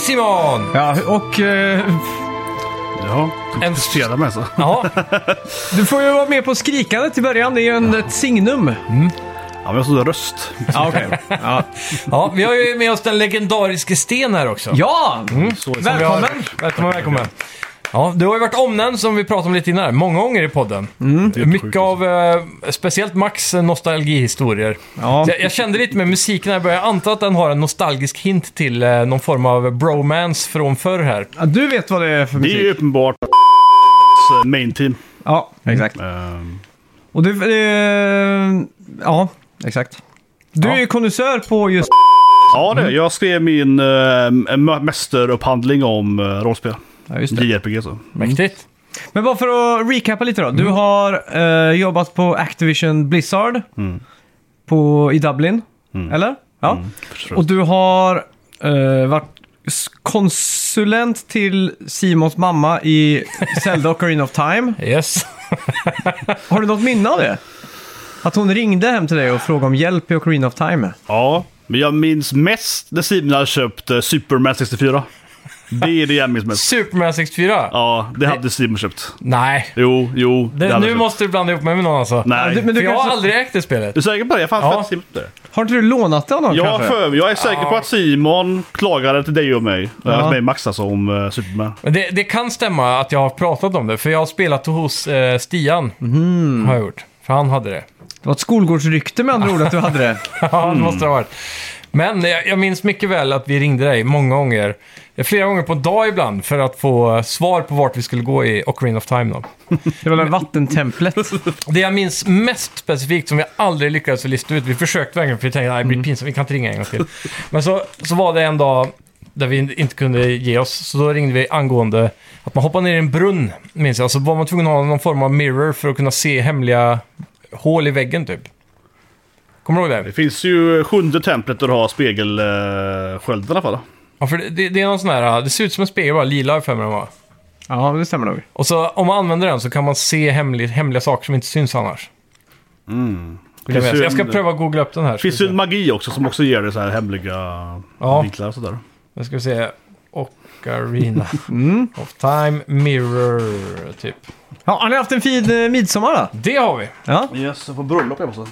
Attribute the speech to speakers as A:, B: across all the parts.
A: Simon!
B: Ja, och eh,
C: Ja,
A: En-
C: en prestera med så.
A: Ja,
B: du får ju vara med på skrikandet i början. Det är ju en, ett signum.
C: Ja, men jag såg röst.
B: Ja, okej. ja.
A: ja, vi har ju med oss den legendariske Sten här också. Mm.
B: ja!
C: Så är det.
B: Välkommen!
A: Välkommen, välkommen. Ja, du har ju varit omnämnd, som vi pratade om lite innan, här, många gånger i podden. Mycket av, eh, speciellt Max eh, nostalgihistorier.
B: Ja.
A: Så Jag, jag kände lite med musiken här, i början. jag antar att den har en nostalgisk hint till eh, någon form av bromance från förr här.
B: Ja, Du vet vad det är för
C: Det är ju
B: musik.
C: uppenbart main team.
B: Ja, Mm. exakt.
C: Ehm,
B: Och du... Eh, ja, exakt. Du
A: Ja.
B: är ju kondensör på just...
C: Ja, det. Jag skrev min eh, mä- mästerupphandling om eh, rollspel.
B: Ja, just det.
C: JRPG så.
A: Mäktigt.
B: Men bara för att recapa lite då. Du
A: Mm.
B: har eh, jobbat på Activision Blizzard
A: Mm.
B: på, i Dublin, eller? Ja.
C: förstås.
B: Och du har eh, varit s- konsulent till Simons mamma i Zelda Ocarina of Time.
A: Yes.
B: Har du något minne av det? Att hon ringde hem till dig och frågade om hjälp i Ocarina of Time?
C: Ja, men jag minns mest när Simon hade köpt eh, Superman 64. Det är det jag minns mest.
A: Superman 64?
C: Ja, det hade Simon köpt.
A: Nej.
C: Jo, jo.
A: Det,
C: hade
A: nu
C: jag köpt.
A: måste du blanda ihop mig med någon alltså.
B: Ja, du-
C: Nej.
B: men
A: För jag har
B: kanske-
A: aldrig ägt det spelet.
C: Du är säker på det? Jag fanns
A: Ja.
C: faktiskt Simon där.
B: Har inte du lånat det av någon
C: Jag,
B: kanske?
C: för, jag är säker på att Simon klagade till dig och mig. Ja. Mig och Max alltså om eh, Superman.
A: Men Det, det kan stämma att jag har pratat om det, för jag har spelat hos eh, Stian. Har jag gjort. För han hade det.
B: Det var ett skolgårdsrykte med andra ord att du hade det.
A: Ja, det måste det ha varit. Men jag, jag minns mycket väl att vi ringde dig många gånger. Flera gånger på en dag ibland för att få eh, svar på vart vi skulle gå i Ocarina of Time. Då.
B: Det var det vattentemplet.
A: Det jag minns mest specifikt, som vi aldrig lyckades lista ut, vi försökte verkligen för vi tänkte att det blir pinsamt, vi kan inte ringa en gång till. Men så, så var det en dag där vi inte kunde ge oss, så då ringde vi angående att man hoppade ner i en brunn, minns jag. Så var man tvungen att ha någon form av mirror för att kunna se hemliga hål i väggen typ. Kommer du ihåg
C: Det
A: det?
C: finns ju sjunde templet där du har spegelskölden i alla fall.
A: Ja, för det, det, det är någon sån här, det ser ut som en spegel bara, lila har jag för mig den var.
B: Ja, det stämmer nog.
A: Och så om man använder den så kan man se hemliga, hemliga saker som inte syns annars.
C: Mm.
A: Vill jag
C: Finns
A: veta.
C: ju
A: Jag ska
C: en-
A: pröva att googla upp den här.
C: Det finns ju en magi också som också ger dig så här hemliga
A: Ja.
C: vinklar och sådär.
A: Nu ska vi se. Ocarina of Time Mirror, typ.
B: Ja, har ni haft en fin eh, midsommar då?
A: Det har vi.
B: Ja,
C: Yes, jag får bröllop jag måste.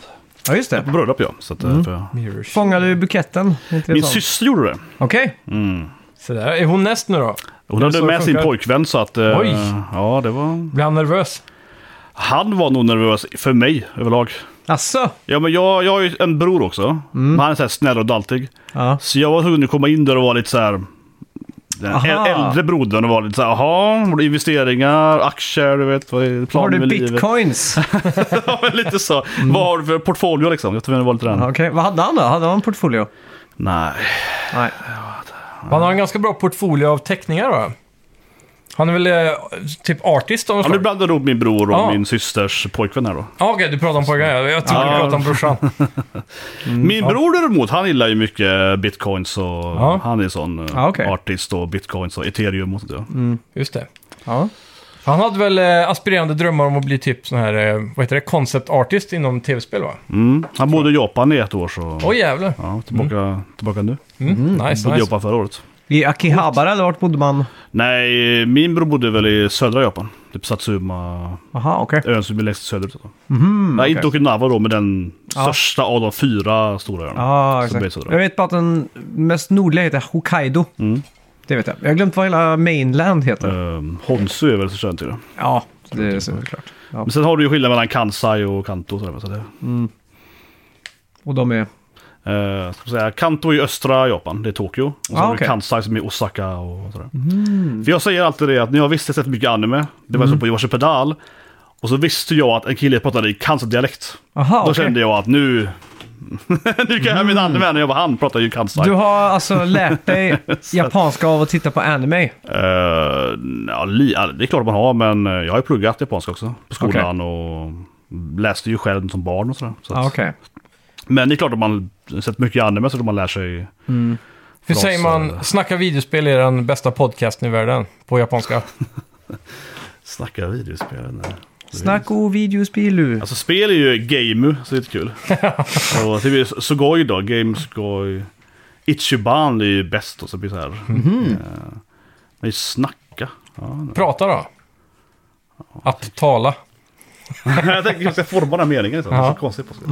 B: ja just det.
C: På bröllop ja. Så att, eh, får jag-
A: Mirror.
B: Fångade du buketten? Inte
C: Min
B: sånt.
C: syster gjorde det.
B: Okej.
C: Mm.
A: Så där. Är hon näst nu då?
C: Hon
A: så
C: hade
A: det
C: med sin
A: funkar.
C: pojkvän så att... eh,
A: Oj.
C: Ja, det var...
A: Blir han nervös?
C: Han var nog nervös för mig överlag.
B: Asså?
C: Ja, men jag, jag har ju en bror också. Men han är så här snäll och daltig.
B: Ja.
C: Så jag var tvungen att komma in där och vara lite så här... Den
B: Aha.
C: äl- äldre brodern var lite så här, jaha, har du investeringar, aktier, du vet, vad är
B: Har
C: planen
B: du
C: med livet?
B: bitcoins?
C: Ja, men lite så. Vad har du för portfolio liksom? Jag tror det var lite den.
B: Okej, vad hade han då? Hade han en portfolio?
C: Nej.
B: Nej.
A: Han har en ganska bra portfolio av teckningar va? Han är väl eh, typ artist av något
C: Ja, nu
A: slag?
C: blandade du ihop min bror och
A: Ja.
C: min systers pojkvän här då.
A: Ja, okej, du pratar om pojken. Jag jag tror du
C: Ja.
A: pratar om brorsan.
C: Min bror däremot, han gillar ju mycket bitcoins och
A: Ja.
C: han är sån eh,
B: Ja, okej.
C: artist och bitcoins och ethereum och sånt där.
A: Just det.
B: Ja.
A: Han hade väl eh, aspirerande drömmar om att bli typ sån här, eh, vad heter det, concept artist inom tv-spel va?
C: Mm. Han bodde i Japan i ett år så...
A: Åh jävlar.
C: Ja, tillbaka, tillbaka nu.
A: Mm, nice,
C: Bodde i
A: nice.
C: Japan förra året.
B: I Akihabara eller vart bodde man?
C: Nej, min bror bodde väl i södra Japan. Typ Satsuma,
B: Aha, okej.
C: ön som är längst söderut. Mm, Nej, inte Okinawa då, men den största av de fyra stora öarna.
B: Ja,
C: som är i
B: exakt.
C: södra.
B: Jag vet bara att den mest nordliga heter Hokkaido.
C: Mm.
B: Det vet jag. Jag har glömt vad hela mainland heter.
C: Ehm, Honsu är väl så känd till det.
B: Ja, det är såklart. Ja.
C: Men sen har du ju skillnad mellan Kansai och Kanto. Så där, så det,
B: Och de är...
C: eh, ska man säga, Kanto är ju östra Japan, det är Tokyo. Och sen
B: Ah,
C: har du
B: okej. Mm.
C: Kansai som är Osaka och sådär. För jag säger alltid det att när jag visste sett mycket anime, det var så på Yoshi Pedal. Och så visste jag att en kille pratade i Kansai-dialekt.
B: Aha,
C: Då
B: Ah, okej. Mm.
C: kände jag att nu... nu kan jag min anime, när jag var han pratar ju Kansai.
B: Du har alltså lärt dig japanska av att titta på anime?
C: Eh, ja, li, ja, det är klart man har, men eh, jag har ju pluggat japanska också på skolan och läste ju själv som barn och sådär. Så
B: Ja,
C: att-
B: Ah, okej.
C: Men det är klart att man sett mycket anime så att man lär sig.
A: Hur säger man,
C: fraser.
A: snacka videospel är den bästa podcasten i världen på japanska?
C: Snacka videospel. nej.
B: Snack och videospilu.
C: Alltså typ spel är ju game, så det är lite kul. och det är ju Sugoi då, game Sugoi. Ichiban är ju bäst och så blir det så här.
A: Mhm.
C: Mm. Men snacka. Ja,
A: Prata då. Att tala.
C: jag tänker att jag ska forma den här meningen. Så. Det är
A: Ja. Mm.
C: så konstigt. På sig.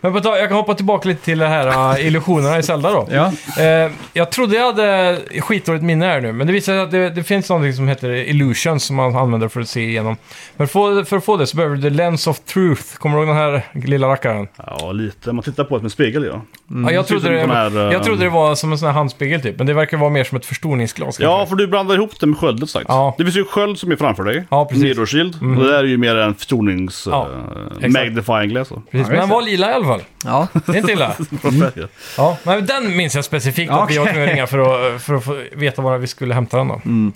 A: Men på tal- jag kan hoppa tillbaka lite till det här äh, illusionerna i Zelda då.
B: Ja.
A: Eh, jag trodde jag hade skitdåligt minne här nu, men det visar sig att det, det finns någonting som heter illusions som man använder för att se igenom. Men för, för att få det så behöver du the lens of truth. Kommer du ihåg den här lilla rackaren?
C: Ja, lite. Man tittar på ett med spegel, ja.
A: ja, jag, trodde
C: Ser
A: det,
C: ut som de här, eh,
A: jag trodde det var som en sån här handspegel typ, men det verkar vara mer som ett förstoringsglas.
C: Ja,
A: kanske.
C: för du blandar ihop det med sköldet sagt.
A: Ja.
C: Det finns ju sköld som är framför dig.
A: Ja, precis. Mhm.
C: Nedoskild. Och det där är ju mer en förstonings...
A: Ja,
C: eh,
A: exakt.
C: magnifying glass. då.
A: Precis, men den var lila i alla fall.
B: Ja.
A: Det är inte illa. Mm.
C: Färger.
A: Ja, men den minns jag specifikt att vi var tvungna att ringa för att, för att få veta var vi skulle hämta den då.
C: Mm.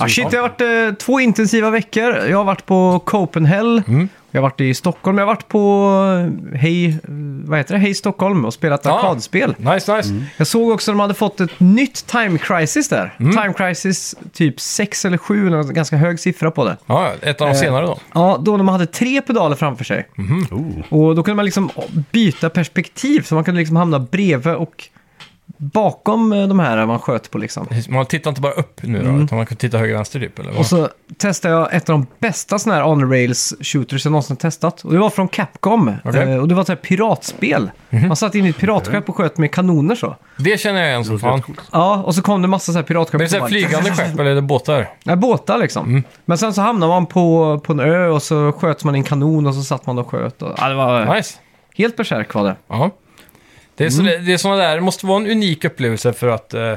B: Ah, shit, det har varit eh, två intensiva veckor. Jag har varit på Copenhagen. Jag har varit i Stockholm. Jag har varit på eh, Hej, eh, vad heter det? Hej Stockholm och spelat
A: Ja.
B: arkadspel.
A: Nice, nice.
B: Jag såg också att de hade fått ett nytt Time Crisis där. Time Crisis typ 6 eller 7, en ganska hög siffra på det.
A: Ja, ett
B: Eh.
A: av de senare då.
B: Ja, då när man hade tre pedaler framför sig.
C: Oh.
B: Och då kunde man liksom byta perspektiv, så man kunde liksom hamna bredvid och bakom eh, de här man sköt på liksom.
A: Precis, Man tittar inte bara upp nu då, utan man kan titta höger vänster typ. Eller vad?
B: Mm. Och så testade jag ett av de bästa sådana här on-rails shooters jag någonsin testat. Och det var från Capcom.
A: Okej. Mhm.
B: Eh, och det var ett så här piratspel. Man satt in i ett piratskär och sköt med kanoner så.
A: det känner jag igen som fan. Men
B: Ja, och så kom det massa så här piratskepp.
A: det är så
B: som
A: här Mm.
B: bara-
A: flygande skepp eller är det båtar?
B: Nej, båtar liksom. Men sen så hamnade man på, på en ö och så sköt man i en kanon och så satt man och sköt. Och, ja, det var
A: Nice.
B: helt besärk var det.
A: Ja. Det är, så,
B: Mm.
A: det är sådana där, det måste vara en unik upplevelse för att eh,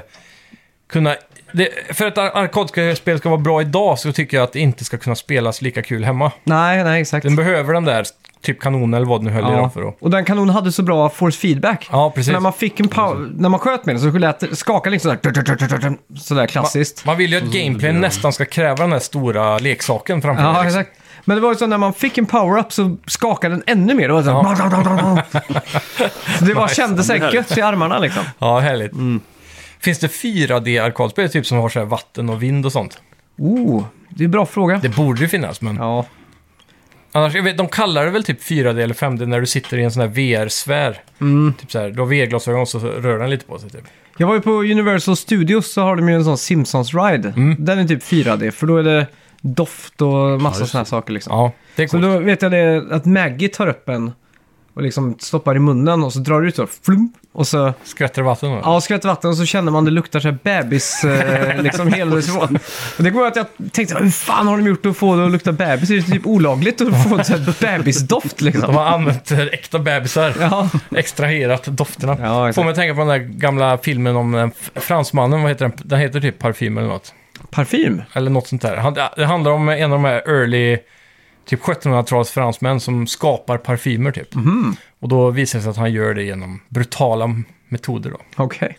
A: kunna... Det, för att ar- arkadspel ska vara bra idag så tycker jag att det inte ska kunna spelas lika kul hemma.
B: Nej, nej, exakt.
A: Den behöver den där typ kanonen eller vad den höll i
B: Ja.
A: den för då.
B: Och den kanonen hade så bra force feedback.
A: Ja,
B: Så
A: precis.
B: När man, fick en pow- när man sköt med den så lät det skaka liksom sådär. Sådär klassiskt.
A: Man vill ju att gameplay nästan ska kräva den där stora leksaken framför dig,
B: Ja,
A: liksom.
B: exakt. Men det var ju så när man fick en power-up så skakade den ännu mer. Det var så, här, så det bara kändes så här gött i armarna liksom.
A: ja, härligt. Finns det 4D-arkadspel typ som har så här vatten och vind och sånt?
B: Oh, det är en bra fråga.
A: Det borde ju finnas, men...
B: Ja,
A: Annars, jag vet, de kallar det väl typ 4D eller 5D när du sitter i en sån här VR-sfär.
B: Mm.
A: Typ så här, du har VR-glasögon och så rör den lite på sig typ.
B: Jag var ju på Universal Studios så har de ju en sån Simpsons Ride. Den är typ 4D för då är det doft och massa
C: Ja, just
B: såna här saker liksom.
A: Ja, det är
B: Så
A: coolt.
B: då vet jag det att Maggie tar upp en och liksom stoppar i munnen och så drar du ut så flump och så
A: Skvätter vatten då?
B: ja, och skvätter vatten och så känner man det luktar så här bebis eh, liksom helvägsvån. Och det går att jag tänkte hur fan har de gjort att få det att lukta bebis? Det är ju typ olagligt att få så här bebisdoft
A: De
B: liksom.
A: har använt eh, äkta bebisar.
B: Ja,
A: Extraherat dofterna.
B: Ja, exakt.
A: Får mig att tänka på den där gamla filmen om den f- fransmannen, vad heter den? Den heter typ Parfym eller något.
B: parfym.
A: Eller något sånt där. Han- Det handlar om en av de här early, typ 1700-tals fransmän som skapar parfymer typ.
B: Mhm.
A: Och då visar det sig att han gör det genom brutala metoder då.
B: Okej.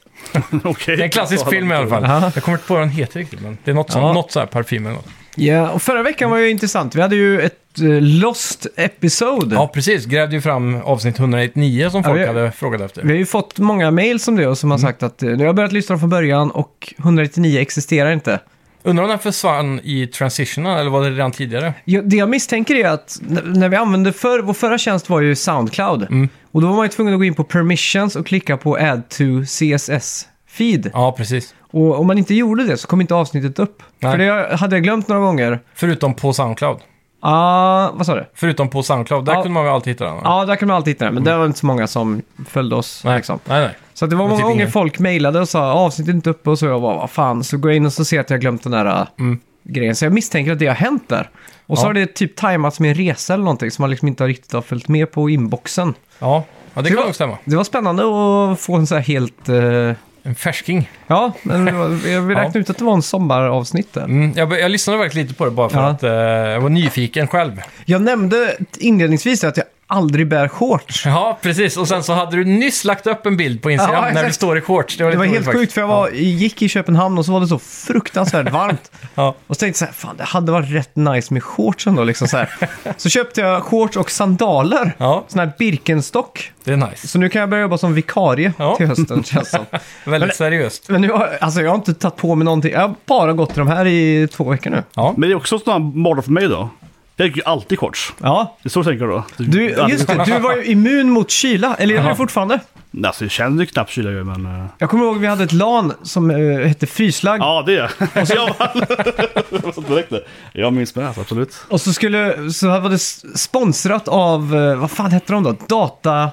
C: Okej.
A: Det är en klassisk film i alla fall.
B: Ja.
A: Jag kommer inte på vad den heter riktigt, men det är något, sånt,
B: Ja.
A: något så här parfym eller något.
B: Ja, och förra veckan var ju intressant. Vi hade ju ett eh, Lost Episode.
A: Ja, precis. Grävde ju fram avsnitt 199 som folk
B: vi-
A: hade frågat efter.
B: Vi har ju fått många mail som det och som har sagt att eh, nu har jag börjat lyssna från början och 199 existerar inte.
A: Undrar om den försvann i transitionen, eller var det redan tidigare?
B: Jag, det jag misstänker är att n- när vi använde för, vår förra tjänst var ju Soundcloud.
A: Mm.
B: Och då var man ju tvungen att gå in på permissions och klicka på add to CSS feed.
A: Ja, precis.
B: Och om man inte gjorde det så kom inte avsnittet upp.
A: Nej.
B: För det hade jag glömt några gånger.
A: Förutom på Soundcloud.
B: Ah, vad sa du?
A: Förutom på Soundcloud, där
B: Ja.
A: kunde man väl alltid hitta den? va?
B: Ja, där kan man alltid hitta den, men det var inte så många som följde oss.
A: Mm. nej.
B: Liksom.
A: nej, nej.
B: Så att det var
A: Men
B: många
A: typ
B: gånger
A: ingen.
B: folk mejlade och sa "Ah, avsnittet är inte uppe och så jag bara vad fan. Så går jag in och så ser jag att jag har glömt den där äh,
A: Mm.
B: grejen. Så jag misstänker att det har hänt där. Och så
A: Ja.
B: har det typ tajmats med en resa eller någonting som man liksom inte riktigt har följt med på inboxen.
A: Ja. ja, det
B: Det
A: kan
B: var-
A: nog stämma.
B: Det var spännande att få en så här helt... eh,
A: En färsking.
B: ja, men det var- jag vill
A: Ja.
B: räkna ut att det var en sommaravsnitt där.
A: Mm, jag, jag lyssnade verkligen lite på det bara för
B: Ja.
A: att eh, jag var nyfiken själv.
B: Jag nämnde inledningsvis att jag aldrig bär shorts.
A: Ja, precis. Och sen så hade du nyss lagt upp en bild på Instagram
B: Ja,
A: när
B: exakt.
A: du står i shorts. Det var,
B: Det
A: lite
B: var
A: roligt
B: helt
A: faktiskt.
B: sjukt för jag var, gick i Köpenhamn och så var det så fruktansvärt varmt.
A: Ja.
B: Och så tänkte jag så här, fan det hade varit rätt nice med shorts ändå. Liksom så, här. så köpte jag shorts och sandaler.
A: Ja.
B: Sån här Birkenstock.
A: Det är nice.
B: Så nu kan jag börja jobba som vikarie
A: Ja.
B: till hösten känns som.
A: Väldigt seriöst.
B: Men nu har, alltså jag har inte tagit på mig någonting. Jag har bara gått till de här i två veckor nu.
A: Ja.
C: Men det är också en sån här mardröm för mig då. Jag gick ju alltid shorts.
B: Ja.
C: Det är så jag tänker då.
B: Du, just det, du var ju immun mot kyla. Eller är du
A: Jaha.
B: fortfarande?
C: Alltså, jag känner ju knappt kyla ju, men... eh,
B: Jag kommer ihåg vi hade ett LAN som eh, hette Fryslagg.
C: Ja, det gör jag. Så jag. bara- Så direkt där. jag minns med, alltså, absolut.
B: Och så, skulle, så här var det s- sponsrat av, eh, vad fan hette de då? Data...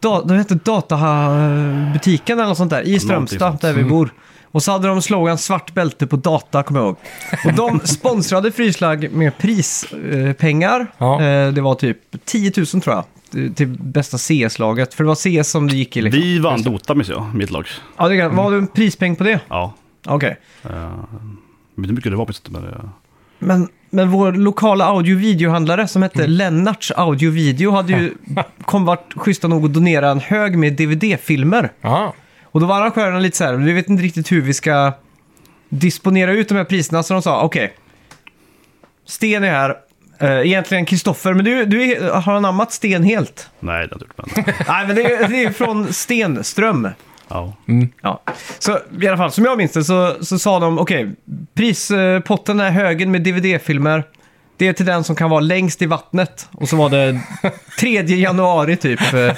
B: Da, de hette Databutiken eller något sånt där i Strömstad
C: sånt.
B: där vi bor. Och så hade de slogan svart bälte på data, kommer jag ihåg. Och de sponsrade Fryslag med prispengar.
A: Ja.
B: Det var typ 10 000 tror jag. till- Till bästa CS-laget. För det var CS som det gick i liksom.
C: Vi vann Dota, minns jag, mitt lag.
B: Ja, det kan, Vad har du en prispeng på det?
C: Ja.
B: Okej.
C: Jag vet inte hur mycket det var precis, men eh, det...
B: Men, men vår lokala audio och videohandlare som hette Lennarts audio och video hade ju kom vart schyssta nog att donera en hög med DVD-filmer.
A: Ja,
B: Och då var arrangörerna lite så här, vi vet inte riktigt hur vi ska disponera ut de här priserna. Så de sa, okej, Sten är här. Eh, Egentligen Kristoffer, men du, du är, har anammat Sten helt.
C: Nej, det har jag inte gjort, men...
B: Nej, men det är, det är från Stenström.
C: Ja.
B: Ja. Så i alla fall, som jag minns det så, så sa de okej, prispotten är högen med DVD-filmer. Det är till den som kan vara längst i vattnet. Och så var det 3 januari typ eh,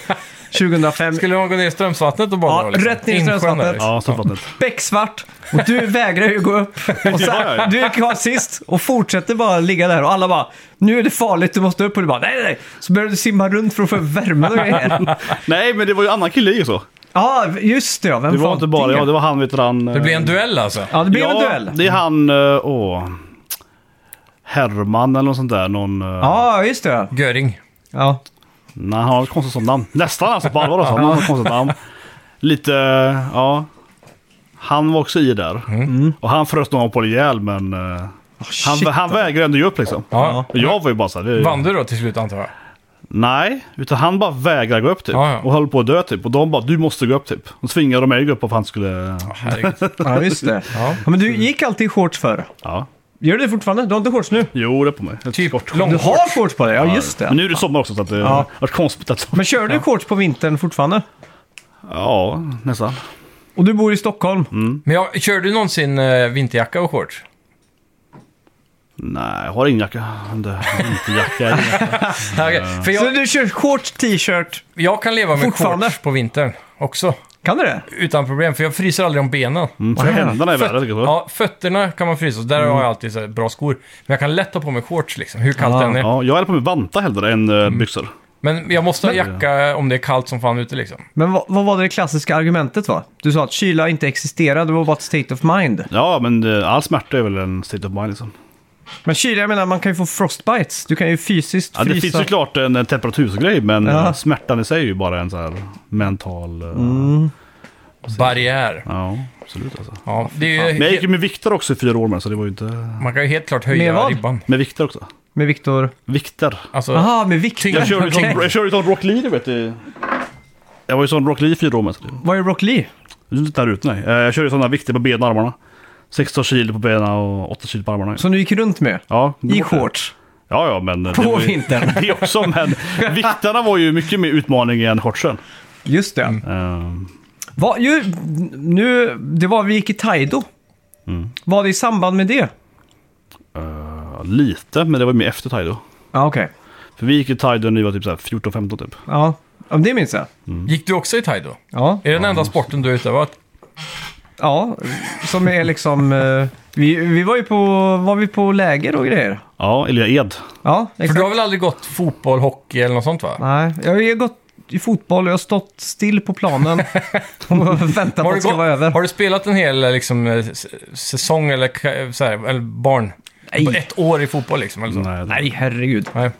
B: 2005.
A: skulle man gå ner i Strömsvattnet och bada
B: Ja,
A: då, liksom?
B: rätt ner i
A: Insjön där,
B: Strömsvattnet.
A: liksom.
C: Ja, så fattar jag inte.
B: Becksvart och du vägrar ju gå upp. Och så,
C: Ja, ja.
B: Du är kvar sist och fortsätter bara ligga där och alla bara nu är det farligt, du måste upp och du bara nej nej nej. Så börjar du simma runt för att få upp värmen och grejer.
C: Nej, men det var ju en annan kille i så.
B: Ja, just det ja. Vem
C: Det var
B: fan
C: inte bara jag, det var han, vet du, han... eh,
A: Det blir en duell alltså?
B: Ja, det blev
C: ja,
B: en duell.
C: det är han... eh, Åh... Herman eller något sånt där. Någon... eh,
B: Ja, just det ja.
A: Göring.
B: ja.
C: Nej, han har ett konstigt sånt namn. Nästan alltså, på allvar alltså. Han har ett konstigt namn. Lite, eh, ja. Han var också i där.
A: Mm.
C: Mm. Och han frös nog på ihjäl, men... eh, han
B: shit,
C: han vägrade ändå ge upp liksom.
A: Ja.
C: Och jag var ju bara så här, det är ju-
A: Vann du då till slut antar jag?
C: Nej, utan han bara vägrade gå upp typ.
A: Ja, ja.
C: Och höll på att dö typ. Och de bara, du måste gå upp typ. Och tvingade de mig att gå upp för att han skulle...
A: Herregud.
B: Ja, just det.
A: Ja.
B: Ja, men du gick alltid i shorts förr.
C: Ja.
B: Gör du det fortfarande? Du har inte shorts nu?
C: Jo, det är på mig. Ett
A: Typ
C: kort-
B: Du
A: lång...
B: har shorts på dig, ja just det.
C: Men nu är det sommar också så att det
B: Ja.
C: har varit konstigt att...
B: Men kör du shorts på vintern fortfarande?
C: Ja, nästan.
B: Och du bor i Stockholm?
C: Mm.
A: Men jag, kör du någonsin eh, vinterjacka och shorts?
C: Nej, jag har ingen jacka. Det- Inte jacka. ingen jacka.
A: Ja, okej. För
B: Så
A: jag,
B: du kör shorts, t-shirt?
A: jag kan leva med
B: Fortfarande?
A: shorts på vintern också.
B: Kan du det?
A: Utan problem, för jag fryser aldrig om benen.
C: Mm, så händerna är värre tycker jag.
A: Ja, fötterna kan man frysa, så där
B: Mm.
A: har jag alltid så här bra skor. Men jag kan lätt ta på mig shorts liksom, hur kallt
B: Ah,
A: det än är.
C: Ja, jag hade på mig vantar hellre än
B: Mm.
C: eh, byxor.
A: Men jag måste ha jacka om det är kallt som fan ute liksom.
B: Men vad, vad var det klassiska argumentet va? Du sa att kyla inte existerade, det var bara ett state of mind.
C: Ja, men eh, all smärta är väl en state of mind liksom.
B: Men kyla, jag menar man kan ju få frostbites. Du kan ju fysiskt
C: Ja, det
B: frysa.
C: finns ju klart en eh, temperatursgrej, men
B: Ja.
C: eh, smärtan i sig är ju bara en så här mental... eh,
B: Mm.
A: Barriär.
C: Ja, absolut alltså.
A: Ja, det är
C: Men jag gick
A: ju,
C: ju med vikter också i fyra år med, så det var ju inte...
A: man kan ju helt klart
B: Med
A: höja
B: vad?
A: ribban.
C: Med vikter också.
B: Med Viktor...
C: Vikter.
A: Alltså,
B: Jaha, med Viktor?
A: Jag
C: Jag körde ju sån,
B: Okej.
C: jag körde ju sån Rock Lee, du vet. i- Jag var ju sån Rock Lee i fyra år med. så det-
B: Vad är Rock Lee?
C: det är Inte där ute, nej. Eh, Jag körde ju sådana vikter på benen och armarna. 16 kilo på benen och 8 kilo på armarna.
B: Som du gick runt med?
C: Ja, det
B: I
C: var det.
B: shorts?
C: Ja, ja, men... eh, det
B: På
C: var ju-
B: vintern?
C: Det också, men viktarna var ju mycket mer utmaning än shortsen.
B: Just det.
C: Ehm,
B: Vad- ju, nu, det var vi gick i Taido. Var det i samband med det?
C: ja, eh, lite, men det var ju mer efter Taido.
B: Ja, okej.
C: För vi gick i Taido när vi var typ så här 14-15 typ.
B: Ja, ja, det minns jag.
A: gick du också i Taido?
B: Ja,
A: Är det den enda sporten du har utövat?
B: ja som är liksom... eh, vi, vi var ju på, var vi på läger och grejer.
C: Ja, eller Ed.
B: Ja,
A: För
B: exakt.
A: du har väl aldrig gått fotboll, hockey eller något sånt va?
B: Nej, jag har ju gått i fotboll och jag har stått still på planen och väntat på
A: Har
B: att
A: du,
B: det ska
A: gått,
B: vara över.
A: har du spelat en hel liksom, eh, s- säsong eller, ka- så här, eller barn?
B: Nej.
A: Ett år i fotboll liksom? Eller så?
C: Nej,
B: Nej, herregud.
A: Nej.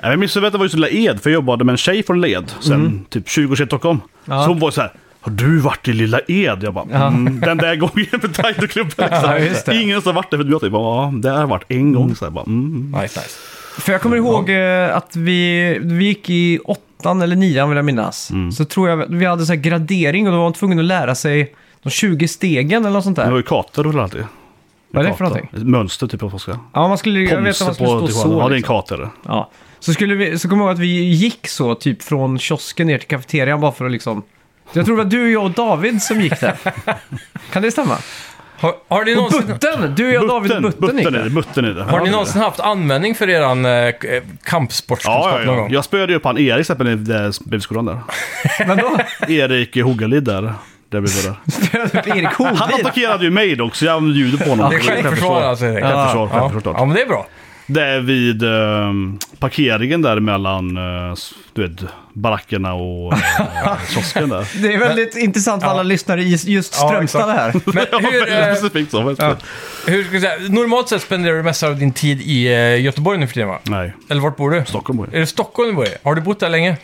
C: Nej, Jag minns att det var just Lilla Ed, för jag jobbade med en tjej från Lilla Ed sen typ 20 år sedan i Stockholm.
B: Mm. Ja.
C: Så hon var så här, har du varit i Lilla Ed? Jag bara,
B: Ja.
C: mm, den där gången på Taitoklubben.
B: Ja, just det.
C: Ingen som varit där förutom jag. Typ, ja, det har varit en gång. Så här, bara, mm.
A: Nice, nice.
B: För jag kommer ihåg eh, att vi, vi gick i åttan eller nian vill jag minnas.
C: Mm.
B: Så tror jag vi hade så här gradering och då var man tvungen att lära sig de 20 stegen eller något sånt
C: Det var
B: där.
C: ju kater och alltid.
B: Vad är det för
C: Kater.
B: någonting?
C: Ett Mönster typ på svenska.
B: Ja, man skulle, jag vet att man
C: Ponse
B: skulle
C: på
B: stå så.
C: Tijuana. Ja, det är en
B: Liksom.
C: kater.
B: Ja. Så, skulle vi, så kommer jag ihåg att vi gick så typ från kiosken ner till kafeterian bara för att liksom... Jag tror det var du, jag och David som gick där. kan det stämma?
A: Har, har ni någonsin...
B: Butten! Du och jag David Butten gick
C: Butten är det.
B: där.
C: Butten är det.
A: Har ni någonsin haft användning för eran eh, k- eh, kampsportskunskap
C: Ja, ja,
A: någon
C: ja.
A: gång?
C: Jag spöade ju upp han Erik till exempel i eh, bibelskolan där.
B: Men då?
C: Erik Hogalid där. Där vi var där.
B: Erik
C: Han
B: Holmgren.
C: attackerade ju mig då, så jag använde ljudet på honom.
A: Det är självförsvar alltså. helt enkelt.
C: Självförsvar,
A: Ja.
C: självförsvar.
A: ja, men det är bra.
C: Det är vid eh, parkeringen där mellan eh, s- du vet, barackerna och eh, kiosken där.
B: Det är väldigt intressant för alla lyssnare i just
A: Ja,
B: Strömstad det här.
C: Ja,
A: Men hur,
C: väldigt
A: eh,
C: specifikt så.
A: ja. hur ska jag säga? Normalt sett spenderar du mest av din tid i eh, Göteborg nu för tiden va?
C: Nej,
A: Eller vart bor du?
C: Stockholm var
A: Är det Stockholm du bor i? Har du bott där länge?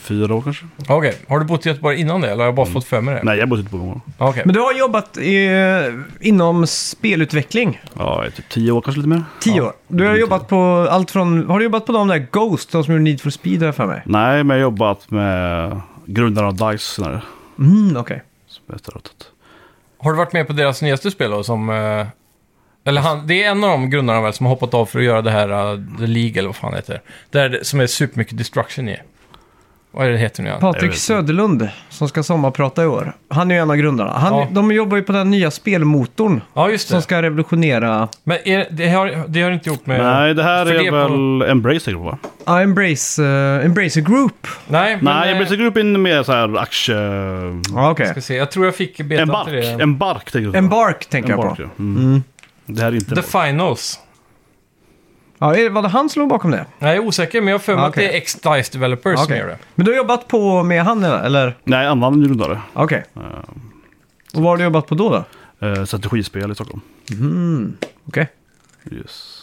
C: Fyra år kanske?
A: Ja, Okej. Har du bott i Göteborg innan det? Eller har jag bara fått för mig det?
C: Mm. Nej, jag typ bodde inte på gången.
A: Ja, Okej.
B: Men du har jobbat eh, inom spelutveckling
C: Ja, i typ tio år kanske lite mer.
B: tio år. Du har
C: lite.
B: jobbat på allt från... Har du jobbat på de där Ghost, de som gjorde Need for Speed har jag för mig?
C: Nej, men jag har jobbat med grundarna av DICE senare.
B: Mm, okej.
C: Som jag efteråt.
A: Har du varit med på deras nyaste spel då? Som, eh, eller han, det är en av de grundarna väl som har hoppat av för att göra det här eh, The League eller vad fan det heter. Där det, som är supermycket destruction i. Vad är det heter nu igen?
C: Jag vet
B: Patrik
C: inte.
B: Söderlund, som ska sommarprata i år. Han är ju en av grundarna. Han,
A: Ja.
B: De jobbar ju på den nya spelmotorn
A: Ja, just
B: som
A: det.
B: ska revolutionera...
A: Men är, det, har, det har inte gjort med...
C: Nej, det här
A: Eh, för
C: är
A: det
C: väl
A: på-
C: Embrace tänker du på va?
B: Ja, Embrace, eh, Embracer Group.
A: Nej, men,
C: Nej,
A: eh,
C: Embrace Group är mer så här aktie...
B: Ja, okej.
A: Ska se. Jag tror jag fick
C: En
A: betan
C: bark.
A: till det.
C: En bark tänker du på?
B: Embark tänker jag
C: Embark,
B: på.
C: ja. Mm. Det här är inte...
A: The Finals.
B: Ja, är- var det han som låg bakom det?
A: Nej, jag är osäker, men jag har för mig
B: Ah,
A: att det
B: okej.
A: är X-Dice Developers som
B: Okej.
A: gör det.
B: Men du har jobbat på med han eller?
C: Nej, annan grundare.
B: Okej. Och vad har du jobbat på då? då?
C: Eh, strategispel i Stockholm.
B: Mm. Okej.
C: Yes.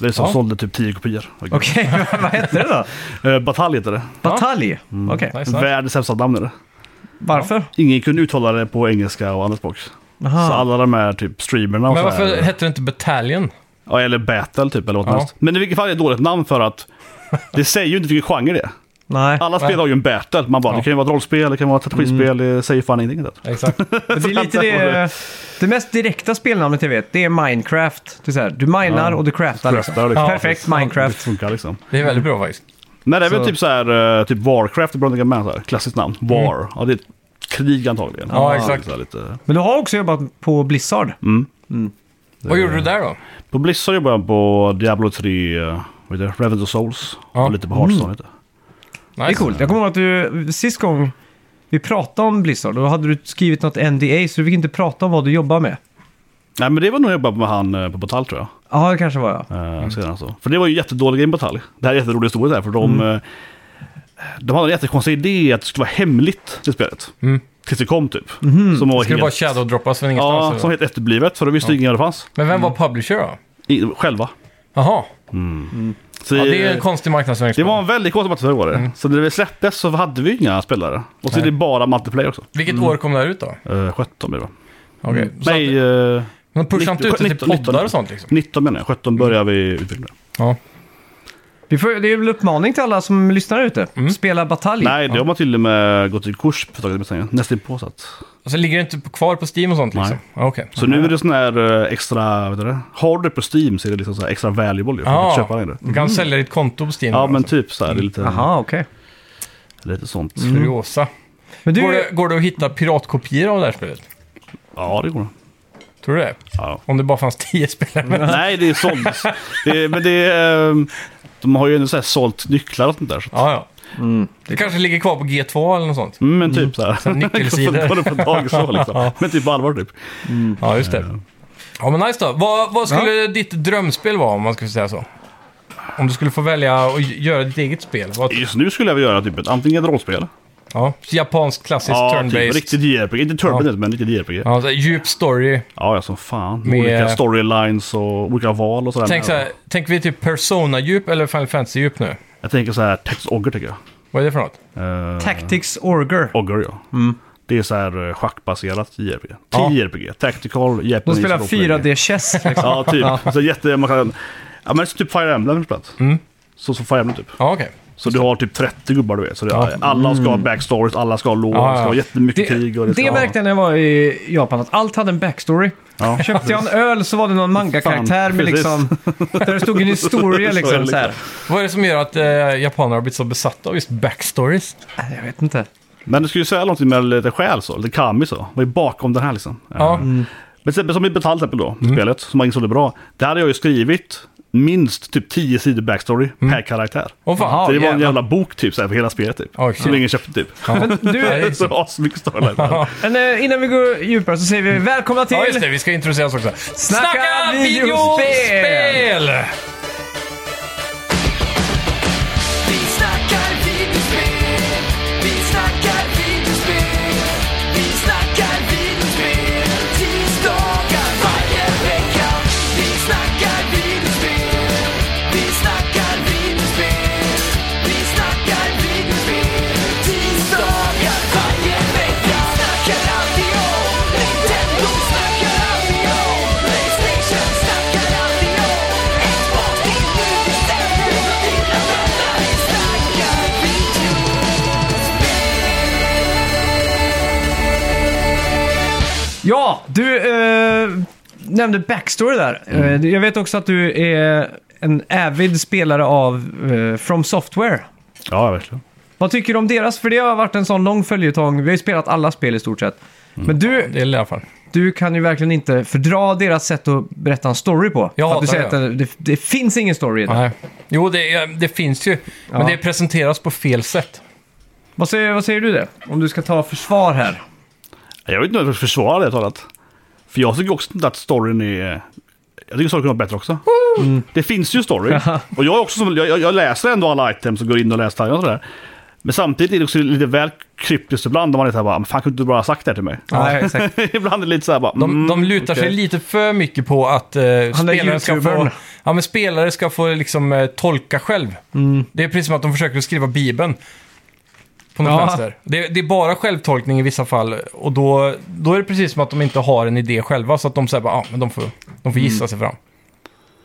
C: Det är som
A: Ja.
C: sålde typ 10 kopior.
B: Okej, vad hette det då?
C: Eh, Batalj heter det.
B: Batalj?
C: Mm.
B: Okej.
A: Nice, nice.
C: Världens sämsta namn är det.
B: Varför?
C: Ingen kunde uttala det på engelska och andra språk. Så
B: Aha.
C: alla de här typ streamerna och
A: Men
C: så
A: varför
C: här,
A: hette det inte Battalion?
C: ja, Eller battle typ eller vad som
A: Ja.
C: helst. Men i vilket fall är det ett dåligt namn för att det säger ju inte vilken genre det är.
B: Nej.
C: Alla spel har ju en battle. Man bara,
A: Ja. Mm.
C: det kan ju vara ett rollspel, det kan vara ett strategispel, det säger fan ingenting. Det.
A: Exakt.
B: Det är lite det... Det mest direkta spelnamnet jag vet, det är Minecraft. Det är så här, du minar
C: Ja.
B: och du craftar liksom.
C: Craftar, liksom.
B: Perfekt
C: Det
B: Minecraft.
C: funkar liksom.
A: Det är väldigt bra faktiskt.
C: Nej, det är väl
B: Så-
C: typ så här, eh, typ Warcraft, det borde jag med så här. Klassiskt namn. War. Ja, det är ett krig antagligen.
A: Mm. Ja,
C: Det är
A: exakt.
C: Så här, lite...
B: Men du har också jobbat på Blizzard.
C: Mm.
A: Vad gjorde du där då?
C: På Blizzard jobbar jag på Diablo 3, eh, vad heter det? Revenge of Souls.
A: Ja. Mm.
C: Och lite på Hearthstone heter det.
A: Nice.
B: Det är coolt. Jag kommer ihåg att du, sist gång vi pratade om Blizzard, då hade du skrivit något NDA så du fick inte prata om vad du jobbar med.
C: Nej, men det var nog jag jobbade med han eh, på Batal tror jag.
B: Ja, det kanske var jag.
C: Eh,
A: Mm.
C: Senare så. För det var ju jättedålig grej med Batal. Det här är en jätterolig historia där, för de...
A: Mm.
C: eh, De hade en jättekonstig idé att det skulle vara hemligt, det spelet.
A: Mm.
C: Tills det kom typ.
A: Mhm.
C: Som var
A: Skulle bara
C: helt...
A: shadow-droppas från ingenstans?
C: Ja, Mm.
A: eller?
C: som helt efterblivet, för då visste ingen vad det fanns.
A: Men vem var publisher då?
C: I, själva.
A: Jaha,
C: Så
A: ja, det är en konstig
C: Det Mm.
A: marknadsföringsplan.
C: var en väldigt konstig match var det. Så när det släpptes så hade vi inga spelare. Och så är det bara multiplayer också.
A: Vilket år kom det här ut då?
C: Uh, 17 blir det va?
A: Okej. Så
C: Mm. Nej,
A: att,
C: eh,
A: de pushade inte ut det till
C: 19, 19.
A: poddar och sånt liksom?
C: 19 menar jag. 17 börjar vi utveckla.
A: Ja.
B: Vi får, det är väl uppmaning till alla som lyssnar ute. Spela batalj.
C: Mm. Nej, det har man till och med gått i kurs för att ta Nästan på så att.
A: Alltså ligger det inte kvar på Steam och sånt liksom?
C: Nej.
A: Ja, Okej.
C: Så nu är det sån här eh, extra, vad heter det? Har du det på Steam så är det liksom så här extra valuable ju. För
A: Ja.
C: att köpa längre.
A: Du kan sälja ditt konto på Steam.
C: Ja,
A: då,
C: men
A: alltså.
C: typ så här. det är Lite,
B: Jaha, okej.
C: lite sånt.
A: Kuriosa.
C: mm.
B: Men
A: Går, det,
B: du,
A: går det att hitta piratkopior av det här spelet?
C: Ja, det går nog.
A: Tror du det?
C: Ja.
A: Om det bara fanns tio spelare. Men,
C: Nej, det är såldes. det, är- men det är... eh, De har ju ändå så här sålt nycklar och sånt där. Så att,
A: ja, ja. Det kanske ligger kvar på G2 eller något sånt.
C: Mm, men typ så här.
A: nyckelsidor.
C: Kolla på dagis så liksom. Men typ på allvar typ.
A: Ja, just det. Ja, men nice då. Vad, vad skulle ditt drömspel vara om man skulle säga så? Om du skulle få välja att gö- göra ditt eget spel? Vad,
C: Just nu skulle jag vilja göra typ ett, antingen ett rollspel.
A: ja, japansk klassiskt
C: Ja, typ
A: turn-based.
C: riktigt JRPG. Inte turbinate, men riktigt JRPG. Ja,
A: Ja, så här, djup story.
C: ja som fan.
A: Med-
C: Olika storylines och olika val och sådär.
A: Tänk så här, tänker vi typ Persona-djup eller Final Fantasy-djup nu?
C: Jag tänker så här, Tex Ogger tycker jag.
A: Vad är det för något?
C: Eh,
B: Tactics Orger.
C: Ogger ja. Det är så här eh, schackbaserat JRPG.
A: Mm. Ja.
C: TJRPG. Tactical, Japanese.
B: De spelar
C: roleplay.
B: 4D-chess. Liksom.
C: Ja, typ. Så jätte... Man kan, ja, men typ Fire Emblem spelat. Så som Fire Emblem typ.
A: Ja, okej.
C: Så du har typ 30 gubbar du vet. Så det, Alla ska ha backstories, alla ska ha lore,
A: Ja,
C: det ska
A: ja.
C: ha jättemycket
B: Det-
C: krig. Och det, ska
B: Det
C: ha...
B: märkte jag när jag var i Japan, att allt hade en backstory.
C: Ja.
B: Köpte jag en öl så var det någon manga-karaktär med
C: precis.
B: liksom... Där det stod en historia
C: Så är
B: liksom
C: det
B: så här.
A: Vad är det som gör att eh, japaner har blivit så besatta av just backstories?
B: Nej, Jag vet inte.
C: Men du skulle ju säga någonting med lite själ så, lite kami så. Vad är bakom den här liksom?
A: Ja.
C: Eh, Men till exempel som i Betal till exempel då, spelet, som man insåg det bra. Där hade jag ju skrivit minst typ 10 sidor backstory per karaktär.
A: Åh fan.
B: Jaha.
C: så det var en
B: jävlar.
C: jävla bok typ så här, för hela spelet typ.
A: Oj, shit.
C: som ingen köpte typ.
A: Ja.
B: du-
A: Nej,
C: så asmycket storyline. där.
B: Men eh, innan vi går djupare så säger vi
C: Mm.
B: välkomna till...
A: Ja, just det. Vi ska introduceras också. Snacka,
B: videospel!
A: videospel!
D: Vi snackar videospel, vi snackar videospel, vi snackar videospel, tisdagar varje vecka. Vi snackar videospel, vi snackar videospel, vi snackar videospel, tisdagar varje vecka. Snackar alltid om Nintendo, snackar alltid om Playstation, snackar alltid om Xbox, det är nu vi sänder, dina vänner. Vi snackar video.
B: Ja, du eh, nämnde backstory där.
C: Mm.
B: Eh, jag vet också att du är en avid spelare av eh, From Software.
C: Ja, verkligen.
B: Vad tycker du om deras? För det har varit en sån lång följetong. Vi har ju spelat alla spel i stort sett.
C: Mm.
B: Men du,
A: Det är i alla fall.
B: du kan ju verkligen inte fördra deras sätt att berätta en story på.
A: Jag
B: För att du
A: hatar
B: säger att det,
A: det.
B: det, det finns ingen story i det.
A: Nej. Jo, det, är- det finns ju. Men
B: Ja.
A: det presenteras på fel sätt.
B: Vad säger, vad säger du det? Om du ska ta försvar här.
C: Jag vet inte om jag ska försvara det talat. För jag tycker också inte att storyn är... eh, Jag tycker storyn kunde vara bättre också. Det finns ju story. och jag, är också som, jag, jag- jag läser ändå alla items och går in och läser taggningar och sådär. Men samtidigt är det också lite väl kryptiskt ibland. Om man är såhär bara, "Men fan kunde du bara ha sagt det här till mig?
B: Nej, exakt.
C: ibland är det lite såhär bara...
A: De,
C: mm,
A: de lutar sig
C: okej.
A: lite för mycket på att eh, spelare, ska få,
B: youtubern.
A: ja, men spelare ska få liksom, eh, tolka själv.
B: Mm.
A: Det är precis som att de försöker skriva Bibeln. På något
B: Ja.
A: vänster. Det, det är bara självtolkning i vissa fall. Och då, då är det precis som att de inte har en idé själva. Så att de säger bara, ah, men de får, de får gissa sig fram.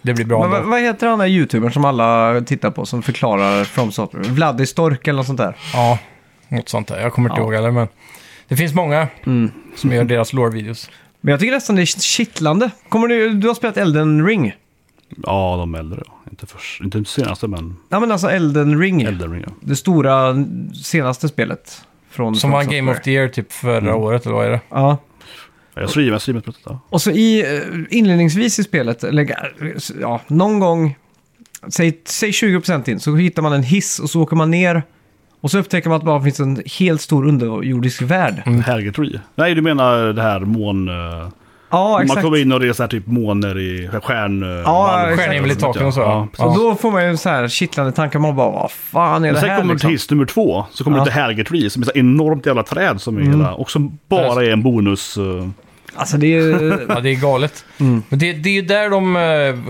A: Det blir bra
B: Mm. Men, vad,
A: ändå.
B: vad heter han där youtubern som alla tittar på som förklarar From Software? Vladdy Stork eller något sånt där.
A: Ja, något sånt där. Jag kommer inte
B: Ja. Mm.
A: ihåg heller, men det finns många som gör deras lore-videos.
B: Men jag tycker nästan det är kittlande. Kommer du, du har spelat Elden Ring.
C: Ja, de äldre. ja. Inte, först, inte den senaste, men
B: Ja men alltså Elden Ring.
C: äldre. ringar.
B: Det stora senaste spelet. Från
A: Som
B: From
A: var en Game
B: Software.
A: of the Year typ förra året, eller vad är det?
B: Mm. Ja.
C: Jag streamar, jag streamar på detta.
B: Och så i, eh, inledningsvis i spelet, eller eh, ja, någon gång, säg, säg 20% in, så hittar man en hiss och så åker man ner. Och så upptäcker man att det bara finns en helt stor underjordisk värld.
C: Mm. Härgetree. Nej, du menar det här mån... eh,
B: Ja,
C: man
B: exakt.
C: kommer in och det är så här typ måner i stjärn... eh,
B: Ja,
C: valv-
B: exakt.
A: Stjärnhimmel i taken och så.
C: Ja, precis.
B: Så då får man ju en så här kittlande tanke, man bara vad fan är
C: Men
B: det
C: sen
B: här
C: kommer du till
B: liksom?
C: hiss nummer två, så kommer
B: Ja. Mm.
C: du till Helgetree som är ett enormt jävla träd som är hela, och som bara är en bonus. eh,
B: Alltså det är ju-
A: Ja, det är galet. Men det, det är ju där de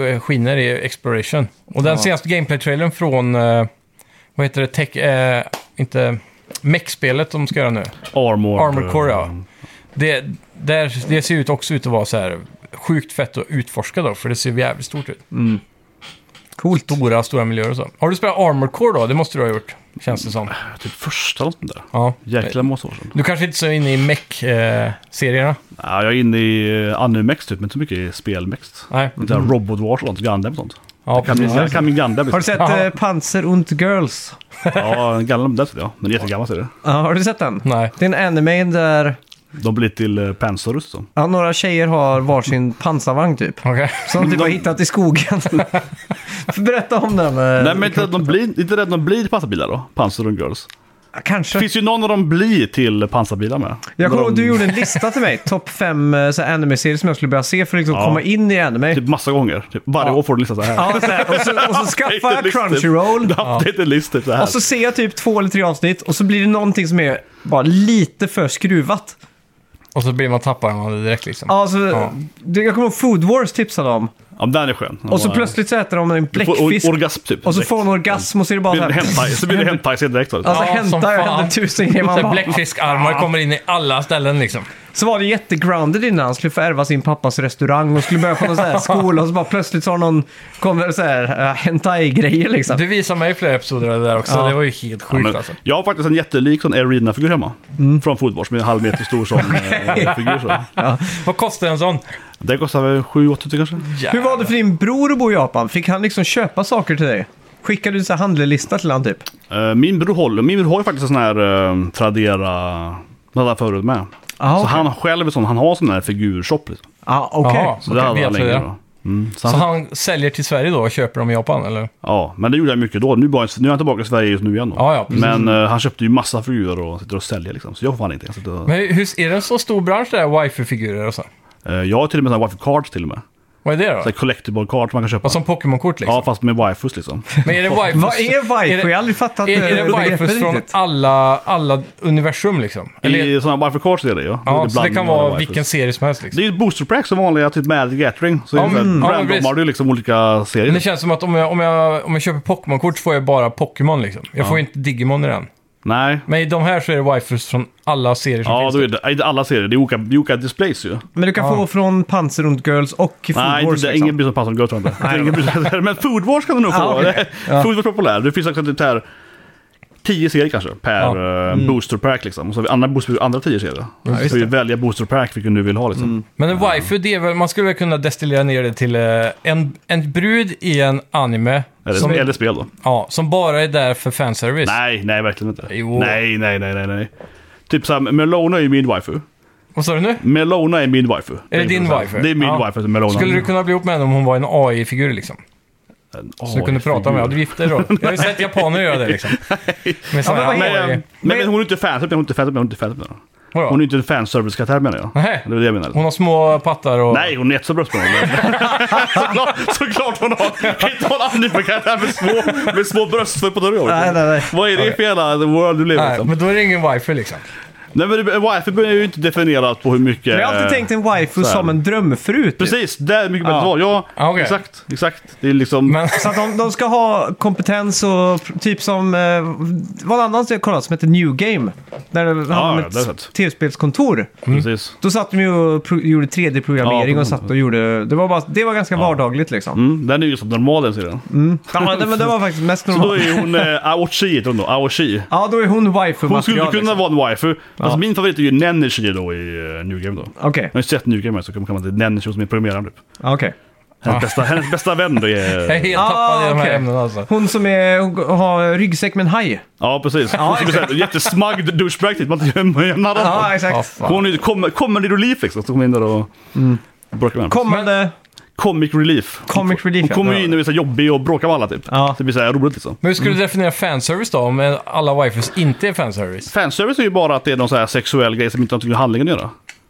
A: eh, skiner i Exploration. Och den
B: Ja.
A: senaste gameplay-trailern från, eh, vad heter det, tech, eh, inte, mech-spelet de ska göra nu.
C: armor.
A: Armor Core, ja.
C: eh,
A: Det, där, det ser ut också ut att vara så här sjukt fett att utforska då, för det ser jävligt stort ut.
B: coolt.
A: Stora, stora miljöer och så. Har du spelat Armor Core då? Det måste du ha gjort, känns det som.
C: Typ första eller sånt där.
A: Ja.
C: Jäkla massa år sedan.
A: Du kanske inte är så inne i mech-serierna?
C: Ja, jag är inne i eh, animex typ, men inte så mycket i spelmex.
A: Nej.
C: Mm. Där Robot Wars och sånt, Gundam och sånt.
A: Ja,
C: Kan min,
A: precis.
C: ja, kan min Gundam.
B: Har du sett
A: Ja.
B: eh, Panzer und Girls?
C: Ja, Gundam där sitter jag. Den är jättegammal ser du.
B: Ja, har du sett den?
A: Nej.
B: Det är en anime där
C: De blir till eh, Pansarus så.
B: ja, några tjejer har varsin pansarvagn typ.
A: Okej.
B: Som du bara hittat i skogen. Berätta om den. eh,
C: Nej, men inte, de blir, inte rädd de blir pansarbilar då? Pansar och Girls.
B: Kanske.
C: Det finns ju någon av dem blir till pansarbilar med.
B: Jag kommer
C: När
B: ihåg
C: de-
B: du gjorde en lista till mig. Topp fem eh, så här anime-serier som jag skulle börja se för att liksom
C: Ja.
B: komma in i anime.
C: Typ massa gånger. Typ varje
B: Ja.
C: år får du lista så här.
B: Ja, så här. Och, så, och så skaffar jag
C: Updated list, typ.
B: Crunchyroll.
C: Updated list typ så här.
B: Och så ser jag typ två eller tre avsnitt och så blir det någonting som är bara lite för skruvat.
A: Och så blir man tappad man direkt liksom.
B: Alltså,
A: Ja.
B: det, jag kommer ihåg Food Wars tipsade om.
C: Ja, men den är skön.
B: Och så plötsligt så äter de en bläckfisk.
C: Or- orgasm typ.
B: Och så
C: direkt.
B: får hon orgasm och så är det bara
C: Blir det
B: så här...
C: hentai, så blir det hentai sen direkt. Alltså.
B: Alltså
A: Ja, som
B: hämtar jag
A: fan.
B: henne tusen grejer. Man
A: Så
B: bara,
A: Bläckfiskarmar kommer in i alla ställen liksom.
B: Så var det jättegrounded innan. Han skulle få ärva sin pappas restaurang och skulle börja på någon sån här skola och så bara plötsligt så har någon kommer så här eh, hentai-grejer liksom.
A: Du visade mig flera episoder av det där också.
B: Ja.
A: Det var ju helt
C: Ja,
A: sjukt
C: men,
A: alltså.
C: jag har faktiskt en jättelik sån Arena-figur hemma.
B: Mm.
C: Från fotboll, som är en halv meter stor sån eh, figur. Så.
A: Vad kostar en sån?
C: Det kostar väl 7-8 tusen kanske.
B: Hur var det för din bror att bo i Japan? Fick han liksom köpa saker till dig? Skickade du så här handlelista till han typ?
C: Eh, Min bror håller, min bror har ju faktiskt en sån här eh, Tradera, den där förut med.
B: Ah,
C: Så han själv är sån, han har sån här figurshop. Liksom.
B: Ah, okej.
A: Jaha.
C: Så
A: Okej,
C: det hade
A: via
C: han länge
A: tröja.
C: då. Mm, så
A: Så
C: han,
A: han säljer till Sverige då och köper dem i Japan, eller?
C: ja, men det gjorde jag mycket då. Nu, bara, nu är han tillbaka i Sverige just nu igen då.
A: Ja, ja, precis.
C: men eh, han köpte ju massa figurer och sitter och säljer liksom. Så jag får fan inte. Jag, sitter och,
A: Men hur, är det en så stor bransch det där, wifi-figurer och så?
C: Eh, jag har till och med såna här wifi cards till och med.
A: Vad är det då?
C: Så här collectible cards man kan köpa.
A: Vad som Pokémon-kort liksom?
C: Ja, fast med wifus liksom.
A: Men är det wifus?
B: Vad är wifi? Jag har aldrig fattat
A: Är, är
B: eh,
A: det wifus
B: begreppet
A: från
B: riktigt. alla...
A: alla, alla universum liksom? Eller,
C: I sådana wifi cards är det ju.
A: ja, så
C: är
A: det
C: blandning
A: kan
C: av
A: vara
C: wifus.
A: vilken serie som helst
C: Det
A: liksom.
C: är ju ett booster pack som vanliga, typ Magic Gathering. Så
A: Ja,
C: ja,
A: men- ja, men
C: randomar
A: precis.
C: du liksom olika serier.
A: Men det känns som att om jag, om jag, om jag köper Pokémon-kort så får jag bara Pokémon liksom. Jag får ju inte Digimon i den.
C: Nej.
A: Men i de här så är det wifus från alla serier som
C: Ja,
A: finns.
C: då är det, inte alla serier. Det är olika, det är olika displays ju.
B: Men du kan få från Panzerund Girls och Food
C: Nej,
B: Wars.
C: det, är
B: liksom.
C: ingen bryr sig om Puzzle Girl tror jag inte. Ingen bryr sig om det här, Men Food Wars kan du nog få.
B: Ah, okej.
C: Food Wars är populär. Det finns också typ här 10 serier kanske per eh, booster pack liksom. Och så har vi andra, booster, andra 10 serier. så
B: just
C: får du välja booster pack vilken du vill ha liksom.
A: Men en waifu, det är väl, man skulle väl kunna destillera ner det till eh, en, en brud i en anime
C: Eller,
A: som,
C: eller spel då.
A: ja, som bara är där för fanservice.
C: Nej, nej verkligen inte.
A: Jo.
C: Nej, nej, nej, nej, nej. Typ såhär, Melona är ju min wifu.
A: Vad sa du nu?
C: Melona är min wifu.
A: Är det din
C: så här.
A: wifu?
C: Det är min
A: Ja.
C: wifu, Melona. Eh,
A: Skulle du kunna bli ihop med henne om hon var en AI-figur liksom? Så du kunde prata med henne? Du gifte dig då? Jag har ju sett japaner göra det liksom. Med sådana
B: men vad är
A: här
C: Men,
A: AI...
C: men, men hon är inte fanservice, hon är inte fanservice, hon är inte fanservice.
A: Vadå?
C: Hon är inte en fanservice-karaktär menar jag.
A: Nej.
C: Det är det jag menar.
A: Hon har små pattar och...
C: Nej, hon är jättebra bröstmål. såklart, såklart hon har. Kan inte hålla anime karaktär med små, med små bröst på dörren.
B: Nej, nej, nej.
C: Vad är det för jävla world du lever i?
A: Nej,
C: liksom?
A: men då är det ingen wifi liksom.
C: Nej men det- wifi är ju inte definierat på hur mycket...
B: Jag har alltid tänkt en wifi
C: så här.
B: som en drömfru. Typ.
C: Precis, det är mycket bättre svar. Ja,
A: Ja, okej.
C: exakt. Exakt. Det är liksom...
A: Men,
B: Så att de, de ska ha kompetens och pr- typ som... Eh, vad annat jag kollat som heter New Game. Där de hade
C: ja, det har jag
B: ett
C: sett.
B: tv-spelskontor.
C: Precis.
B: Då satt de ju och pro- gjorde 3D-programmering
C: Ja,
B: och satt och gjorde... Det var, bara, det var ganska vardagligt liksom.
C: Mm, den är ju som normal den serien.
B: Ja, det, men det var faktiskt mest
C: Så då
B: normalt.
C: är ju hon eh, Aoshi, heter hon då. Aoshi.
B: Ja, då är hon wifi
C: Hon skulle kunna
B: liksom.
C: vara en wifi. Alltså, min favorit är ju Nenichi då i eh, New Game då.
B: Okej,
C: Jag har ju sett New Game här så kommer man till Nenichi som är programmeraren typ.
B: okej.
C: Hennes, bästa, hennes bästa vän då är...
A: jag är helt
B: Ah,
A: tappad i de här
B: okej.
A: ämnena alltså.
B: Hon som är, hon har ryggsäck med en haj.
C: Ja, precis. Hon skulle säga jättesmagd douchebag typ. Man inte gör narr av
B: Ja,
C: henne.
A: Ja,
B: exakt.
A: fan.
C: Hon är ju com- comedy relief liksom. Så kommer in där och
B: Mm.
C: bråkar med henne.
B: Kommande...
C: Comic relief.
B: Comic relief,
C: Hon
B: ja.
C: kommer ju in och är så här jobbig och bråkar med alla typ.
B: Ja.
C: Så det blir så här roligt liksom.
A: Men hur skulle du definiera fanservice då, om alla wifus inte är fanservice?
C: Fanservice är ju bara att det är någon så här sexuell grej som inte har någonting med handlingen att göra.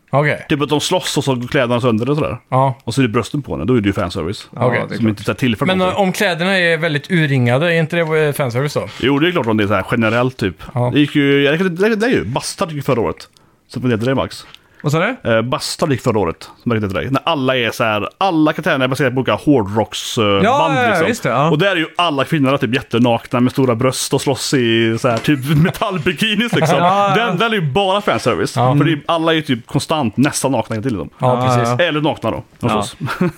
A: Okej.
C: Typ att de slåss och så går kläderna sönder och sådär.
A: Ja.
C: Och så är det brösten på henne, då är det ju fanservice.
B: Ja,
A: Okej.
B: det är
C: Som
B: klart. eh,
C: inte så här tillför
A: Men eh,
C: någonting.
A: om kläderna är väldigt urringade, är inte det eh, fanservice då?
C: Jo, det är klart om det är så här generellt typ.
A: Ja.
C: Det gick ju, jag räknade- det det är ju, Bastard gick förra året. Så vad heter det Max?
B: Vad sa du?
C: Eh, Bastard gick förra året, som jag räknade till dig. När alla är så här, alla karaktärerna är baserade på olika hårdrocksband
B: Ja,
C: band
B: ja, ja,
C: liksom.
B: just det, ja.
C: Och där är ju alla kvinnorna typ jättenakna med stora bröst och slåss i så här typ metallbikinis liksom.
B: Ja, ja.
C: Den, den är ju bara fanservice. För det är, alla är ju typ konstant nästan nakna hela tiden. Eh,
A: Ja, precis.
C: Eller nakna då, de slåss.
A: Typ,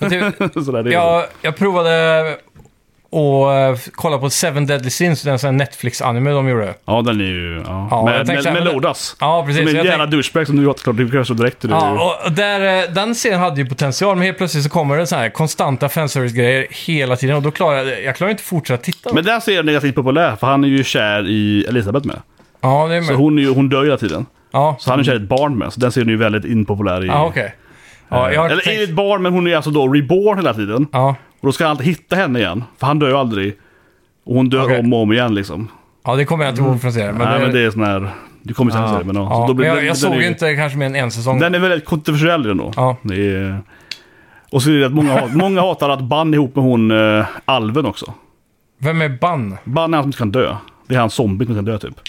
C: så där, det är
A: jag, jag provade att kolla på Seven Deadly Sins, den sån här Netflix-anime de gjorde.
C: Ja, den är ju... Ja.
A: Ja, jag
C: med
A: tänkte
C: med,
A: så här,
C: med
A: men-
C: Lodas.
A: Ja, precis.
C: Som en
A: Jag
C: jävla
A: tänkte-
C: douchebag som du återklart, du kanske direkt till det.
A: Ja, och där, eh, den serien hade ju potential, men helt plötsligt så kommer det så här konstanta fanservice-grejer hela tiden och då klarar jag, jag klarar inte att fortsätta titta.
C: Men där ser jag negativt populär, för han är ju kär i Elisabeth med.
A: ja, det är
C: Så
A: med.
C: hon, är ju, hon dör ju hela tiden.
A: Ja,
C: Så han är kär i ett barn med, så den ser ni ju väldigt impopulär i.
A: ja okej. Ja, jag har
C: Eller i
A: tänkt...
C: ett barn, men hon är alltså då reborn hela tiden.
A: Ja.
C: Och då ska han alltid hitta henne igen, för han dör ju aldrig. Och hon dör
A: Okej.
C: om och om igen liksom.
A: ja, det kommer jag inte ihåg från serien. Men
C: Men Mm. Nej
A: det,
C: men det är sån här... Du kommer sen ja. men ja.
A: ja.
C: Så då blir-
A: men jag,
C: den-
A: jag
C: den är
A: såg ju
C: ju-
A: inte kanske mer än en säsong.
C: Den är väldigt kontroversiell den då.
A: Ja.
C: Det är... Och så är det att många, hat- många hatar att Bann ihop med hon eh, alven också.
A: Vem är Bann?
C: Bann är han som inte kan dö. Det är han zombie som inte kan dö typ.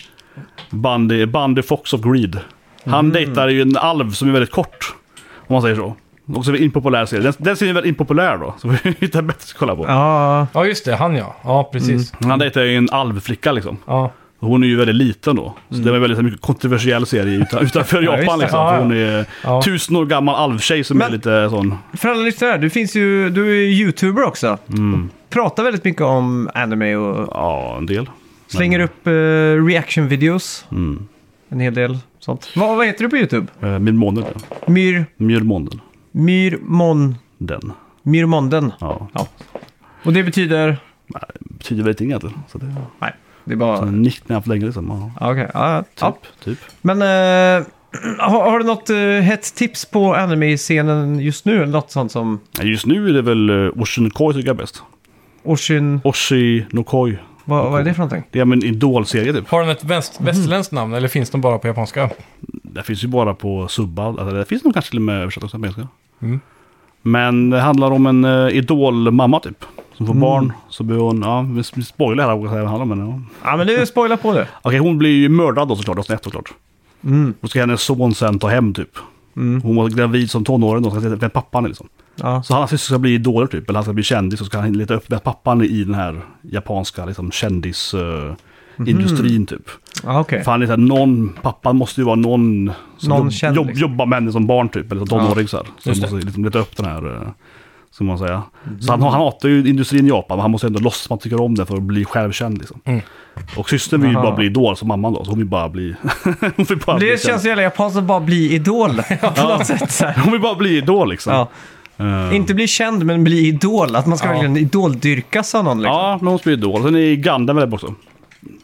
C: Bann är, Bann är Fox of Greed. Han
A: Mm.
C: dejtar ju en alv som är väldigt kort. Om man säger så. Också en impopulär serie. Den, den serien är väldigt impopulär då. Så vi hittar bättre att kolla på.
B: Ja,
A: Ja, just det. Han ja. Ja, precis.
C: Han dejtar ju en alvflicka liksom.
A: Ja.
C: Hon är ju väldigt liten då. Så det är en väldigt så här, mycket kontroversiell serie utan, utanför
B: visst.
C: Japan liksom.
A: Mm. Ja,
C: För
A: ja.
C: hon är
A: Ja.
C: tusen år gammal alvtjej som är
B: Men-
C: lite sån.
B: för alla lyssnare, du finns ju, du är ju youtuber också.
C: Mm.
B: Pratar väldigt mycket om anime och
C: Ja, en del. Mm.
B: slänger upp eh, reaction-videos. En hel del sånt. Vad, vad heter du på YouTube?
C: Eh, Min månad, ja.
B: Myr,
C: Mjölmånden.
B: Myrmon,
C: Den.
B: Myrmonden.
C: Ja.
B: Ja. Och det betyder?
C: Betyder väl inget egentligen. Så det är
B: Nej, det är bara...
C: en nicknamn för länge liksom. Ja.
B: Mm. Ja, okej. Ja, ja.
C: Typ. typ.
B: Men eh, Har, har du något eh, hett tips på anime-scenen just nu? Eller något sånt som
C: Just nu är det väl eh, Oshi no Koi tycker jag är bäst.
B: Oshin...
C: Oshi no Koi.
B: Vad, vad är det för någonting?
C: Det är en idolserie typ.
A: Har den ett väst, västerländskt namn eller finns den bara på japanska?
C: Det finns ju bara på subba. Alltså, det finns nog kanske till och med översatt också på engelska. Men det handlar om en uh, idolmamma typ. Som får barn. Så blir hon, ja vi vi spoilar här vad det handlar om. men, Ja.
B: Ja, men du spoilar på det.
C: Okej, hon blir ju mördad då såklart, och snett såklart.
B: Mm.
C: Då ska hennes son sen ta hem typ. Hon var gravid som tonåring då, så ska vem pappan är liksom.
B: Ja.
C: Så hans syster ska bli idoler typ, eller han ska bli kändis och ska han leta upp vem pappan är i den här japanska liksom,
B: Mhm.
C: kändisindustrin typ.
B: Ja, okej.
C: För han är så här, någon, pappan måste ju vara någon som
B: Någon
C: jobb,
B: känd,
C: jobb,
B: liksom.
C: jobbar med henne som barn typ, eller som tonåring så här. Så
A: Just
C: han måste liksom leta upp den här, eh, ska man säga.
B: Mhm.
C: Så han, han hatar ju industrin i Japan, men han måste ändå låtsas att han tycker om det för att bli självkänd liksom. Och systern vill ju
B: Mm. Aha.
C: bara bli idol som mamman då, så hon vill bara bli... hon vill bara bli
B: Det känns så jävla japanskt att bara bli idol på något sätt. Så här.
C: Hon vill bara bli idol liksom.
B: Ja.
C: Eh,
B: Inte bli känd, men bli idol. Att man ska
A: Ja.
B: verkligen idoldyrkas av någon. Liksom.
C: Ja, men hon spelar Idol. Sen är Gundam väldigt bra också.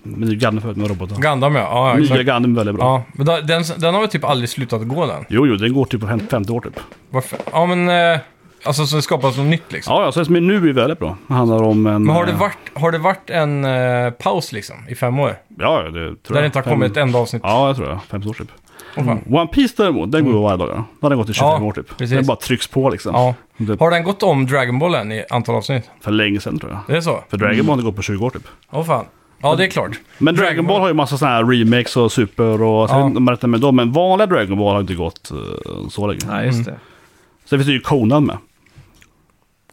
C: Men det är Gundam förut med robotar.
A: Gundam ja, ja
C: Nya
A: exakt.
C: Gundam är väldigt bra.
A: Ja, men den, den- den har väl typ aldrig slutat gå den.
C: Jo, jo, den går typ på fem- femte år typ.
A: Varför? Ja men, eh, alltså så det skapas något nytt liksom.
C: Ja, ja, så det som är nu är väldigt bra. Det handlar om en...
A: Men har det
C: eh,
A: varit, har det varit en eh, paus liksom i fem år?
C: Ja, ja, det tror jag.
A: Där det inte har
C: Fem-
A: kommit ett enda avsnitt?
C: Ja, jag tror det. Fem år typ.
A: Åh, fan.
C: One Piece däremot, den går ju varje dag. ja. Då har den gått i 25
A: Mm. Ja,
C: år typ.
A: precis.
C: Den bara trycks på liksom.
A: Ja.
C: Det-
A: Har den gått om Dragon Ball än i antal avsnitt?
C: För länge sedan tror jag.
A: Det är så?
C: För Dragon Ball har gått på 20 år typ.
A: Åh fan. Ja, det är klart.
C: Men Dragon, Ball har ju massa sådana här remakes och super och... alltså,
A: Ja.
C: Ja. Med, med dem, men vanliga Dragon Ball har inte gått eh, så länge.
B: Nej, just det.
C: Sen finns det ju Conan med.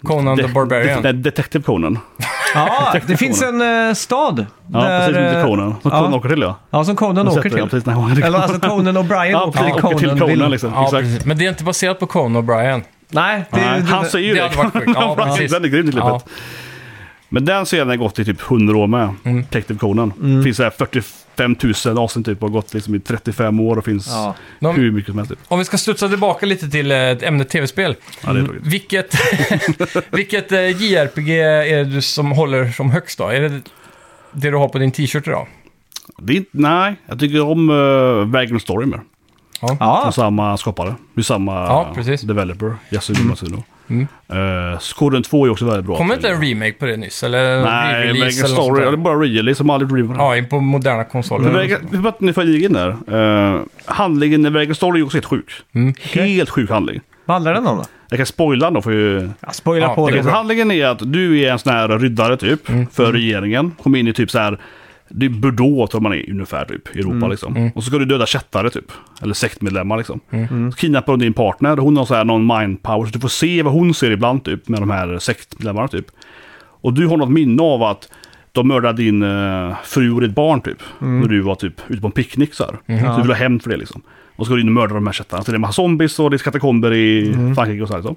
A: Conan the
C: Det-
A: Barbarian.
C: det- Detective Conan.
B: Ja, det finns en eh, stad.
C: Ja, precis. Som
B: eh,
C: till Conan. Som Conan
B: ja,
C: åker till ja.
B: ja, som Conan
C: Har
B: åker
C: sett det, ja,
B: till.
C: Precis, när han
B: Eller alltså Conan O'Brien
C: Ja,
B: åker
C: precis.
B: till
C: Åker till
B: Conan.
C: Conan
B: vill-
C: liksom.
A: Ja,
C: Exakt.
A: precis. Men det är inte baserat på Conan O'Brien.
B: Nej, det,
C: Nej,
B: det,
C: han säger ju
A: det hade varit sjukt. Ja,
C: Brian,
A: precis.
C: Den är grym i klippet.
A: Ja.
C: Men den serien har gått i typ 100 år med.
A: Mm.
C: Detective Conan. Det finns så här 45 000 avsnitt typ. Har gått liksom i 35 år och finns
B: Ja.
A: De-
C: hur mycket som helst. Typ.
A: Om vi ska studsa tillbaka lite till eh, ett ämne tv-spel.
C: Ja, det
A: Mm.
C: är tråkigt.
A: Vilket, vilket eh, JRPG är det du som håller som högst då? Är det det du har på din t-shirt idag?
C: Det är inte, nej, jag tycker om uh, Vagrant Story mer. Från
B: ja,
C: samma skapare. Det är samma
A: Ja, precis.
C: developer. Yasumi Masuno. Mm. 2 är också väldigt bra.
A: Kommer inte
C: till-
A: en remake på det nyss? Eller
C: Nej,
A: re-release
C: Vagrant
A: eller något sånt
C: Story.
A: där?
C: Ja, Det är bara re-release. De har aldrig re-release.
A: Ja, in på moderna konsoler.
C: Men Vägen- Vi var nu förligen där. Uh, handlingen i Vägen Story är också helt sjuk. Helt sjuk handling.
B: vad handlar den om då?
C: Jag kan spoila den då. För ju...
B: Ja, spoila
A: Ja,
B: på
A: det
B: det.
A: går bra.
C: Handlingen är att du är en sån här ryddare typ. För regeringen. Kommer in i typ så här. Det är Bordeaux tror man är ungefär typ. i Europa liksom. Och så ska du döda kättare typ. Eller sektmedlemmar liksom. Så kidnappar hon din partner. Hon har så här någon mind power. Så du får se vad hon ser ibland typ. Med de här sektmedlemmarna typ. Och du har något minne av att de mördade din eh, fru och ditt barn typ. När du var typ ute på en picknick så här. Så du vill ha hämnd för det liksom. Och så går du in och mördar de här kättarna. Så det är en massa zombies och det är katakomber i Frankrike och så här liksom.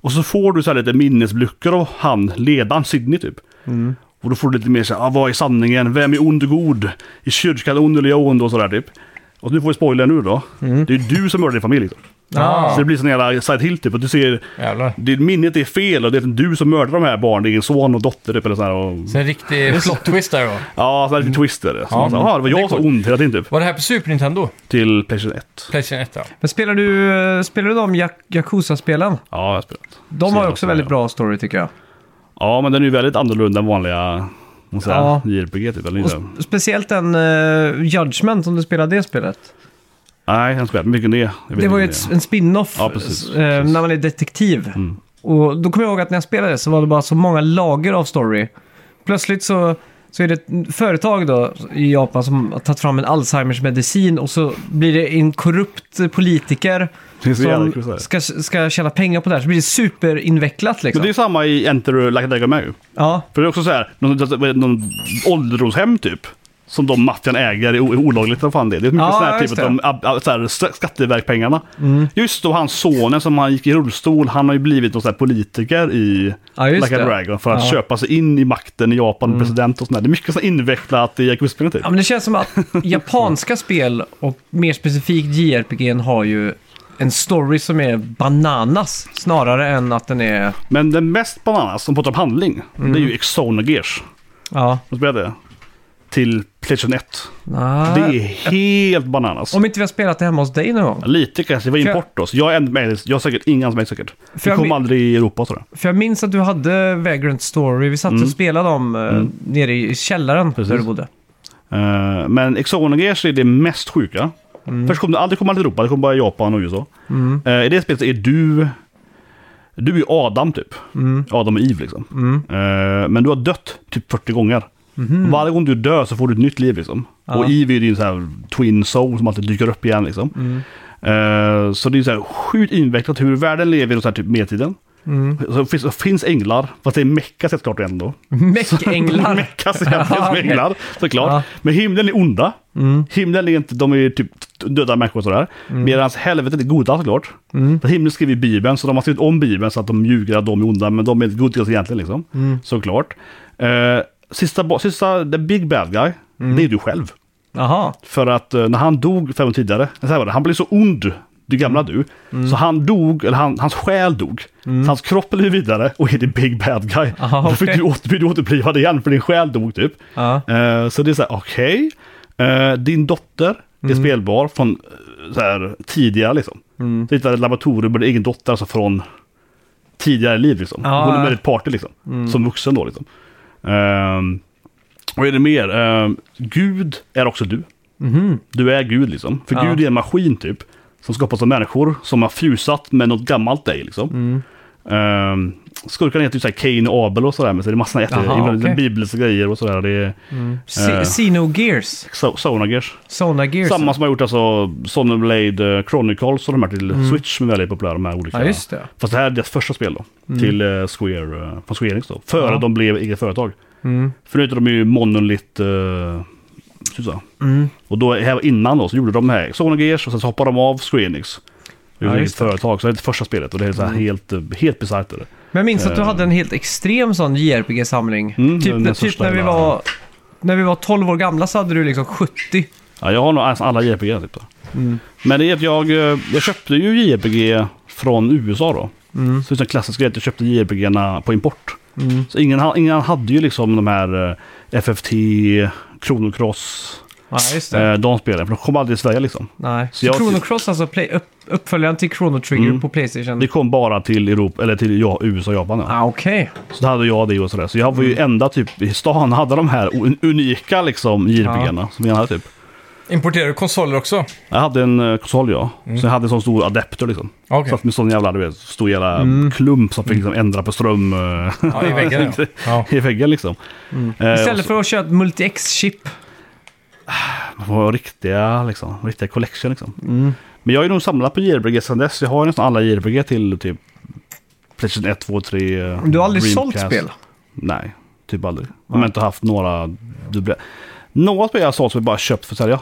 C: Och så får du så här lite minnesluckor av han, ledaren Sidney typ.
A: Mm.
C: Och då får du lite mer så här, ah, vad är sanningen? Vem är ond och god? Är kyrkan ond eller är jag ond? Och sådär typ. Och nu får vi spoiler nu då. Det är ju du som mördar din familj. Liksom.
A: Mm. Ah.
C: Så det blir sån jävla side hill typ. Och du ser,
A: Jävlar.
C: det, minnet är fel och det är du som mördar de här barnen. Din son och dotter typ. Eller så här, och,
A: Så en riktig plot twist där då.
C: ja, så här lite twister. Så
A: Mm. Ja.
C: man, så här, ah, det var
A: Det är
C: jag som
A: coolt.
C: ond hela tiden typ.
A: Var det här på Super Nintendo?
C: Till Playstation 1.
A: Playstation 1 ja.
B: Men spelar du, eh, spelar du de Jak- Yakuza-spelen?
C: Ja, jag har spelat.
B: De
C: Så
B: har ju
C: jag
B: också
C: spelar,
B: väldigt
C: ja.
B: bra story tycker jag.
C: Ja, men den är ju väldigt annorlunda än vanliga vad ska jag säga, JRPG typ. Eller
B: Och
C: inte.
B: sp- speciellt den eh, Judgment, om du spelar det spelet.
C: Nej, jag har inte spelat mycket det. Jag vet
B: Det
C: inte
B: var ju
C: om
B: ett, en spin-off
C: Ja, precis,
B: eh,
C: precis. Mm.
B: när man är detektiv. Och då kommer jag ihåg att när jag spelade så var det bara så många lager av story. Plötsligt så, så är det ett företag då i Japan som har tagit fram en Alzheimers medicin och så blir det en korrupt politiker
C: Det är så jävla kul så
B: som
C: här.
B: ska, ska tjäna pengar på det här. Så blir det superinvecklat liksom.
C: Men det är samma i Enter Like a Dragon Man ju.
B: Ja,
C: För det är också så här, någon, vad är det, någon ålderdomshem typ. Som de maffian äger är o- är olagligt, vad fan det är. Det är mycket
B: Ja,
C: sån här
B: just
C: typ av ab- ab- så här, st- skatteverkpengarna. Just då hans sonen som han gick i rullstol, han har ju blivit någon sån här politiker i
B: Ja, just
C: Like a
B: det.
C: Dragon. För att
B: Ja.
C: köpa sig in i makten i Japan, president och sånt där. Det är mycket så här invecklat i Yakuza-spelen typ.
B: Ja, men det känns som att japanska spel och mer specifikt JRPG har ju en story som är bananas snarare än att den är...
C: Men den mest bananas, som pratar om handling, det är ju Exona Gears.
B: Ja,
C: Vad spelar det? Till Playstation 1.
B: Nej.
C: Det är helt bananas.
B: Ah. Om inte vi har spelat det hemma hos dig någon gång.
C: Lite kanske, det var
B: För jag-
C: import då. Så jag är en med, jag har säkert ingen som är säkert.
B: För
C: Det
B: jag
C: kom
B: min-
C: aldrig i Europa tror jag.
B: För jag minns att du hade Vagrant Story. Vi
C: Mm.
B: satt och spelade om eh, nere i källaren där du bodde.
C: Eh, men Exona Gears är det mest sjuka. Först kom det aldrig komma till Europa, det kom bara Japan och USA. Eh, I det spelet är du... Du är Adam typ. Adam och Eve liksom. Eh, men du har dött typ 40 gånger. Varje gång du dör så får du ett nytt liv liksom. Och Eve är ju din så här twin soul som alltid dyker upp igen liksom. Eh, så det är så här sjukt invecklat hur världen lever och så här typ medeltiden. Så finns, så finns änglar, fast det är mecka såklart ändå.
B: Meckänglar.
C: Meckas egentligen som
B: okej.
C: änglar, såklart.
B: Ja. Mm.
C: Men himlen är onda. Himlen är inte, de är ju typ döda människor och sådär. Medan helvetet är goda såklart.
B: Mm.
C: För Himlen skriver i Bibeln, så de har skrivit om Bibeln så att de ljuger att de är onda, men de är goda egentligen liksom.
B: Mm.
C: Såklart. Eh, sista, bo- sista, the big bad guy,
B: Mm.
C: det är du själv.
B: Jaha.
C: För att eh, när han dog fem år tidigare, så här var det, han blev så ond, du gamla du.
B: Mm.
C: Så han dog, eller han, hans själ dog. Så hans kropp blev vidare och är the big bad guy.
B: Aha,
C: Då fick
B: okej.
C: du, åter, blir du återupplivad igen för din själ dog typ.
B: Ja.
C: Eh, så det är så här, okej. Eh, din dotter är
B: Mm.
C: spelbar från eh, så här, tidigare liksom.
B: Mm.
C: Så hittade ett laboratorium med din egen dotter, alltså från tidigare liv liksom.
B: Ja,
C: Hon är
B: ja.
C: med i ett party liksom,
B: Mm.
C: som vuxen då liksom. Ehm, och är det mer? Ehm, Gud är också du.
B: Mhm.
C: Du är Gud liksom. För
B: Ja.
C: Gud är en maskin typ. Som skapas av människor som har fusat med något gammalt dig liksom.
B: Mm.
C: Ehm, skurkarna heter ju såhär Cain och Abel och sådär. Men så är det massa jätte,
B: Jaha,
C: ibland
B: okej. Mm.
C: bibliska grejer och sådär. Det är Eh.
B: Sino Gears.
C: so- Sonagers.
B: Sona Gears.
C: Samma som har gjort alltså Sonnerblade eh, Chronicles och de här till Switch som är väldigt populära. De här olika.
B: Mm. Ja, just det.
C: Fast det här är deras första spel då. Till eh, Square, eh, från Square Enix då. Före
B: Ja.
C: de blev eget företag.
B: Mm.
C: För nu heter de ju Monolith... Uh, så.
B: Mm.
C: Och då här innan då så gjorde de här Sony Gears och sen så hoppade de av Square Enix. Det är
B: Ja,
C: ett eget
B: just det. Mm.
C: företag, så det är det första spelet och det är så här helt, eh, helt bisarrt. är det.
B: Men jag minns att du hade en helt extrem sån JRPG-samling.
C: Eh. Mm,
B: typ
C: den
B: när- typ
C: största
B: när vi
C: hela-
B: var... När vi var 12 år gamla så hade du liksom 70.
C: Ja, jag har nog nästan alla JRPG typ. så.
B: Mm.
C: Men det är att jag, eh, jag köpte ju JRPG från USA då.
B: Mm.
C: Så det är en klassisk grej att jag köpte JRPG-erna på import. Så ingen, ha- ingen hade ju liksom de här eh, FFT, Chrono Cross,
B: Ja, just det.
C: eh, de spelen. För de kom aldrig i Sverige liksom.
B: Nej.
C: så
B: Så
C: jag- Mm.
B: Chrono Cross, alltså play, upp, uppföljaren till Chrono Trigger på Playstation.
C: Det kom bara till Europa, eller till ja, USA och Japan. Ja.
B: Ah, Okej.
C: Så hade jag det och sådär. Så jag var
B: Mm.
C: ju enda typ i stan hade de här un- unika liksom JRPG-erna. Som jag hade typ.
A: Importerar du konsoler också?
C: Jag hade en eh, konsol ja.
B: Mm.
C: Så jag hade en sån stor adapter liksom.
A: Okej.
C: Satt med sån jävla, du vet, stor jävla
B: Mm.
C: klump som fick liksom ändra på ström. eh,
A: Ja, i väggen ja. ja.
C: I väggen liksom. Eh,
B: Mm. Istället för att köra ett Multi-X-chip.
C: och så, och riktiga, liksom, riktiga collection liksom.
B: Mm.
C: Men jag har ju nog samlat på JRPG sedan dess. Jag har ju nästan alla JRPG till typ Playstation 1, 2, 3. eh,
B: Du har aldrig
C: Dreamcast.
B: sålt spel?
C: Nej, typ aldrig. Jag har inte haft några dubbla. Några spel jag sålt som jag bara köpt för att sälja.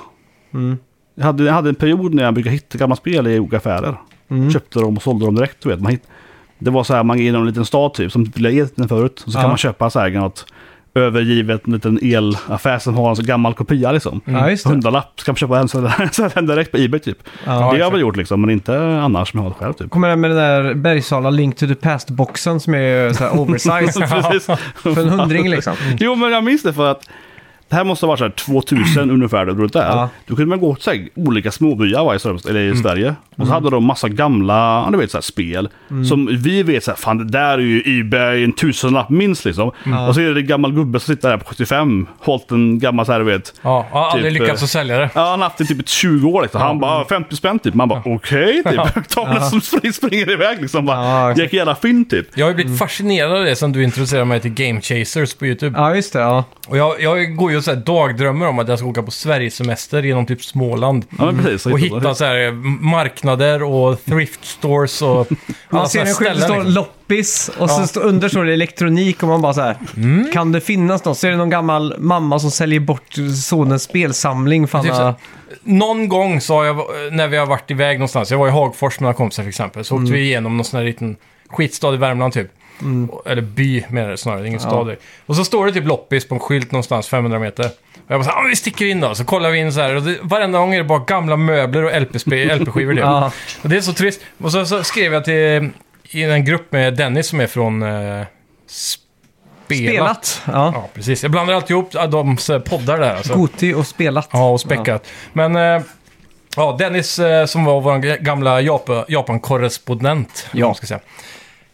B: Mm.
C: Jag, hade, jag hade en period när jag brukade hitta gamla spel i olika affärer.
B: Mm.
C: Köpte dem och sålde dem direkt. Du vet. Man hitt, det var så här, man är i någon liten stad typ, som lägenheten förut. Och så
B: Ja.
C: kan man köpa så här något övergivet en liten elaffär som har en så gammal kopia liksom.
B: Mm. Ja, just det.
C: Hundralapp, så kan man köpa en sån så den direkt på Ebay typ. det har jag
A: exakt.
C: väl gjort liksom, men inte annars som jag har själv typ.
B: Kommer den med den där Bergsala Link to the Past-boxen som är så här oversize
C: Precis.
B: för en hundring liksom.
C: Mm. Jo, men jag minns det för att det här måste ha varit så här 2000 ungefär, då det där.
B: Ja.
C: Då kunde man gå till så här, olika småbyar va, i, Sörmland- eller i Sverige. Och så hade de massa gamla ja, du vet, så här, spel. Som vi vet, så här, fan det där är ju Ebay, en tusenlapp minst liksom. Och så är det en gammal gubbe som sitter där på 75, hållit en gammal så här, du vet.
A: Ja, jag har aldrig
C: Typ,
A: lyckats
C: eh,
A: att sälja det.
C: Ja, han har haft det typ i 20 år liksom. Han bara 50 spänn typ. Man bara okej typ. Tavlan som spring- springer iväg liksom.
B: Ja,
C: Bara,
B: exakt.
C: Jäkla jävla fynd typ.
A: Jag har ju blivit fascinerad av det sen du introducerade mig till Game Chasers på YouTube.
B: Ja, just det. Ja.
A: Och jag, jag går ju så här dagdrömmer om att jag ska åka på Sverigesemester genom typ Småland.
C: Ja, men precis. Så
A: Och
C: hittar-
A: hitta så här marknader och thrift stores och alla
B: Man ser
A: såna
B: en skylt, det står
A: ställen. Liksom.
B: loppis och så står- under står det elektronik och man bara så här.
A: Mm.
B: Kan det finnas något? Så är det någon gammal mamma som säljer bort sonens spelsamling. Fan,
A: Typ så här,
B: ja.
A: Någon gång så har jag, när vi har varit iväg någonstans, jag var i Hagfors med några kompisar till exempel, så
B: Mm.
A: åkte vi igenom någon sån här liten skitstad i Värmland typ. Eller by menar jag snarare, det är ingen stad. där. Och så står det typ loppis på en skylt någonstans 500 meter. Och jag bara så här, "Ah, men vi sticker in då. Så kollar vi in så här. Och det, varenda gång är det bara gamla möbler och LP-skivor. LP -skivor, typ.
B: Ja.
A: Och det är så trist. Och så, så skrev jag till i en grupp med Dennis som är från eh, S- spelat.
B: Spelat. Ja.
A: Ja, precis. Jag blandar alltid ihop ah, de eh, poddar där. Alltså.
B: Goti och spelat.
A: Ja, och späckat. Men eh, ja, Dennis eh, som var vår gamla Japa- Japan-korrespondent,
B: Ja.
A: ja. ska säga.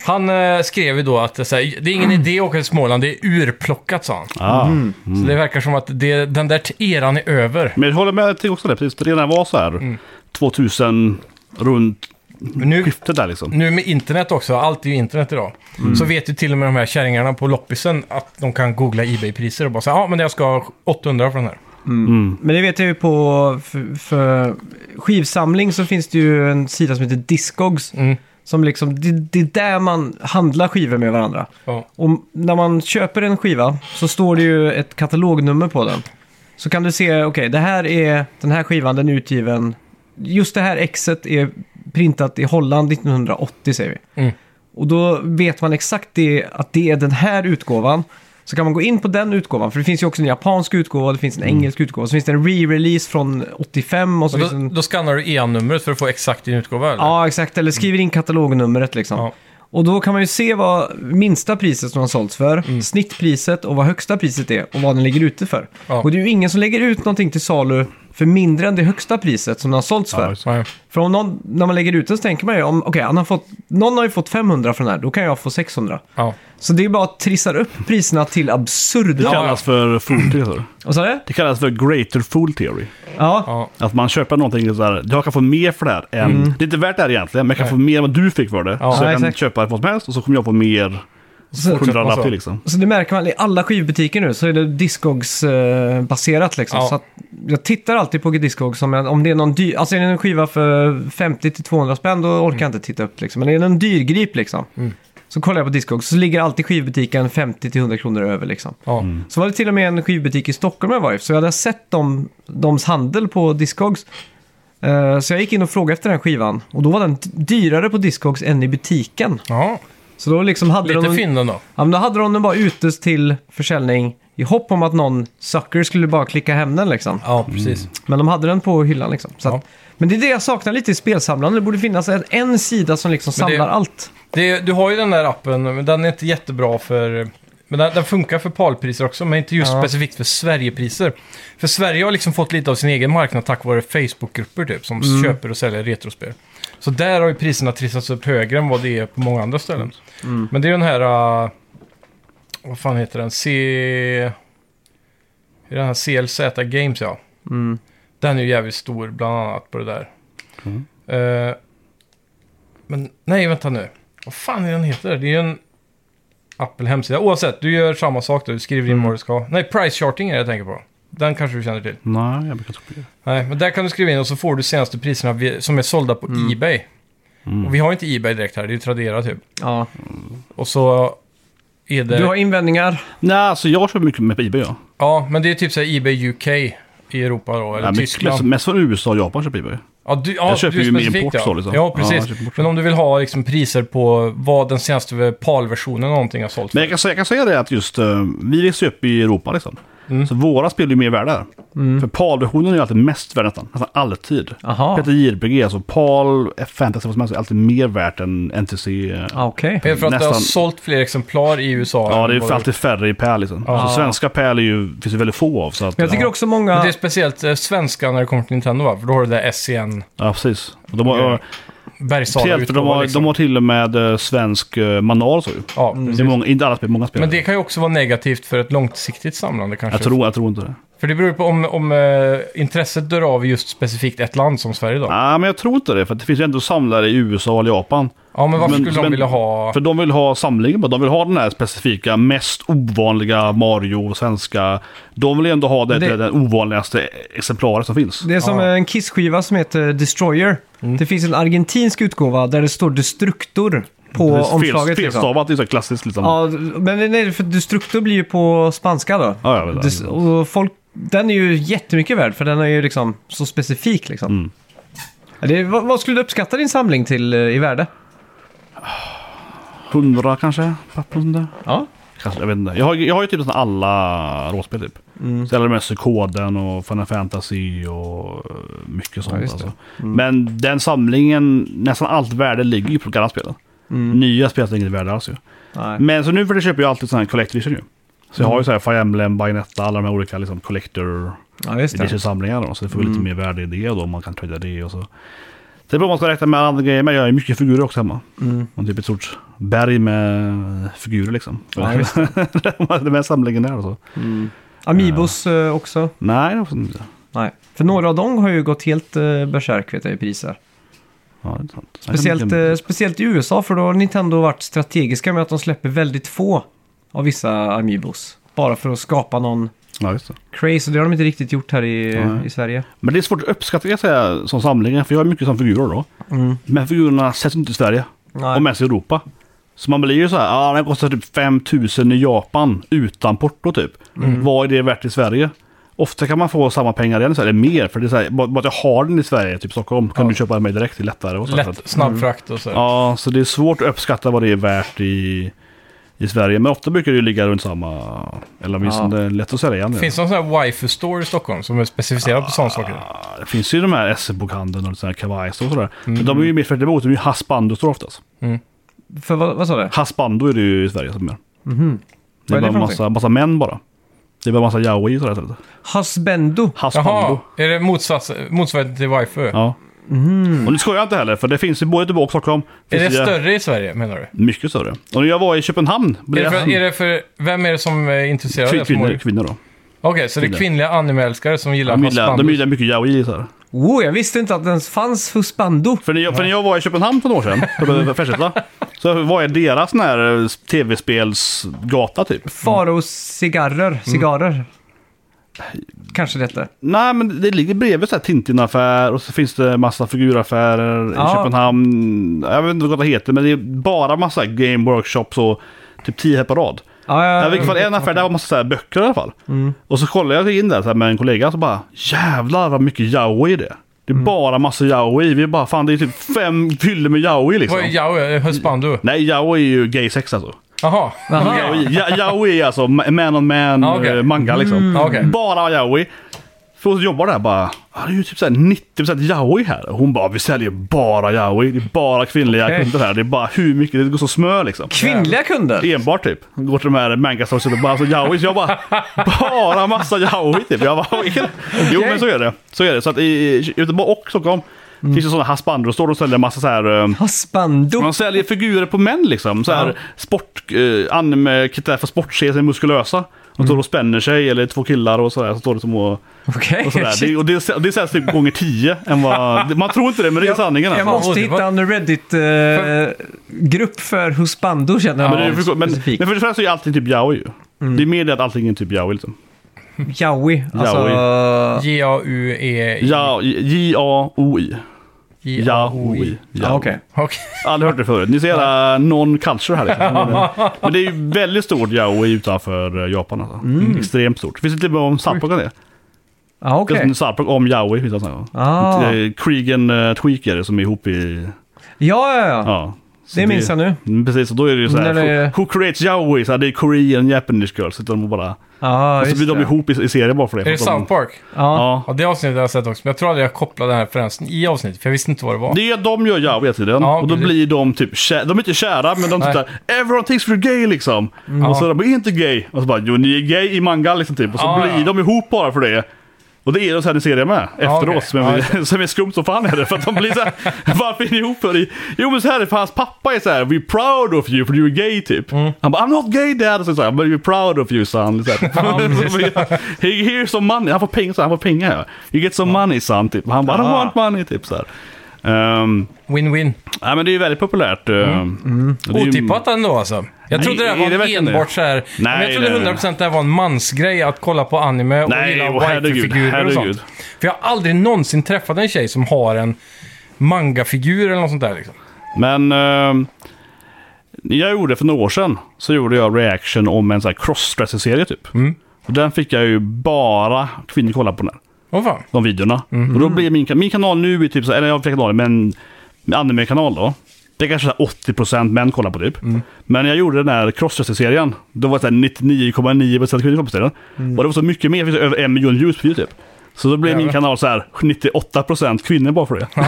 A: han eh, skrev ju då att så här, det är ingen idé att åka till Småland, det är urplockat sa han.
C: Ah.
B: Mm.
A: Så det verkar som att det, den där t- eran är över.
C: Men jag håller med till också det, precis. Det redan var så här
A: Mm.
C: 2000 runt
B: Mm.
A: Men nu,
C: skiftet där liksom.
A: nu med internet också, allt är ju internet idag.
B: Mm.
A: Så vet ju till och med de här kärringarna på loppisen att de kan googla Ebay-priser och bara säga ja men jag ska ha 800 för den här.
B: Men det vet jag ju på för, för skivsamling så finns det ju en sida som heter Discogs.
A: Mm.
B: Som liksom, det, det är där man handlar skivor med varandra.
A: Ja.
B: Och när man köper en skiva så står det ju ett katalognummer på den. Så kan du se, okej, det här är den här skivan, den är utgiven. Just det här exet är printat i Holland 1980 säger vi.
A: Mm.
B: Och då vet man exakt det, att det är den här utgåvan. Så kan man gå in på den utgåvan, för det finns ju också en japansk utgåva, det finns en engelsk utgåva, så finns det en re-release från 85 och så
A: Mm. Och då,
B: finns en...
A: då skannar du EAN-numret för att få exakt din utgåva? eller?
B: Ja, exakt. Eller skriver in katalognumret liksom.
A: Ja.
B: Och då kan man ju se vad minsta priset som har sålts för, snittpriset och vad högsta priset är och vad den ligger ute för.
A: Ja.
B: Och det är ju ingen som lägger ut någonting till salu för mindre än det högsta priset som den har sålts
C: Ja,
B: för.
C: just
A: Nej.
B: För om någon, när man lägger ut den så tänker man ju om, okej, han har fått, någon har ju fått 500 för den här, då kan jag få 600.
A: Ja.
B: Så det är bara att trissar upp priserna till
C: Det
B: absurdum.
C: kallas för fool theory.
B: Vad sa du?
C: Det kallas för greater fool theory.
B: Ja.
A: Ja.
C: Att man köper någonting så här, jag kan få mer för det här än... Det är inte värt det här egentligen, men jag kan få mer än vad du fick för det.
A: Mm. Ja,
C: så jag
B: ja,
C: kan
B: exakt.
C: köpa vad som helst och så kommer jag få mer
B: Så,
A: man så.
C: hundralapp till liksom.
B: så det märker man i alla skivbutiker nu, så är det Discogs-baserat liksom.
A: Ja.
B: Så att jag tittar alltid på Discogs om, jag, om det är någon dyr, alltså är det en skiva för 50-200 spänn då orkar
A: Mm.
B: jag inte titta upp liksom. Men är det en dyrgrip liksom, så kollar jag på Discogs, så ligger alltid skivbutiken 50-100 kronor över liksom.
A: Ja.
B: Så var det till och med en skivbutik i Stockholm jag var i, så jag hade sett dem, dems handel på Discogs. Eh, Så jag gick in och frågade efter den här skivan och då var den d- dyrare på Discogs än i butiken.
A: Ja.
B: Så då liksom hade
A: Lite
B: de...
A: Finland då.
B: Ja, men då hade de den bara ute till försäljning i hopp om att någon sucker skulle bara klicka hem den liksom.
A: Ja, precis.
B: Men de hade den på hyllan liksom. Så
A: Ja.
B: att, men det är det jag saknar lite i spelsamlande. Det borde finnas en, en sida som liksom
A: Men det-
B: samlar allt.
A: Det, du har ju den där appen, men den är inte jättebra för... Men den, den funkar för palpriser också, men inte just
B: Ja.
A: specifikt för Sverigepriser. För Sverige har liksom fått lite av sin egen marknad tack vare Facebookgrupper typ, som köper och säljer retrospel. Så där har ju priserna trissats upp högre än vad det är på många andra ställen. Men det är ju den här... äh, vad fan heter den? C... det är Den här CLZ Games, ja. Den är ju jävligt stor, bland annat, på det där. Eh, men nej, vänta nu. Vad fan är den heter? Det är ju en Apple hemsida. Oavsett, du gör samma sak då. Du skriver in
C: Mm.
A: vad du ska ha. Nej, price charting är det jag tänker på. Den kanske du känner till.
C: Nej, jag brukar inte kopiera.
A: Nej, men där kan du skriva in och så får du senaste priserna vi- som är sålda på
C: Mm.
A: Ebay. Och vi har ju inte Ebay direkt här, det är ju Tradera typ.
B: Ja.
A: Och så är det...
B: Du har invändningar.
C: Nej, alltså jag köper mycket med på Ebay ja.
A: Ja, men det är typ så här Ebay UK i Europa då, eller
C: ja mycket,
A: Tyskland.
C: Äh, mest, mest från USA och Japan köper jag Ebay.
A: Ja, du, ja,
C: Jag köper
A: du är
C: ju min
A: specifikt,
C: import
A: ja.
C: så, liksom.
A: Ja,
C: Ja, jag
A: precis.
C: köper import.
A: men om du vill ha liksom, priser på vad den senaste PAL-versionen av någonting har sålt för.
C: Men jag kan, säga- jag kan säga det att just eh, vi reser ju upp i Europa liksom. Så våra spel är ju mer värda där. För PAL-versionen är ju alltid mest värd nästan. Nästan alltid.
B: Aha.
C: Peter JRPG, alltså PAL, Fantasy, vad som helst, är alltid mer värt än NTC. eh,
B: Ja, okej.
A: Är det för att det har
C: nästan-
A: sålt fler exemplar i USA?
C: Ja, det är
A: än
C: ju
A: vad
C: för alltid färre i PAL liksom.
A: Ja.
C: Så svenska PAL är ju, finns ju väldigt få av. Så att,
B: Men jag tycker
C: ja.
B: också
A: Men det är
B: många...
A: speciellt eh, svenska när det kommer till Nintendo, va? För då har du det där SCN,
C: Ja, precis. Och De har,
A: Okej.
C: ja,
A: Bergsala liksom.
C: speciellt, de, har, de har Mm. till och med eh, svensk eh, manual. Så ju.
A: Ja,
C: Det är
A: precis.
C: många, inte alla spel, många spel.
A: Men det kan ju också vara negativt för ett långsiktigt samlande kanske.
C: jag, tror, jag tror inte det.
A: För det beror ju på om, om eh, intresset dör av i just specifikt ett land som Sverige då.
C: Nej, men jag tror inte det. För det finns ju ändå samlare i USA eller Japan.
A: Ja, men varför
C: Men-
A: skulle de
C: men-
A: vilja ha...
C: För de vill ha samlingen, bara. de vill ha den här specifika, mest ovanliga Mario och svenska. De vill ju ändå ha det,
B: Det-
C: det... den ovanligaste exemplaret som finns.
B: Det är som
A: Ja. Mm.
B: en Kiss-skiva som heter Destroyer. Det finns en argentinsk utgåva där det står Destructor på
C: Det är fel-
B: omslaget. liksom.
C: Felstavat, det är så här klassiskt liksom.
B: Ja, men nej, för destructor blir ju på spanska då.
C: Ja, jag vet det.
B: Des- och folk, den är ju jättemycket värd för den är ju liksom så specifik liksom.
C: Mm.
B: Ja, Det, vad, vad skulle du uppskatta din samling till eh, i värde?
C: 100 kanske? Papper sånt där.
B: Ja.
C: Kanske, jag vet inte. Jag har, jag har ju typ nästan alla råspel typ.
B: Mm.
C: Så alla de här Sukoden och Final Fantasy och eh, mycket sånt
B: just det. Mm.
C: alltså. Men den samlingen, nästan allt värde ligger ju på de gamla spelen.
B: Mm.
C: Nya spelet är inget värde alls ju.
B: Nej.
C: Men så nu för det köper jag alltid sådana här Collector Edition ju. Så jag har
B: Mm.
C: ju så här Fire Emblem, Bayonetta, alla de här olika liksom Collector
B: Ja, Mm. just det.
C: Edition-samlingarna. då. Så det får lite mer värde i det då, om man kan trada det och så. Det är bra om man ska räkna med andra grejer, men jag har ju mycket figurer också hemma.
B: Mm.
C: Och typ ett stort berg med figurer liksom.
B: Ja, just
C: den här samlingen där och så.
B: Amiibos eh, också.
C: Nej, det är också inte.
B: Nej. För några av dem har ju gått helt eh, berserk vet jag i priser.
C: Ja, det är sant.
B: Speciellt, eh, speciellt i USA för då har Nintendo varit strategiska med att de släpper väldigt få av vissa Amiibos. Bara för att skapa någon
C: Ja, just det.
B: craze. Och det har de inte riktigt gjort här i,
C: Nej.
B: i Sverige.
C: Men det är svårt att uppskatta kan jag säga, som samlingen, för jag har mycket som figurer då.
B: Mm.
C: Men figurerna sätts inte i Sverige,
B: Nej.
C: och mest i Europa. Så man blir ju så här, ja ah, den kostar typ 5000 i Japan utan porto typ.
A: Mm.
C: Vad är det värt i Sverige? Ofta kan man få samma pengar igen i Sverige, mer. För det är så här, bara bara att jag har den i Sverige, typ Stockholm, kan
A: Ja.
C: du köpa den mig direkt, det är lättare. Och så. Så
A: Lätt
C: att-
A: snabbfrakt och så.
C: Mm. Ja, så det är svårt att uppskatta vad det är värt i, i Sverige. Men ofta brukar det ju ligga runt samma, eller åtminstone det är lätt att sälja igen. det.
A: Finns det någon sån här wifi store i Stockholm som är specificerad på sådana saker?
C: Ja, Det finns ju de här SM-bokhandeln och sådana här kavajs och sådär.
A: Mm.
C: Men de är ju mer för emot, de är ju hasbando står oftast.
B: För vad, vad sa du?
C: Hasbando är det ju i Sverige som gör. Det
B: Vad
C: är
B: är det
C: bara
B: för
C: massa, massa män bara. Det är bara massa yaoi och sådär istället.
B: Husbando.
A: Jaha,
C: Hasbando.
A: är det motsats, motsvarigheten till wifi?
C: Ja. Och nu skojar jag inte heller, för det finns ju både i Göteborg och Stockholm.
A: Är det
C: Finns ju-
A: större i Sverige, menar du?
C: Mycket större. Och när jag var i Köpenhamn
A: Är
C: blev
A: det för, är
C: jag...
A: det för, vem är det som är intresserad av
C: Kvin-
A: det? som har-
C: Kvinnor,
A: Okej,
C: kvinnor då.
A: så det är kvinnliga animeälskare som gillar
C: De gillar, de
A: husband.
C: gillar mycket yaoi så här.
B: Oh, jag visste inte att det ens fanns Husbando.
C: För när, jag, för när jag var i Köpenhamn för några år sedan, på Färsätla, så var jag i deras sån här eh, tv-spelsgata typ.
B: Faros cigarrer.
C: Mm.
B: Cigarrer. Kanske det hette.
C: Nej, men det ligger bredvid så här Tintin-affär och så finns det massa figuraffärer i
B: Ja.
C: Köpenhamn. Jag vet inte vad det heter, men det är bara massa game workshops och typ tio här på rad.
B: Ja,
C: Ja,
B: ja,
C: I vilket fall, en affär där var massa så här böcker i alla fall. Och så kollade jag in där så här med en kollega och så bara jävlar vad mycket yaoi det är. Det är bara massa yaoi. Vi är bara fan det är typ fem fyllor med yaoi liksom.
A: Vad är yaoi? Husbandu?
C: Nej, yaoi är ju gay sex alltså.
A: eh, Jaha.
B: Jaha.
A: Okej.
C: Yaoi, ja, yaoi är alltså ma- man on man
A: Ja, Ah, okej.
C: eh, manga liksom.
A: Ja, okej.
C: Bara yaoi. För hon som jobbar där bara, "Ja, det är ju typ såhär 90% yaoi här. Och hon bara, vi säljer bara yaoi. Det är bara kvinnliga
B: Okej.
C: kunder här. Det är bara hur mycket, det går som smör liksom.
B: Kvinnliga kunder?
C: Enbart typ. Går till de här mangastores och bara alltså yaoi. Så jag bara, bara massa yaoi typ. Jag bara, vilken... Jo men så är det. Så är det. Så att i- i Göteborg och Stockholm
A: Mm.
C: finns det sådana hasbandor och säljer massa så här eh,
B: Husbando.
C: man säljer figurer på män liksom. Så här, sport, eh, anime, kittar för sportserier som är muskulösa. De
B: Mm.
C: står och spänner sig, eller två killar och sådär. Så står det som och,
B: Okej.
C: och sådär.
B: shit.
C: Det, och det, säljs- det säljs typ gånger tio. Än vad, det- man tror inte det, men det är sanningen
B: Jag
C: alltså.
B: måste
A: det var-
B: hitta en Reddit-grupp för Husbando känner jag.
C: Men, det, är- men, men
B: specifikt. Mm.
C: för det första så är allting typ yaoi ju. Det är mer det att allting är typ yaoi liksom.
B: Jaui. Alltså,
A: J-A-U-E...
C: Ja- J-A-O-I. Yaoi.
B: ja, okej.
A: Okej.
C: Aldrig hört det förut. Ni ser jävla non-culture här liksom. Men det är ju väldigt stort yaoi utanför Japan alltså.
B: Mm.
C: Extremt stort. Finns det till och med om Sarpokon det?
B: Ja,
C: Det är
B: okej.
C: en Sarpok om Yowie finns det sån
B: Ah.
C: här. Kriegen uh, Tweaker som är ihop i...
B: Ja, ja, ja.
C: Ja. Så
B: Det minns jag nu.
C: Mm, Precis, och då är det ju så här.
B: När det-
C: Who creates Yowie? Så här, det är Korean Japanese girls. Så de bara...
B: Ja,
C: och så
B: just
C: blir de
B: det.
C: ihop i, i serien bara för det.
A: Är det
C: för att de-
A: South Park?
B: Ja.
C: Ja.
A: Ja, det avsnittet har jag sett också. Men jag tror aldrig jag kopplade den här referensen i avsnittet, för jag visste inte vad det var.
C: Det är att de gör Yowie hela tiden.
A: Ja,
C: och då
A: precis.
C: blir de typ kära. De är inte kära, men de
A: Nej. Mm.
C: tittar. Everyone thinks we're gay liksom. Och så
A: Ja.
C: de är inte gay. Och så bara, jo ni är gay i manga liksom typ. Och så
A: Ja,
C: blir
A: ja.
C: de ihop bara för det. Och det är de sen i serien med, efteråt,
A: okej.
C: som,
A: Ja,
C: är,
A: just
C: som är skumt som fan är det. För att de blir såhär, varför är ni ihop? För? Jo men så här är det, för hans pappa är såhär, we're proud of you för du är gay typ.
A: Mm.
C: Han bara, I'm not gay dad. Och så såhär, but we're proud of you son. Så här. He here's some money, han får pengar, så här, han får pengar. Ja. You get some money son, typ. Han bara, I don't
B: Ah.
C: want money, typ såhär. Um,
A: Win-win.
C: nej men det är ju väldigt populärt. eh, och det är ju-
A: Mm. Otippat ändå alltså. Jag
C: Nej,
A: trodde
C: är
A: det
C: det
A: här var
C: verkligen det?
A: enbart så här... men jag
C: nej,
A: trodde
C: nej.
A: 100% det här var en mansgrej att kolla på anime och
C: Nej,
A: gilla
C: och herregud,
A: wifi-figurer och
C: herregud.
A: sånt. För jag har aldrig någonsin träffat en tjej som har en mangafigur eller något sånt där liksom.
C: Men eh, jag gjorde för några år sedan så gjorde jag reaction om en sån här crossdresser-serie typ. Och den fick jag ju bara kvinnor kolla på den här,
A: Åh fan.
C: de videorna. Och då blir min, kan- min kanal nu, är typ, så här- eller jag har flera kanaler, men min anime-kanal då. Det är kanske så här 80% män kollar på typ. Men när jag gjorde den här crossdresser-serien, då var det så här 99,9% kvinnor kollade på serien. Och det var så mycket mer, det finns över en miljon views på YouTube. Så då blir min
A: Jävlar.
C: kanal så här 98% kvinnor bara för det. det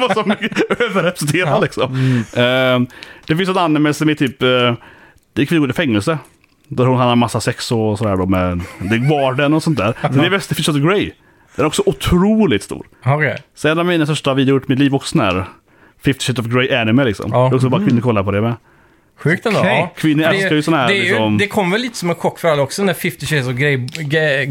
C: var så mycket överrepresenterad liksom. Ehm, det finns ett anime som är typ, eh, det är kvinnor i fängelse. Där hon har en massa sex och sådär då med, det är varden och sånt där. Men det är Västerfish of the Grey. Den är också otroligt stor.
A: Okej.
C: Så en av mina största videor gjort i mitt liv också sån här 50 shit of Grey anime liksom.
A: Ja. Mm.
C: Det är också bara kvinnor kollar på det med.
A: Sjukt ändå.
B: Okej.
A: Ja.
C: Kvinnor älskar ju sån här
A: det, är ju-
C: liksom...
A: det kom väl lite som en chock för alla också när 50 Shades of Grey... Gay,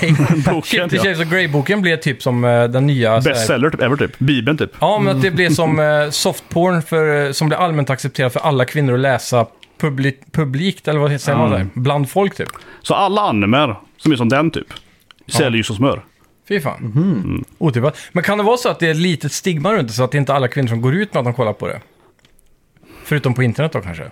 A: gay,
C: Boken,
A: 50
C: ja.
A: Shades of Grey-boken blev typ som eh, den nya... så här-
C: Bestseller typ, ever typ. Bibeln typ.
A: Ja, men att det blev som eh, softporn för, eh, som blev allmänt accepterat för alla kvinnor att läsa publi publikt, eller vad säger man
C: Mm.
A: där? Bland folk typ.
C: Så alla animer som är som den typ, säljer ju som smör.
A: Fy fan.
C: Mm-hmm.
A: Otippat. Men kan det vara så att det är ett litet stigma runt det, så att det inte är alla kvinnor som går ut med att de kollar på det? Förutom på internet då kanske?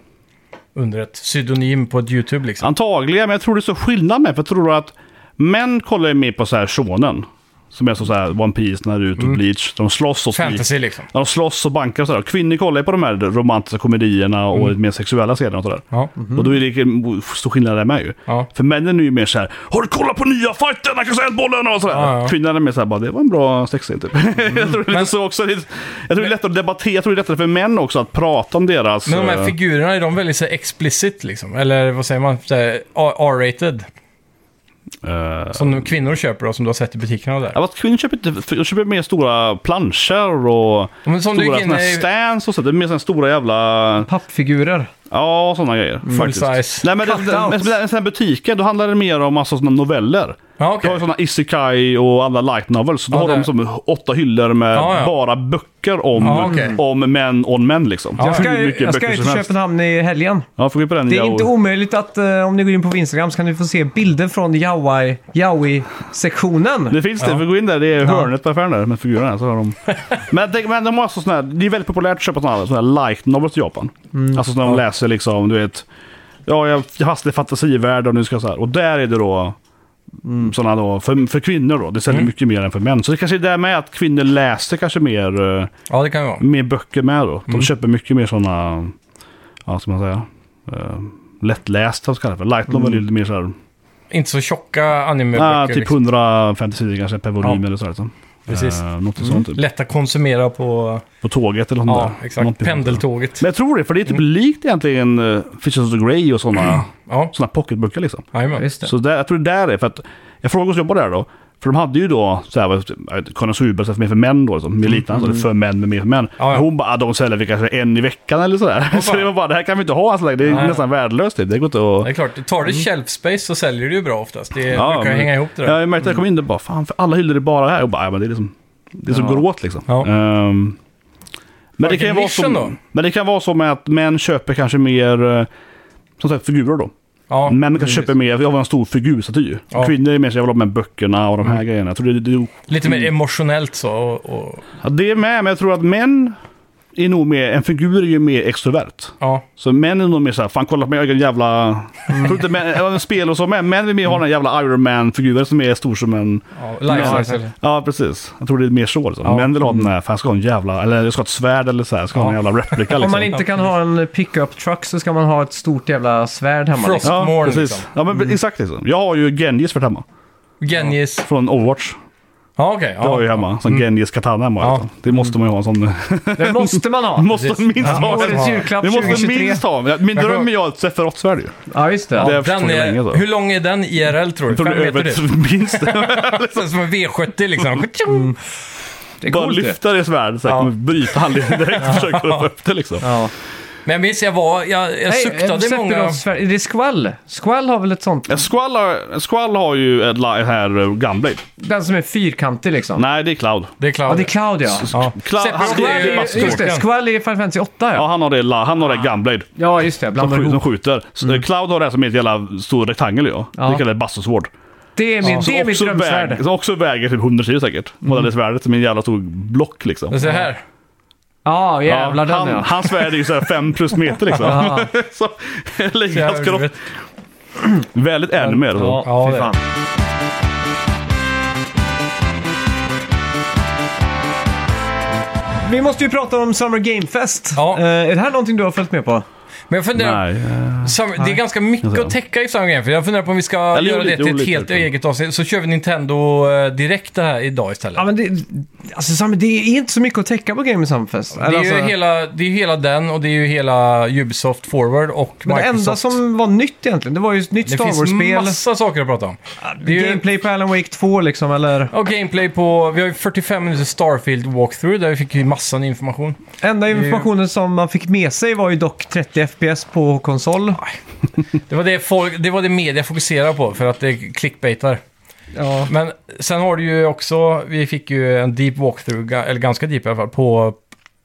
A: Under ett pseudonym på ett YouTube liksom.
C: Antagligen, men jag tror det är så skillnad med. För jag tror att män kollar ju mer på så här shonen. Som är så så här One Piece, Naruto, Bleach. De slåss och
A: Mm. Fantasy liksom.
C: De slåss och bankar och sådär. Kvinnor kollar ju på de här romantiska komedierna och mer sexuella scener och sådär.
A: Mm. Ja.
C: Och då är det en stor skillnad där med ju.
A: Ja.
C: För männen är ju mer så här Har du kollat på nya fighten? Han kastar bollen och sådär.
A: Ja, Mm. ja.
C: Kvinnan är mer så här bara, det var en bra sexscen typ. jag tror det är lite så också. Det är- Jag tror det är lättare att debattera, jag tror det är lättare för män också att prata om deras...
A: Men de här
C: eh,
A: figurerna, är de väldigt så här, explicit liksom? Eller vad säger man? Så här, R- R-rated?
C: eh,
A: Som nu kvinnor köper och som du har sett i butikerna och där.
C: Ja, fast kvinnor köper, inte, de köper mer stora planscher och
A: Ja, men som du
C: stora
A: gick in
C: såna här
A: i-
C: stands och så. Det är mer såna stora jävla...
B: Pappfigurer.
C: Ja, sådana grejer. faktiskt.
A: Mm, size.
C: Nej, men det,
B: Cut-outs.
C: men sådana här butiker, då handlar det mer om alltså såna noveller.
A: Ja,
C: Du
A: okej.
C: har ju sådana isekai och alla light novels. Då
A: Ja,
C: har
A: det-
C: de som åtta hyllor med
A: Ja, ja.
C: bara böcker om,
A: Ja, okej.
C: om män on män liksom.
B: Jag ska,
C: Hur
B: ju-
C: mycket
B: jag ska
C: böcker
B: ju
C: som
B: till
C: helst.
B: Köpenhamn i helgen.
C: Ja, får vi på den.
B: Det är
C: ja,
B: inte
C: och-
B: omöjligt att eh, om ni går in på Instagram så kan ni få se bilder från Yaoi- Yaoi-sektionen.
C: Det finns det, för gå in där. Det är hörnet på affären där med figurerna. Så har de... men, det, men de har alltså såna här, det är väldigt populärt att köpa såna här, såna här light novels i Japan. Alltså när de läser liksom, du vet. Ja, jag jag fastnar i fantasivärlden och nu ska jag så här. Och där är det då sådana då, för, för kvinnor då. Det säljer mycket mer än för män. Så det kanske är där med att kvinnor läser kanske mer, eh,
A: Ja, det kan ju vara.
C: mer böcker med då. De köper mycket mer sådana, ja, ska man säga, eh, lättlästa så kallar det för. Light novel är lite mer så här,
A: Inte så tjocka animeböcker.
C: ah, typ
A: liksom.
C: 150 sidor kanske per volym
A: Ja.
C: eller så. Här, liksom.
A: Precis. Mm.
C: Eh, något sånt typ.
A: Lätt att konsumera på...
C: På tåget eller något
A: Ja,
C: där.
A: exakt.
C: Någonting sånt där.
A: Pendeltåget.
C: Men jag tror det, för det är typ likt egentligen uh, Fishes of the Grey och sådana
A: Ja,
C: såna pocketböcker liksom.
A: jajamän.
B: Just det.
C: Så där, jag tror det där är, för att jag frågade oss jobbar där då. För de hade ju då så här, vad heter det, jag vet inte, konnässörböcker som är för män då, liksom, med liknande, så det är för män med mer för män.
A: Mm. Ja, ja.
C: Men Hon bara, ah, de säljer vi kanske en i veckan eller sådär. Så det var bara, det här kan vi inte ha, alltså, det är
A: Nej.
C: nästan värdelöst typ. Det går inte att...
A: Det är klart, tar du shelf space så säljer du ju bra oftast. Det brukar
C: men-
A: hänga ihop det
C: Ja,
A: där.
C: jag märkte när jag kom in där bara, fan för alla hyllor är bara här. Och bara, ja, men det är liksom, det är så gråt liksom.
A: Ja.
C: Ehm, men, det kan ju
A: Vilken
C: vara
A: nischen då?
C: så, men det kan vara så med att män köper kanske mer, eh, som sagt figurer då.
A: Ja,
C: män kanske
A: precis.
C: köper mer, jag vill ha en stor figurstaty.
A: Ja. Mm.
C: Kvinnor är mer så, jag vill ha med böckerna och de här grejerna. Jag tror det, det,
A: Lite mer emotionellt så. Och, och,
C: ja, det är med, men jag tror att män är nog mer, en figur är ju mer extrovert.
A: ja.
C: Så män är nog mer såhär, fan kolla på mig, jag är en jävla...
A: Mm.
C: Jag tror inte män, även spel och så, men män vill mer ha den här jävla Iron Man-figuren som är stor som en...
A: ja life size. eller-
C: Ja, precis. Jag tror det är mer så. Liksom.
A: Ja.
C: Män vill ha den här, fan jag ska ha en jävla, eller jag ska ha ett svärd eller så här, jag ska ha en jävla replika
B: Om man
C: liksom.
B: inte kan ha en pickup truck så ska man ha ett stort jävla svärd hemma.
A: Frost.
B: Liksom.
C: Ja,
A: Morn,
C: precis.
A: liksom.
C: Ja, men exakt liksom. Jag har ju Genjis för hemma.
A: Genjis.
C: Från Overwatch.
A: Ja, okej.
C: Jag har ju
A: ja.
C: hemma. Som Genjis katana hemma.
A: Ja.
C: Liksom. Det måste man ju ha en sån.
B: Det måste man ha.
C: måste minst ha
A: Ja,
C: den.
B: Årets julklapp
C: Vi måste
B: 2023.
C: minst ha den. Min
A: Jag
C: dröm
A: tror-
C: är ju att ha ett Seferath-svärd ju.
B: Ja, just det.
C: Det har
A: Den
C: jag förstått
A: är,
C: länge så.
A: hur lång är den IRL tror du?
C: Jag tror
A: Fem
C: det är
A: meter
C: över
A: typ?
C: ett minst.
A: Som en V70 liksom. Mm.
B: det är
C: Bara
B: coolt det.
C: lyfta det svärdet så här,
A: Ja.
C: kommer bryta handleden direkt och försöka få upp det liksom.
B: Ja.
A: Men jag minns, jag var, jag, jag
B: Nej, eh,
A: suktade
B: släpper
A: många...
B: de svär- Är det Squall? Squall har väl ett sånt?
C: Ja, Squall har, Squall har ju ett li- här eh, Gunblade.
B: Den som är fyrkantig liksom?
C: Nej, det är Cloud.
A: Det är klart.
B: Ja, det är Cloud ja.
A: Ja.
C: Cloud
A: Seferath
C: han,
A: är
B: Squall
A: ju-
B: är, just det, Squall är Final Fantasy 8
C: ja,
B: ja.
C: han har det, la- han har det Gunblade.
B: Ja, just det. Jag Blandar
C: Som, skj- som
B: ihop.
C: skjuter. Så, eh, Cloud har det här som är ett jävla stor rektangel ju.
B: Ja.
C: Det kallar det bastusvård.
B: Det är, min,
C: Som
B: det är mitt
C: också
B: drömsvärd.
C: väger- Som också väger typ 100 kilo säkert. Både det svärdet som är en jävla stor block liksom.
A: Så här.
B: Ja,
C: Ja,
B: jävlar den
C: han,
B: ja.
C: Hans svärd är ju såhär 5 plus meter liksom.
B: Ja.
C: så, ligger hans kropp.
A: Helvete.
C: Väldigt alltså. anime är det så.
A: Ja,
B: fy
A: det är
B: fan. Vi måste ju prata om Summer Game Fest.
A: Ja.
B: Eh, är det här någonting du har följt med på?
A: Men jag funderar,
C: Nej. eh,
A: sam, det är ganska mycket
C: Alltså.
A: att täcka i Soundgame. För jag funderar på om vi ska
C: Eller
A: göra
C: olika,
A: det till ett
C: olika,
A: helt
C: tror jag.
A: eget avsnitt. Så kör vi Nintendo eh, direkt det här idag istället.
B: Ja, men det, alltså, Sam, det är inte så mycket att täcka på Game Sumpfest.
A: det, är ju hela, det är ju hela den och det är ju hela Ubisoft Forward och
B: Men det
A: Microsoft.
B: enda som var nytt egentligen, det var ju ett nytt
A: det
B: Star
A: finns
B: Wars-spel. Ah.
A: massa saker att prata om. det är ju-
B: Gameplay på Alan Wake 2 liksom, eller...
A: Och gameplay på... Vi har ju 45 minuter Starfield Walkthrough där vi fick ju massa ny information.
B: Enda informationen som man fick med sig var ju dock 30 FPS på konsol.
A: Det var det, folk, det var det media fokuserade på för att det clickbaitar.
B: Ja.
A: Men sen har du ju också, vi fick ju en deep walkthrough, ga- eller ganska deep i alla fall, på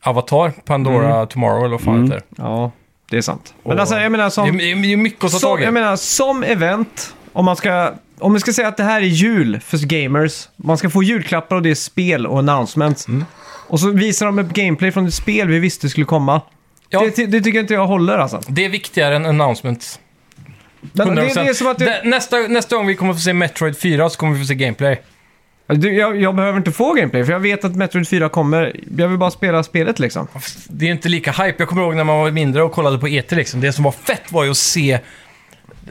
A: Avatar, Pandora
B: Mm.
A: Tomorrow eller vad fan det heter.
B: ja, det är sant. Men
A: Och-
B: alltså, jag menar som...
A: Det är- Det är ju mycket att ta
B: som
A: tag i.
B: jag menar, som event, om man ska... Om vi ska säga att det här är jul för gamers, man ska få julklappar och det är spel och announcements.
A: Mm.
B: Och så visar de upp gameplay från ett spel vi visste skulle komma.
A: Ja.
B: Det, ty- det tycker inte jag håller alltså.
A: Det är viktigare än announcements.
B: Men det,
A: 100%.
B: det är som att jag,
A: Nä- nästa, nästa gång vi kommer få se Metroid 4 så kommer vi få se gameplay.
B: du, jag, jag behöver inte få gameplay för jag vet att Metroid 4 kommer. Jag vill bara spela spelet liksom.
A: Det är inte lika hype. Jag kommer ihåg när man var mindre och kollade på E3 liksom. Det som var fett var ju att se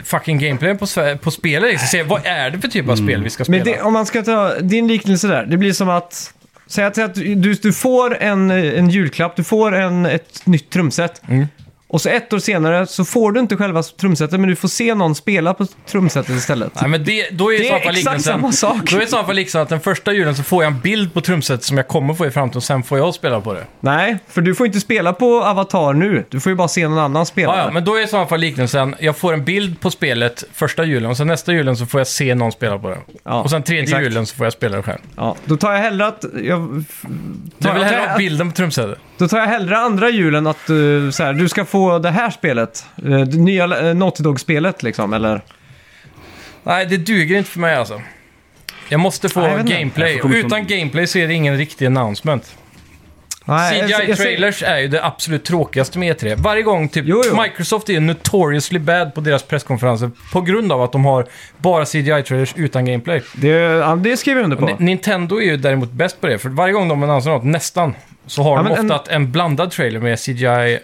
A: fucking gameplayen på, sve- på spelet liksom. Se vad är det för typ av spel vi ska spela.
B: Mm. Men det, om man ska ta din liknelse där, det blir som att... Säg att, att du, du får en, en julklapp, du får en, ett nytt trumset.
A: Mm.
B: Och så ett år senare så får du inte själva trumsetet, men du får se någon spela på trumsetet istället.
A: Nej, men det, då är
B: Det
A: i
B: är
A: så fall
B: exakt
A: liknelsen-
B: samma sak.
A: Då är i så fall liksom att den första julen så får jag en bild på trumset som jag kommer få i framtiden och sen får jag spela på det.
B: Nej, för du får inte spela på Avatar nu. Du får ju bara se någon annan spela.
A: Ja, ja, men då är i så fall liknelsen, jag får en bild på spelet första julen och sen nästa julen så får jag se någon spela på det.
B: Ja,
A: och sen tredje
B: exakt.
A: julen så får jag spela det själv.
B: Ja, då tar jag hellre att... Jag, f-
A: Du
B: tar
A: vill
B: jag
A: hellre ha
B: hellre,
A: bilden på trumsetet?
B: då tar jag hellre andra julen att du, så här, du ska få det här spelet. eh, Det nya eh, Naughty Dog-spelet liksom, eller?
A: Nej, det duger inte för mig alltså. Jag måste få
B: Nej, jag vet inte.
A: gameplay.
C: Jag får komma
A: Utan
C: från-
A: gameplay så är det ingen riktig announcement.
B: Nej, jag- jag- jag-
A: CGI-trailers är ju det absolut tråkigaste med E3. Varje gång typ...
B: Jo, jo.
A: Microsoft är notoriously bad på deras presskonferenser på grund av att de har bara CGI-trailers utan gameplay.
B: Det, ja, det skriver jag under på.
A: Ni- Nintendo är ju däremot bäst på det, för varje gång de annonserar något, nästan, så har
B: Ja,
A: de
B: men en-
A: ofta en... en blandad trailer med CGI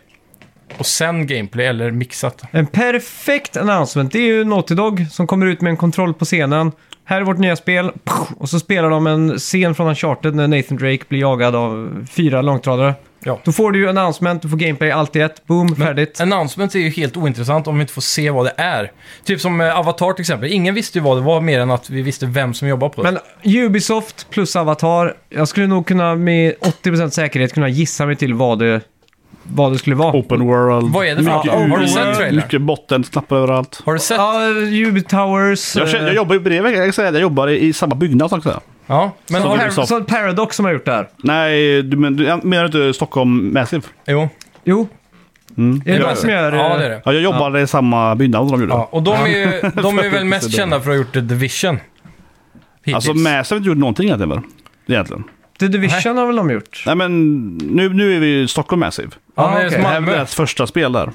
A: och sen gameplay, eller mixat.
B: En perfekt announcement, det är ju Naughty Dog som kommer ut med en kontroll på scenen. Här är vårt nya spel. Pow! Och så spelar de en scen från Uncharted när Nathan Drake blir jagad av fyra långtradare.
A: Ja.
B: Då får du ju announcement, du får gameplay, allt i ett. Boom, färdigt.
A: Announcements är ju helt ointressant om vi inte får se vad det är. Typ som eh, Avatar till exempel. Ingen visste ju vad det var mer än att vi visste vem som jobbar på det.
B: Men Ubisoft plus Avatar, jag skulle nog kunna med 80% säkerhet kunna gissa mig till vad det, vad det skulle vara.
C: Open world.
A: Vad är det för
C: mycket
A: något?
C: ur-
A: Har du sett trailern?
C: Mycket bottensnappar överallt.
A: Har du sett? Ja,
B: Ja, Ubi Towers. eh,
C: Jag, känner- jag jobbar ju bredvid, jag kan säga det. Jag jobbar i, i samma byggnad också.
A: men
C: Som
A: har
C: Ubisoft.
B: Så Paradox som har gjort det här.
C: Nej, du, men, du jag menar inte Stockholm Massive?
A: Jo.
B: Jo.
C: Mm.
B: Är det
C: Ja,
B: de som gör eh,
A: Ja, det är det.
C: Ja, jag jobbade i samma byggnad som de gjorde.
A: Ja, och de är ju de är ju väl mest kända för att ha gjort The Division. Hittills.
C: alltså Massive har inte gjort någonting egentligen. väl? Egentligen.
B: The Division har väl de gjort?
C: Nej men nu, nu är vi ju Stockholm Massive.
A: Ja, Mm.
B: Ah,
A: men det är
B: okej.
A: som
C: Det här är
A: Malmö.
C: deras första spel där.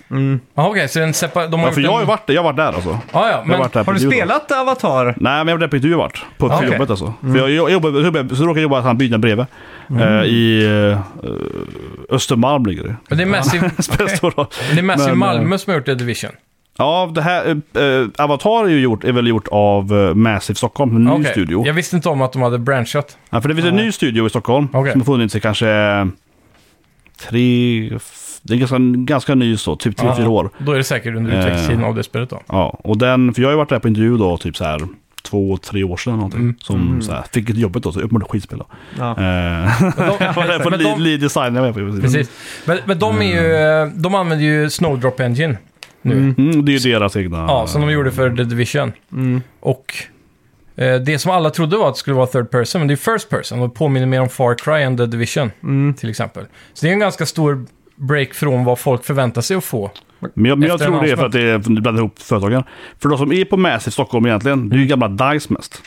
A: Ja, okej, så det är en separ... De har
C: Ja, för
A: gjort
C: jag har ju
A: en...
C: varit där, jag har varit där alltså.
A: Ja, ja,
C: Jag har
A: men...
C: varit där på
B: Har du
C: intervju då.
B: spelat Avatar?
C: Nej, men jag var där på intervju vart. På
B: Ah,
C: på
B: okej.
C: jobbet alltså.
A: Mm.
C: För jag, jag, jobbade, så jobbade- så råkade jag jobba i samma byggnad bredvid. Eh, I eh, Östermalm ligger det.
A: Men det är Massive,
C: Det står då.
A: det är Massive
C: Men, eh,
A: Malmö som har gjort The Division.
C: Ja, det här, eh, eh, Avatar är, ju gjort, är väl gjort av eh, Massive Stockholm, en ny
A: Okej.
C: studio.
A: Jag visste inte om att de hade branchat.
C: Ja, för det finns en ny studio i Stockholm
A: Okej.
C: som har funnits i kanske eh, tre, f- det är ganska, ganska ny så, typ tre,
A: Ja.
C: fyra år.
A: Då är det säkert under
C: Eh.
A: utvecklingstiden av det spelet då.
C: Ja, och den, för jag har ju varit där på intervju då, typ så här två, tre år sedan någonting.
A: Mm.
C: Som så här, fick ett jobbet då, så upp med det skitspel då.
B: Ja.
C: Eh,
A: Men de,
C: Vad är det för
A: men
C: lead,
A: de,
C: lead design jag var på? i princip.
A: precis. Men, men de, är ju, eh, de använder ju Snowdrop Engine nu.
C: Mm, det är ju deras egna...
A: Ja, som de gjorde för The Division.
B: Mm.
A: Och eh, det som alla trodde var att det skulle vara third person, men det är first person och påminner mer om Far Cry än The Division
B: Mm.
A: till exempel. Så det är en ganska stor break från vad folk förväntar sig att få.
C: Men jag, men jag
A: Efter
C: tror det är för
A: announcement.
C: att
A: Mm.
C: det är, du blandar ihop företagen. För de som är på Massive Stockholm egentligen, det är ju gamla DICE mest.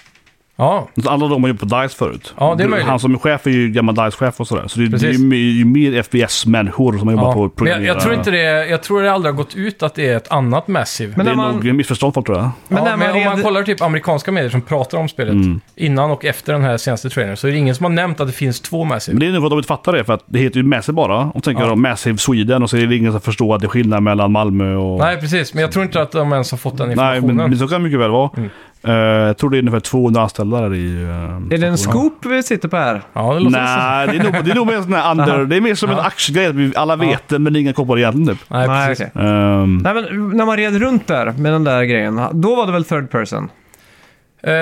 A: Ja,
C: Så Alla de har jobbat på DICE förut.
A: Ja, det är möjligt.
C: Han som är chef är ju gammal DICE-chef och sådär. Så det, det är
A: Precis.
C: ju mer- ju mer FBS-människor som har jobbat på
A: ja.
C: att
A: Men jag, jag tror
C: programmera.
A: inte det, jag tror det aldrig har gått ut att det är ett annat Massive.
B: Men
C: Det
B: när
C: är
B: man,
C: nog missförstånd folk tror jag.
B: men
A: ja,
B: när
A: men
B: man
A: om man
B: red-
A: kollar typ amerikanska medier som pratar om spelet
C: Mm.
A: innan och efter den här senaste trailern så är det ingen som har nämnt att det finns två Massive.
C: Men det är nog för att de inte fattar det, för att det heter ju Massive bara. Och så tänker de Massive Sweden och så är det ingen som förstår att det är skillnad mellan Malmö och...
A: Nej, precis. Men jag tror inte att de ens har fått den
C: Nej,
A: informationen.
C: men, men så kan det mycket väl vara.
A: Mm.
C: Eh, jag tror det är ungefär 200 anställda där i... eh,
B: Är det
C: Stockholm.
B: en scoop vi sitter på här?
A: Ja, det låter så.
C: Nej, det är nog, det är nog mer en sån här under... Det är mer som en aktiegrej, att vi alla vet det men ingen koppar egentligen typ.
A: Nej,
B: Nej,
A: precis.
B: okej.
C: Ehm,
B: Nej, men när man red runt där med den där grejen, då var det väl third person?
A: Eh,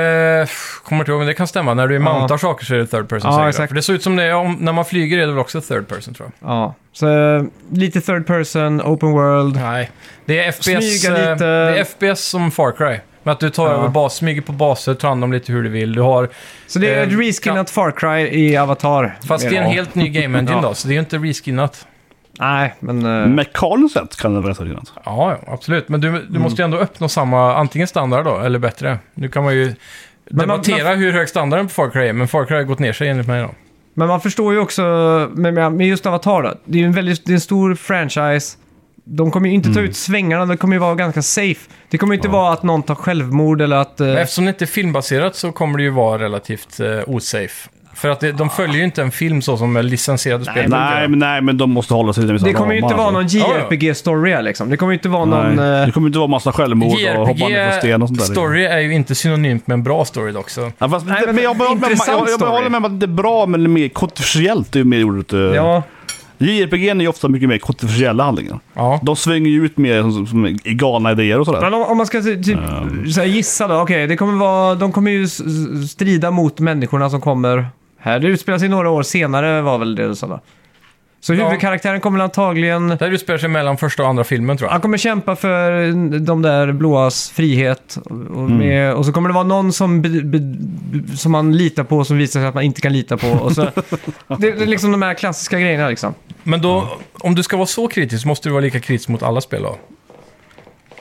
A: pff, kommer inte ihåg, men det kan stämma. När du mountar saker så är det third person
B: Ja,
A: säkert.
B: exakt.
A: För det ser ut som det är, om, när man flyger är det väl också third person tror jag.
B: Ja, så eh, lite third person, open world.
A: Nej, det är FPS,
B: Smyga
A: eh,
B: lite.
A: det är FPS som Far Cry. Men att du tar
B: Ja.
A: över bas, smyger på baser, tar hand om lite hur du vill. Du har,
B: Så det är
A: Eh,
B: ett reskinnat Far Cry i Avatar.
A: fast det är en
B: Ja.
A: helt ny game engine
B: Ja.
A: då, så det är ju inte reskinnat.
B: Nej, men... eh,
C: Mekaniskt sett kan det vara rätt intressant.
A: Ja, ja, absolut. Men du, du måste ju ändå uppnå samma, antingen standard då, eller bättre. Nu kan man ju
B: man-
A: debattera hur hög standarden på Far Cry är, men Far Cry har gått ner sig enligt mig då.
B: Men man förstår ju också, med, med med just Avatar då, det är ju en väldigt, det är en stor franchise. De kommer ju inte ta ut svängarna, det kommer ju vara ganska safe. Det kommer ju inte vara att någon tar självmord eller att... eh,
A: Men Eftersom det inte är filmbaserat så kommer det ju vara relativt eh, osafe. För att det, de följer ju inte en film så som licensierade spel
C: Nej,
A: brukar.
C: men, nej, men de måste hålla sig till vissa
B: det kommer ju
C: ramar,
B: inte vara någon
A: alltså.
B: JRPG-story här, liksom. Det kommer ju inte vara någon...
C: Nej,
B: eh,
C: det kommer inte vara massa självmord och hoppa ner från sten och sånt där. liksom.
A: story är ju inte synonymt med en bra story dock. Så.
C: Ja, fast
B: Nej,
C: det,
B: men
C: men, jag behåller med,
B: intressant
C: jag, jag behåller
B: story.
C: med om att det är bra, men det är mer kontroversiellt. Det är ju mer ordet. eh,
B: ja,
C: JRPG är ju ofta mycket mer kontroversiella handlingar.
A: Ja.
C: De svänger ju ut mer som, som, som galna idéer och sådär.
B: men om, om man ska ty- typ
C: Ehm.
B: så här gissa då, okej, det kommer vara... De kommer ju s- s- strida mot människorna som kommer här. Det utspelar sig några år senare var väl det du sa då. Så
A: Ja.
B: huvudkaraktären kommer antagligen...
A: Det här utspelar sig mellan första och andra filmen tror jag.
B: Han kommer kämpa för de där blåas frihet. Och, och,
C: Mm.
B: med, och så kommer det vara någon som, be, be, be, som man litar på som visar sig att man inte kan lita på. Och så, det, det är liksom de här klassiska grejerna liksom.
A: Men då, om du ska vara så kritisk så måste du vara lika kritisk mot alla spel då.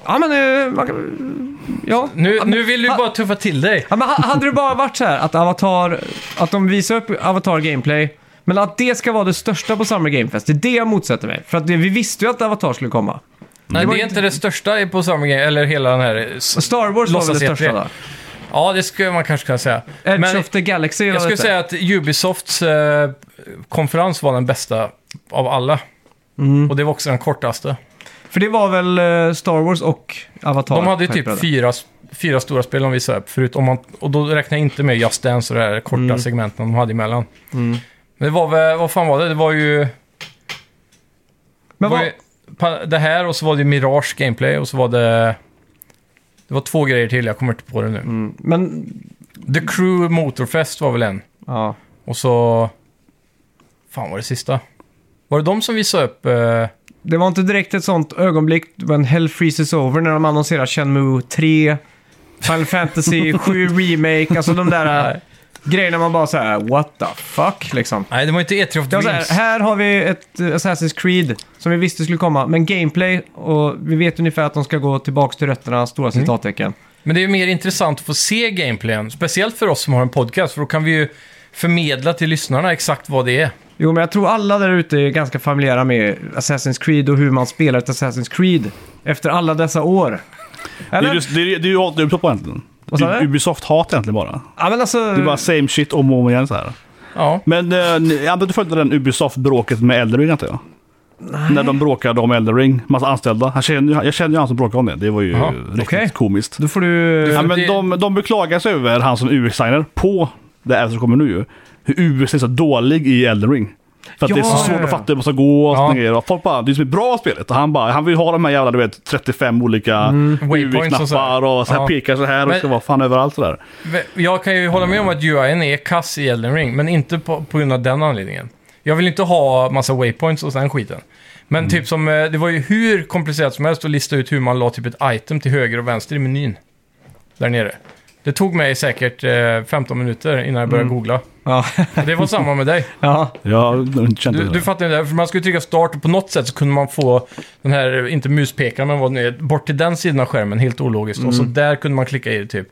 B: Ja, men... eh, Man, kan- ja.
A: Nu, nu vill du ju bara tuffa till dig.
B: ja men, ha- hade det bara varit så här att Avatar... Att de visar upp Avatar Gameplay. Men att det ska vara det största på Summer Game Fest, det är det jag motsätter mig. För att det, vi visste ju att Avatar skulle komma.
A: Nej,
B: var
A: det är
B: inte-
A: inte det största på samma grej, eller hela den här... s-
B: Star Wars var väl
A: Låtsas
B: det
A: jag
B: största
A: tre.
B: då?
A: Ja, det skulle man kanske kunna säga.
B: Edge
A: Men
B: of the Galaxy
A: jag
B: vad
A: skulle
B: hette det?
A: säga att Ubisofts eh, konferens var den bästa av alla. Och det var också den kortaste.
B: För det var väl eh, Star Wars och Avatar?
A: De hade ju typ
B: Typ
A: fyra, fyra stora spel de visade upp, förutom man, och då räknar jag inte med Just Dance och det här korta segmenten de hade emellan. Men det var väl, vad fan var det? Det var ju...
B: Men
A: var
B: vad,
A: ju pa- det här och så var det Mirage Gameplay och så var det... Det var två grejer till, jag kommer inte på det nu.
B: Mm. men,
A: The Crew Motorfest var väl en.
B: ja.
A: Och så... Fan var det sista? Var det de som visade upp... Eh,
B: Det var inte direkt ett sånt ögonblick when hell freezes over när de annonserar Shenmue 3, Final Fantasy 7 Remake, alltså de där äh, grejerna man bara såhär what the fuck liksom.
A: nej, det var inte E3 of
B: Det var så
A: Dreams.
B: här, här har vi ett eh, Assassin's Creed som vi visste skulle komma, men gameplay och vi vet ungefär att de ska gå tillbaka till rötterna, stora
C: Mm.
B: citattecken.
A: Men det är ju mer intressant att få se gameplayen. Speciellt för oss som har en podcast, för då kan vi ju förmedla till lyssnarna exakt vad det är.
B: Jo, men jag tror alla där ute är ganska familjära med Assassin's Creed och hur man spelar ett Assassin's Creed efter alla dessa år.
C: Det
B: Eller?
C: är just- det är- det är ju allt Ubisoft på egentligen.
B: Vad sa du?
C: Ubisoft-hat egentligen bara.
B: Ja, men alltså...
C: Det är bara same shit om och om igen så här.
A: Ja.
C: Men eh, ni- jag antar att du följde den Ubisoft-bråket med Elden Ring antar jag? När de bråkade om Elden Ring, massa anställda. Han känner, ju- jag känner ju han som bråkade om det. Det var ju
A: Jaha,
C: riktigt
B: okej.
C: komiskt.
B: Då får du...
C: Ja, men
A: det-
C: de, de beklagar sig över han som UX-designer på det här som kommer nu ju. Hur UX är så dålig i Elden Ring. För att det är
B: Ja,
C: så
B: ja,
C: svårt
B: ja.
C: att fatta hur man ska gå och
A: Ja.
C: sådana grejer. Och folk bara, det är som ett bra spelet. Och han bara, han vill ha de här jävla du vet, 35 olika
A: Mm. Waypoints och så här.
C: UI-knappar och så här
A: Ja.
C: pekar så här och
A: Men-
C: ska vara fan överallt sådär.
A: Jag kan ju hålla med om att UIn är kass i Elden Ring, men inte på, på grund av den anledningen. Jag vill inte ha massa waypoints och den skiten. Men
C: Mm.
A: typ som, eh, det var ju hur komplicerat som helst att lista ut hur man la typ ett item till höger och vänster i menyn. Där nere. Det tog mig säkert eh, 15 minuter innan jag
C: Mm.
A: började googla.
B: Ja.
A: Och det var samma med dig.
B: ja.
C: Jag kände
A: Du,
C: det.
A: du fattar ju det, här, för man skulle trycka start och på något sätt så kunde man få den här, inte muspekaren men vad det nu är, bort till den sidan av skärmen, helt ologiskt. Och så där kunde man klicka i det typ.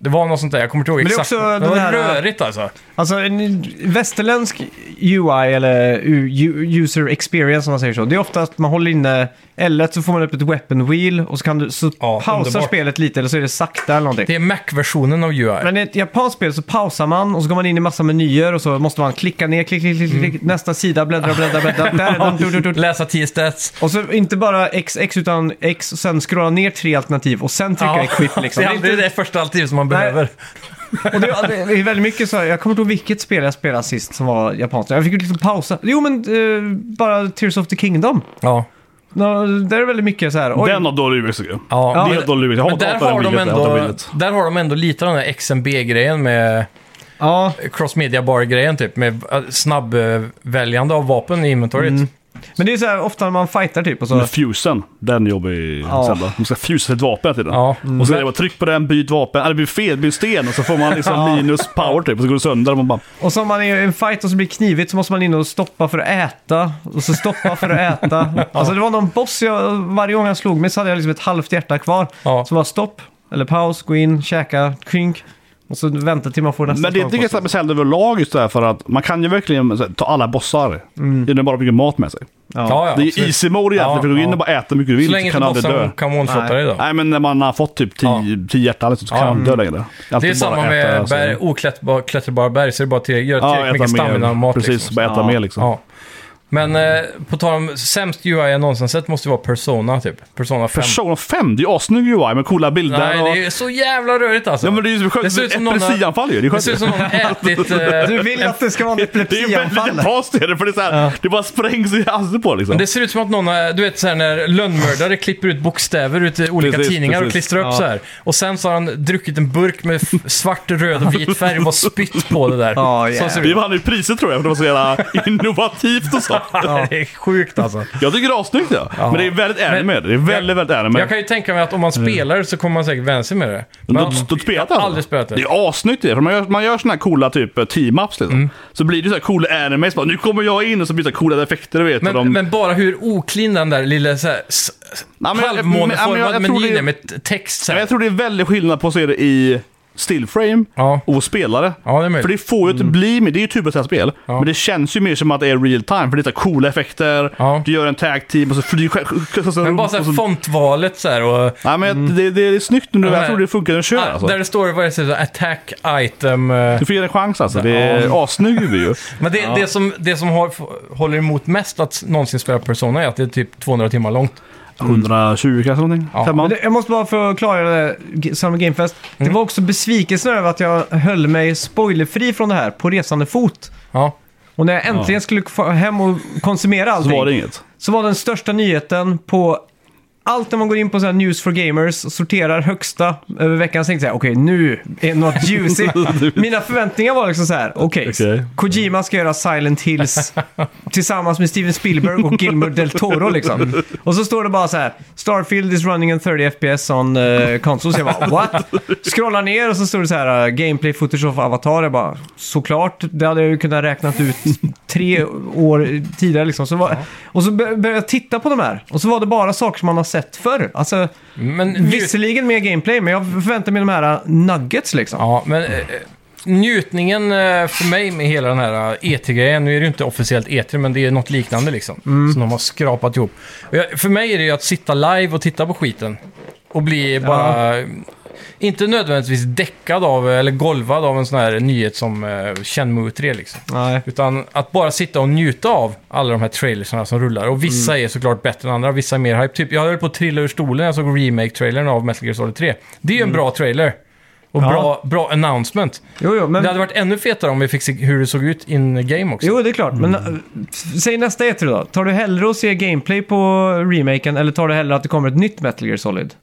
A: Det var något sånt där, jag kommer inte ihåg
B: Men det är
A: exakt.
B: också
A: det
B: den
A: var
B: här-
A: rörigt alltså.
B: Alltså en västerländsk UI eller U- U- user experience som man säger så. Det är ofta att man håller inne L1 så får man upp ett weapon wheel och så, kan du, så
A: Ja,
B: pausar
A: underbart.
B: spelet lite eller så är det sakta eller någonting.
A: Det är Mac-versionen av UI.
B: Men i ett japanskt spel så pausar man och så går man in i massa menyer och så måste man klicka ner, klick, klick, klick,
A: Mm.
B: klick nästa sida, bläddra, bläddra, bläddra. Där är den, du, du, du, du.
A: Läsa 10 stats.
B: Och så inte bara XX utan X och sen scrolla ner tre alternativ och sen trycka equip liksom.
A: Det är
B: inte-
A: aldrig det första alternativet som man
B: Nej.
A: behöver.
B: Och det, det är väldigt mycket så här, jag kommer inte ihåg vilket spel jag spelade sist som var japanskt. Jag fick ju liksom pausa. Jo men eh, bara Tears of the Kingdom.
A: Ja.
B: Nå, där är det väldigt mycket så här, oj,
C: Den har dålig UX tycker jag.
A: Ja,
C: Det är
A: men-
C: helt dålig UX. Jag
A: Men
C: hatar
A: där
C: hatar
A: har,
C: den
A: de
C: bilden. Jag hatar
A: ändå,
C: bilden.
A: där har de ändå lite av den där XMB-grejen med
B: ja.
A: cross media bar-grejen typ. Med eh, snabbväljande av vapen i inventoriet.
B: Men det är så här ofta när man fightar typ och så.
C: Men fusen, den är jobbig
B: Ja.
C: Zelda. De ska fusa sitt vapen hela tiden.
A: Ja.
C: Och så är det bara tryck på den, byt vapen, eller byt fel, byt sten och så får man liksom minus power typ och så går det sönder och man bara...
B: Och så om man är i en fight och så blir det knivigt så måste man in och stoppa för att äta. Och så stoppa för att äta. Alltså det var någon boss jag, varje gång han slog mig så hade jag liksom ett halvt hjärta kvar.
A: Ja.
B: Så bara stopp, eller paus, gå in, käka, krink. Och så vänta till man får nästa
C: Men det
B: slag på
C: tycker jag
B: sig.
C: är med Zelda överlag just det här för att man kan ju verkligen så här, ta alla bossar. Genom bara mycket mat med sig.
A: Ja, ja,
C: det är ju
A: absolut.
C: easy mode egentligen,
A: Ja,
C: för du går in
A: ja.
C: och bara äter hur mycket
A: Så
C: du vill
A: länge
C: så
A: inte
C: kan du aldrig dö.
A: bossen kan one-shotta dig då.
C: Nej men när man har fått typ 10
A: Ja.
C: hjärtan liksom, så kan
A: Ja.
C: man dö längre. Alltid
A: Det är
C: bara
A: samma
C: äta,
A: med
C: alltså.
A: berg, oklätterbara, klätterbara berg, så det är bara till, gör tillräckligt mycket
C: mer.
A: stamina och mat.
C: Precis,
A: liksom.
C: bara äta
B: Ja.
C: mer liksom.
A: Ja. Men eh, på tal om sämst UI jag någonsin sett måste ju vara Persona typ. Persona 5.
C: Persona 5, det är ju assnygg UI med coola bilder
A: Nej,
C: och...
A: det är så jävla rörigt alltså.
C: Ja men det är ju skönt.
A: Det ser ut som någon har-
C: Epilepsianfall ju. Det
A: Det
C: är skönt.
A: ser ut som någon har ätit... eh,
B: Du vill att det ska vara en
C: Det är ju väldigt
B: epilepsianfall.
C: japanskt är det, för det är så här, det bara sprängs i halsen på liksom.
A: Men det ser ut som att någon har, du vet såhär när lönnmördare klipper ut bokstäver ut i olika
C: Precis,
A: tidningar och
C: precis.
A: klistrar upp
B: Ja.
A: så här. Och sen så har han druckit en burk med f- svart, röd och vit färg och bara spytt på det där.
B: Ja,
A: Så
B: yeah.
A: ser det
C: Vi
A: ut.
C: vann ju priset tror jag, för det var så jävla innovativt och så.
A: Det är sjukt alltså.
C: Jag tycker det är assnyggt ja. Men det är väldigt anime. Det är väldigt, väldigt anime.
A: Jag kan ju tänka mig att om man spelar så kommer man säkert vänja sig med det.
C: Men
A: Men-
C: du- du spelar
A: jag har aldrig spelat det.
C: alltså. Det är assnyggt det. För man gör, man gör såna här coola typ eh, team-ups liksom.
A: Mm.
C: Så blir det så här coola animes. Bara, nu kommer jag in och så blir det så här coola effekter du vet.
A: Men,
C: och de,
A: men bara hur oklin den där lilla så här, s-
C: Nej, men jag- men- men jag-
A: halvmåneformade
C: jag tror
A: menyn
C: det-
A: är med t- text så
C: Men
A: här.
C: jag tror det är väldigt skillnad på att se det i stillframe
A: Ja.
C: och spelare.
A: Ja, det är möjligt. Mm.
C: för det får ju inte bli, men det är ju typ ett sånt här spel. Men det känns ju mer som att det är real time, för det är så här coola effekter,
A: Ja.
C: du gör en tag team och så flyger själv-
A: Men bara så här,
C: och så-
A: fontvalet så här och...
C: Nej men
A: Mm.
C: det, det, det är snyggt
A: Ja,
C: nu, jag
A: men- Ah,
C: tror det funkar när du kör alltså.
A: Där det står vad det säger, så här, attack item... eh,
C: Du får ge det en chans alltså, det är assnygg huvud ju.
A: Men det, det som, det som har, håller emot mest att någonsin spela Persona är att det är typ 200 timmar långt.
C: 120 kanske någonting?
A: Ja.
C: Femman?
B: Men det- Jag måste bara för att klargöra det, G- Summer Game Fest.
C: Mm.
B: Det var också besvikelsen över att jag höll mig spoilerfri från det här på resande fot.
A: Ja.
B: Och när jag äntligen skulle få hem och konsumera
C: Så
B: allting
C: var det inget.
A: Mm.
B: så var den största nyheten på allt när man går in på så här news for gamers och sorterar högsta över veckan så tänkte jag okej nu är något juicy. Mina förväntningar var liksom så här, okej,
C: Okej.
B: Kojima ska göra Silent Hills tillsammans med Steven Spielberg och Gilmer del Toro liksom. Och så står det bara så här, Starfield is running in 30 FPS on uh, consoles. Jag bara what? Scrollar ner och så står det så här, eh, gameplay footage of avatar. Jag bara såklart, det hade jag ju kunnat räknat ut tre år tidigare liksom. Så var, och så bör- började jag titta på de här och så var det bara saker som man har sett förr. Alltså,
A: Men, njut,
B: visserligen mer gameplay, men jag förväntar mig de här eh, nuggets liksom.
A: ja, men eh, njutningen eh, för mig med hela den här eh, E3-grejen, nu är det ju inte officiellt E3, men det är något liknande liksom. Som de har skrapat ihop. Och jag, för mig är det ju att sitta live och titta på skiten. Och bli bara... Inte nödvändigtvis däckad av, eller golvad av en sån här nyhet som eh, Shenmue 3 liksom.
B: Nej.
A: Utan att bara sitta och njuta av alla de här trailersarna som rullar. Och vissa
B: Mm.
A: är såklart bättre än andra, vissa är mer hype. Typ, jag höll på att trilla ur stolen när jag såg remake-trailern av Metal Gear Solid 3. Det är ju en bra trailer. Och
B: Mm. Ja.
A: bra, bra announcement.
B: Jo, jo, men...
A: Det hade varit ännu fetare om vi fick se hur det såg ut in game också. Mm.
B: Jo, det är klart. Men äh, f- säg nästa E3 då. Tar du hellre att se gameplay på remaken eller tar du hellre att det kommer ett nytt Metal Gear Solid?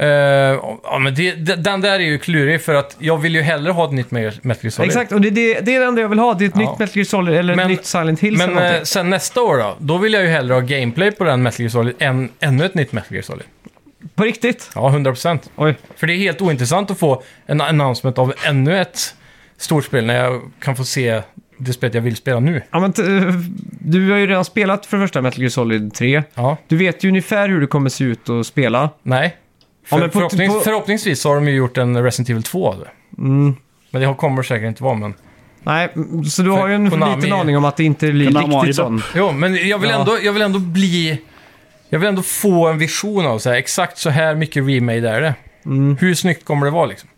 A: Eh, ja, men det, det- den där är ju klurig för att jag vill ju hellre ha ett nytt Metal Gear Solid.
B: Exakt, och det, det, det är det enda jag vill ha. Det är ett
A: Ja.
B: nytt Metal Gear Solid eller
A: Men-
B: ett nytt Silent Hills
A: Men
B: eller
A: eh,
B: någonting.
A: sen nästa år då, då vill jag ju hellre ha gameplay på den Metal Gear Solid än ännu ett nytt Metal Gear Solid. eh,
B: På riktigt?
A: Ja, 100%.
B: Oj.
A: För det är helt ointressant att få en announcement av ännu ett stort spel när jag kan få se det spelet jag vill spela nu.
B: Ja, men t- eh, du har ju redan spelat för det första Metal Gear Solid 3.
A: Ja,
B: Du vet ju ungefär hur det kommer se ut att spela.
A: nej.
B: Ja, men på-
A: förhoppnings,
B: på- Mm.
A: Förhoppningsvis så har de ju gjort en Resident Evil 2 av det. Men det kommer säkert inte vara, men...
B: Nej, så du har ju en
A: Konami-
B: liten aning om att det inte blir
C: Konami har ju
B: riktigt så.
C: dött.
A: Jo, men jag vill,
B: Ja.
A: ändå, jag vill ändå bli... Jag vill ändå få en vision av så här, exakt så här mycket remade är det.
B: Mm.
A: Hur snyggt kommer det vara liksom?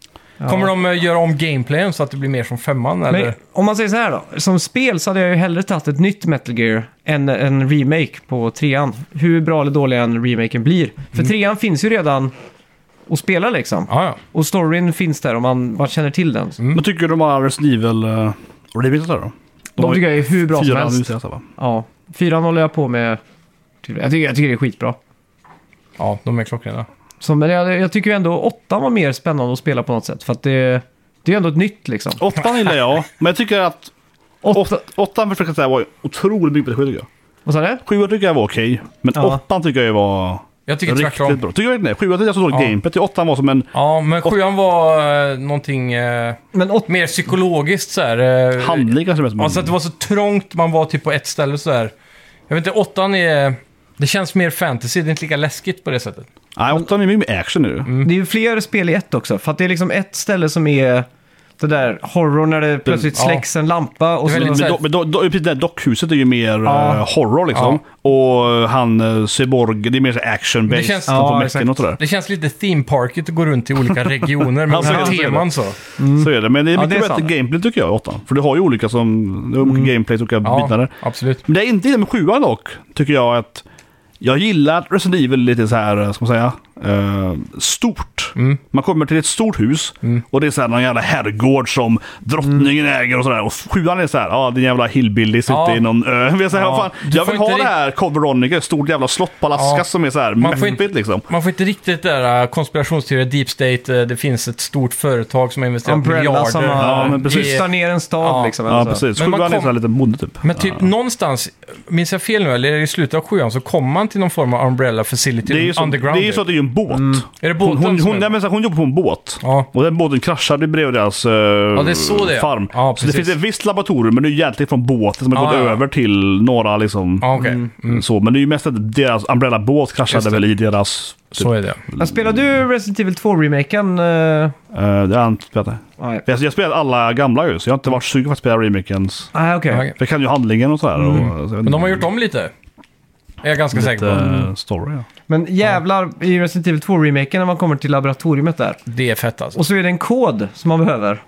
A: Kommer de eh, göra om gameplayen så att det blir mer som femman eller?
B: Men om man säger så här då. Som spel så hade jag ju hellre tagit ett nytt Metal Gear än en remake på trean. Hur bra eller dålig en remaken blir. För trean finns ju redan att spela liksom.
A: Ja, ja.
B: Och storyn finns där om man, man känner till den.
C: Vad tycker du om alla Resident Evil uh, remakes där då?
B: De tycker jag är hur bra som
C: Fyra nu
B: helst.
C: senast va?
B: Ja, fyran håller jag på med. Jag tycker, jag tycker det är skitbra.
A: ja, de är klockrena.
B: Så, men jag, jag tycker ju ändå åttan var mer spännande att spela på något sätt. För att det, det är ju ändå ett nytt liksom.
C: Åttan gillar jag, men jag tycker att
B: Åtta,
C: åt, åttan försöker jag säga var otroligt mycket bättre tycker jag.
B: vad sa du?
C: Sjuan tycker jag var okej, men
B: Ja.
C: åttan tycker jag var
A: Jag tycker
C: riktigt
A: tvärtom.
C: bra. Tycker jag inte det? Sjuan tyckte jag så dåligt
A: Ja.
C: gameplayt, till åttan var som en
A: Ja, men sjuan var eh, någonting eh,
B: Men åt,
A: mer psykologiskt så här. Eh,
C: handling kanske mest.
A: Alltså att det var så trångt, man var typ på ett ställe så här. Jag vet inte, åttan är... Det känns mer fantasy, det är inte lika läskigt på det sättet.
C: Nej, åttan är mycket mer action nu.
A: Mm.
B: det är ju fler spel i ett också. För att det är liksom ett ställe som är det där horror när det plötsligt
A: ja.
B: släcks en lampa. Och
A: Det
B: så,
A: är
C: Men,
A: väldigt-
B: men,
A: så
C: men,
A: här-
C: do, men do, do, precis, det där dockhuset är ju mer
B: Ja.
C: eh, horror liksom. Och eh, han uh, Cyborg, det är mer så här
A: Det
C: action-based.
A: känns-
C: som
B: Ja,
C: på
B: exakt.
C: Mexiken och sådär.
A: Det känns lite theme parket att gå runt i olika regioner med
C: Ja, så är
A: olika
C: det, så är det.
A: teman så.
C: Så är det. Men det är
B: Ja,
C: mycket
B: det är sant.
C: bättre gameplay tycker jag, åttan. För du har ju olika som... Det är olika gameplay, olika bitar
A: Mm. Ja,
C: där.
A: absolut.
C: Men det jag inte gillar med sjuan dock, tycker jag att... Jag gillar att Resident Evil lite så här, ska man säga, eh, stort.
A: Mm.
C: Man kommer till ett stort hus och det är så här någon jävla herrgård som drottningen äger och sådär. Och sjuan är så här, ja ah, din jävla hillbilly sitter
A: Mm. Ja.
C: i någon ö. Jag, säger,
A: Ja.
C: vad
A: Du
C: fan, jag
A: får
C: vill ha
A: inte
C: det här Cod Veronica, ett stort jävla slott på Alaska
A: Ja.
C: som är så här
A: Man får
C: mäffigt
A: inte-
C: liksom.
A: Man får inte riktigt det där äh, konspirationsteorier, deep state, äh, det finns ett stort företag som har investerat
B: Umbrella
A: miljarder.
B: som
C: Ja,
B: har
C: men precis.
B: tystar ner en stad
A: Ja.
B: liksom. eller
C: Ja,
B: så.
C: precis.
A: Men man
C: Sjuan är
A: kom-
C: så här lite bonde typ.
A: Men typ någonstans, minns jag fel nu eller är det i slutet av sjuan så kommer man till någon form av umbrella facility
C: Det är ju så, det
A: underground. typ.
C: är ju så att det är ju en båt.
A: Är det båten
C: Hon, hon,
A: som
C: hon,
A: är-
C: nej, men så här, hon jobbar på en båt.
A: Ja.
C: Och den båten kraschade bredvid deras eh,
A: det är så det är.
C: farm.
A: Ja,
C: så det
A: precis.
C: finns ett visst laboratorium, men det är ju egentligen från båten som har
A: Ja,
C: gått
A: ja.
C: över till några liksom.
A: Ja, okej. Mm,
C: Så, men det är ju mest att deras umbrella-båt kraschade
A: Just det.
C: väl i deras... Typ,
A: Så är det.
B: Ja, spelar du Resident Evil 2-remaken? eh?
C: eh, det har jag inte spelat.
B: Nej,
C: Jag jag spelat alla gamla ju, så jag har inte varit sugen på att spela remakens.
B: Nej, okej.
A: Okej.
C: För jag kan ju handlingen och sådär. Och, så jag vet
A: Mm. Men de har gjort
C: inte,
A: om lite. Är jag ganska säker på.
C: lite story. Ja.
B: Men jävlar i Resident Evil 2-remaken när man kommer till laboratoriet där.
A: Det är fett alltså.
B: Och så är det en kod som man behöver.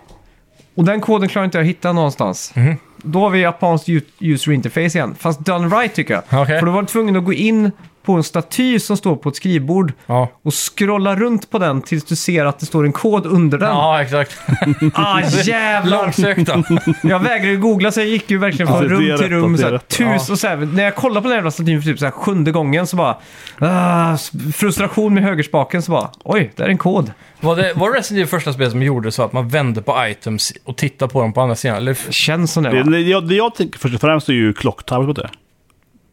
B: Och den koden klarar inte jag att hitta någonstans.
A: Mm-hmm.
B: Då har vi japanskt u- user interface igen. Fast done right tycker jag.
A: Okej.
B: För då var du tvungen att gå in på en staty som står på ett skrivbord
A: Ja.
B: och scrolla runt på den tills du ser att det står en kod under den.
A: Ja, exakt.
B: Ah jävlar!
A: Långsökt då.
B: Jag vägrade ju googla så jag gick ju verkligen från
C: Ja, Alltså, det är
B: rum till
C: rätt,
B: rum. Så
C: det är
B: här,
C: rätt.
B: tus och så här, när jag kollade på den här jävla statyn för typ så här, sjunde gången så bara... ah, frustration med högerspaken så bara... Oj, där är en kod.
A: Var, det, var Resident Evil första spelet som gjorde så att man vände på items och tittade på dem på andra sidan? Eller f-
B: Känns som det
C: Det,
B: va?
C: det, jag, det jag tänker först och främst är ju Clock Tower. vet du det?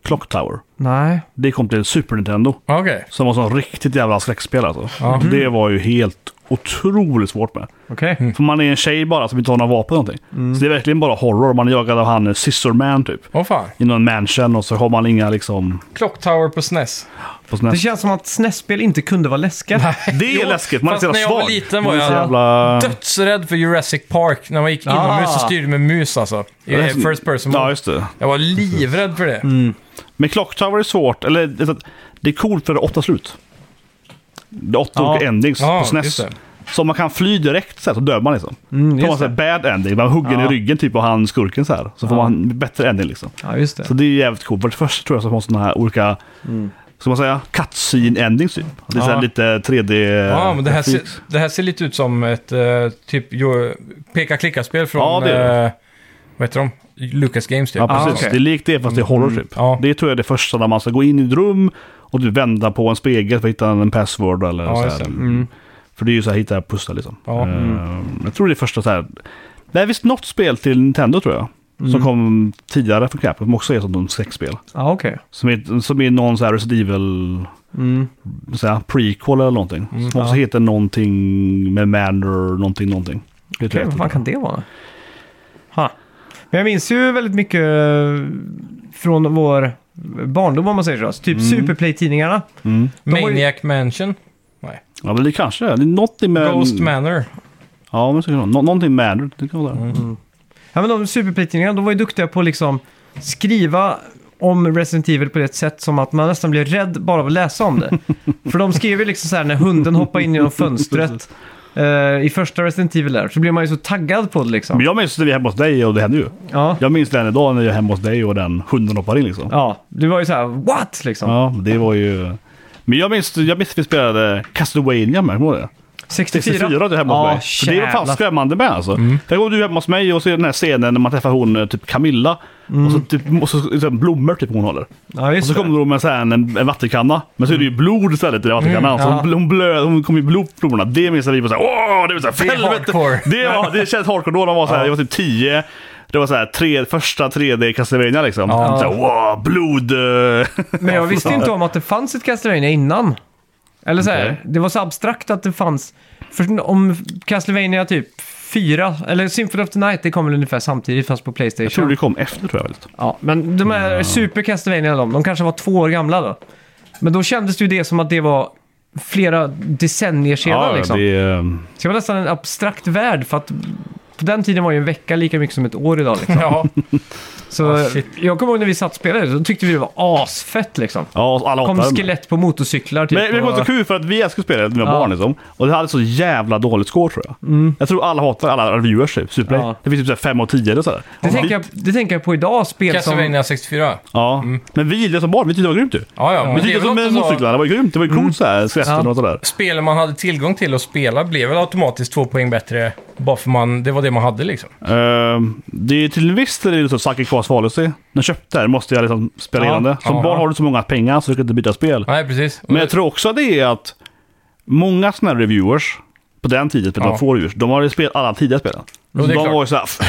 C: Clock Tower.
B: Nej.
C: Det kom till Super Nintendo.
A: Ja, Okej.
C: Som var sån riktigt jävla skräckspel alltså.
A: Mm.
C: Det var ju helt otroligt svårt med.
B: Okej.
C: För man är en tjej bara som inte har några vapen eller någonting.
A: Mm.
C: Så det är verkligen bara horror. Man är jagad av han eh, Scissor Man typ.
A: Åh fan.
C: I någon mansion och så har man inga liksom...
A: Clock Tower på E SNES.
C: På sån
B: Det
C: här...
B: känns som att SNES-spel inte kunde vara läskiga.
C: Det är
A: Jo,
C: läskigt. Man är
A: fast när
C: så jävla
A: jag
C: svag.
A: var liten var
C: Man är så
A: jag
C: jävla...
A: Dödsrädd för Jurassic Park. När man gick
B: Ah.
A: inomhus så styrde med mus alltså. I
C: Ja, det är så-
A: first person
C: Ja,
A: mode.
C: just det. Mm.
A: Jag var livrädd för det.
C: Men Clock Tower är svårt. Eller det är så att- det är coolt för det är åtta slut. Det är åtta
B: Ja.
C: olika endings
A: Ja,
C: på SNES.
A: just det.
C: Så man kan fly direkt så, här, så dör man liksom. Mm,
B: just
C: man så här, bad ending, man hugger i ryggen typ av han skurken så här. Så får man bättre ending liksom.
B: Ja, just det.
C: Så det är jävligt coolt. För det första tror jag så måste man här olika, ska man säga, cut scene endings typ. Det är så
A: Ja.
C: här lite 3D...
A: Ja, men det här, ser,
C: grafik.
A: det här ser lite ut som ett eh, typ jo- peka-klicka-spel från...
C: Ja, det är det.
A: eh, vad heter de? Lucas Games typ.
C: Ja, precis.
B: okej.
C: Det är likt det fast det är horror typ.
A: Mm. Ja.
C: Det tror jag är det första när man ska gå in i ett rum och du vända på en spegel för att hitta en password eller
A: Ja,
C: så
A: just
C: här.
A: det. Mm.
B: Mm.
C: För det är ju så här hitta pussel liksom.
A: Ja. Mm.
C: Eh, Jag tror det är första så här. Det är visst något spel till Nintendo tror jag.
A: Mm.
C: Som kom tidigare från Capcom som också är som ett skräckspel.
B: Ja, okej.
C: Som är, som är någon så här Resident Evil
B: Mm.
C: så här, prequel eller någonting. som också heter någonting med Manor, någonting, någonting. Det
B: Okej,
C: tror jag
B: vad
C: inte.
B: fan kan det vara? Ha. Men jag minns ju väldigt mycket eh, från vår Alltså,
C: Mm.
B: barndom om man säger så. Typ Superplay-tidningarna. De var ju-
A: Maniac Mansion. Nej.
C: Ja, men det kanske är. Det är någonting med...
A: Ghost Manor.
C: Ja, men så kan det vara. Nå- någonting med det kan vara
B: Mm.
C: där.
B: Ja, men de superpritningarna, de var ju duktiga på att liksom skriva om Resident Evil på det sätt som att man nästan blir rädd bara av att läsa om det. För de skrev ju liksom så här när hunden hoppar in genom fönstret eh, i första Resident Evil där, så blir man ju så taggad på det liksom.
C: Men jag minns när vi är hemma hos dig och det hände ju.
B: Ja,
C: Jag minns den idag när jag är hemma hos dig och den hunden hoppar in liksom.
B: ja det var ju så här what liksom.
C: Ja, det var ju... Men jag minns, jag minns att vi spelade Castlevania med, kommer du ihåg det?
B: 64.
C: 64 att du är hemma hos mig. För det var fan
B: jävlar.
C: skrämmande med alltså.
B: Mm.
C: Tänk om du är hemma hos mig och ser den här scenen när man träffar hon, eh, typ Camilla. Och
B: Mm.
C: så typ och så, så, här blommor typ hon håller.
B: Ja,
C: Och
B: just
C: så
B: det.
C: kommer de med så här en, en vattenkanna. Men så är det ju blod istället i den vattenkannan. så
B: Mm, ja.
C: hon, bl- hon, blöd, hon kommer ju blod på blommorna. Det minns jag vi på såhär, åh! Det var såhär,
A: Det är hardcore.
C: Det, var, det känns hardcore då. De var såhär, jag var typ 10. Det var såhär tre, första 3D Castlevania liksom.
A: Ja.
C: Så här, wow, blod! eh."
B: Men jag visste inte om att det fanns ett Castlevania innan. Eller så här,
C: Okej.
B: det var så abstrakt att det fanns. För om Castlevania typ 4, eller Symphony of the Night, det kom väl ungefär samtidigt fast på
C: jag tror
B: Playstation.
C: det kom efter tror jag. Väldigt.
B: Ja, men de här Super Castlevania de, de kanske var två år gamla då. Men då kändes det ju det som att det var flera decennier sedan
C: ja,
B: liksom.
C: det, eh,
B: Så det var nästan en abstrakt värld för att på den tiden var ju en vecka lika mycket som ett år idag liksom.
A: Ja,
B: Så
A: Ah, shit.
B: jag kommer ihåg när vi satt och spelade, så tyckte vi det var asfett liksom.
C: ja, alla
B: Kom
C: hatar den.
B: skelett på motorcyklar typ.
C: Men det var så kul för att vi älskade spelet när vi var
B: Ja. Mm.
C: barn liksom. Och det hade så jävla dåligt score tror jag. Jag tror alla hatar alla reviewers typ. Superplay.
B: Ja.
C: Det finns typ 5 och 10 eller sådär.
B: Det, tänker jag, Mm. det tänker jag på idag, spel som...
A: Castlevania 64.
C: Ja. Men vi gillade det som barn. Vi tyckte det var grymt ju.
A: Ja, ja.
C: Vi
A: det är
C: tyckte det
A: väl
C: med
A: också så-
C: motorcyklarna. Det var ju grymt. Det var ju coolt såhär. Skvätten
B: Mm. Ja.
C: och sådär.
A: Spelen man hade tillgång till att spela blev väl automatiskt två poäng bättre bara för man, det var det man hade liksom.
C: Ehm, det är till en viss del är det så Saki Kwas Falusi. Den köpte här måste jag liksom spela
B: Ja.
C: igenom det. Som
A: Ja.
C: barn har du så många pengar så du kan inte byta spel.
A: Nej, precis.
C: Men jag tror också det är att många sådana här reviewers på den tiden, ja. de
A: Ja.
C: får reviewers, de har ju spelat alla tidiga spelen.
A: Jo, det är
C: de
A: klart.
C: var ju såhär, "F-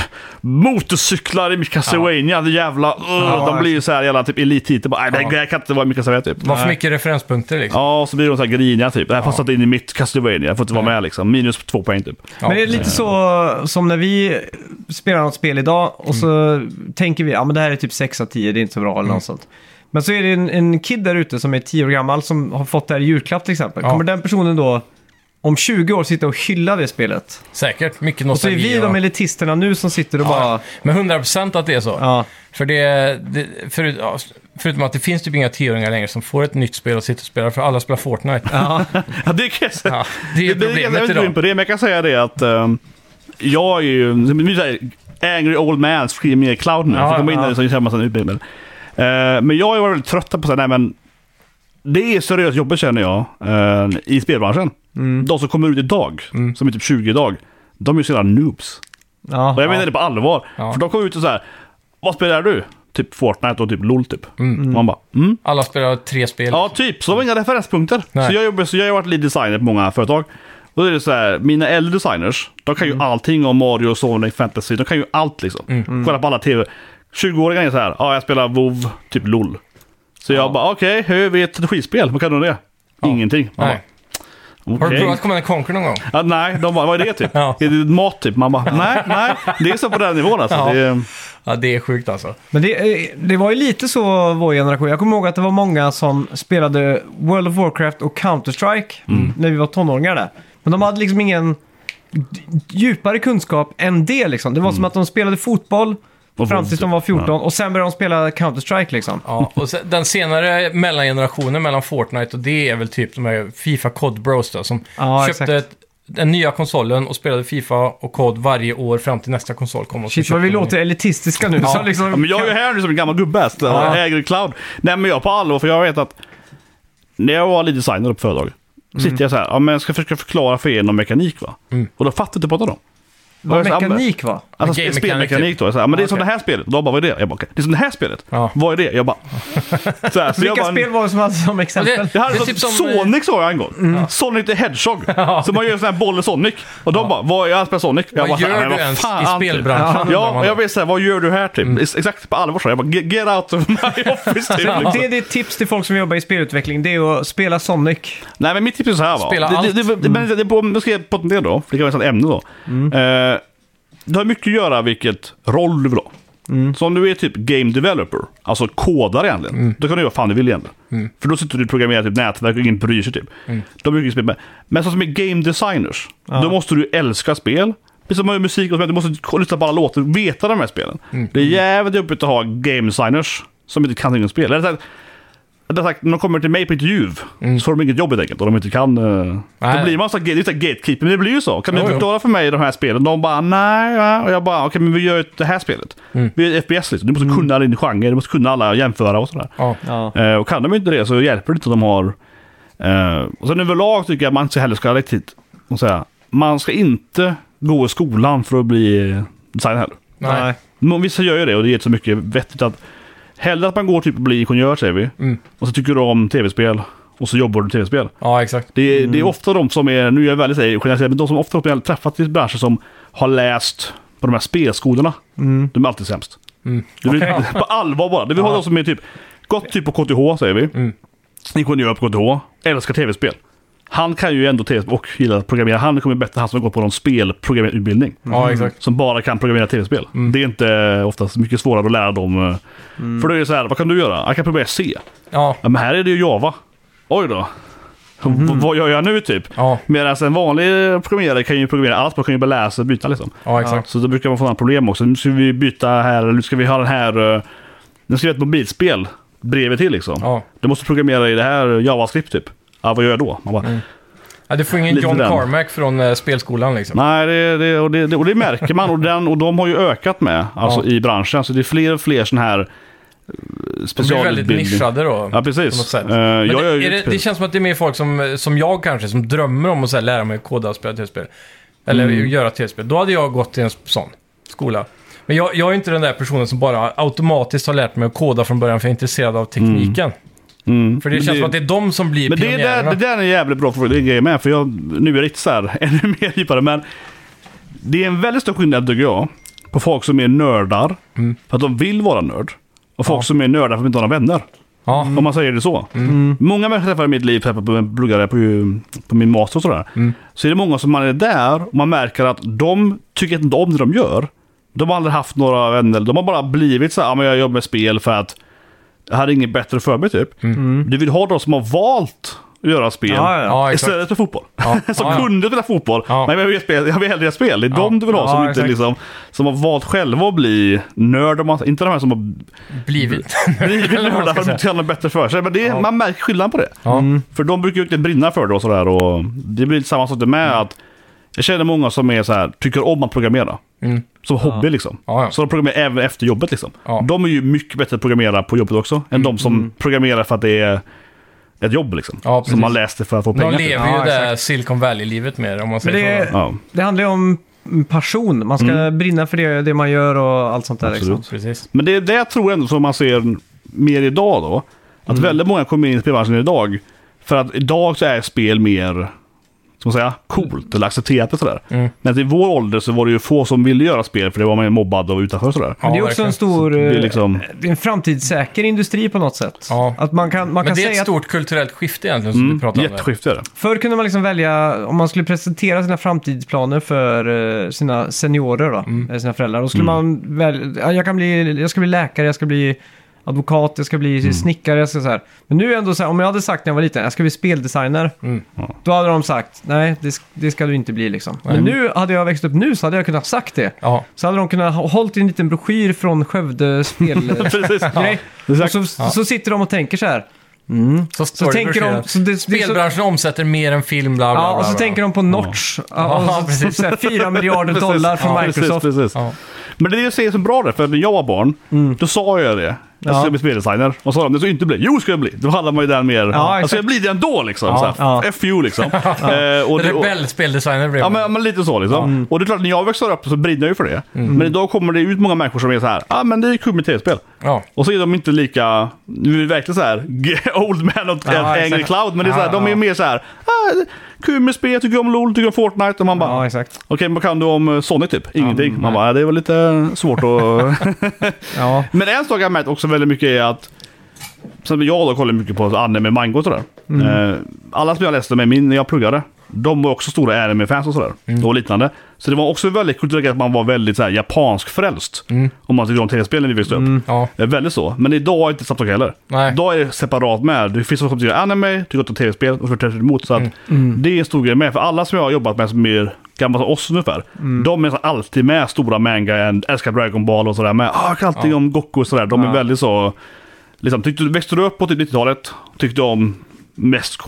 C: motorcyklar i Castlevania, det jävla... ugh." de blir ju
A: alltså.
C: såhär jävla typ elittitlar. Bara, Nej, det här- det här kan inte vara i mitt Castlevania typ.
A: Det var för mycket referenspunkter liksom.
C: Ja, och så blir de såhär griniga typ. Det här passar inte in i mitt Castlevania, jag får inte vara med liksom. Minus två poäng typ.
A: Ja.
B: Men det är lite så som när vi spelar något spel idag och så
C: Mm.
B: tänker vi ja men det här är typ 6 av 10, det är inte så bra eller något sånt. Men så är det en, en kid där ute som är 10 år gammal som har fått det här i julklapp till exempel.
A: Ja.
B: Kommer den personen då om 20 år sitta och hylla det spelet?
A: Säkert, mycket
B: Och så är
A: nostalgi.
B: vi de elitisterna nu som sitter och bara...
A: Ja, men 100% att det är så.
B: Ja,
A: För det, det förut, ja, förutom att det finns typ inga tioåringar längre som får ett nytt spel och sitter och spelar, för alla spelar Fortnite.
B: ja.
C: Ja, det kan jag säga.
A: Ja, det är ju
C: jag vill
A: problemet
C: inte gå in
A: idag.
C: på det, men jag kan säga det att ehm, jag är ju... vi säger Angry Old Man screaming at cloud nu.
A: Ja,
C: Ja, komma in
B: ja.
C: där så känner man sig utbildad. Eh, men jag var väldigt trött på såhär, nej men... Det är seriöst jobbigt känner jag eh, i spelbranschen.
A: Mm.
C: De som kommer ut idag, som är typ 20 idag, de är ju så jävla noobs.
B: ja.
C: Och jag menar det på allvar.
A: Ja.
C: För de kommer ut och så här, vad spelar du? Typ Fortnite och typ LOL typ. Och man bara, mm.
A: Alla spelar tre spel.
C: Ja, typ. Så de har inga referenspunkter.
A: Nej.
C: Så jag, jobbar, så jag har varit lead designer på många företag. Och då är det så här, mina äldre designers, de kan ju
A: Mm.
C: allting om Mario, Sonic, Fantasy. De kan ju allt liksom. Kolla på alla TV. 20-åringar är så här, ja jag spelar WoW, typ LOL. Så jag bara, okej, hur vet strategispel? Vad kan du om det? Ingenting. Man
A: Nej.
C: Bara,
A: Har du
C: okej.
A: provat Command Conquer någon gång?
C: Ja, nej, de bara, vad är det typ?
A: Ja.
C: Är det mat typ? Man bara, nej, nej. Det är så på den nivån alltså.
A: Ja.
C: Det är,
A: Ja, det är sjukt alltså.
B: Men det, eh, det var ju lite så vår generation. Jag kommer ihåg att det var många som spelade World of Warcraft och Counter-Strike
C: Mm.
B: när vi var tonåringar där. Men de hade liksom ingen d- djupare kunskap än det liksom. Det var
C: Mm.
B: som att de spelade fotboll
C: Och
B: fram tills de var 14 och sen började de spela Counter-Strike liksom.
A: Ja, och sen, den senare mellangenerationen mellan Fortnite och det är väl typ de här Fifa Cod Bros då, som
B: Ja,
A: köpte
B: exakt.
A: ett, den nya konsolen och spelade Fifa och Cod varje år fram till nästa konsol kom. Och så
B: Shit vad
A: köpte
B: vi
A: de-
B: låter elitistiska nu.
A: Ja.
B: Så liksom,
C: Ja, men jag är ju här nu som en gammal gubbe, så
B: Ja.
C: jag äger cloud. Nej men jag på allvar, för jag vet att när jag var lead designer på företag,
B: Mm.
C: sitter jag så här, ja men jag ska försöka förklara för er någon mekanik va? Och då fattar inte båda dem.
B: det var
C: Och jag så här,
B: Mm. mekanik typ. va?
C: Alltså
A: Game
C: sp-
A: mechanic,
C: spelmekanik då. Jag så här, men det är som det här spelet. Och de bara, vad är det? Jag bara, okej. det är som det här spelet.
A: Ja.
C: Vad är det? Jag bara... Så här, så jag
B: Vilka
C: bara-
B: spel var det som hade som exempel?
A: Det-
C: jag hade
A: är
C: sån,
A: typ som-
C: alltså
A: Mm.
C: Sonic sa jag en gång. Sonic the Hedgehog. Så man gör sån här boll i Sonic. Och de bara, vad, jag spelar Sonic. Jag
A: Vad
C: bara, så här,
A: gör
C: "Men
A: du
C: vad
A: ens
C: fan,
A: i
C: typ?"
A: spelbranschen, undrar
C: Ja,
A: man
C: och jag
A: då. Mm.
C: vill säga, vad gör du här typ? Exakt på allvar så. Jag bara, get get out of my office typ.
B: Så
C: liksom.
B: Det är ditt tips till folk som jobbar i spelutveckling, det är att spela Sonic.
C: Nej, men mitt tips är så här va.
A: Spela
C: det,
A: allt. Mm.
C: Det, det, det, men det, det, på- jag ska på det då, för det kan vara ett sånt ämne då. Eh, det har mycket att göra vilket roll du vill ha. Så om du är typ game developer, alltså kodare egentligen, då kan du göra vad fan du vill egentligen. För då sitter du och programmerar typ nätverk och ingen bryr sig typ. De brukar ju spela med. Men så som är game designers, då måste du älska spel. Precis som man gör musik och sånt, du måste k- lyssna på alla låtar och veta de här spelen. Det är jävligt jobbigt att ha game designers som inte kan något spel. Eller rättare sagt, rättare sagt, när de kommer till mig på intervju så har de inget jobb helt enkelt och de inte kan... eh,
A: Nej.
C: Då blir man så här, det är så här gatekeeper, men det blir ju så. Kan du
A: Jo, jo.
C: förklara förklara för mig de här spelen. De bara nej, ja. och jag bara okej men vi gör ett- det här spelet. Vi gör ett FPS liksom. Du måste kunna din genre, du måste kunna alla och jämföra och sådär.
A: Ja.
B: Ja.
C: Eh, och kan de inte det så hjälper det inte att de har... Eh, och sen överlag tycker jag att man inte heller ska ha riktigt... vad ska jag säga, Man ska inte gå i skolan för att bli eh, designer heller.
A: Nej.
C: Men Vissa gör ju det och det ger inte så mycket vettigt att... Hellre att man går typ och blir ingenjör säger vi.
A: Mm.
C: Och så tycker du om tv-spel. Och så jobbar du med tv-spel.
A: Ja, exakt.
C: Det är, det är ofta de som är, nu är jag väldigt säger, generaliserar, men de som ofta jag har träffat i branschen som har läst på de här spelskolorna. De är alltid sämst.
A: Mm.
C: Det blir, På allvar bara. Det vill ha de som är typ, gått typ på KTH säger vi. Mm. Ingenjör på KTH, älskar tv-spel. Han kan ju ändå tv-spel och gillar att programmera. Han kommer bättre än han som har gått på någon spelprogrammerarutbildning.
B: Mm.
A: Ja, exakt.
C: Som bara kan programmera tv-spel. Det är inte oftast mycket svårare att lära dem. eh, För då är det så här, vad kan du göra? Jag kan programmera C.
A: Ja.
C: Ja, men här är det ju Java. Oj då. V- vad gör jag nu typ?
A: Ja,
C: Medan en vanlig programmerare kan ju programmera allt, man kan ju bara läsa och byta liksom.
A: ja exakt.
C: Så då brukar man få några problem också. Nu ska vi byta här, nu ska vi ha den här... eh, Nu ska vi ha ett mobilspel bredvid till liksom.
A: Ja.
C: Du måste programmera i det här JavaScript typ. Ja, vad gör jag då? Man bara,
A: Mm. Ja, du får ingen
C: Lite
A: John
C: den.
A: Carmack från eh, spelskolan liksom.
C: Nej, det, det, och, det, och det märker man. Och, den, och de har ju ökat med alltså,
A: Ja.
C: i branschen. Så det är fler och fler sådana här eh,
A: De blir väldigt
C: specialutbildningar.
A: nischade då.
C: Ja,
A: På något
C: precis.
A: sätt.
C: Eh, jag
A: Men
C: gör
A: det,
C: ju
A: är det, det känns som att det är mer folk som, som jag kanske, som drömmer om att så här, lära mig koda och spela tv-spel. Eller
C: Mm.
A: göra tv-spel. Då hade jag gått till en sån skola. Men jag, jag är inte den där personen som bara automatiskt har lärt mig att koda från början för jag är intresserad av tekniken.
C: Mm.
A: För det
C: Men
A: känns som att det är de som blir
C: Men det,
A: pionjärerna.
C: där, det där är en jävligt bra fråga, det är en grej med. För jag, nu är jag riktigt så här, ännu mer djupare. Men det är en väldigt stor skillnad tycker jag. På folk som är nördar. För att de vill vara nörd. Och folk som är nördar för att de inte har några vänner.
A: Ja,
C: Om man säger det så.
B: Mm.
C: Många människor jag träffar i mitt liv, träffar på pluggare på, på min master och sådär.
B: Mm.
C: Så är det många som man är där och man märker att de tycker inte om det de gör. De har aldrig haft några vänner. De har bara blivit så här, "Ja, men jag jobbar med spel för att jag hade inget bättre för mig typ. Du vill ha de som har valt att göra spel
B: Mm. Ja, ja.
A: ja exakt.
C: istället för fotboll.
A: Ja.
C: som
A: Ja, ja.
C: kunde spela fotboll.
A: Ja.
C: Nej, men jag vill, spela, jag vill hellre göra spel. Det är de du vill ha
B: Ja,
C: som, inte,
B: exakt.
C: liksom, som har valt själva att bli nörd. Om man- Inte de här som har
A: Blivit.
C: blivit
A: Eller vad man
C: nördar
A: ska
C: för att
A: säga.
C: inte göra något bättre för sig. Men det,
A: Ja.
C: man märker skillnaden på det.
A: Ja.
C: För de brukar ju inte brinna för det och sådär. Och det blir lite samma sak där med
A: Mm.
C: att jag känner många som är så här, tycker om att programmera.
A: Mm.
C: Som hobby liksom.
A: Ja, ja.
C: Så de programmerar även efter jobbet liksom.
A: Ja. Mm.
C: De är ju mycket bättre att programmera på jobbet också. Än de som programmerar för att det är ett jobb liksom.
A: Ja, precis.
C: som man läste för att få pengar
A: De
C: till.
A: lever ju
B: Ja,
A: det där Silicon Valley-livet med om man
B: Men
A: säger
B: det,
A: så.
C: Ja.
B: det handlar ju om passion. Man ska brinna för det, det man gör och allt sånt där. Liksom.
C: Mm. Absolut.
A: Precis.
C: Men det är det jag tror ändå som man ser mer idag då. Att väldigt många kommer in i spelbranschen idag. För att idag så är spel mer, ska man säga, coolt eller accepterat och sådär.
A: Mm.
C: Men i vår ålder så var det ju få som ville göra spel för det var man ju mobbad och utanför och sådär.
B: Men det är
A: Ja,
B: också
A: verkligen.
B: en stor...
C: Det är
B: eh,
C: liksom,
B: Det är en framtidssäker industri på något sätt.
A: Ja.
B: Att man kan, man
A: Men
B: kan
A: det är
B: säga
A: ett
B: att
A: stort kulturellt skifte egentligen som vi
C: mm,
A: pratar om. där.
C: jätteskifte är det.
B: förr kunde man liksom välja, om man skulle presentera sina framtidsplaner för eh, sina seniorer då, eller sina föräldrar, då skulle man välja, ja, jag, kan bli, jag ska bli läkare, jag ska bli advokat, jag ska bli snickare, jag ska så här. Men nu är det ändå så här, om jag hade sagt när jag var liten, jag ska bli speldesigner, då hade de sagt, nej det, sk- det ska du inte bli liksom. Men nu, hade jag växt upp nu så hade jag kunnat sagt det.
A: Ja,
B: Så hade de kunnat ha- hållit i en liten broschyr från Skövde spel...
C: Precis.
B: grej. Och
C: Exakt.
B: så, så sitter de och tänker så här. Så
A: så, står det i
B: tänker de...
A: broschyren.
B: Så det, det, är så,
A: Spelbranschen omsätter mer än film, bla bla
B: ja,
A: bla,
B: och så
A: bla.
B: tänker de på Notch. Ja,
A: Ja,
B: och så,
A: precis.
B: så här, 4 miljarder
C: Precis.
B: dollar från
C: Ja,
B: Microsoft.
C: Precis, precis.
A: Ja.
C: Men det är det jag säger som bra där, för när jag var barn, då sa jag det. Jag ska
B: Ja.
C: bli speldesigner. Och så sa de, det ska jag inte bli. Jo, ska jag bli. Då hade man ju den mer, ja,
B: exakt.
C: ska jag bli det ändå liksom?
A: Ja,
C: så här,
B: ja.
C: FU liksom. Eh, och det- och-
A: Rebell speldesigner blev
C: Ja
A: man.
C: men, men lite så liksom. Och det är klart, när jag växer upp så brinner jag ju för det. Men idag kommer det ut många människor som är så här, ja ah, men det är kul med tv-spel.
A: Ja.
C: Och så är de inte lika, nu är det verkligen så här, old man och
B: Ja,
C: angry
B: exakt.
C: cloud. Men det är så här,
A: Ja,
C: de är
A: ja.
C: mer så här, ah, det är kul med spel, jag tycker om LOL, tycker om Fortnite. Och man bara,
B: Ja,
C: okej
B: exakt.
C: vad kan du om eh, Sonic typ? Ingenting. man bara, "Ja, det var lite svårt att...
B: Ja.
C: men en sak jag har märkt också väldigt mycket är att, som jag då kollar mycket på anime, manga och sådär. Eh, alla som jag läste med min, när jag pluggade, De var också stora anime-fans och sådär. Och liknande. Så det var också väldigt kulturellt att man var väldigt så här, japansk frälst. Om man tycker om tv-spelen i växte upp.
A: Ja.
C: Eh, Väldigt så. Men idag är det inte samma sak heller.
A: Nej.
C: Idag är det separat med. Det finns folk som tycker anime, tycker om tv-spel och så tvärs emot. Så att
B: Mm.
C: det är en stor grej med. För alla som jag har jobbat med som är gamla som oss ungefär.
B: Mm.
C: De är nästan alltid med stora manga, and- älskar Dragon Ball och sådär. Men ah, jag kan alltid om Goku och sådär. De är väldigt så... Liksom, tyckte, växte du upp på typ 90-talet? Tyckte om mest...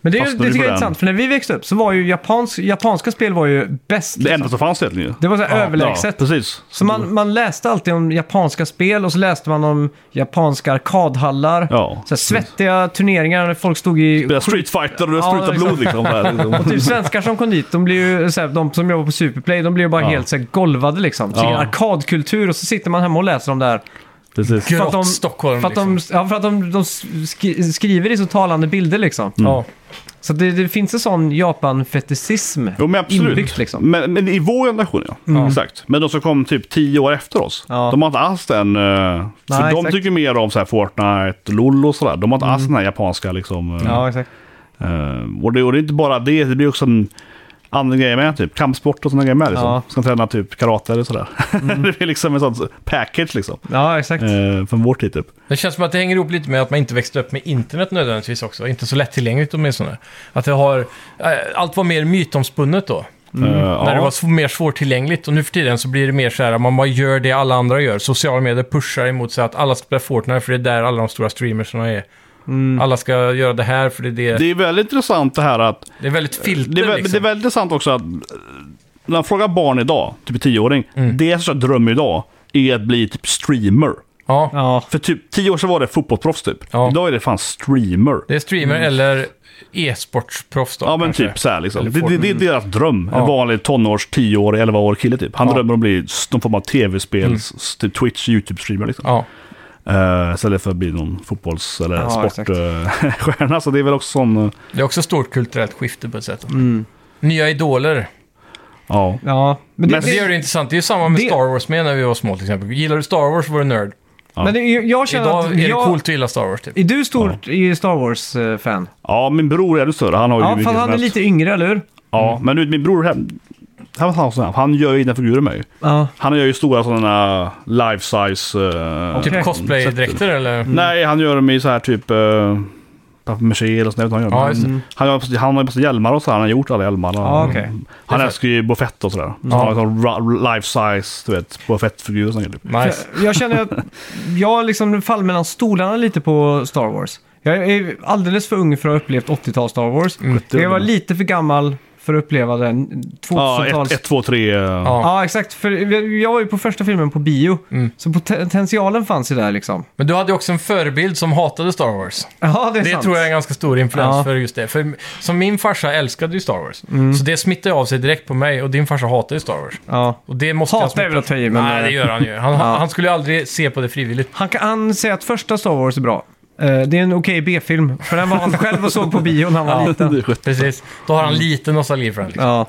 B: Men det, är ju, det
C: Fastnade vi
B: tycker jag
C: på
B: är
C: den?
B: intressant, för när vi växte upp så var ju japansk, japanska spel var ju bäst.
C: Det
B: liksom.
C: enda som fanns egentligen ju.
B: Det var så här överlägset.
C: Ja, precis.
B: Så man, man läste alltid om japanska spel och så läste man om japanska arkadhallar.
C: Ja,
B: så här svettiga turneringar där folk stod i...
C: Spela Street Fighter och det
B: Ja,
C: sprutar
B: exakt.
C: blod liksom. Där, liksom.
B: Typ svenskar som kom dit, de, blir ju, så här, de som jobbar på Superplay, de blir ju bara
C: Ja.
B: helt så här, golvade liksom. Så
C: Ja.
B: det är arkadkultur och så sitter man hemma och läser om det här.
C: Precis.
B: För att de-
A: Grått Stockholm
B: För att de,
A: liksom.
B: ja, för att de, de skri- skriver i så talande bilder liksom.
C: Mm.
A: Ja.
B: Så det, det finns en sån Japan-fetisism
C: Jo, men absolut. Mm.
B: inbyggt liksom. Mm.
C: Men, men i vår generation ja. Exakt. Men de som kom typ tio år efter oss.
B: Ja.
C: De har inte alls den... eh,
B: Nej,
C: för de
B: exakt.
C: tycker mer om så här Fortnite, LOL och sådär. De
B: Mm.
C: har inte alls den här japanska liksom... eh,
B: Ja, exakt.
C: eh, och, det, och det är inte bara det, det blir också en andra grejer med. Typ kampsport och sådana grejer med. Liksom.
B: Ja. Mm.
C: Ska träna typ karate eller sådär. det blir liksom en sån package liksom.
B: Ja, exakt.
C: Eh, från vår tid typ.
A: Det känns som att det hänger ihop lite med att man inte växte upp med internet nödvändigtvis också. Inte så lättillgängligt åtminstone. Att det har... eh, Allt var mer mytomspunnet då.
B: Mm.
C: Eh,
A: När det
C: ja.
A: var sv- mer svårtillgängligt. Och nu för tiden så blir det mer så här, man bara gör det alla andra gör. Sociala medier pushar emot så att alla spelar Fortnite för det är där alla de stora streamersarna är.
C: Mm.
A: Alla ska göra det här för det är det.
C: Det
A: Det,
C: är väldigt intressant det här att
A: är väldigt filter
C: Det är, väl-
A: liksom.
C: det är väldigt intressant också att eh, när man frågar barn idag, typ en tioåring,
A: Mm.
C: det som jag drömmer idag är att bli typ streamer.
A: ja.
B: Ja.
C: För typ tio år sedan var det fotbollsproffs typ.
A: Ja.
C: Idag är det fan streamer.
A: det är streamer eller e-sportsproffs då.
C: Mm. Ja men
A: kanske.
C: typ så här liksom.
A: Eller
C: Det, det, det är deras dröm. En vanlig tonårs, 10-årig, 11-årig kille typ. Han drömmer om att bli s- någon form av tv-spels, s- typ Twitch, YouTube-streamer liksom.
A: Mm. Ja.
C: Eh, istället för att bli någon fotbolls eller
B: Ja, exakt.
C: sportstjärna. så det är väl också sån... eh,
A: Det är också stort kulturellt skifte på ett sätt.
C: Mm.
A: Nya idoler.
C: Ja.
B: Ja, men det,
A: Men det gör det intressant. Det är ju samma med
B: det-
A: Star Wars med när vi var små till exempel. Gillar du Star Wars var du nörd.
B: men det, jag känner
A: Idag
B: att...
A: är det
B: jag,
A: coolt att gilla Star Wars typ.
B: Är du stor i Star Wars-fan?
C: ja, min bror är ännu större. Han har ju
B: Ja,
C: mycket
B: fast
C: som
B: han är
C: helst.
B: lite yngre, eller hur?
C: Ja, men nu, min bror han, han, han, han, han gör ju egna figurer med ju.
B: Ja.
C: Han gör ju stora sådana life size... eh,
B: Okej. Mm.
A: Typ cosplaydräkter eller?
C: Nej, han gör dem i så här typ... Uh, Papier-maché eller sånt, jag vet inte vad han gör.
A: Ja,
C: Men
A: just det.
C: han, gör, han har ju massa hjälmar och sådär. Han har gjort alla hjälmarna.
B: Ja, okej.
C: Han älskar ju Buffett och sådär. Så han har sån ra- life size, du vet, Buffett-figurer och sånt. Typ.
A: Nice.
B: Jag, jag känner att jag liksom faller mellan stolarna lite på Star Wars. Jag är alldeles för ung för att ha upplevt 80-tal Star Wars.
A: Mm.
B: Jag var lite för gammal för att uppleva den
C: Ja,
B: 2000-tals...
C: 1, 2, 3. Ja.
B: Ja, exakt. För jag- jag var ju på första filmen på bio.
A: Mm.
B: Så poten- potentialen fanns ju där liksom.
A: Men du hade ju också en förebild som hatade Star Wars.
B: Ja, det är
A: Det
B: sant.
A: tror jag är en ganska stor influens
B: Ja. Mm.
A: för just det. För som min farsa älskade ju Star Wars. Så det smittade av sig direkt på mig och din farsa hatade ju Star Wars.
B: Ja.
A: Och det måste
B: Hatar är väl att ta i, men-
A: men... Nej, det gör han ju. Han, han skulle ju aldrig se på det frivilligt.
B: Han, kan, han säger att första Star Wars är bra. Eh, det är en okej B-film. För den var han själv och såg på bio när han var liten.
A: Precis. Då har han lite nostalgi för den. Liksom.
B: Mm. Ja.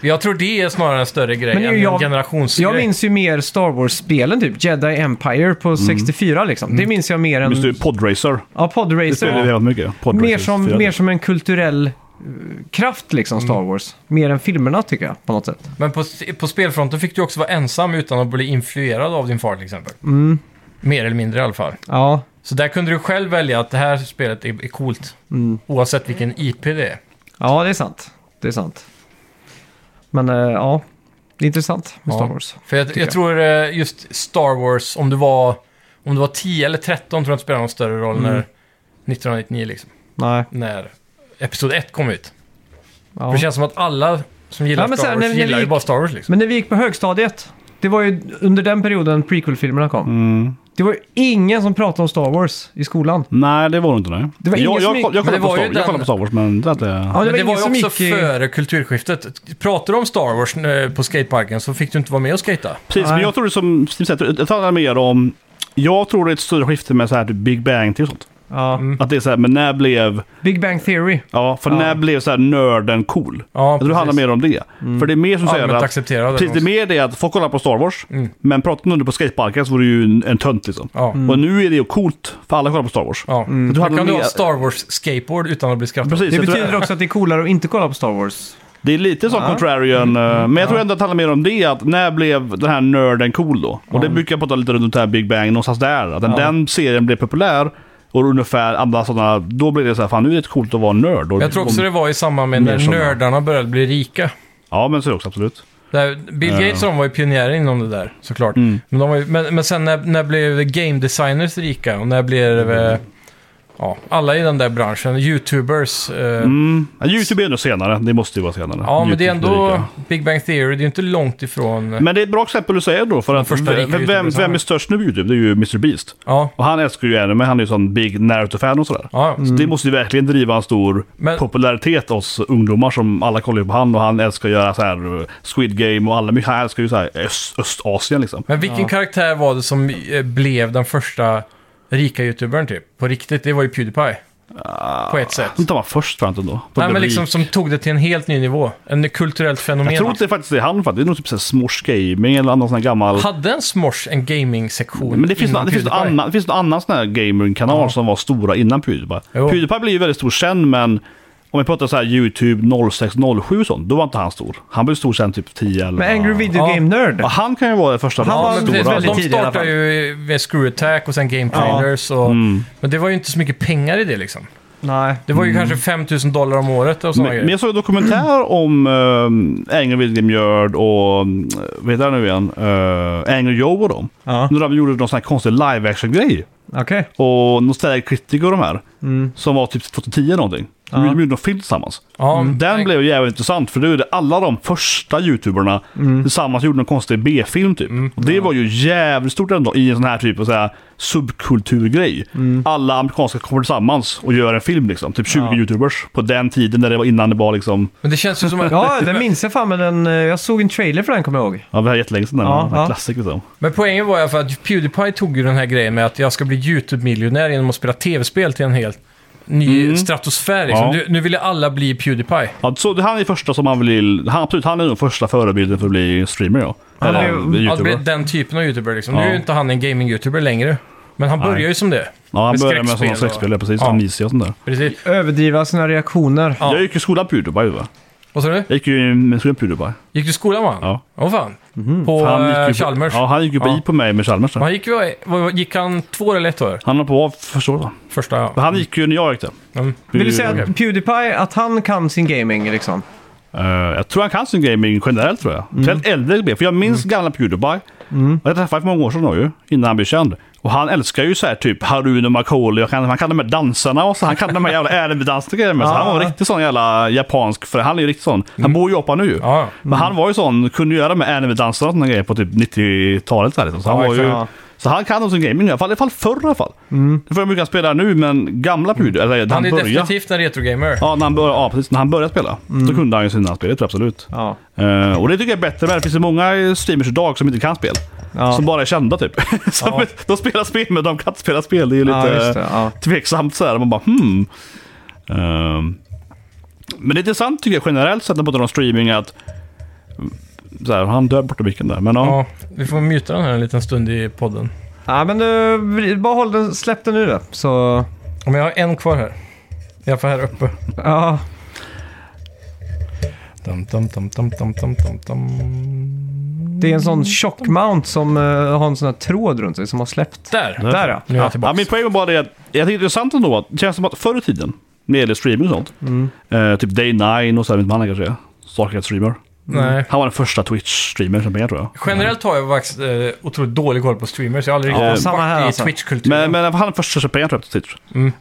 A: Jag tror det är snarare en större grej
B: Men det är ju
A: än en
B: jag-
A: generationsgrej.
B: Jag minns ju mer Star Wars-spelen, typ Jedi Empire på 64 liksom. Det minns jag mer än...
C: Mm. Minns du Podracer?
B: Ja,
C: Det spelade vi
B: Podracer.
C: jävligt mycket. Podracer
B: Mer som,
C: firade.
B: mer som en kulturell eh, kraft liksom, Star
C: Mm.
B: Wars. Mer än filmerna tycker jag, på något sätt.
A: Men på, på spelfronten fick du också vara ensam utan att bli influerad av din far till exempel.
B: Mm.
A: Mer eller mindre i alla fall.
B: Ja,
A: Så där kunde du själv välja att det här spelet är, är coolt.
B: Mm.
A: Oavsett vilken IP det är.
B: ja det är sant. Det är sant. Men eh, ja, det är intressant med
A: Ja.
B: Star Wars.
A: För jag, jag
B: jag.
A: tror eh, just Star Wars, om du var, om du var 10 eller 13 tror jag inte spelar någon större roll
B: Mm.
A: när 1999 liksom.
B: Nej.
A: När Episod 1 kom ut.
B: Ja.
A: För det känns som att alla som gillar
B: Ja, men
A: Star
B: sen när-
A: Wars
B: när
A: gillar
B: vi
A: ju
B: gick-
A: bara Star Wars liksom.
B: Men när vi gick på högstadiet, det var ju under den perioden prequel-filmerna kom. Det var ju ingen som pratade om Star Wars i skolan.
C: Mm. Nej, det var det inte. Nej.
B: Det var ingen
C: jag,
B: som
C: jag,
B: gick-
C: jag, jag
A: Men det
C: kollade på
A: var ju
C: Star- jag
A: den-
C: kollade på Star Wars, men det, det,
B: Ja,
A: Men det var ju
B: ingen som
A: också
B: gick i-
A: före kulturskiftet. Pratar du om Star Wars eh, på skateparken så fick du inte vara med och skata.
C: Precis, men
B: Nej.
C: jag tror det som Steve säger, jag talar mer om... Jag tror det är ett större skifte med så här typ Big Bang till och sånt.
B: Ja.
A: Mm.
C: Att det är så här, men när blev...
B: Big Bang Theory.
C: Ja, för när blev så här nörden cool?
A: Ja,
C: jag tror det handlar
A: precis.
C: mer om det. För det är mer som säger
A: Allmänt
C: att...
A: accepterad.
C: Precis, det är mer det att folk kollar på Star Wars, men pratar någon på skateparken så vore det ju en, en tönt liksom.
A: Ja. Mm.
C: Och nu är det ju coolt, för alla kollar på Star Wars.
A: Ja.
C: Jag tror
A: Här
C: Mm. hade
A: kan du
C: mer-
A: ha Star Wars-skateboard utan att bli skrattad.
C: Precis,
B: Det
C: jag tror-
B: betyder också att det är coolare att inte kolla på Star Wars.
C: Det är lite som
B: Ja.
C: contrarian, eh, men jag tror ändå att det handlar mer om det. Att när blev den här nörden cool då? Och det brukar jag prata lite runt det här Big Bang, någonstans där. Att den, den serien blev populär och ungefär andra sådana, då blev det så här, fan nu är det coolt att vara nörd. Och,
A: Jag tror också
C: och,
A: det var i samband med
C: Mer
A: när
C: såna.
A: nördarna började bli rika.
C: Ja, men så är det också absolut.
A: Där Bill Gates och de var ju pionjärer inom det där, såklart.
C: Mm.
A: Men, de var ju, men, men sen när, när blev game designers rika? Och när blev...
C: Mm.
A: Eh, ja, alla i den där branschen, YouTubers. Eh,
C: Mm. Ja, Youtube är ändå senare, det måste ju vara senare.
A: Ja, men det är
C: YouTube
A: ändå
C: rika.
A: Big Bang Theory, det är ju inte långt ifrån...
C: Men det är ett bra exempel du säger då, för att
A: första rika
C: vem, vem,
A: YouTubers
C: vem är störst nu på Youtube? Det är ju Mr Beast.
A: ja,
C: Och han älskar ju anime, han är ju sån big Naruto-fan och sådär.
A: ja.
C: Så Alltså, det måste ju verkligen driva en stor
A: Men-
C: popularitet hos ungdomar som alla kollar ju på han och han älskar att göra så här eh, Squid Game och alla mycket. Han älskar ju så här öst, Östasien liksom.
A: Men vilken karaktär var det som eh, blev den första rika YouTubern typ? På riktigt, det var ju Pewdiepie. På ett sätt.
C: Han tar man först fram till då. Ah. På
A: Nej,
C: The
A: men liksom
C: Reach.
A: som tog det till en helt ny nivå. En kulturellt fenomen.
C: jag tror inte det faktiskt är han faktiskt. Det är nog typ så här Smosh Gaming eller någon sån här gammal...
A: Hade en Smosh en gaming-sektion
C: Men det finns,
A: innan
C: någon, det, finns någon
A: Pewdiepie?
C: annan, det finns någon annan sån här gaming-kanal som var stora innan Pewdiepie.
A: Jo.
C: Pewdiepie blev ju väldigt stor sen, men om vi pratar så här YouTube 0607 och sånt, då var inte han stor. Han blev stor sen typ 10 eller...
B: Men Angry Video
A: Ja.
B: Game Nerd.
C: Ja, han kan ju vara den första.
B: Han
C: riktigt
B: var
A: Ja, men
B: stora,
A: precis,
B: väldigt
C: alltså.
B: tidigt i
A: de
B: alla
A: startade
B: fall.
A: ju med Screw Attack och sen Game
B: Ja.
A: Trailers. Och, Men det var ju inte så mycket pengar i det liksom.
B: Nej.
A: Det var ju kanske 5 000 dollar om året och sådana
C: Men, men
A: grejer.
C: jag såg en dokumentär om uh, Angry William Jörd och, mm, vad heter han nu igen, uh, Angry Joe och dem.
B: Ja.
C: När de gjorde någon sån här konstig live action-grej.
B: Okej.
C: Och Nostalgic Critic och de här.
B: Mm.
C: Som var typ 2010 någonting. De
B: Ja.
C: gjorde någon film tillsammans.
A: Ja,
C: mm. Den blev ju jävligt intressant för det är alla de första youtuberna
B: Mm.
C: tillsammans gjorde någon konstig B-film typ. Och det var ju jävligt stort ändå i en sån här typ av så här subkulturgrej. Alla amerikanska kommer tillsammans och gör en film liksom. Typ 20
B: Mm. Ja.
C: youtubers på den tiden när det var innan det var liksom,
A: Men det känns ju som att...
B: Ja, den minns jag fan men den, eh, jag såg en trailer för den kommer jag ihåg.
C: ja det här är jättelänge sedan.
B: Ja,
C: Ja, ja.
B: ja.
C: Klassiker liksom.
A: Men poängen var ju för att Pewdiepie tog ju den här grejen med att jag ska bli YouTube-miljonär genom att spela tv-spel till en helt ny stratosfär. Liksom.
C: Ja.
A: Nu, nu ville alla bli Pewdiepie.
C: Ja, så det- han är första som man vill, han, absolut han är den första förebilden för att bli streamer ja.
B: Han
C: Eller
B: blev-
C: youtuber.
A: Att bli den typen av YouTuber liksom. Nu
C: Ja.
A: är ju inte han en gaming-YouTuber längre. Men han börjar ju som det.
C: ja, han
A: med
C: började med sådana
A: skräckspel och-
C: släktspel, precis.
A: Ja.
C: Amnesia och sånt där.
A: Precis.
B: Överdriva sina reaktioner.
A: Ja.
C: Jag gick ju i skolan på Pewdiepie va?
A: Vad sa du?
C: Jag gick ju i en skola på Pewdiepie.
A: Gick du i skolan va?
C: Ja.
A: Åh fan. På
C: För han gick
A: eh,
C: ju-
A: Chalmers.
C: Ja, han gick ju på
A: Ja.
C: i på mig med Chalmers. där.
A: Han gick, ju- vad- gick han två eller ett år?
C: Han har på av första året. va?
A: Första, ja.
C: Men Han gick ju när jag gick där.
A: Mm.
B: Vill du säga
C: Eh,
B: att Pewdiepie, att han kan sin gaming liksom?
C: Eh, jag tror han kan sin gaming generellt tror jag. Speciellt äldre spel. För jag minns gamla Pewdiepie. Och jag träffade för många år sedan då ju. Innan han blev känd. Och han älskar ju så här typ Harun och Markoolio. Han, han kan de här danserna och så. Han kan de här jävla äredanserna och grejer med. Så
B: Ja.
C: han var en riktig sån jävla japansk. För han är ju riktigt sån. Han bor i Japan nu ju.
A: Ja.
C: Men han var ju sån, kunde göra med anime-danserna och såna grejer på typ 90-talet. Så, här, liksom. så, han
B: Ja,
C: var ju,
B: exakt, ja.
C: så han kan om sin gaming nu, i alla fall, i alla fall förr i alla fall. Mm. För jag brukar spela nu, men gamla Pewdie, eller när
A: Han
C: han
A: är
C: började.
A: definitivt en retrogamer.
C: Ja, när han började, ja, precis. När han började spela,
B: Mm.
C: då kunde han ju sina spel, det tror jag absolut.
B: Ja.
C: Eh, och det tycker jag är bättre med. Det finns ju många streamers idag som inte kan spel.
B: Ja.
C: Som bara är kända typ. som, De spelar spel men de kan inte spela spel. Det är ju
B: Ja,
C: lite
B: just det, ja.
C: tveksamt så här. Man bara hmm. Ehm, men det är intressant tycker jag generellt sett när man pratar om streaming att... mm, Så här, han dör borta micken där. Men ja.
A: Ja, vi får muta den här en liten stund i podden.
B: Ja men eh, vri- bara håll den, släpp den nu då. Så,
A: Om jag har en kvar här. I alla fall här uppe.
B: ja.
A: Dum, dum, dum, dum, dum, dum, dum, dum.
B: Det är en sån tjock mount som eh, har en sån här tråd runt sig som har släppt.
A: Där!
C: Ja.
B: Där ja.
A: Nu är jag
C: ja
A: tillbaka.
C: min poäng var bara det att jag tycker det är intressant ändå att det känns som att förr i tiden när det gäller streaming och sånt.
B: Mm.
C: eh, typ Day9 och så här, vet inte vad han kanske är. Starcat streamer.
A: Nej.
C: Han var den första Twitch-streamern som blev tror jag.
A: Generellt har jag faktiskt eh, otroligt dålig koll på streamers. Jag har aldrig riktigt
B: samma
A: varit
B: här
A: i
B: alltså.
A: Twitch-kulturen.
C: Men, men han var första köparen tror jag till Twitch.
A: Mm.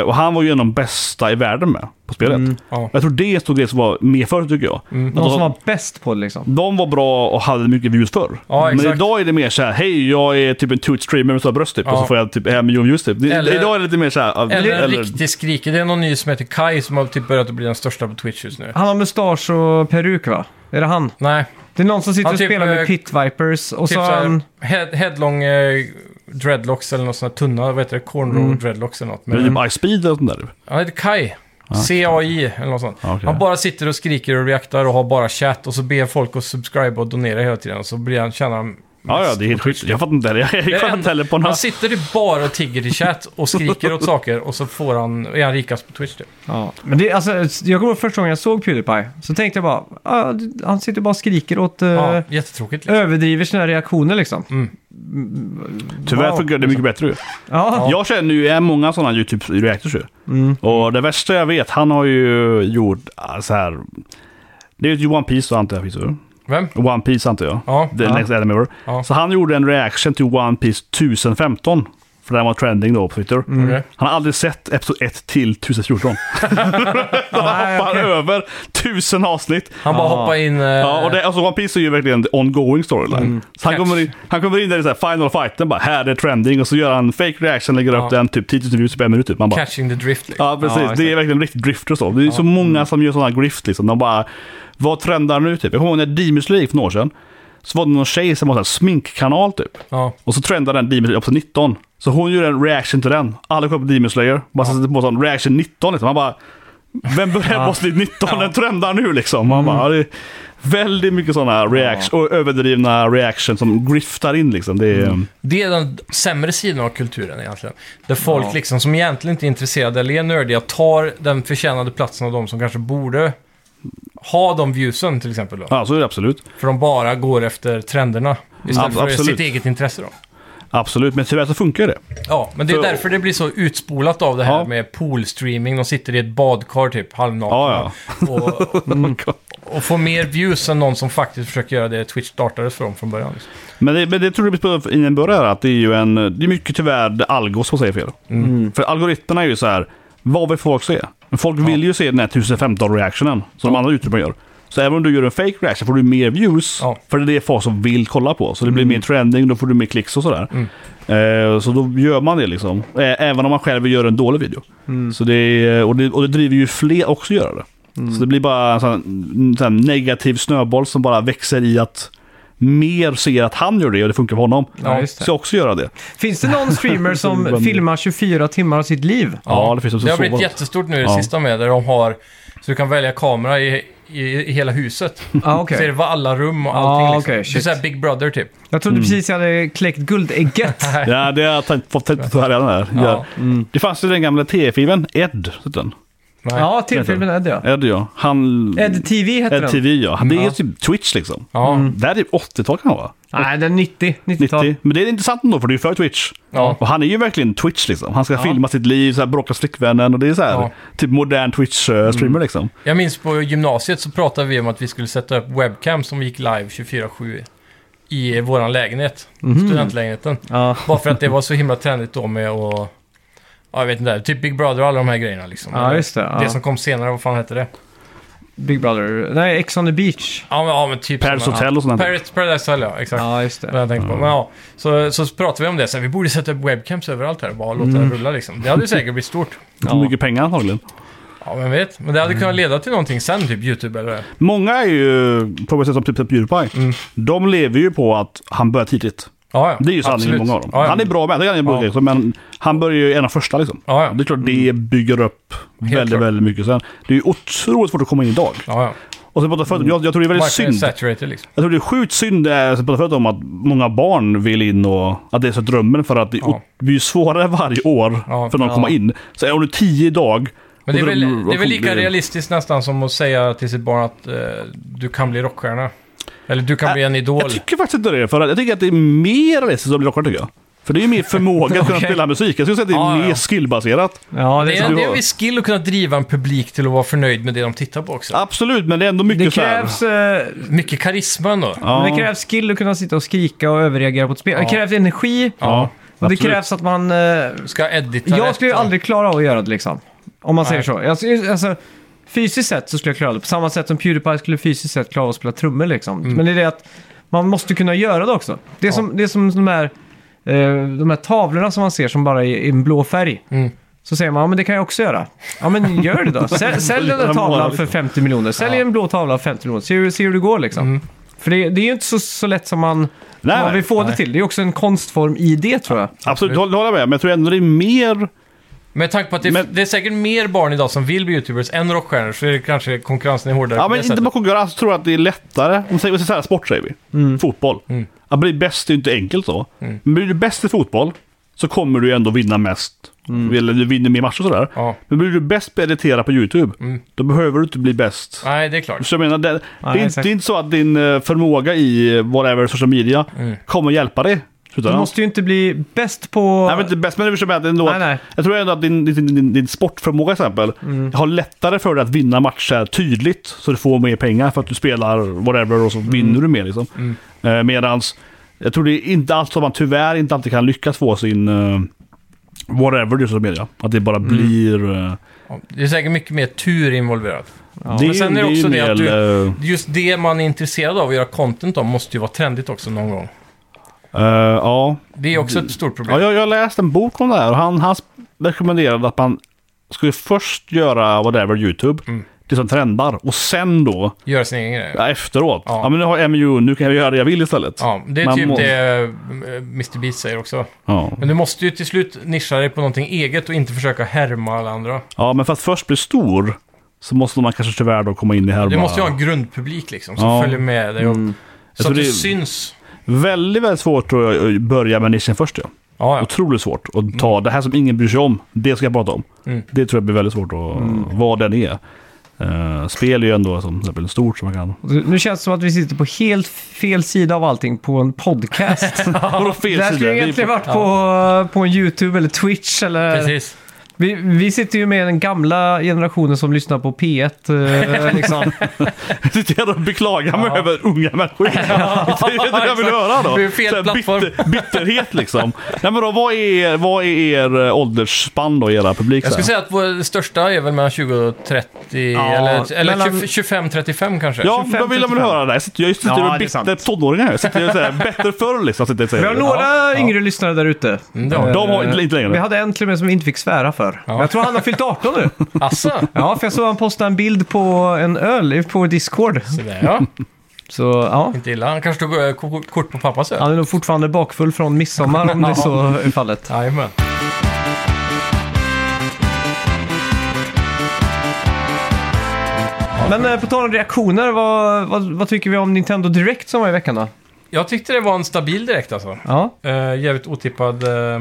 C: Eh, och han var ju en av de bästa i världen med på spelet.
A: Ja.
C: Jag tror det är en stor grej som var med förr tycker jag.
A: Mm.
C: Att
B: Någon
C: de,
B: som var bäst på det liksom.
C: de var bra och hade mycket views förr.
A: Ja,
C: men
A: exakt.
C: idag är det mer så här, hej jag är typ en Twitch-streamer med stora bröst typ.
A: Ja.
C: Och så får jag typ en miljon views typ. Det-
A: Eller-
C: idag är det lite mer så här,
A: Eller en riktig skriker. Det är någon ny som heter Kai som har typ börjat att bli den största på Twitch just
C: Ah.
A: nu.
B: Han har mustasch och peruk va? Är det han?
A: Nej,
B: Det är någon som sitter
A: Ja,
B: och
A: typ,
B: spelar
A: eh,
B: med Pit Vipers och
A: typ
B: så har
A: såhär
B: han...
A: head, headlong eh, dreadlocks eller något sånt här tunna, vad heter det? Cornrow
B: Mm.
A: dreadlocks eller något.
C: Men det är
A: Men,
C: typ iSpeed eller sånt där.
A: han heter Kai. CAI eller något sånt.
C: Ja, okej.
A: Han bara sitter och skriker och reaktar och har bara chatt och så ber folk att subscribe och donera hela tiden och så blir han, tjänar han
C: Ja, ja, det är helt sjukt. Jag fattar inte det. här. Jag kollar inte heller på några...
A: Han sitter ju bara och tigger i chat och skriker åt saker och så får han, är han rikast på Twitch typ.
B: Ja. Men det, alltså, jag kommer ihåg första gången jag såg Pewdiepie. Så tänkte jag bara, ah, han sitter bara och skriker åt... eh,
A: Ja, jättetråkigt. Liksom.
B: Överdriver sina reaktioner liksom.
C: Tyvärr
B: Wow.
C: fungerar det mycket bättre ju.
B: Ja.
C: Jag känner ju är många sådana YouTube-reactors ju.
A: Mm.
C: Och det värsta jag vet, han har ju gjort ah, så här... Det är ju One Piece antar jag, finns det,
A: Vem?
C: One Piece antar jag.
A: Ja.
C: The
B: Ja.
C: Next Enemy War.
A: Ja.
C: Så han gjorde en reaction till One Piece 1015. För den var trending då på Twitter.
A: Okej.
C: Han har aldrig sett Episod 1 till 1014. Så han
B: Nej,
C: hoppar
B: okej.
C: över 1000 avsnitt.
A: Han bara hoppar in... eh, Mm.
C: Ja, och det, alltså One Piece är ju verkligen en ongoing storyline. Så han
A: Catch.
C: kommer, in, han kommer in där i så här final fighten, bara här är trending och så gör han fake reaction, lägger upp
A: Ja.
C: den typ 10 000 views på en minut. Typ. Man bara,
A: Catching the drift liksom.
C: ja, precis.
B: Ja, exakt.
C: det är verkligen riktigt drifter och så. Det är ju så många som gör sådana grift liksom. De bara, vad trendar nu typ? Jag kommer ihåg när Demus League för några år sedan. Så var det någon tjej som var en sminkkanal typ.
A: Ja.
C: Och så trendade den Demon Slayer på 19. Så hon gjorde en reaction till den. Alla kollade på Demon Slayer. Bara satte på sån reaction 19 liksom. Man bara... Vem börjar på slit 19? Den trendar nu liksom. Man bara, det är väldigt mycket sådana reaction, och överdrivna reaction som griftar in liksom. Det är,
A: Det är den sämre sidan av kulturen egentligen. Där folk liksom, som egentligen inte är intresserade eller är nördiga, tar den förtjänade platsen av de som kanske borde ha de viewsen till exempel. Då.
C: Ja, så är det absolut.
A: För de bara går efter trenderna istället
C: Ab-
A: för
C: absolut.
A: sitt eget intresse. Då.
C: Absolut, men tyvärr så funkar det.
A: Ja, men det är
C: För-
A: därför det blir så utspolat av det här
C: Ja.
A: med poolstreaming. De sitter i ett badkar typ, halvnakna.
C: Ja,
A: Och,
C: Mm.
A: och får mer views än någon som faktiskt försöker göra det Twitch startades från från början. Liksom.
C: Men det, men det tror jag på innan jag börjar här, att det är ju en... Det är mycket tyvärr algos som säger fel. För algoritmerna är ju så här, vad vill folk se? Men folk vill ju se den här 1015-reactionen som de andra youtuberna gör. Så även om du gör en fake reaction får du mer views,
A: Ja.
C: för det är det folk som vill kolla på. Så det blir mer trending, då får du mer klicks och sådär. Eh, så då gör man det liksom. Eh, även om man själv gör en dålig video. Så det är, och, det, och det driver ju fler också att göra det. Så det blir bara en sån, en sån här negativ snöboll som bara växer i att mer ser att han gör det och det funkar för honom.
B: Ja, just det.
C: Ska också göra det.
B: Finns det någon streamer som filmar 24 timmar av sitt liv?
C: Ja, det finns också
A: Det har
C: så
A: blivit
C: vanligt.
A: jättestort nu i det
C: Ja.
A: sista med, där de har... Så du kan välja kamera i, i, i hela huset.
B: Ah, okej.
A: Så är det var alla rum och
B: Ja,
A: allting. liksom.
B: okej,
A: det är
B: shit.
A: såhär Big Brother typ.
B: Jag trodde precis jag hade kläckt guldägget.
C: Ja, det har jag tänkt- fått tänkt på här redan. Här.
A: Ja.
C: Ja. Det fanns ju den gamla TV-filmen Ed. hette Den.
A: Nej. Ja.
B: ja, tillfilmen Ed ja.
C: Ed ja. Han...
B: Ed TV heter
C: Ed
B: den.
C: TV ja. Det är
A: Ja.
C: typ Twitch liksom.
A: Ja.
C: Det här är 80-tal kan det vara.
B: Nej, den är 90. 90-tal.
C: 90. Men det är intressant ändå för det är ju för Twitch.
A: Ja.
C: Och han är ju verkligen Twitch liksom. Han ska filma sitt liv, så här, bråka med flickvännen och det är så här,
A: Ja. Mm.
C: typ modern Twitch-streamer liksom.
A: Jag minns på gymnasiet så pratade vi om att vi skulle sätta upp webcam som gick live 24-7 i våran lägenhet. Studentlägenheten.
B: Ja.
A: Bara för att det var så himla trendigt då med att... Ja, jag vet inte. Typ Big Brother och alla de här grejerna liksom.
B: Ja, just det, ja.
A: Det som kom senare, vad fan hette det?
B: Big Brother. Nej, Ex on the Beach.
A: Ja, men, ja, men typ...
C: Paradise
A: såna-
C: Hotel och sånt där.
A: Paradise, Paradise Hotel, ja. Exakt.
B: Ja, just
A: Vad
B: det.
A: jag tänkte på. Men ja, så, så pratade vi om det. Så här, vi borde sätta upp webcams överallt här och bara låta
C: Mm.
A: det rulla liksom. Det hade ju säkert blivit stort.
C: Ja. Mycket pengar antagligen.
A: Ja, vem vet. Men det hade kunnat leda till någonting sen, typ YouTube eller det.
C: Många är ju, på ett sätt som typ Pewdiepie,
A: Mm.
C: de lever ju på att han börjar tidigt.
A: Ja, ja.
C: Det är ju sanningen i
A: Absolut.
C: många av dem.
A: Ja, ja.
C: Han är bra med, det är han ju bra
A: Ja.
C: liksom, men han börjar ju en av första liksom.
A: Ja, ja.
C: Det är klart det bygger upp väldigt,
A: klart.
C: väldigt mycket. Sen, det är ju otroligt svårt att komma in idag.
A: Ja, ja.
C: Och sen pratar jag förut, jag, jag tror det är väldigt
A: Marknaden är
C: synd.
A: saturated liksom.
C: Jag tror det är sjukt synd, det är, som jag pratade förut om, att många barn vill in och att det är så drömmen för att det,
A: Ja.
C: det blir ju svårare varje år
A: Ja,
C: för någon att komma in. Så är du tio idag
A: Men det är,
C: och
A: väl,
C: drömmer-
A: det är väl lika
C: blir-
A: realistiskt nästan som att säga till sitt barn att eh, du kan bli rockstjärna. Eller du kan bli en idol.
C: Äh, Jag tycker faktiskt inte det. För att jag tycker att det är mer realistiskt att bli rockare tycker jag. För det är ju mer förmåga att kunna
A: Okej.
C: spela musik. Jag skulle säga att det
A: Ja,
C: är mer
A: ja.
C: skillbaserat.
B: Ja, det
A: Det
B: är
A: är,
B: sant.
A: det är en viss skill att kunna driva en publik till att vara förnöjd med det de tittar på också.
C: Absolut, men det är ändå
B: Det
C: mycket så här-
B: krävs, eh,
A: Mycket karisma ändå.
C: Ja.
B: det krävs skill att kunna sitta och skrika och överreagera på ett spel. Det
A: Ja.
B: krävs energi.
C: Ja,
B: och det
C: absolut.
B: krävs att man... eh,
A: Ska edita
B: Jag
A: rätt
B: skulle ju
A: och-
B: aldrig klara av att göra det liksom. Om man säger
A: Nej.
B: så. Alltså, alltså, fysiskt sett så skulle jag klara det. På samma sätt som Pewdiepie skulle fysiskt sett klara av att spela trummor liksom.
A: Mm.
B: Men det är det att man måste kunna göra det också. Det är, som, det är som de här, eh, de här tavlorna som man ser som bara är i en blå färg.
A: Mm.
B: Så säger man, ja men det kan jag också göra. Ja men gör det
A: Mm.
B: då. Sälj, sälj den där tavlan för 50 miljoner. Sälj en blå tavla för 50 miljoner. Se hur, se hur det går liksom. För det, det är ju inte så, så lätt som man,
C: Nej,
B: man
C: nej.
B: vill få det
A: Nej.
B: till. Det är också en konstform i det tror jag.
C: Absolut, det håller jag med. Men jag tror ändå det är mer...
A: Med tanke på att det,
C: Men-
A: det är säkert mer barn idag som vill bli YouTubers än rockstjärnor så är det kanske konkurrensen är hårdare
C: Ja,
A: på
C: men
A: det
B: typ-
C: inte bara
A: sättet.
C: konkurrens. Jag tror att det är lättare. Om vi säger så här, sport säger vi.
B: Mm.
C: Fotboll. Att bli bäst är ju inte enkelt så. Men blir du bäst i fotboll så kommer du ju ändå vinna mest.
B: Mm.
C: Eller du vinner mer matcher och sådär.
A: Ja.
C: Men blir du bäst på att editera på YouTube,
B: Mm.
C: då behöver du inte bli bäst.
A: Nej, det är klart.
C: Så jag menar, det,
B: Nej,
C: det, är inte,
B: exakt.
C: det är inte så att din eh, förmåga i eh, whatever social media
A: Mm.
C: kommer hjälpa dig.
B: Du
C: Utan,
B: måste ju inte bli bäst på...
C: Nej, men inte bäst, men det är med att ändå,
B: Nej, nej.
C: Jag tror ändå att din, din, din, din sportförmåga till exempel
A: Mm.
C: har lättare för dig att vinna matcher tydligt. Så du får mer pengar för att du spelar whatever
A: Mm.
C: och så vinner du mer. Liksom. Eh, medans, jag tror det är inte alls som man tyvärr inte alltid kan lyckas få sin eh, whatever i social media. Att det
A: Mm.
C: bara blir... eh,
A: Ja, Det är säkert mycket mer tur involverat.
C: det,
A: men sen är det
C: ju
A: också
C: en
A: det att
C: del, eh,
A: Just det man är intresserad av att göra content om måste ju vara trendigt också någon gång.
C: eh, ja.
A: Det är också ett stort problem.
C: Ja, jag, jag läste en bok om det här och han, han rekommenderade att man skulle först göra whatever YouTube,
A: Mm.
C: det som trendar, och sen då
A: Göra sin egen grej.
C: ja, efteråt. Ja.
A: Ja.
C: men nu har jag MU, nu kan jag göra det jag vill istället.
A: Ja, det är
C: Man
A: typ
C: må-
A: det eh, Mr Beast säger också.
C: Ja.
A: Men du måste ju till slut nischa dig på någonting eget och inte försöka härma alla andra.
C: ja, men för att först bli stor så måste man kanske tyvärr då komma in i här och
A: Du
C: bara-
A: måste ju ha en grundpublik liksom som
C: Ja. Mm.
A: följer med dig. Och,
C: Jag
A: Så
C: tror
A: att du
C: det är-
A: syns.
C: Väldigt, väldigt svårt tror jag, att eh, börja med nischen först. Ja.
A: Ja, ja.
C: Otroligt svårt att ta det här som ingen bryr sig om. Det ska jag prata om.
A: Mm.
C: Det tror jag blir väldigt svårt att... Vad den är. Eh, spel är ju ändå som till exempel stort som man kan...
B: Nu känns det som att vi sitter på helt fel sida av allting på en podcast.
C: Vadå fel
B: det här
C: sida?
B: skulle
C: Vi är
B: egentligen
C: på-
B: varit på, på en YouTube eller Twitch eller...
A: Precis.
B: Vi, vi sitter ju med den gamla generationen som lyssnar på P1. eh, liksom.
C: Sitter jag och beklagar mig över unga människor. det är inte det jag vill höra då.
A: Det är fel
C: Så här
A: plattform.
C: bitter, bitterhet liksom. Nej men då, vad är, vad är er eh, åldersspann då, i era publik?
A: Jag
C: så här?
A: skulle säga att vår största är väl mellan 20 och 30,
B: Ja,
A: eller, eller
B: mellan-
A: 25-35 kanske.
C: Ja,
B: 25,
C: då vill jag
B: 35.
C: väl höra det. Jag sitter, jag sitter
B: Ja,
C: med
B: det är sant.
C: bitter tonåringar här. Jag sitter och säger bättre förr liksom. Sitter och
B: Vi har
C: säger.
B: några yngre lyssnare där ute.
A: Mm, det har vi.
C: De har inte, inte
B: Vi
C: längre.
B: hade en till och med som vi inte fick svära för. Men Jag tror han har fyllt 18 nu.
A: Asså?
B: Ja, för jag såg han posta en bild på en öl på Discord.
A: Sådär ja,
B: Så ja,
A: inte illa. Han kanske tog eh, ko- kort på pappas öl.
B: han är nog fortfarande bakfull från midsommar om det är så är fallet.
A: Jajamän.
B: Men eh, på tal om reaktioner, vad, vad, vad tycker vi om Nintendo Direct som var i veckan då?
A: Jag tyckte det var en stabil direkt alltså.
B: Ja,
A: Eh, jävligt otippad. eh,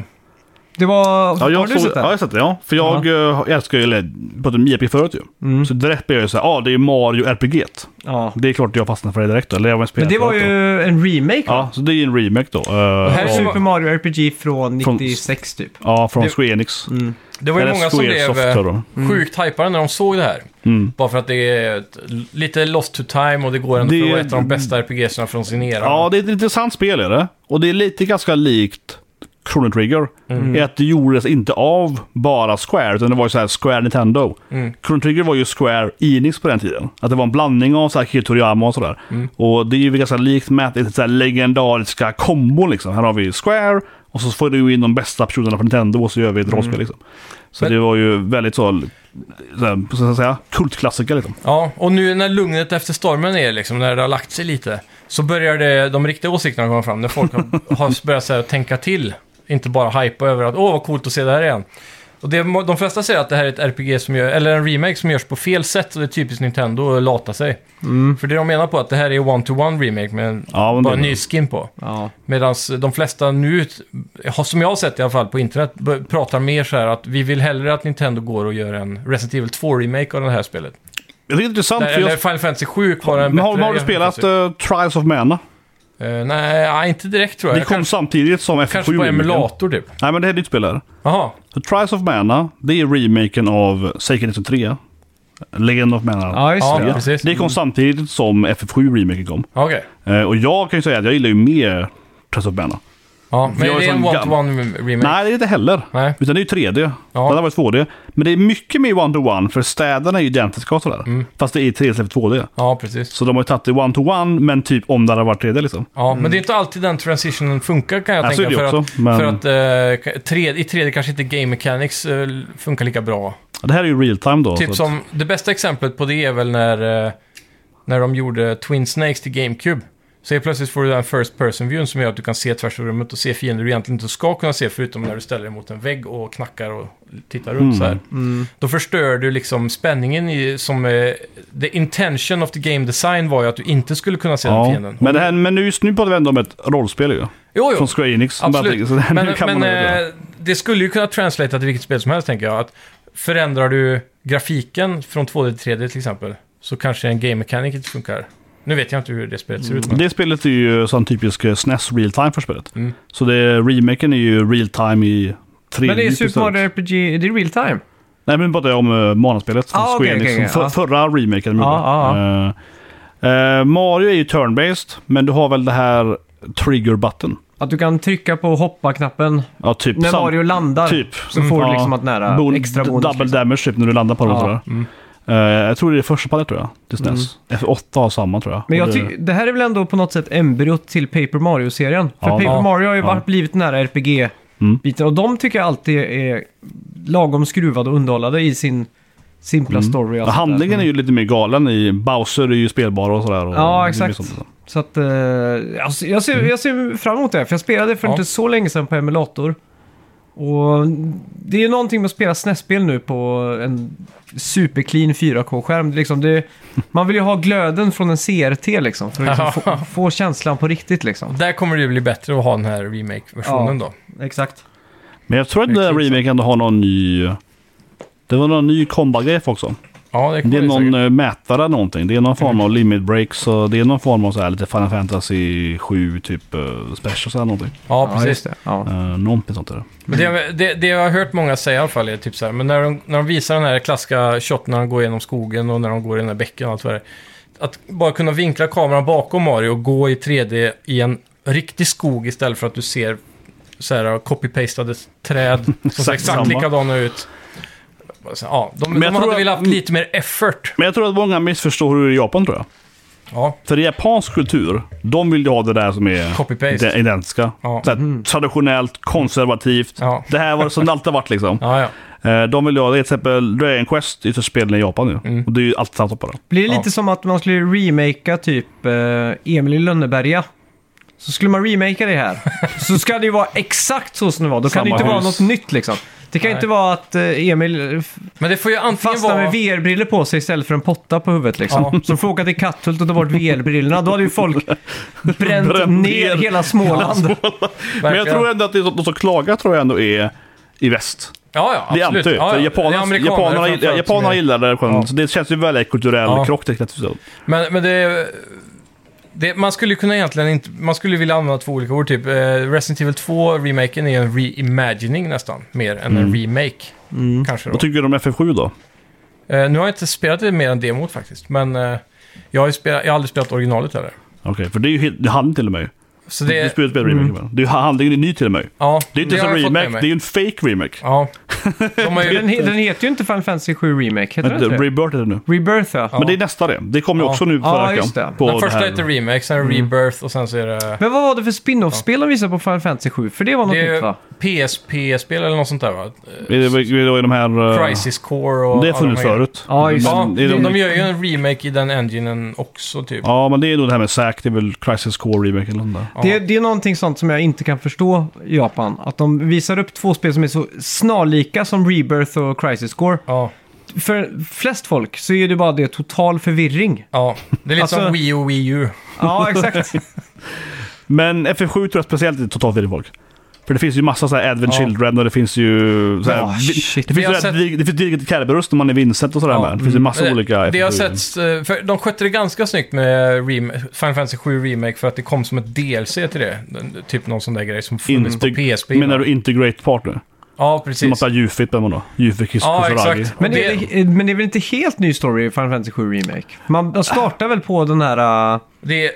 B: det var...
C: Ja,
B: har
C: jag
B: du
C: såg,
B: sett
C: ja, jag har
B: den?
C: sett det. Ja. För jag eh, älskar ju, eller pratade om JRPG förut ju. Så direkt blev jag ju såhär, ja ah, det är ju Mario RPG. t.
B: Ja.
C: Det är klart jag fastnade för det direkt. då, Eller jag var
B: Men det var ju en remake va?
C: Ja, så det är ju en remake då. eh,
A: här är
C: av-
A: ju-
B: Super Mario RPG från
C: Från-
B: 96 typ.
C: Ja, från
A: Det-
C: Square Enix.
A: Det var ju
C: Eller
A: många som
C: Square
A: blev
C: Soft,
A: eh,
C: tror jag
A: sjukt hypade när de såg det här.
C: Mm.
A: Bara för att det är ett, lite lost to time och det går ändå
C: Det
A: för att
C: är-
A: vara ett av de bästa RPGsna från sin era.
C: Ja, det är ett intressant spel är det. Och det är lite ganska likt Chrono Trigger.
A: Mm.
C: Är att det gjordes inte av bara Square, utan det var ju så här Square Nintendo.
A: Mm.
C: Chrono Trigger var ju Square Enix på den tiden. Att det var en blandning av så här Akira Toriyama och sådär.
A: Mm.
C: Och det är ju ganska likt med att det är så här legendariska kombon liksom. Här har vi Square och så får du in de bästa personerna från Nintendo och så gör vi ett rollspel liksom. Så
A: Mm. Men-
C: det var ju väldigt så, så här, vad ska jag säga, kultklassiker liksom.
A: Ja, och nu när lugnet efter stormen är liksom, när det har lagt sig lite, så börjar det, de riktiga åsikterna komma fram. När folk har, har börjat så här, tänka till. Inte bara hypa över att åh, vad coolt att se det här igen. Och det, må- de flesta säger att det här är ett RPG som gör, eller en remake som görs på fel sätt och det är typiskt Nintendo att lata sig. För det de menar på är att det här är one-to-one remake med en-
C: Mm. Ja, men
A: bara en
C: det-
A: ny skin på.
B: Ja.
A: Medan de flesta nu, har- som jag har sett i alla fall på internet, b- pratar mer så här att vi vill hellre att Nintendo går och gör en Resident Evil 2-remake av det här spelet.
C: Jag tycker det är intressant.
A: Eller
C: för jag...
A: Final Fantasy 7 var en
C: Men har,
A: bättre
C: har du spelat
A: jämförelse.
C: eh, Trials of Mana?
A: Eh, nej, nej, inte direkt tror jag.
C: Det
A: jag
C: kom
A: kanske,
C: samtidigt som F7.
A: kanske på
C: remaken.
A: emulator typ.
C: Nej, men det här är ditt spel här.
A: Jaha,
C: Så Trials of Mana, det är remaken av Seiken 3. Legend of Mana.
B: Ja, just
A: Ja,
B: det.
C: Ja,
A: precis.
C: Det kom samtidigt som FF7 remaken kom.
A: okej.
C: Eh, och jag kan ju säga att jag gillar ju mer Trials of
A: Mm.
C: Mana.
A: Ja, men
C: jag är
A: det är
C: sån
A: en one-to-one remake.
C: Nej, det är det inte heller.
A: Nej.
C: Utan det är ju 3D.
A: Ja.
C: Det hade varit 2D. Men det är mycket mer one-to-one, för städerna är ju identiska och sådär.
A: Mm.
C: Fast det är 3D istället för 2D.
A: Ja, precis.
C: Så de har ju tagit det one-to-one, men typ om det hade varit 3D liksom.
A: Ja, men det är inte alltid den transitionen funkar kan jag
C: Nej, så
A: tänka.
C: är det
A: för,
C: också,
A: att,
C: men-
A: för att eh, tre, i 3D kanske inte game mechanics eh, funkar lika bra.
C: Det här är ju real time då. så
A: Typ
C: att-
A: som, det bästa exemplet på det är väl när, eh, när de gjorde Twin Snakes till GameCube. Så helt plötsligt får du den first person viewen som gör att du kan se tvärs över rummet och se fiender du egentligen inte ska kunna se förutom när du ställer dig mot en vägg och knackar och tittar
C: Mm.
A: runt så här. Då förstör du liksom spänningen i, som... Eh, the intention of the game design var ju att du inte skulle kunna se den
C: Ja.
A: fienden.
C: Men, det här, men nu, just nu pratar vi ändå om ett rollspel ju.
A: jo, jo.
C: Från Square Enix. som bara-
A: Absolut.
C: så det här- nu
A: Men,
C: kan
A: men
C: man göra det.
A: eh, det skulle ju kunna translata till vilket spel som helst, tänker jag. Att förändrar du grafiken från 2D till 3D till exempel, så kanske en game mechanic inte funkar. Nu vet jag inte hur det spelet ser ut. Men...
C: Det spelet är ju sån typisk eh, SNES real time för spelet.
A: Mm.
C: Så det, remaken är ju real time i 3D.
B: Men det är
C: istället.
B: Super Mario RPG, det är real time.
C: Nej, men bara det om uh, manaspelet.
B: Ah,
C: Square
B: okej,
C: Enix,
B: okej,
C: som
B: okej,
C: för,
B: ja. Ah,
C: Förra remaken de
B: Ja,
C: gjorde.
B: ja,
C: Eh, eh, Mario är ju turn-based, men du har väl det här trigger button.
B: Att du kan trycka på hoppa-knappen
C: Ja, typ.
B: när
C: sam-
B: Mario landar.
C: typ.
B: Så får du
C: Ja.
B: liksom att nära
C: Bon-
B: extra bonus.
C: double
B: liksom. mm.
C: damage typ när du landar på
B: Ja,
C: det. tror jag. Eh, jag tror det är första palet tror jag. Till SNES. F8 har samma tror jag.
B: Mm. Men
C: Och
B: jag
C: det-
B: tycker, det här är väl ändå på något sätt embryot till Paper Mario-serien. För
C: Ja,
B: Paper
A: ja,
B: Mario har ju
C: ja. Mm.
B: varit blivit nära RPG-biten. Och de tycker jag alltid är lagom skruvade och underhållade i sin simpla story. och
C: Mm. Ja,
B: allt sånt där.
C: handlingen är ju lite mer galen i Bowser är ju spelbar och sådär. Och
B: Ja,
C: det är
B: exakt.
C: liksom så.
B: Så att, eh, alltså, jag,
C: Mm.
B: ser, jag ser fram emot det, för jag spelade för
A: Ja.
B: inte så länge sedan på emulator. Och det är någonting med att spela SNES-spel nu på en superclean 4K-skärm. Det är Liksom det, man vill ju ha glöden från en CRT liksom, för att liksom få, få känslan på riktigt liksom.
A: Där kommer det ju bli bättre att ha den här remake-versionen då.
B: Exakt.
C: Men jag tror att den här
A: Exakt så.
C: remaken har någon ny... Det var någon ny combat-grej också.
A: Ja, det kommer
C: Det är någon
A: säkert.
C: eh, mätare någonting. Det är någon form av limit breaks och det är någon form av så här lite Final Fantasy 7 typ eh, specials eller någonting.
A: Ja,
B: Ja,
A: precis.
B: just det. Ja.
C: Uh, någonting sånt där.
A: Men det, det, det jag har hört många säga i alla fall är typ så här, men när de, när de visar den här klassiska shot när de går genom skogen och när de går i den här bäcken och allt vad det är. Att bara kunna vinkla kameran bakom Mario och gå i 3D i en riktig skog istället för att du ser så här copy-pastade träd som ser
C: Exakt
A: exakt
C: samma.
A: likadana ut. Så, Ja, de,
C: Men
A: de
C: jag tror
A: hade
C: att-
A: velat haft lite mer effort.
C: Men jag tror att många missförstår hur det är i Japan tror jag.
A: Ja,
C: För i japansk kultur, de vill ju ha det där som är
A: Copy-paste.
C: ide- identiska.
A: Ja.
C: Så här, Traditionellt, konservativt.
A: Ja.
C: Det här var som det alltid har varit liksom.
A: ja, ja.
C: Eh, De vill ju ha det är till exempel Dragon Quest, ytterst spelen i Japan nu.
A: Mm.
C: Och det är ju allt samma på det.
B: Blir det lite
A: Ja.
B: som att man skulle remakea typ eh, Emil i Lönneberga? Så skulle man remakea det här. så ska det ju vara exakt så som det var. Då kan det
C: Samma
B: inte vara
C: hus.
B: något nytt liksom. Det kan
A: Nej.
B: inte vara att eh, Emil eh,
A: Men det får ju antingen
B: fastnar
A: vara...
B: med VR-briller på sig istället för en potta på huvudet liksom.
A: Ja.
B: Så de får åka till Katthult och ta bort VR-brillorna. Då hade ju folk bränt,
C: Bränt
B: ner
C: ner.
B: hela Småland.
C: Men jag
A: Verkligen.
C: tror ändå att det är så- de som klagar tror jag ändå är i väst.
A: Ja, ja,
C: Det är
A: absolut.
C: antu.
A: ja,
C: För
A: ja.
C: japanerna-
A: Det är amerikaner
C: japanerna,
A: framförallt som
C: japanerna
A: är-
C: gillar det.
A: Ja.
C: Så det känns ju väldigt kulturell
A: Ja.
C: krock. Det, så.
A: Men, men det, det... Man skulle ju kunna egentligen inte... Man skulle vilja använda två olika ord, typ. Eh, Resident Evil 2-remaken är en reimagining nästan, mer än en remake. Kanske då.
C: Mm. Vad tycker du om FF7 då?
A: Eh, nu har jag inte spelat det mer än demot faktiskt, men eh, jag, har ju spelat, jag har aldrig spelat originalet heller.
C: Okej, för det är ju helt, det är handling till och med.
A: Så
C: Det, du
A: det...
C: spelar ett remake. Mm. Det är ju handlingen är ny till och med.
A: Ja,
C: Det är inte ens
A: har
C: en
A: jag fått med
C: remake,
A: mig.
C: det är ju en fake remake.
A: Ja. De har
B: Den,
A: ju...
B: he- den heter ju inte Final Fantasy 7 Remake, heter den
C: Men
B: inte
C: det-
B: det?
C: Rebirth är det nu.
B: Rebirth ja.
C: Men det är nästa det. Det kommer ju
A: Ja.
C: också nu
B: Ja,
C: förra veckan.
B: just det.
C: på
A: Den första
C: här- Mm.
A: heter remake, sen är det rebirth och sen så är det...
B: Men vad var det för spin-off-spel de visade på Final Fantasy 7? För det var något
A: Det är
C: typ,
B: nytt
A: ju
B: va?
A: PSP-spel eller något sånt där va?
C: Är det, är det, är de här... eh,
A: Crisis Core och...
C: Det har
A: alla
C: funnits
A: de här-
C: förut.
B: Ja, just
A: Ja,
C: Men är
A: de,
C: de-
A: de gör ju en remake i den enginen också typ.
C: Ja, men det är då det här med SAC, det är väl Crisis Core Remake eller något där.
A: Ja.
B: Det, det är någonting sånt som jag inte kan förstå i Japan. Att de visar upp två spel som är så snarlika som Rebirth och Crisis Core.
A: Ja,
B: För flest folk så är det bara det total förvirring.
A: ja. det är lite
B: Alltså-
A: som Wii och Wii U.
B: Ja, exakt.
C: Men FF7 tror jag speciellt är totalt fel folk. För det finns ju massa så här Advent
A: Ja.
C: Children och det finns ju... Så här,
B: Ah,
C: vi-
B: shit.
C: det
A: Vi
C: finns
A: har
C: ju
A: sett-
C: sett... Det finns Dirget Caliberus när man är Vincent och sådär
A: Ja, Mm.
C: med. Det finns ju massa
A: Men
C: Alltså, olika
A: det, det har
C: FF7.
A: setts, eh, för de skötte det ganska snyggt med rem- Final Fantasy 7 Remake för att det kom som ett DLC till det. Den- Typ någon sån där grej som funnits på
C: Integ-
A: PSP.
C: Menar du Integrate Partner?
A: Ja,
C: Det
A: precis.
C: måste ha Jufit med man då. Jufit Kus-
A: Ja,
C: Kusuragi.
A: exakt.
B: Men
A: Och
B: det, är, väl- men det är väl inte helt ny story i Final Fantasy 7 Remake? Man, man startar väl på den här... äh,
A: Det,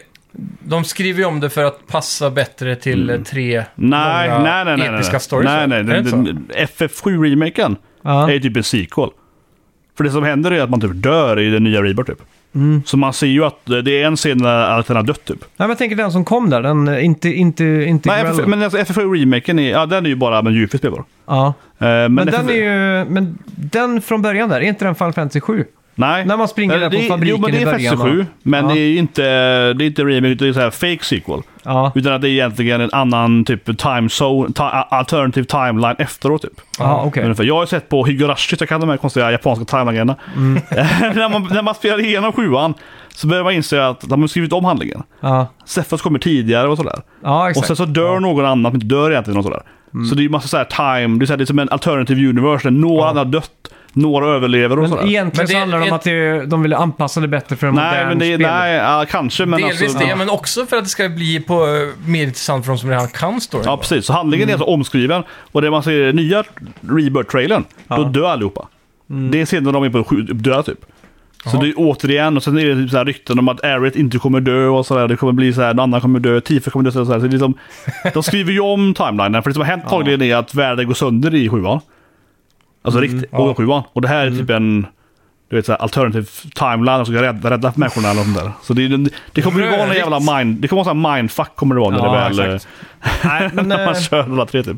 A: de skriver ju om det för att passa bättre till eh, tre
C: Mm. Nej,
A: långa
C: nej, nej, nej. nej.
A: episka stories.
C: nej, nej.
A: Är det inte så?
C: Den- FF7-remaken
B: Ja.
C: är ju typ en sequel. För det som händer är att man typ dör i den nya Rebirth typ.
A: Mm.
C: Så man ser ju att det är en scen där att den har dött typ.
B: Nej, men jag tänker den som kom där. Den eh, inte... inte, inte
C: Nej, FF, men alltså, FF7-remaken är, ja, den är ju bara med Jufit spelbar.
B: ja.
C: Eh,
B: men,
C: FF
B: den är ju... Men den från början där, är inte den Final Fantasy 7?
C: Nej.
B: När man springer där på
C: det,
B: fabriken
C: Jo, men det
B: i
C: är
B: början,
C: Fest
B: va?
C: 7. Men
B: Ja.
C: det är ju inte, det är inte remake, det är så här fake sequel.
B: Ja.
C: Utan att det är egentligen en annan typ time zone, ti- alternative timeline efteråt typ.
B: Ja, okej.
C: Ungefär. Jag har ju sett på Higurashi, så jag kan de här konstiga japanska timelinjerna.
B: Mm.
C: när, man, när man spelar igenom sjuan så börjar man inse att de har skrivit om handlingen.
B: Ja.
C: Seffas kommer tidigare och sådär.
B: ja, Mm.
C: Och
B: exakt.
C: sen så dör någon annan som inte dör egentligen och sådär. Så det är ju massa såhär time, det är, så här, det är som en alternative universe där några andra har dött, några överlever och
B: men
C: sådär.
B: egentligen
A: Men
B: så
A: det-
B: handlar det om
A: ett-
B: att det, de ville anpassa det bättre för en
C: Nej,
B: modern
C: men det är,
B: spelare.
C: nej, ja, kanske men
A: Delvis
C: alltså,
A: det,
C: ja.
A: men också för att det ska bli på, eh, mer intressant för de som redan kan storyn.
C: ja, precis. Så handlingen
A: Mm.
C: är alltså omskriven och det man ser i den nya Rebirth-trailern, då dör allihopa. Det är sedan de är på sju- dö typ. Så
A: Mm. Jaha.
C: det är återigen, och sen är det typ så här rykten om att Ariet inte kommer dö och sådär. Det kommer bli så här, någon annan kommer dö, Tifa kommer dö och sådär. Så det är liksom, de skriver ju om timelinen, för det som har hänt antagligen är att världen går sönder i sjuan. Alltså riktigt, och
A: Mm, ja. Mm.
C: sjuan. Och det här är typ en, du vet såhär, alternativ timeline som ska rädda, rädda människorna eller sånt där. Så det, är- det kommer ju vara en
A: Rörigt.
C: jävla mind, det kommer vara en mindfuck kommer det vara när
B: Ja,
C: det väl... eh,
B: exakt. Nej, men,
C: när
B: eh,
C: man kör alla tre typ.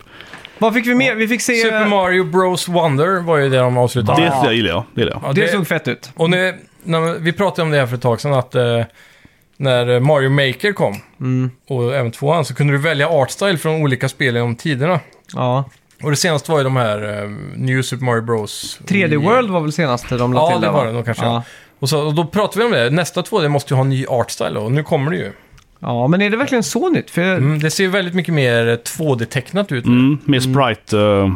B: vad fick vi mer? Vi fick se... eh,
A: Super Mario Bros Wonder var ju det de avslutade
C: Det
A: med.
C: jag gillar jag. Det gillar jag.
A: Ja,
B: det, såg fett ut.
A: Och nu, när vi pratade om det här för ett tag sedan, att eh, när Mario Maker kom,
C: Mm.
A: och även tvåan, så kunde du välja artstyle från olika spel genom tiderna.
B: Ja.
A: Och det senaste var ju de här eh, New Super Mario Bros.
B: 3D World var väl senast de la
A: Mm. Ja,
B: till
A: det
B: där,
A: var
B: va?
A: det nog kanske,
B: Ja.
A: ja. Och, så, och då pratade vi om det. Nästa 2D måste ju ha en ny artstyle och nu kommer det ju.
B: ja, men är det verkligen så nytt? För,
A: Mm, det ser ju väldigt mycket mer 2D-tecknat ut nu.
C: Mm, med Sprite. eh,
B: ja,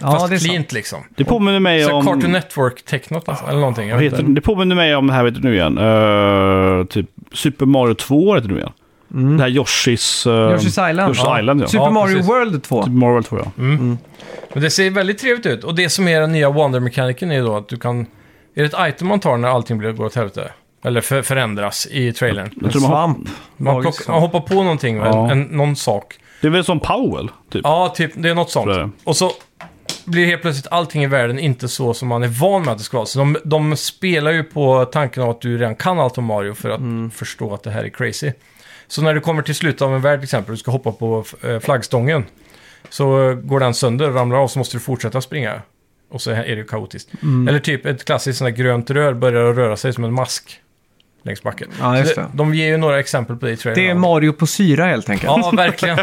A: fast
B: det är sant.
A: cleant liksom.
C: det påminner mig
A: Så
C: om...
A: Cartoon Network-tecknat alltså, eller någonting. Jag
C: Vad
A: vet
C: heter,
A: inte.
C: det påminner mig om, det här vet du nu igen, eh, typ Super Mario 2 heter det nu igen.
B: Mm.
C: Det här Yoshis... eh,
B: Yoshi's Island.
C: Yoshi's Island ja.
B: Super
A: Mm. Ja,
B: Mario
A: precis.
B: World 2.
C: Super Mario 2 ja.
A: Men det ser väldigt trevligt ut. Och det som är den nya Wonder-mekaniken är ju då att du kan... Är det ett item man tar när allting blir går åt helvete? Eller för, förändras i trailern?
C: Jag
B: En
C: tror man, har-
B: svamp.
A: Man,
B: Magisk
A: plock, man
B: svamp.
A: hoppar på någonting, va?
C: Ja.
A: en, någon sak.
C: det är väl som Powell typ.
A: Ja, typ, det är något sånt.
C: Tror jag.
A: Och så blir helt plötsligt allting i världen inte så som man är van med att det ska vara. Så de, de spelar ju på tanken av att du redan kan allt om Mario för att
B: Mm.
A: förstå att det här är crazy. Så när du kommer till slutet av en värld till exempel, du ska hoppa på eh, flaggstången. Så eh, går den sönder, ramlar av, så måste du fortsätta springa. Och så är det ju kaotiskt.
B: Mm.
A: Eller typ ett klassiskt sånt där grönt rör börjar röra sig som en mask längs backen.
B: Ja, just
A: Så
B: det.
A: De ger ju några exempel på det i trailern.
B: Det är Mario på syra helt enkelt.
A: Ja, verkligen.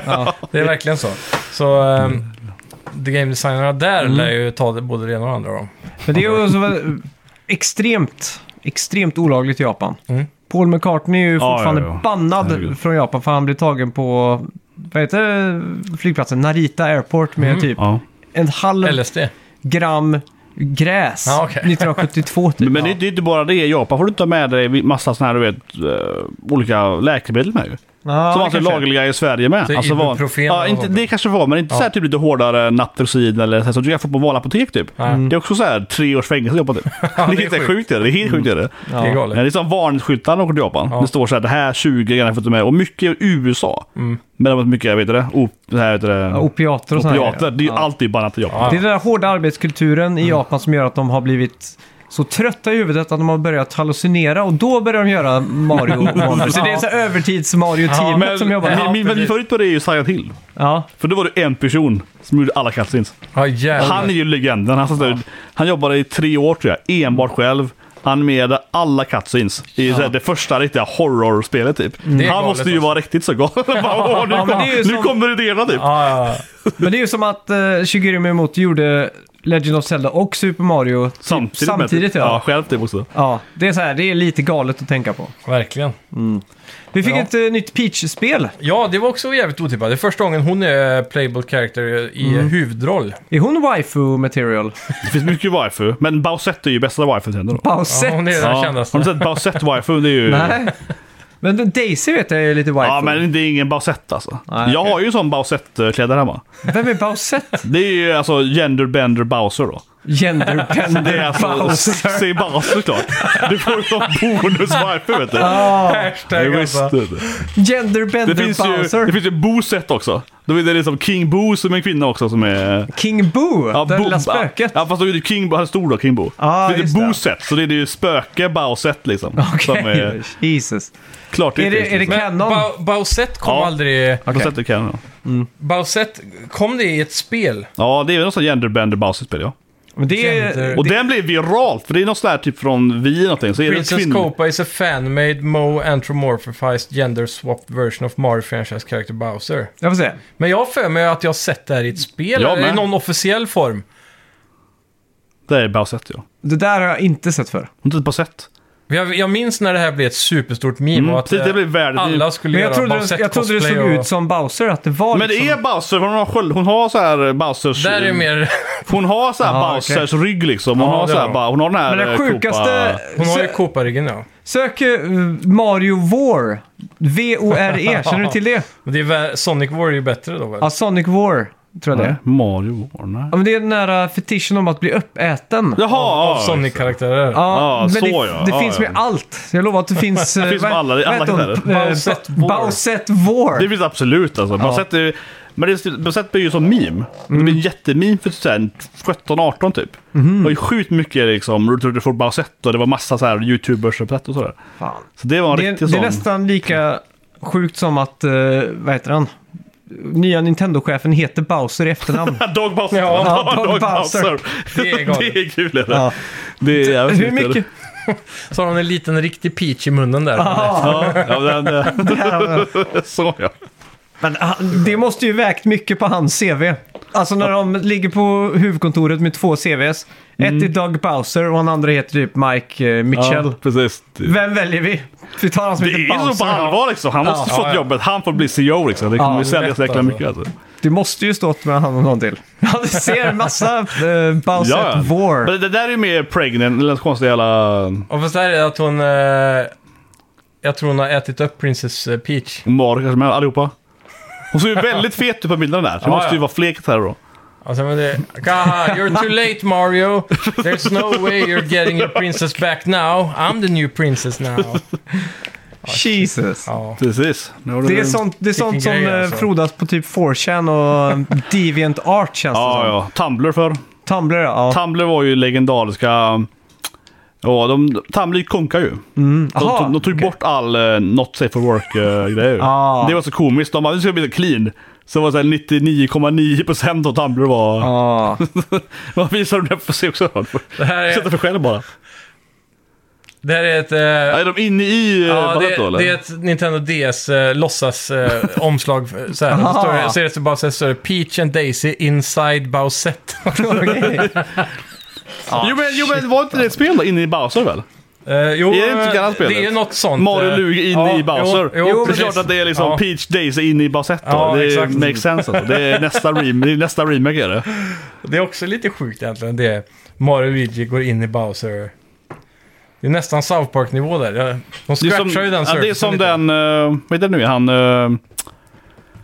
A: Det är verkligen så. Så um, the game designerna där
C: Mm.
A: lär ju ta det både det ena och det andra då.
B: Men det är ju också väl extremt, extremt olagligt i Japan.
A: Mm.
B: Paul McCartney är ju
C: Ja,
B: fortfarande
C: ja, ja.
B: bannad
C: Herregud.
B: från Japan för han blev tagen på, vad heter det, flygplatsen? Narita Airport med
A: Mm.
B: typ
C: Ja.
B: en halv
C: Mm.
A: LSD.
B: gram gräs
A: Ja, okej.
B: 1972 typ.
C: Men, men det, det är inte bara det. I Japan får du inte ha med dig massa sådana här du vet, eh, olika läkemedel med ju.
B: Ja,
C: som
B: det
C: alltså är
B: kanske.
C: lagliga i Sverige med.
A: Så
C: alltså, var-
A: ibuprofen
C: ja,
A: och
C: inte,
A: sånt.
C: det kanske var, men inte så här typ lite hårdare än Naproxen eller så här som du kan få på valapotek typ. Det är också så här tre års fängelse i Japan typ. det är
A: det är
C: helt sjukt.
A: sjukt.
C: är det. det är helt sjukt är det.
A: Det är
C: Det
A: galet.
C: är som varningsskyltar när de åker till Japan. Det står så här, det här 20 grejerna får du med. Och mycket i USA. Men det var mycket, jag vet det, op, det här heter det,
B: Ja, opiater och sånt.
C: opiater. Det är ju Mm. alltid bannat i Japan.
B: Det är den där hårda arbetskulturen i Japan som gör att de har blivit så trötta i huvudet att de har börjat hallucinera och då börjar de göra Mario Wonder. Så det är så här övertids-Mario-teamet
C: Men,
B: som jobbar.
C: min, min, min
A: precis.
C: favorit på det är ju Silent Hill.
B: Ja.
C: För då var det en person som gjorde alla cutscenes.
A: Ja, jävlar.
C: Han är ju legenden. Han, satt där- han jobbade i tre år tror jag, enbart själv. Animerade alla cutscenes i så här det första riktiga horrorspelet typ.
B: Mm.
A: Det är
C: Han
A: galet,
C: måste ju
A: alltså.
C: vara riktigt så galen. Bara, "Åh, nu
B: Ja, men
C: kom,
B: det är ju
C: nu
B: som-
C: kommer idéerna typ.
A: Ja, ja,
B: Men det är ju som att uh, Shigeru Miyamoto gjorde Legend of Zelda och Super Mario typ
C: Samtidigt, med-
B: samtidigt ja.
C: ja.
B: ja.
C: Själv typ också.
B: det är så här, det är lite galet att tänka på.
A: ja, verkligen.
B: Vi fick
A: Ja.
B: ett eh, nytt Peach-spel.
A: Ja, det var också jävligt otippat. Det är första gången hon är playable character i
C: Mm.
A: huvudroll.
B: Är hon waifu material?
C: Det finns mycket waifu, men Bausette är ju bästa waifu till ändå.
A: Ja,
B: Pauset?
A: hon är den kändaste.
C: Har du sett Bausette waifu? Det är ju...
B: Nej. Men den Daisy vet jag är lite waifu.
C: Ja, men det är ingen Bausette alltså.
B: Nej,
C: jag
B: okej.
C: har ju sån Bausette-kläder hemma.
B: Vem är Bowsett?
C: Det är ju alltså genderbender Bowser då. Det är
B: Genderbender
C: alltså
B: Bowser.
C: sexig Bowser klart. Du får ju sån bonus-waifu vet du.
A: Hashtag
C: Ja, visst,
A: alltså.
C: vet du.
B: Genderbender
C: det finns ju,
B: Bowser.
C: det finns ju Bosett också. Då är det liksom King Bo som är en kvinna också som är...
B: King Boo, det
C: Bo-
B: lilla spöket.
C: Ja, fast då är det King Bo, han är stor då, King Bo.
B: Ah,
C: det är
B: just det.
C: Boset, så det är det ju spöke Bowset liksom. Som
B: Okej,
C: är
B: Jesus.
C: klart
B: Är det, är det kanon?
A: Ba- Bowsette kom
C: Ja.
A: aldrig...
B: Okej.
C: Bowset är kanon.
A: Bowsette, kom det i ett spel?
C: Ja, det är väl något sånt genderbender Bowset-spel ja.
B: Men det är...
A: Gender.
C: Och
B: det-
C: den blev viral, för det är något sånt här typ från Vi någonting. Så är det
A: Princess
C: kvinnor.
A: Copa is a fan-made, mo anthropomorphized gender swapped version of Mario franchise character Bowser.
B: Jag får se.
A: Men jag har för mig att jag har sett det här i ett spel,
C: Jag
A: eller i
C: med.
A: någon officiell form.
C: Det är Bowsett ja.
B: Det där har jag inte sett för.
C: Hon typ heter Bowsett.
A: Men Jag, jag minns när det här blev ett superstort meme
C: Mm,
A: och att
C: det- det
A: eh,
C: blev värdigt.
A: alla skulle
B: Men jag
A: göra
B: trodde, det,
A: Bowsette
B: jag trodde det såg
A: cosplay och...
B: ut som Bowser, att det var
C: Men det
B: liksom...
C: är Bowser, för hon har, sköld- hon har så här Bowsers...
A: Där är det mer...
C: Hon har så här
B: Jaha,
C: Bowsers rygg liksom. Hon,
A: Ja,
C: har
A: det
C: så
A: har
C: här,
A: hon.
C: ba- hon har den här
B: Men den
C: eh,
B: sjukaste...
C: Koopa-
A: Hon har ju
B: Sö-
A: Copa-ryggen ja.
B: Sök eh, Mario War. V-O-R-E, E. känner du till det?
A: Men det är väl, Sonic War är ju bättre då väl?
B: Ja, Sonic War, tror jag det är.
C: Mario Warner.
B: Ja, men det är den där eh, fetischen om att bli uppäten.
C: Jaha!
A: av
C: ja,
A: Sonic-karaktärer.
B: Ja,
C: Ah,
B: men
C: så
B: det,
C: ja.
B: det
C: Ah,
B: finns
C: ja.
B: med allt. Så Jag lovar att det finns... eh, Det
C: finns med alla- alla karaktärer.
A: Bowsette
B: Eh, Bowsette War.
A: War.
B: Bowsette War.
C: Det finns absolut alltså. Man sett det, men det Bowsett blir ju som meme. Det blir en jättememe för sen 17-18 typ. Det var ju sjukt mycket liksom Route to the Fort Bowsett och det var massa så här youtubers och sånt och sådär.
B: Fan.
C: Så det var en
B: Det, är-
C: riktig
B: det är
C: sån.
B: nästan lika sjukt som att, eh, vad heter han? Nya Nintendo-chefen heter Bowser i efternamn.
C: Dog Bowser!
A: Ja,
B: Dog Bowser.
A: Det är galet.
C: det är kul eller?
B: Ja.
C: Det är jävligt
B: Hur
C: kul, eller?
B: mycket?
A: Så har hon en liten riktig peach i munnen där.
C: Ja, ja men den,
B: Det här har jag-
C: så ja.
B: Men
C: ah,
B: han- det måste ju vägt mycket på hans CV. Alltså när de ligger på huvudkontoret med två CVs. Ett är Doug Bowser och den andra heter typ Mike eh, Mitchell.
C: Mm. ja precis. Det,
B: Vem väljer vi? Vi tar han som
C: det
B: heter
C: är
B: Bowser.
C: så på allvar liksom. Han måste
A: Ja,
C: fått
A: ja.
C: jobbet. Han får bli CEO liksom. Det
B: Ja,
C: kommer ju
B: det är
C: sälja
A: lätt,
C: så jäkla
A: alltså.
C: mycket alltså.
B: Det måste ju stått med han och någon till. Ja, du ser massa eh, Bowser War.
C: Men det där är ju mer pregnant, eller konstig jävla
A: Och fast det här är att hon... Eh, jag tror hon har ätit upp Princess eh, Peach.
C: Mario kanske med allihopa. Hon ser ju väldigt fet ut på bilden där. Så det
A: Ja,
C: måste ju
A: ja.
C: vara fler karaktärer då.
A: Alltså, men det, Gaha, you're too late Mario. There's no way you're getting your princess back now. I'm the new princess now.
B: Jesus.
A: Ja.
C: Precis. Nu har du-
B: Det är sånt, det är sånt som
A: grej,
B: eh,
A: alltså.
B: frodas på typ 4chan och eh, Deviant Art känns det
C: Ja,
B: som.
C: ja. Tumblr för.
B: Tumblr, ja.
C: Tumblr var ju legendariska... Ja, de, Tumblr konkade ju. De,
B: Aha,
C: tog- de tog
B: okej.
C: bort all eh, not safe for work-grejer.
B: Ah.
C: Det var så komiskt. De bara, nu ska vi bli clean. Så var det så här 99,9% av Tumblr var...
B: Ja.
C: Vad visar de det för sig också?
A: Det, här
C: Sätta
A: är,
C: för själv bara.
A: det här är ett... Eh,
C: Är de inne i ja,
A: Ja, det,
C: då eller?
A: det är ett Nintendo DS eh, låtsas eh, omslag. eh, Så, här.
B: Aha.
A: Så, står det, så är det så bara så här, står det Peach and Daisy inside Bowsette.
B: Okej.
C: jo, men, jo men var inte det ett spel då? Inne i Bowser väl?
A: Eh, jo,
C: Är det inte gamla spelet?
A: det är något sånt.
C: Mario
A: eh,
C: Luger in
A: ja,
C: i Bowser.
A: Jo, jo,
C: det är
A: precis.
C: klart att det är liksom
A: Ja.
C: Peach Daisy in i Bowsette då.
A: Ja,
C: det
A: exakt.
C: makes sense alltså. Det är nästa, rem- det är nästa remake är det.
A: Det är också lite sjukt egentligen. Det är Mario Luigi går in i Bowser. Det är nästan South Park-nivå där. Ja, De
C: Det är
A: scratchar
C: som,
A: ju den
C: ja, det är som
A: lite.
C: den, uh, vad heter det nu, han, eh,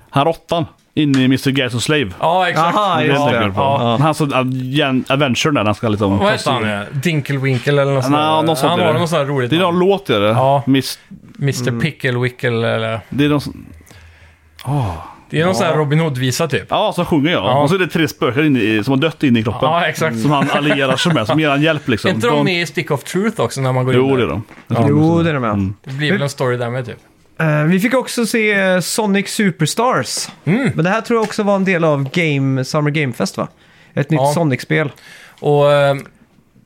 C: han råttan. Inne i Mr. Garrison Slave.
A: Ja, exakt.
B: Aha,
C: Det är
B: just
C: jag tänker
B: det.
C: på.
A: ja.
C: Han som adven- adventure där han ska liksom...
A: Vad heter han? ja? Dinkelwinkel eller något sånt.
C: Ja,
A: där.
C: något sånt
A: han
C: är
A: har
C: det.
A: något sånt här roligt
C: Det är någon
A: namn.
C: låt är det.
A: Ja.
C: Miss,
A: Mr.
C: Mm.
A: Picklewickle eller...
C: det är någon, som-
A: Det är någon sån här Robin Hood-visa typ.
C: ja, som sjunger ja.
A: Ja.
C: Och så är det tre spöken inne i, som har dött inne i kroppen.
A: Ja, exakt.
C: Som han allierar sig med, som ger han hjälp liksom.
A: Är inte de med i Stick of Truth också när man går in där?
C: Jo, det Mm. är de.
B: Jo, det är de med.
A: Det blir väl en story där med typ.
B: Eh, vi fick också se eh, Sonic Superstars.
A: Mm.
B: Men det här tror jag också var en del av Game, Summer Game Fest va? Ett nytt
A: Ja.
B: Sonic-spel.
A: Och eh,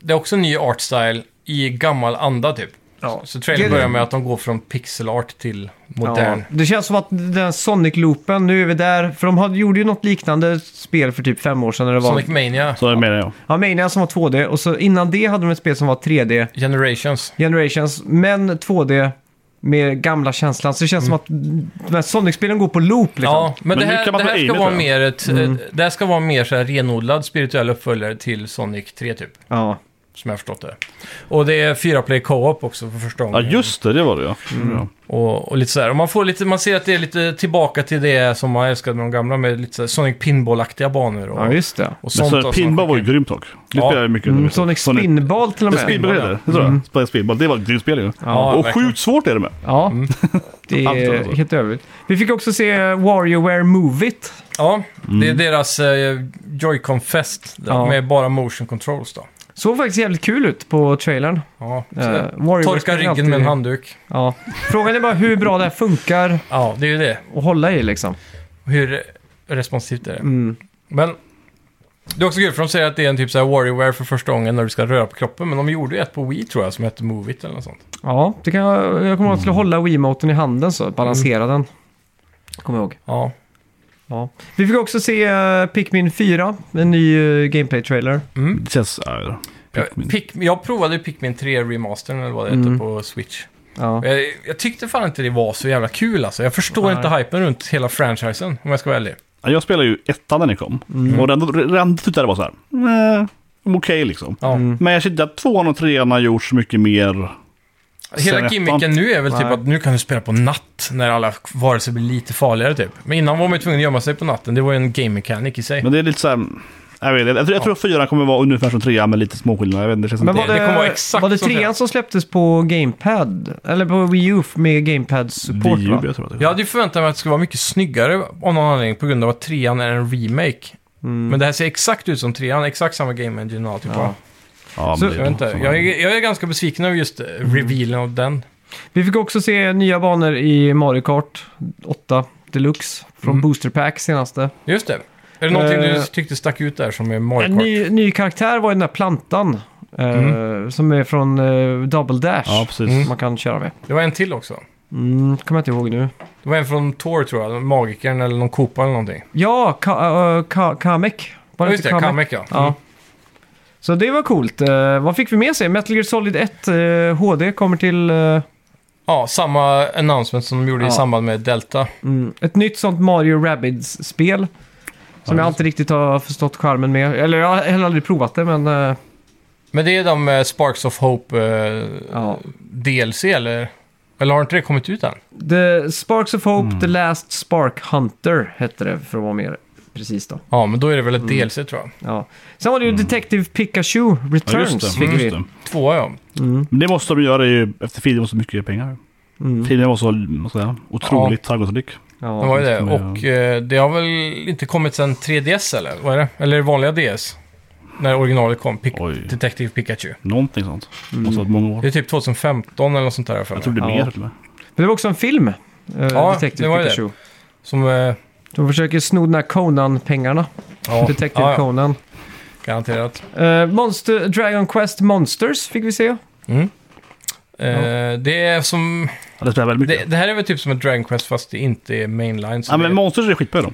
A: det är också en ny art style i gammal anda typ.
B: Ja.
A: Så trailern
B: Det-
A: börjar med att de går från pixelart till modern.
B: Det känns som att den Sonic-loopen, nu är vi där. För de hade, gjorde ju något liknande spel för typ fem år sedan. När det var,
A: Sonic Mania
C: Så det menar jag.
B: Ja, Mania som var 2D och så innan det hade de ett spel som var 3D,
A: Generations.
B: Generations, men 2D med gamla känslan. Så det känns som att de här Sonic-spelen går på loop liksom.
A: Mm. Ja, men,
C: Men
A: det
C: nu
A: här,
C: kan man
A: det
C: ta
A: här
C: aim,
A: ska
C: tror
A: vara
C: jag.
A: mer ett,
C: Mm.
A: eh, det här ska vara mer så här renodlad spirituell uppföljare till Sonic 3 typ.
B: Ja.
A: Som jag har förstått det. Och det är fyra play co-op också för första
C: Ja,
A: gången.
C: just det. Det var det ja.
A: Mm.
C: ja.
A: Och, och lite så här. Och man, får lite, man ser att det är lite tillbaka till det som man älskade med de gamla med lite så här Sonic Pinball-aktiga banor. Och,
B: ja, just det.
A: och
C: Men
A: sånt.
C: så,
A: alltså.
C: pinball var ju grymt dock. Det
A: Ja.
C: spelade jag mycket.
B: Mm, Sonic Spinball till och
C: Det
B: med.
C: spinball heter det. Det tror jag. Spelade Spinball. Det var ett grymt spel ju.
A: Ja,
C: och
A: verkligen.
C: sjukt svårt är det med.
B: Ja,
A: Mm.
B: det
C: Allt
B: är
C: alltså.
B: helt övrigt. Vi fick också se WarioWare Move It.
A: Ja, det är deras eh, Joy-Con Fest där,
B: Ja.
A: med bara motion controls då.
B: Såg faktiskt jävligt kul ut på trailern.
A: Ja, så
B: Eh, Warrior
A: torka
B: spelar
A: ryggen
B: alltid-
A: med en handduk.
B: Ja. Frågan är bara hur bra det här funkar
A: Ja, det är ju det.
B: att hålla i liksom.
A: Hur responsivt är det?
B: Mm.
A: Men Det är också kul för de säger att det är en typ så här Warrior för första gången när du ska röra på kroppen. Men de gjorde ju ett på Wii tror jag som hette Move It eller något sånt.
B: Ja, det kan jag, jag kommer ihåg att
A: Mm.
B: jag skulle hålla Wiimoten i handen så, balansera den. Kommer jag ihåg.
A: Ja.
B: Ja. Vi fick också se eh, Pikmin 4, en ny eh, gameplay-trailer.
A: Mm.
C: Det känns... ja,
A: Pikmin. Jag, Pik, jag provade ju Pikmin 3 Remastern eller vad det
C: Mm.
A: heter på Switch.
B: Ja.
A: Jag, jag tyckte fan inte det var så jävla kul alltså. Jag förstår
B: Nej.
A: inte hypen runt hela franchisen om jag ska vara ärlig.
C: ja. Jag spelade ju ettan när ni kom.
A: Mm.
C: Och den, den tyckte jag det var så här... "Nej, Okej liksom.
A: Ja.
B: Mm.
C: Men jag kände att tvåan och trean har gjort så mycket mer...
A: Hela
C: Sen
A: gimmicken nu är väl typ
B: Nej.
A: att nu kan du spela på natt när alla varelser blir lite farligare typ. Men innan var man ju tvungen att gömma sig på natten. Det var ju en game mechanic i sig.
C: Men det är lite så här... Jag, vet, inte. jag, tror- jag tror att fyran kommer vara ungefär som trean med lite småskillnader. Jag vet inte, det känns
B: Men
C: inte...
B: var
A: det
B: det,
A: kommer vara exakt
B: var det
A: som
B: trean
A: trean.
B: som släpptes på GamePad? Eller på Wii U med GamePad-support
C: Wii U,
B: va?
C: jag tror att det
A: Jag hade ju förväntat mig att det skulle vara mycket snyggare av någon anledning på grund av att trean är en remake. Men det här ser exakt ut som trean, exakt samma game engine och alltihopa.
B: Ja.
C: Mm. Ja,
B: Så-
C: men
A: Jag,
C: det är
A: vet inte,
C: samma.
A: jag, är, jag är ganska besviken över just eh,
C: Mm.
A: revealen av den.
B: Vi fick också se nya banor i Mario Kart 8 Deluxe från
A: Mm.
B: Booster Pack senaste.
A: Just det. Är det någonting du
B: Eh.
A: tyckte stack ut där som är Mario
B: En
A: Kart? Mm.
B: ny, ny karaktär var ju den där plantan. eh, Som är från eh, Double Dash.
C: Ja, precis.
B: som man kan köra med.
A: Det var en till också.
B: Mm, kommer jag inte ihåg nu.
A: Det var en från Tor tror jag, Magikern eller någon Koopa eller någonting.
B: Ja, Ka- eh, Ka- Kamek. Var
A: Ja,
B: det
A: just
B: inte
A: det, Kamek Mm. ja.
B: Ja. Så det var coolt. Eh, vad fick vi med sig? Metal Gear Solid 1 eh, HD kommer till eh,
A: Ja, samma announcement som de gjorde i
B: Ja.
A: samband med Delta.
B: mm, ett nytt sånt Mario Rabbids-spel. Som jag inte riktigt har förstått charmen med. Eller jag har heller aldrig provat det, men... eh,
A: Men det är de eh, Sparks of Hope eh,
B: ja.
A: DLC eller? Eller har inte det kommit ut än?
B: The Sparks of Hope,
A: Mm.
B: The Last Spark Hunter hette det, för att vara mer precis då.
A: Ja, men då är det väl ett
B: Mm.
A: DLC tror jag.
B: Ja. Sen var det ju
A: Mm.
B: Detective Pikachu
C: Ja,
B: Returns.
C: just det.
B: fick vi. Mm,
C: Just det.
A: Två ja.
C: Men det måste de göra ju, efter filmen var så mycket pengar. Filmen var så vad ska jag säga, otroligt framgångsrik.
A: Det
B: Ja.
A: var ju det.
C: det skulle
A: Och eh, det har väl inte kommit sedan 3DS eller? Vad är det? Eller vanliga DS? När originalet kom, Pic-
C: Oj.
A: Detective Pikachu.
C: Någonting sånt. Måste ha varit många år.
A: Det är typ 2015 eller något sånt där har jag för
C: Jag
A: mig.
C: tror det är
B: Mm. Ja.
C: mer till och med.
B: Men det var också en film, eh,
A: Ja,
B: Detective
A: det var ju det.
B: Pikachu.
A: Som, eh,
B: De försöker sno den här Conan-pengarna.
A: ja,
B: Detective
A: ja, ja,
B: Conan.
A: Garanterat.
B: Eh, Monster, Dragon Quest Monsters fick vi se.
A: Eh, Det är som...
C: Ja, det spelar väldigt mycket.
A: Det, det här är väl typ som ett Dragon Quest fast det inte är mainline. Så
C: ja,
A: det,
C: men Monsters är skitbra i dem.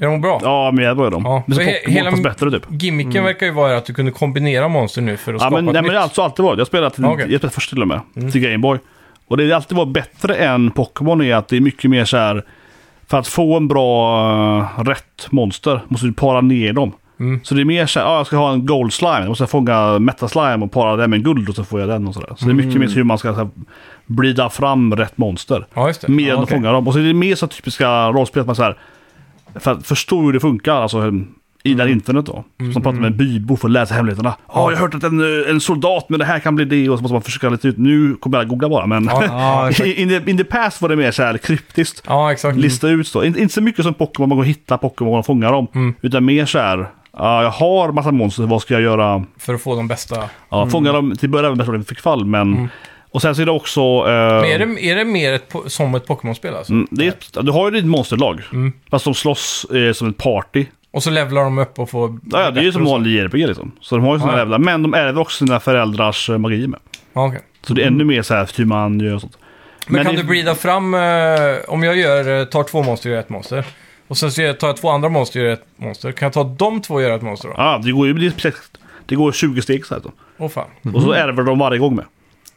A: är de bra?
C: Ja, men jävla bra är de.
A: Ja.
C: Men så
A: Så he-
C: Pokémon
A: hela-
C: fast bättre typ.
A: Gimmicken verkar ju vara att du kunde kombinera monster nu för att
C: Ja,
A: skapa
C: men,
A: ett
C: nej, men
A: nytt.
C: det har alltså alltid varit. Jag spelade till,
A: Ja, okej. Mm.
C: jag spelade först till och med. Till Gameboy. Och det har alltid varit bättre än Pokémon är att det är mycket mer så här. För att få en bra eh, rätt monster måste du para ner dem.
A: Mm.
C: Så det är mer så här, ah, jag ska ha en gold slime, jag måste fånga meta slime och para den med en guld och så får jag den och sådär. Så
A: Mm.
C: det är mycket mer så hur man ska så här, brida fram rätt monster.
A: Ja, just det.
C: Mer än att
B: okej.
C: fånga dem. Och så är det mer så typiska rollspel att man så här, för att förstå hur det funkar, alltså em, i
B: Mm.
C: det här internet då. Som pratar med en bybo för att läsa hemligheterna. Ja, jag har hört att en, eh, en soldat med det här kan bli det och så måste man försöka lite ut. Nu kommer jag googla bara, men
B: ja, exakt. Mm.
C: in, the, in the past var det mer så här kryptiskt.
A: Ja, exakt.
C: Lista ut så. In, inte så mycket som Pokémon, man går och hittar Pokémon och fångar dem.
B: Mm.
C: Utan mer så här, ja, jag har massa monster, vad ska jag göra?
A: För att få de bästa.
C: Ja,
B: Mm.
C: Fånga dem till början med personen i fick fall, men... Och sen så är det också... eh,
A: Men är det, är det mer ett, po- som ett Pokémon-spel alltså?
C: Mm, Det är, ett- du har ju ditt monsterlag,
A: Mm.
C: fast de slåss eh, som ett party.
A: Och så levlar de upp och får...
C: Ja, ja, det är ju som
A: och så.
C: vanlig JRPG liksom. Så de har ju sådana
A: Ja, ja.
C: jävla, men de ärver också sina föräldrars eh, magi med.
A: Ja, okej.
C: Så det är ännu mer så här hur man gör och sånt.
A: Mm. Men, kan
C: det-
A: du breeda fram... eh, om jag gör, eh, tar två monster och gör ett monster. Och sen så gör- tar jag två andra monster och gör ett monster. Kan jag ta de två och göra ett monster då?
C: Ja, det går ju det är precis- det går 20 steg så här. Då.
A: Åh fan.
C: Och så ärver de varje gång med.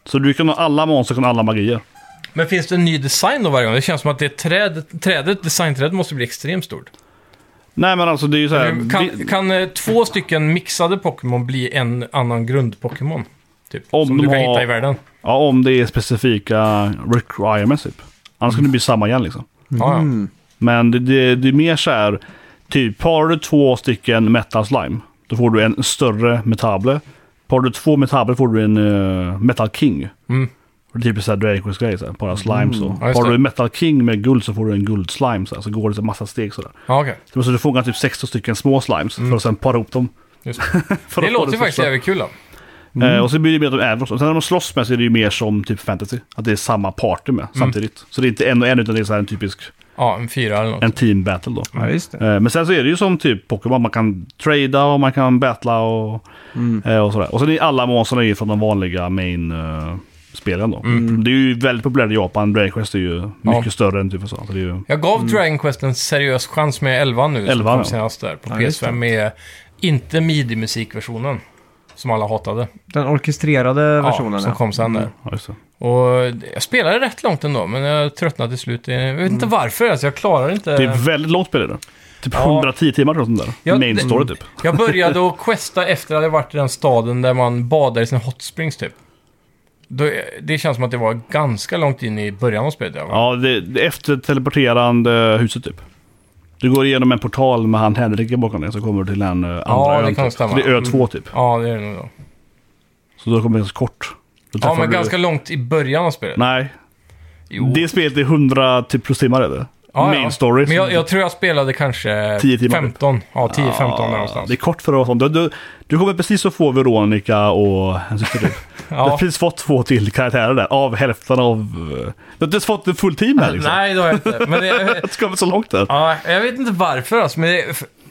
C: Så du kan ha alla monster kan alla magier.
A: Men finns det en ny design då varje gång? Det känns som att det träd, trädet, designträdet måste bli extremt stort.
C: Nej men alltså det är ju så här.
A: Kan,
C: vi-
A: kan eh, två stycken mixade Pokémon bli en annan grund-Pokémon? Typ,
C: Om
A: som
C: de
A: du kan
C: har-
A: hitta i världen.
C: Ja, om det är specifika requirements typ. Annars kan det bli samma igen liksom.
A: Ja, ja.
C: Men det, det, det är mer så här, typ har du två stycken metal slime, då får du en större metable. Har du två metabler får du en eh, metal king.
A: Mm.
C: Och det är typ så här Dragon Quest grej, så här, bara slime så.
A: Ja, just
C: har
A: det.
C: du en metal king med guld så får du en guld slime så, här, så går det en massa steg sådär.
A: ja okej.
C: Så måste du fånga typ 16 stycken små slimes för att sen para ihop dem.
A: Just
C: För
A: Mm. Det
C: att få
A: låter ju faktiskt
C: största.
A: jävligt Mm. kul då.
C: Eh, och så blir det mer att de äver också. Och Sen när de slåss
A: Mm.
C: med så är det ju mer som typ fantasy. Att det är samma party med samtidigt. Så det är inte en och en utan det är så här en typisk
A: Ja, en fyra eller något.
C: En team battle då.
B: Ja, just det.
C: Eh, Men sen så är det ju som typ Pokémon, man kan trada och man kan battla och,
A: Mm.
C: eh, och sådär. Och sen är alla monstren är ju från de vanliga main eh, spelen då.
A: Mm.
C: Det är ju väldigt populärt i Japan, Dragon Quest är ju mycket större än typ USA. Så det är ju...
A: Jag gav Dragon Quest en seriös chans med 11 nu, som
C: 11,
A: kom
C: Mm. ja.
A: senast där på
B: Ja, just
A: PS5 med, inte midi-musikversionen, som alla hatade.
B: Den orkestrerade
A: ja,
B: versionen.
A: som kom sen där.
C: Ja, just det.
A: Och jag spelade rätt långt ändå, men jag tröttnade till slut. Jag vet inte varför, alltså, jag klarar inte...
C: Mm. det är väldigt långt spel är det. Typ
A: Ja.
C: 110 timmar tror jag sånt där.
A: Ja,
C: main
A: det-
C: story typ.
A: Jag började att questa efter att jag varit i den staden där man badar i sina hot springs typ. Då, det känns som att det var ganska långt in i början av spelet. Ja.
C: Ja, det, det är efter teleporterande huset typ. Du går igenom en portal med han Henrik bakom dig så kommer du till den eh, andra
A: Ja, det
C: ön.
A: kan
C: typ.
A: stämma. Mm.
C: Så det är ö 2 typ.
A: ja, det är det nog. då.
C: Så då kommer det ganska kort. Då
A: Ja,
C: träffar
A: men
C: du-
A: ganska långt i början av spelet.
C: Nej,
A: Jo.
C: Det spelet är 100 typ plus timmar är det.
A: ja,
C: Main
A: ja.
C: story.
A: Men jag, jag tror jag spelade kanske
C: 10 timmar, typ.
A: 15. Ja, 10-15 där
C: Det är
A: någonstans.
C: kort för att vara sånt. Du, du, du kommer precis att få Veronica och hennes syster typ. Du har
A: Ja.
C: precis fått två till karaktärer där, av hälften av... eh, Du har inte ens fått en full team här liksom.
A: Nej, det har jag inte. Men det,
C: Det har kommit så långt där.
A: Ja, jag vet inte varför alltså, men det,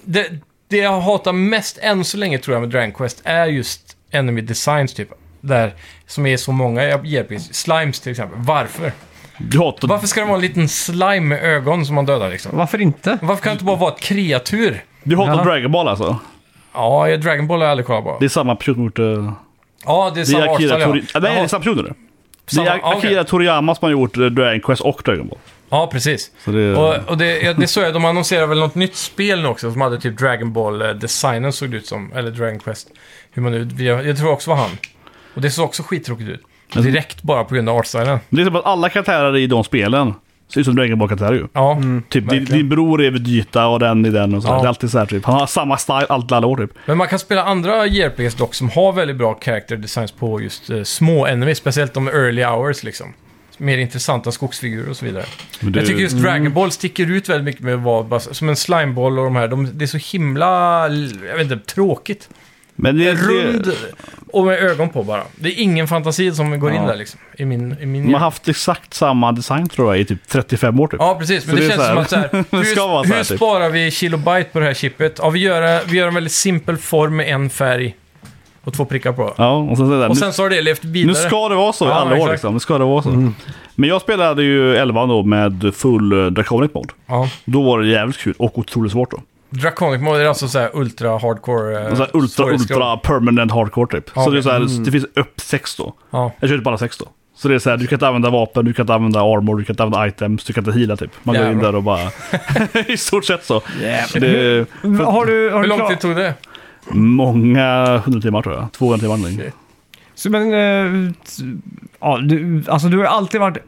A: det, det jag hatar mest än så länge tror jag med Dragon Quest är just Enemy Designs typ. Där, som är så många jag ger precis. Slimes till exempel. Varför?
C: Du hatar...
A: Varför ska det vara en liten slime med ögon som man dödar liksom?
B: Varför inte?
A: Varför kan det inte bara vara ett kreatur?
C: Du hatar
B: Ja.
C: Dragon Ball alltså?
A: Ja, jag- Dragon Ball har jag aldrig kollat på.
C: Det är samma person mot... eh,
A: Ja, det är
C: Det
A: samma
C: är Akira
A: artstyle ja.
C: Toriyama. Nej, det är
A: Jaha,
C: samma person är det. Det
A: samma-
C: är
A: ja, okej.
C: Akira Toriyama som har gjort eh, Dragon Quest och Dragon Ball.
A: Ja, precis.
C: Så det-
A: Och, och det, ja, det såg jag, de annonserade väl något nytt spel nu också som hade typ Dragon Ball-designen såg det ut som. Eller Dragon Quest. Hur man nu, jag, jag tror också var han. Och det såg också skittråkigt ut. Direkt bara på grund av artstylen.
C: Det är som att alla karaktärer i de spelen ser ut som Dragon Ball-karaktärer ju.
A: Ja,
C: Typ, din,
A: verkligen.
C: din bror är Vegeta och den är den och så.
A: Ja.
C: Det är alltid så här typ. Han har samma style allt alla år typ.
A: Men man kan spela andra JRPGs dock som har väldigt bra character designs på just eh, små enemies. Speciellt de early hours liksom. Mer intressanta skogsfigurer och så vidare.
C: Men Mm. det-
A: Jag tycker just Dragon Ball sticker ut väldigt mycket med att vara bara- som en slimeboll och de här. De, det är så himla, jag vet inte, tråkigt.
C: Men det,
A: Rund
C: det,
A: och med ögon på bara. Det är ingen fantasi som går in
C: Ja.
A: där liksom. I min... I min
C: man har haft exakt samma design tror jag i typ 35 år typ.
A: Ja, precis. Men
C: Så
A: det,
C: det är
A: känns
C: så
A: som
C: här.
A: att så här,
C: Det
A: hur,
C: ska vara så här,
A: hur
C: typ.
A: sparar vi kilobyte på det här chippet? Ja, vi gör, vi gör en väldigt simpel form med en färg och två prickar på.
C: Ja, och sen, så där,
A: Och sen så har det levt
C: nu, nu
A: vidare.
C: ska det vara så i
A: Ja,
C: alla år
A: exakt. Mm.
C: liksom. Nu ska det vara så. Men jag spelade ju 11 då med full eh, Draconic Mode.
A: Ja.
C: Då var det jävligt kul och otroligt svårt då.
A: Draconic mode är alltså så här ultra hardcore... eh,
C: Så här ultra,
A: svårighetsgrad.
C: ultra permanent hardcore typ.
A: Ja,
C: så det, är
A: okej. Mm.
C: så här, det finns upp sex då.
A: Ja.
C: Jag körde bara sex då. Så det är så här, du kan inte använda vapen, du kan inte använda armor, du kan inte använda items, du kan inte heala typ. Man går in
A: Jävlar.
C: där och bara... I stort sett så. Det,
B: Har du, har
A: Hur
B: du
A: lång
B: klar-
A: tid tog det?
C: Många hundra timmar tror jag. 200 timmar någonting.
A: Shit.
B: Så, men, eh, t- ja, du, alltså, du har alltid varit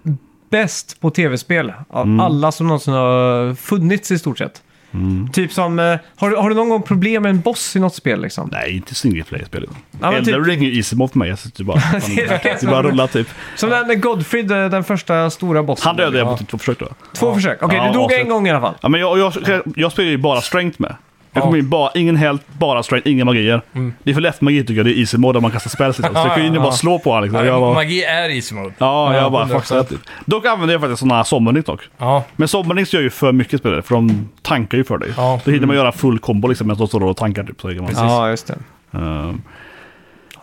B: bäst på tv-spel. Av
C: Mm.
B: alla som någonsin har funnits i stort sett.
C: Mm.
B: Typ som, eh, har, du- har du någon gång problem med en boss i något spel liksom?
C: Nej, inte single player-spel.
B: Ja, men
C: Elden
B: typ-
C: Ring är ju easy mode för mig. Jag sitter bara,
B: det är
C: det bara rullar typ.
B: Som den, när Godfrid, eh, den första stora bossen.
C: Han dödade
B: Ja.
C: jag på typ två försök då.
B: Två försök. Okej,
C: Ja,
B: du dog en
C: avslut.
B: gång i alla fall.
C: Ja, men jag, jag, jag, jag spelar ju bara strength med. Jag kommer
A: Ja.
C: in bara, ingen helt, bara strength, inga magier.
B: Mm.
C: Det är för lätt magi tycker jag, det är easy mode där man kastar spells. Liksom. Så jag går in och bara slår på honom. Liksom. Jag bara,
A: Magi är easy mode.
C: ja, jag bara
A: 100%.
C: fuck that. Typ. Dock använder jag faktiskt sådana summoning dock.
A: Ja.
C: Men summonings gör ju för mycket spelare, för de tankar ju för dig.
A: Ja.
C: Då hinner man
B: Mm.
C: göra full combo liksom, medan de står och tankar. Typ, så kan man,
B: Ja, just det.
C: Ehm,
B: Det är
C: Ja,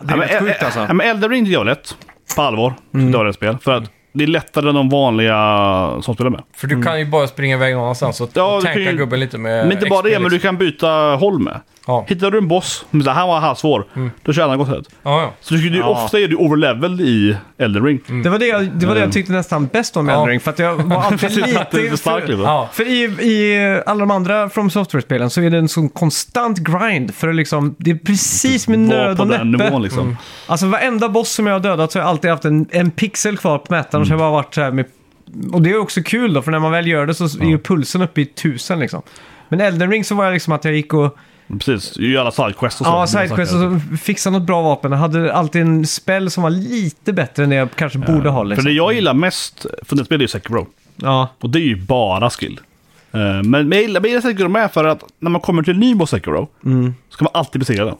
B: rätt
C: men, eh,
B: sjukt alltså.
C: Ja, men Elden Ring tycker jag är lätt. På allvar. Mm. Det är ett spel. För att det är lättare än de vanliga som spelar med.
B: Eh,
A: För du kan ju bara springa iväg någon annanstans och,
C: Mm. Ja,
A: och
C: du kan
A: tanka
C: ju-
A: gubben lite med
C: men inte bara
A: XP,
C: det, men du
A: liksom.
C: kan byta håll med.
A: Ja.
C: Hittar du en boss, men så här, han var här svår, då kör han gott sätt.
A: Ja, ja.
C: Så du, skulle ju-
B: Mm. Ja. Mm.
C: ofta är du overleveled i Elden Ring.
B: Det var det, jag, det
C: Mm.
B: var det jag tyckte nästan bäst om med
A: Ja.
B: Elden Ring, för att jag var alltid
C: Precis, att det är
B: lite...
C: för starkt, liksom.
A: Ja.
B: För i, i alla de andra From Software-spelen så är det en sån konstant grind. För att liksom, det är precis med
C: Var
B: nöd
C: på
B: och
C: den
B: näppe.
C: nivån liksom.
B: Alltså varenda boss som jag har dödat så har jag alltid haft en, en pixel kvar på mätaren. Så jag
C: Mm.
B: har bara varit så här med... Och det är också kul då, för när man väl gör det så är ju pulsen uppe i tusen liksom. Men Elden Ring så var jag liksom att jag gick och...
C: Precis, ju alla sidequests och så.
B: Ja, sidequest och så fixade något bra vapen. Jag hade alltid en spell som var lite bättre än det jag kanske borde ha
C: För
B: liksom.
C: det jag gillar mest från det spelet är ju Sekiro.
B: Ja.
C: Och det är ju bara skill. Eh, Men jag gillar, men jag gillar Sekiro med för att när man kommer till en ny boss Sekiro så kan man alltid besegra den.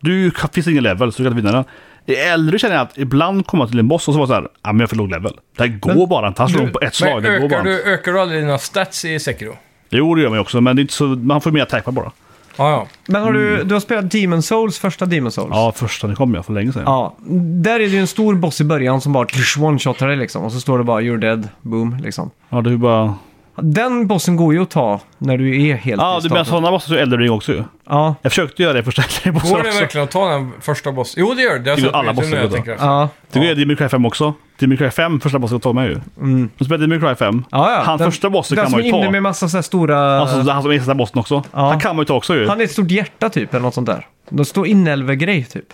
C: Du kan- finns ingen level så du kan inte vinna den. I äldre känner jag att ibland kommer man till en boss och så var det så här, ja men jag är för låg level. Det här går bara inte, han slår på ett slag.
A: Men
C: Det går bara
A: ökar,
C: inte.
A: du, ökar du aldrig dina stats i Sekiro?
C: Jo det gör man ju också, men det är inte så, man får ju mer attack bara.
A: Ja, ja.
B: Men har du, du har spelat Demon Souls, första Demon Souls?
C: Mm. Ja, första det kom jag för länge sedan.
B: Ja, där är det ju en stor boss i början som bara tsch, one-shotar dig liksom. Och så står det bara “You're dead”, boom, liksom.
C: Ja, det är ju bara...
B: Den bossen går ju att ta när du är helt
C: Ja,
B: i
C: du menar
B: starten.
C: sådana bossar är äldre ring också ju.
B: Ja,
C: Jag försökte göra det i första äldre bossen
A: Går det
C: också.
A: verkligen att ta den första bossen? Jo, det gör det. Det har
C: Det är
A: jag sett
C: alla
A: på YouTube
C: bossar
A: nu, jag
C: går
A: tänker efter.
B: ja.
C: Det går ju i Demon Cry 5 också. Demon Cry 5, första bossen jag tog med ju. Mm. De spelade Demon Cry 5.
B: Ja, ja.
C: Han
B: Den-
C: första bossen
B: Den
C: kan
B: som
C: man
B: är
C: ju ta.
B: inne med massa så här stora...
C: Alltså han som är sista bossen också.
B: Ja.
C: Han kan man ju ta också ju.
B: Han är ett stort hjärta typ, eller något sånt där. De står inälve-grej typ.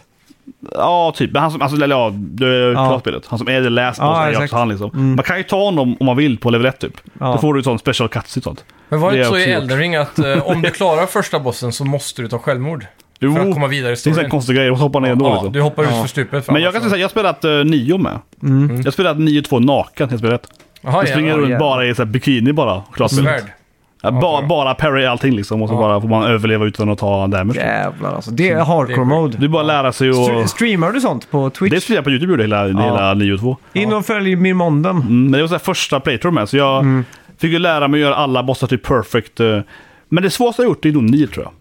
C: Ja, typ. Men han som, alltså, eller ja, det är klart spelet. Han som är the last
B: Ja,
C: boss är ju
B: exakt. Mm.
C: också han liksom. Man kan ju ta honom om man vill på level 1 typ.
B: Ja.
C: Då får du ett sånt special cuts och sånt.
A: Men var det
C: Det
A: inte
C: har
A: så
C: jag
A: i
C: också
A: Elden Ring att eh, om du klarar första bossen så måste du ta självmord?
C: Jo,
A: För att komma vidare i
C: det är sådana
A: storyn?
C: konstiga grejer. Och så hoppar ner ändå
A: Ja,
C: liksom.
A: du hoppar ut för stupet. för
C: Men jag
A: annars
C: kan säga, jag har spelat uh, Nio med.
B: Mm.
A: Mm.
C: Jag har spelat Nio 2 naken helt spelet.
A: så- Jaha,
C: Jag springer
A: ja,
C: runt
B: jävlar.
C: bara i så här bikini bara. Klart
A: ja.
C: spelet.
A: Svärd.
C: Ja,
A: Ja,
C: ba,
A: bra.
C: bara parry allting liksom och så
A: Ja.
C: bara får man överleva utan att ta damage.
B: Jävlar alltså. Det är hardcore mode.
C: Det är bara att lära sig
B: Stre-
C: och...
B: Streamar du sånt på
C: Det
B: Twitch?
C: spelar jag på YouTube gjorde hela, hela 9-2.
B: In och följ Mirmonden.
C: Mm, men det var så här första playthrough med, så jag
A: Mm.
C: fick ju lära mig att göra alla bossar till perfect. eh, Men det svåraste jag gjort är nog Nil tror jag.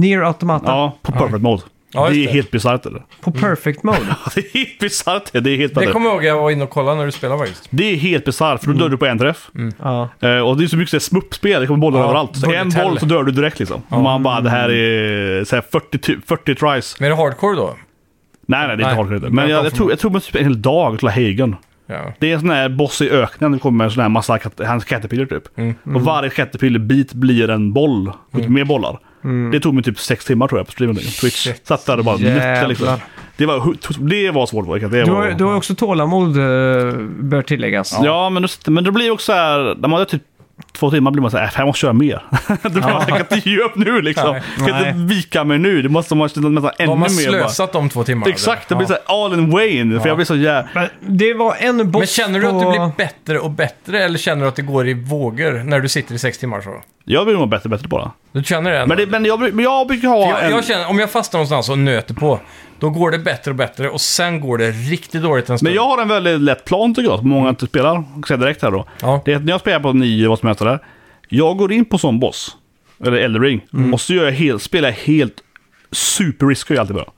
B: Near Automata.
C: Ja, på perfect mode.
A: Ja,
C: det
A: just
C: är
A: det.
C: helt bisarrt eller?
B: På perfect mode.
C: det är helt bisarrt. Det är helt
A: Det
C: det,
A: kommer jag ihåg jag var inne och kollade när du spelade faktiskt.
C: det är helt bisarrt för då dör du på en träff.
B: ja.
C: Eh, Och det är så mycket så här smuppspel, det kommer bollar
A: Mm. Ja,
C: överallt. Så en
A: bullet hell.
C: boll så dör du direkt liksom. Och man bara det här är så här 40, ty- 40 tries.
A: Men är det hardcore då?
C: Nej nej det är inte
A: Nej.
C: hardcore. Men
A: Nej,
C: jag,
A: de
C: jag,
A: får-
C: tror, jag tror man typ en hel dag till Hagen.
A: Ja.
C: Det är en sån här boss i öknen, det kommer en sån här massa kat- hans caterpillar typ.
B: Mm.
C: Och varje caterpillar-bit blir en boll, och mer bollar.
B: Mm.
C: Det tog mig typ sex timmar tror jag på streamen. Twitch. Satt där och bara nötte liksom.
B: Jävlar.
C: Det var, hu- det var svårt verkligen. Det
B: Du
C: var,
B: har, du har också tålamod, eh, bör tilläggas.
C: Ja, men, då, men då blir det också så här, när man är typ två timmar blir man så här, "Äh, fan, jag måste köra mer. då blir man så här, jag kan inte ge upp nu liksom.
A: Nej.
C: Jag kan inte
B: Nej.
C: vika mig nu. Det måste man känna nästan ännu
A: De har
C: mer. Bara.
A: slösat de två timmarna.
C: Exakt, det
A: eller?
C: blir så här all in Wayne. För jag blir så jävla...
B: Men det var en boss
A: Men känner du att du
B: på-
A: blir bättre och bättre eller känner du att det går i vågor när du sitter i sex timmar så?
C: Jag blir nog bättre och bättre på det.
A: Du känner det? ändå?
C: Men, det, men jag, men jag brukar ha
A: jag,
C: en...
A: jag känner, om jag fastnar någonstans och nöter på, då går det bättre och bättre och sen går det riktigt dåligt en stund.
C: Men jag har en väldigt lätt plan tycker jag, som många inte spelar. Jag kan säga direkt här då.
A: Ja.
C: Det är att när jag spelar på nio vad som heter där. Jag går in på sån boss, eller Eldering, och så gör jag helt, spelar jag helt super-risky är alltid bra.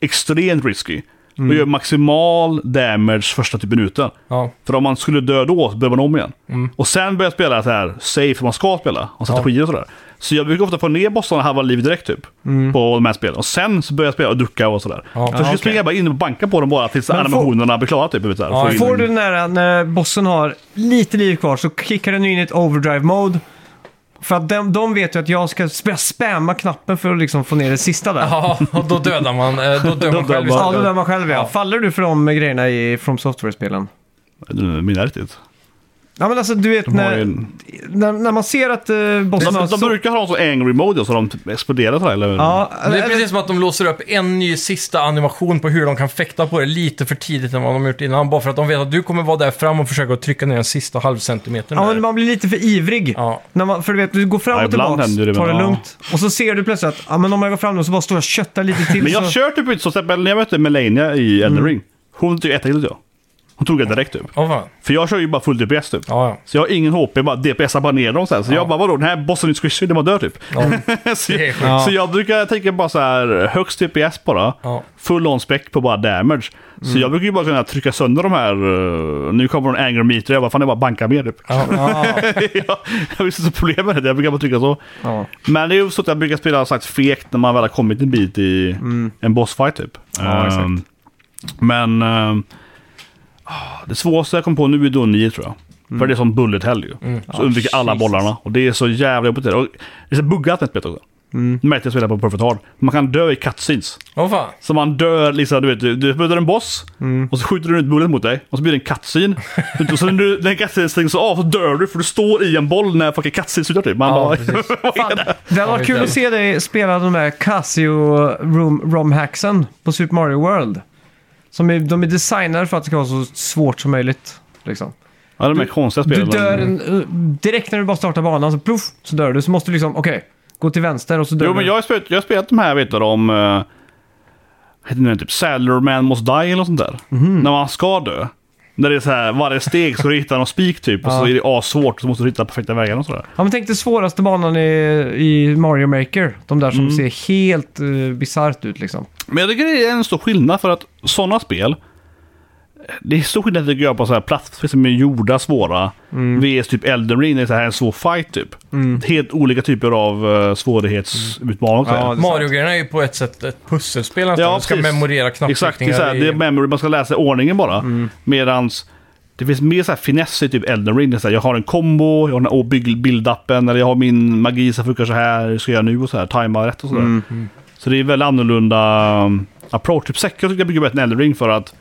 C: Extremt risky. Och gör maximal damage första typ minuten.
A: Ja.
C: För om man skulle dö då så börjar man om igen.
B: Mm.
C: Och sen börjar jag spela så här safe, för man ska spela. Och strategier och sådär. Så jag brukar ofta få ner bossarna halva liv direkt typ.
B: Mm.
C: På de här spelen. Och sen så börjar jag spela och ducka och sådär.
A: Ja.
C: Så jag ska springa bara in och banka på dem bara tills
B: Men får-
C: animationerna blir klara typ. Vet du,
A: Ja,
C: ja,
B: Får du den där när bossen har lite liv kvar så kickar den in i ett overdrive mode. För att de, de vet ju att jag ska sp- spamma knappen för att liksom få ner det sista där.
A: Ja, och då dödar man, eh, då dör man själv
C: dör
B: Ja,
A: istället.
B: då dör man själv ja.
A: Ja.
B: Faller du för de grejerna i From Software-spelen?
C: Mina eh, riktigt.
B: Ja men alltså du vet
C: De, har
B: när,
C: ju en...
B: när, när man ser att eh, bossen har...
C: de, de
B: så-
C: brukar ha en sån angry mode så de typ exploderar sådär. Eller?
B: Ja,
A: Men Det
B: eller-
A: är precis som att de låser upp en ny sista animation på hur de kan fäkta på det lite för tidigt än vad de gjort innan. Bara för att de vet att du kommer vara där fram och försöka trycka ner den sista halvcentimetern.
B: Ja,
A: där.
B: men man blir lite för ivrig.
A: Ja.
B: När man, för du vet, du går fram
C: Ja,
B: och
C: ibland
B: tillbaks,
C: händer det,
B: tar det
C: men ja.
B: lugnt. Och så ser du plötsligt att ja, men om jag går fram nu så bara står jag och köttar lite till.
C: Men jag
B: så... Mm.
C: kör typ ut så, till exempel när jag mötte Melania i Elden Ring. Hon tog ett till jag. Hon tog det direkt typ.
A: Åh, fan.
C: För jag kör ju bara full DPS typ.
A: Ja, ja.
C: Så jag har ingen HP, jag bara DPSar bara ner dem sen. Så jag bara vadå, den här bossen i Squishy, den var död typ. så,
A: det är
C: jag,
A: sjukt. Ja.
C: så jag brukar tänka bara så här högst DPS bara.
A: Ja. Mm.
C: Full on spec på bara damage. Så jag brukar ju bara kunna trycka sönder de här, eh, nu kommer de anger meter, jag bara fan det är bara att banka mer typ.
A: Ja.
C: jag, jag visste inte problem med det, jag brukar bara trycka så.
B: Ja.
C: Men det är ju så att jag brukar spela sagt fegt när man väl har kommit en bit i en bossfight typ.
B: Ja, exakt.
C: Ehm, men ehm, ah, det svåraste jag kom på nu är då 9 tror jag. För det är som bullet hell ju. Så undviker alla
B: Jesus.
C: bollarna. Och det är så jävla jobbigt. det. Och det är så buggat nätbett också. Mm. Märkte jag spelade på Perfect Hard. Man kan dö i cutscenes.
A: Åh, fan.
C: Så man dör liksom, du vet, du- du möter en boss och så skjuter den ut bullet mot dig och så blir det en cutscene. och så när du, den cutscenen stängs av så dör du för du står i en boll när fucking cutscene slutar typ. Man
A: Ja,
C: bara,
A: precis.
B: Det hade varit kul att se dig spela de där Casio-romhacksen på Super Mario World. Som är, de är designade för att det ska vara så svårt som möjligt. Liksom.
C: Ja, det är de här konstiga
B: Du
C: spelen.
B: dör en, eh, direkt när du bara startar banan, så puff, så dör du. Så måste du liksom, okej, gå till vänster och så dör
C: Jo, men
B: du.
C: jag har spelat, jag har spelat de här, vet du, om... Uh, heter det typ Sailorman Must Die eller något sånt där.
B: Mhm.
C: När man ska dö. När det är så här, varje steg ska du hitta någon spik typ. Och så
B: Ja.
C: är det assvårt, så måste du hitta perfekta vägar och sådär.
B: Ja, men tänk dig svåraste banan i, i Mario Maker. De där som
C: Mm.
B: ser helt uh, bisarrt ut liksom.
C: Men jag tycker det är en stor skillnad för att sådana spel. Det är stor skillnad tycker jag på så här plattformar som är gjorda svåra.
B: Mm.
C: VS typ Elden Ring, det är så här en svår fight typ. Helt olika typer av uh, svårighetsutmaningar. också.
B: Ja, det-
A: Mario-grejerna är ju på ett sätt ett pusselspel nästan.
C: Ja,
A: du ska
C: precis.
A: memorera
C: Exakt, det är,
A: knapptryckningar.
C: så här, det är
A: i... Mm.
C: memory, man ska läsa ordningen bara. Medans det finns mer så här finess i typ Elden Ring. Det är Så här, jag har en combo, jag har den här bygg- build-upen, eller jag har min magi som funkar så här, hur ska jag göra nu och så här, tajma rätt och sådär.
A: Mm.
C: Så det är väldigt annorlunda um, approach. Typ Second tycker jag bygger bättre än Elden Ring för att,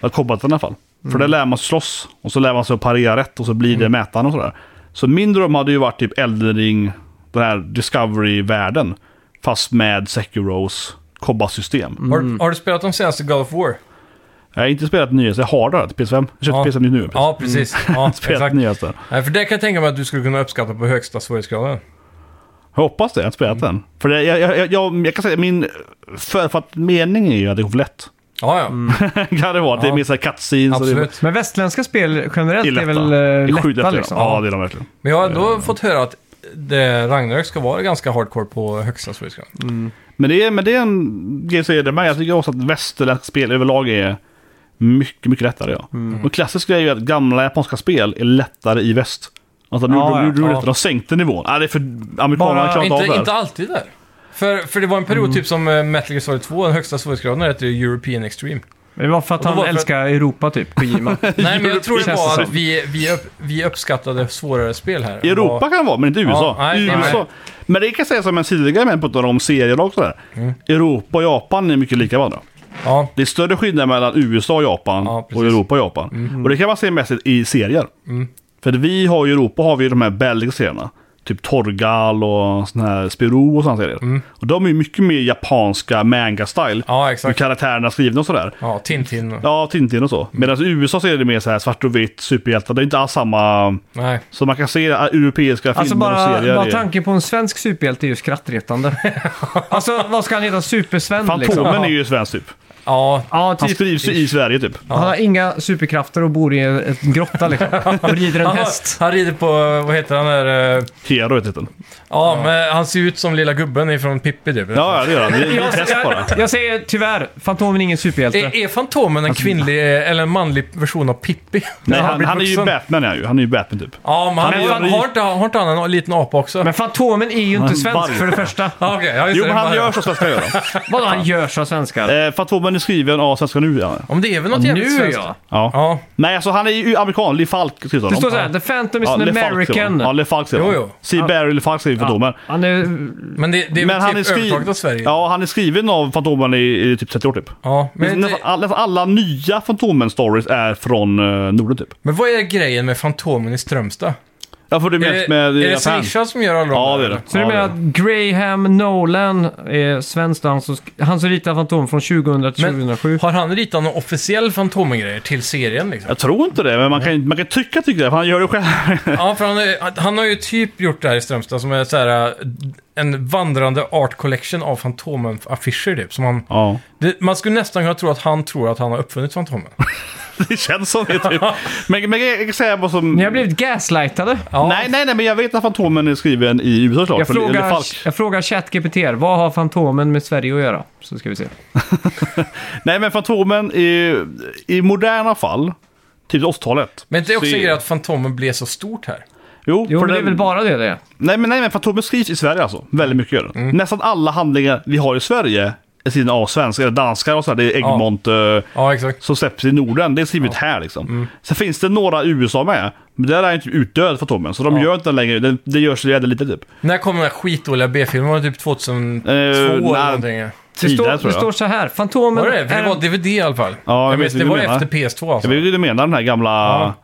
C: att combaten i alla fall.
A: Mm.
C: För där lär man sig slåss och så lär man sig att parera rätt och så blir det mätaren och sådär. Så min dröm hade ju varit typ Elden Ring, den här Discovery-världen. Fast med Sekiros combat-system.
A: Har, har du spelat de senaste God of
C: Mm.
A: War?
C: Jag har inte spelat nyaste, jag har det här till PS5. Jag köpte
A: Ja.
C: PS5 nu. Ja,
A: Ja, precis. Ja,
C: spelat
A: exakt.
C: nyaste.
A: Nej, för det kan jag tänka mig att du skulle kunna uppskatta på högsta svårighetsgraden.
C: Jag hoppas det, jag har inte spelat den. För det, jag, jag, jag, jag, jag kan säga, min förutfattade mening är ju att det går för lätt.
A: Ja, ja.
C: kan det vara? Det är
A: Ja.
C: mer såhär cut scenes. och Mm, alltså, det är-
A: Absolut.
B: Men västländska spel
C: Det
B: generellt
C: är
B: är,
C: lätta.
B: väl
C: Det
B: eh,
C: är sjukt
B: lätta
C: lätta, ja.
B: liksom.
C: Ja, det är de verkligen.
A: Men jag har
C: Eh.
A: ändå fått höra att det Ragnarök ska vara ganska hardcore på högsta svårighetsgraden.
C: Men det är, men det är en grej som är det med. Jag tycker också att västerländska spel överlag är mycket, mycket lättare. Ja. Och klassisk grej är ju att gamla japanska spel är lättare i väst. Alltså nu,
B: Ja, ja,
C: nu, nu, nu
A: ja.
C: de sänkte nivån. Nej, det är för amerikanerna
B: Bara-
C: klarar inte av det.
A: Inte,
C: här.
A: inte alltid där. För, för det var en period,
C: Mm.
A: typ som eh, Metal Gear Solid 2, den högsta svårighetsgraden hette ju European Extreme.
B: Det var för att
A: Och då
B: han
A: var det för-
B: älskar Europa typ, Kojima.
A: Nej, men jag tror det
B: Känns det
A: var att
B: som.
A: vi, vi, upp, vi uppskattade svårare spel här.
C: I Europa kan det vara, men inte i USA.
A: Ja, nej,
C: I
A: nej.
C: USA. Men det kan jag säga som en tidigare med på tal om serier och sådär.
A: Mm.
C: Europa och Japan är mycket lika varandra.
A: Ja,
C: Det är större skillnad mellan USA och Japan
A: Ja,
C: och
A: precis. Mm.
C: Europa och Japan. Och det kan man se mest i serier. För att vi har i Europa har vi ju de här belgiska serierna. Typ Torgal och sån här Spiro och sådana serier. Och de är ju mycket mer japanska manga-style.
A: Mm. ja
C: Hur
A: exakt.
C: karaktärerna är skrivna och sådär.
A: Ja, Tintin. och-
C: Ja, Tintin och
A: Mm.
C: så. Medan i USA så är det mer så här svart och vitt, superhjältar. Det är inte alls samma...
A: Nej.
C: Så man kan se att europeiska
B: Alltså
C: filmer och
B: bara,
C: serier.
B: bara
C: är-
B: tanken på en svensk superhjälte är ju skrattretande. alltså vad ska han heta? Supersven
C: Fantomen
B: liksom?
C: är ju svensk typ.
A: Ja,
B: Ja,
C: Han
B: typ.
C: skrivs ju i Sverige typ.
B: Han har inga superkrafter och bor i en grotta liksom. Och rider en
A: han,
B: häst.
A: har- han rider på, vad heter han där? eh,
C: Hero heter titeln.
A: Ja, men han ser ut som lilla gubben ifrån Pippi typ.
C: Ja, ja, det gör han. Det är- det är
B: Jag,
C: ett test bara.
B: jag, jag säger tyvärr, Fantomen är ingen superhjälte.
C: Alltså-
A: Är, är Fantomen en kvinnlig eller en manlig version av Pippi?
C: Nej,
A: När
C: han,
A: blir
C: han är ju
A: vuxen?
C: Batman är han ju. Han är ju Batman typ.
A: Ja, men han,
C: Han är ju
A: han,
C: rik.
A: har, inte, har inte han en liten apa också?
B: Men Fantomen är ju inte
C: Men
B: svensk
C: varg.
B: för det första.
A: Ja, okej, ja, just
C: Jo,
A: det,
C: men
A: det
C: han
A: bara-
C: gör som svenskar gör.
B: Vadå han gör så svenskar?
C: Eh, Fantomen är skriven av svenskar nu ja.
A: Om det är väl något jävligt
B: Nu
A: svenskt.
B: ja.
C: ja.
A: Ja,
C: Nej, alltså han är ju amerikan. Lee Falk skrivs av
B: Det står
C: dem.
B: såhär, The Phantom is
C: Ja,
B: an
C: Le Falk skriver
B: American.
C: honom. Ja, Le Falk skriver
A: Jo,
C: honom.
A: jo.
C: C. Barry Le Falk skriver Fantomen.
B: Han är...
A: men det, det är väl typ
C: skri-
A: övertaget av Sverige?
C: Ja, han är skriven av Fantomen i, i typ 30 år typ.
A: Ja, men,
C: Men
A: det,
C: nästan all- nästan alla nya Fantomen-stories är från eh, Norden typ.
A: men vad är grejen med Fantomen i Strömstad?
C: Ja, för du
A: Är
C: menar
A: det,
C: med
A: är det
C: Japan.
A: Slisha som gör alla de
C: Ja,
A: där,
C: det är det.
A: eller?
B: Så
C: Ja,
B: du
C: det
B: menar
C: är det.
B: att Graham Nolan är svensk då? Han som, sk- han som ritade Fantomen från 2000 till
A: Men
B: 2007?
A: Har han ritat någon officiell Fantomen-grejer till serien liksom?
C: Jag tror inte det, men man kan, man kan tycka tycka det, för han gör det själv.
A: Ja, för han, är, han har ju typ gjort det här i Strömstad som är så här, eh, en vandrande art collection av Fantomen-affischer typ. Som han,
C: ja.
A: det, man skulle nästan kunna tro att han tror att han har uppfunnit Fantomen.
C: Det känns som det typ. Men, men jag kan säga vad som...
B: Ni har blivit gaslightade.
A: Ja.
C: Nej, nej, nej, men jag vet att Fantomen är skriven i USA klart.
B: Jag
C: för- eller
B: frågar,
C: Falk.
B: jag frågar ChatGPT här, vad har Fantomen med Sverige att göra? Så ska vi se.
C: Nej, men Fantomen i, i moderna fall, typ 80-talet.
A: Men det är också
C: så
A: en grej att Fantomen blev så stort här.
C: Jo,
B: Jo,
C: för
B: men det är
C: den-
B: väl bara det det är.
C: Nej, men, nej, men Fantomen skrivs i Sverige alltså. Väldigt mycket gör det.
B: Mm.
C: Nästan alla handlingar vi har i Sverige är skrivna av svenskar, eller danskar och sådär. Det är Egmont. eh,
A: Ja, exakt.
C: som släpps i Norden, det är skrivet här liksom.
A: Mm.
C: Sen finns det några i USA med, men där är han typ utdöd Fantomen, så de gör inte den längre. Det, det görs jävligt lite typ.
A: När kom den här skitdåliga B-filmen? Var det typ 2002
C: nej.
A: eller någonting?
B: Det står,
C: Tidigare tror
B: det
C: jag.
B: står så här, Fantomen
A: Var det det? För det var
B: är,
A: DVD i alla fall.
C: Ja, jag
A: jag
C: vet
A: vet,
C: vad
A: det
C: du
A: var
C: menar.
A: efter PS2 alltså.
C: Jag vet ju du menar den här gamla...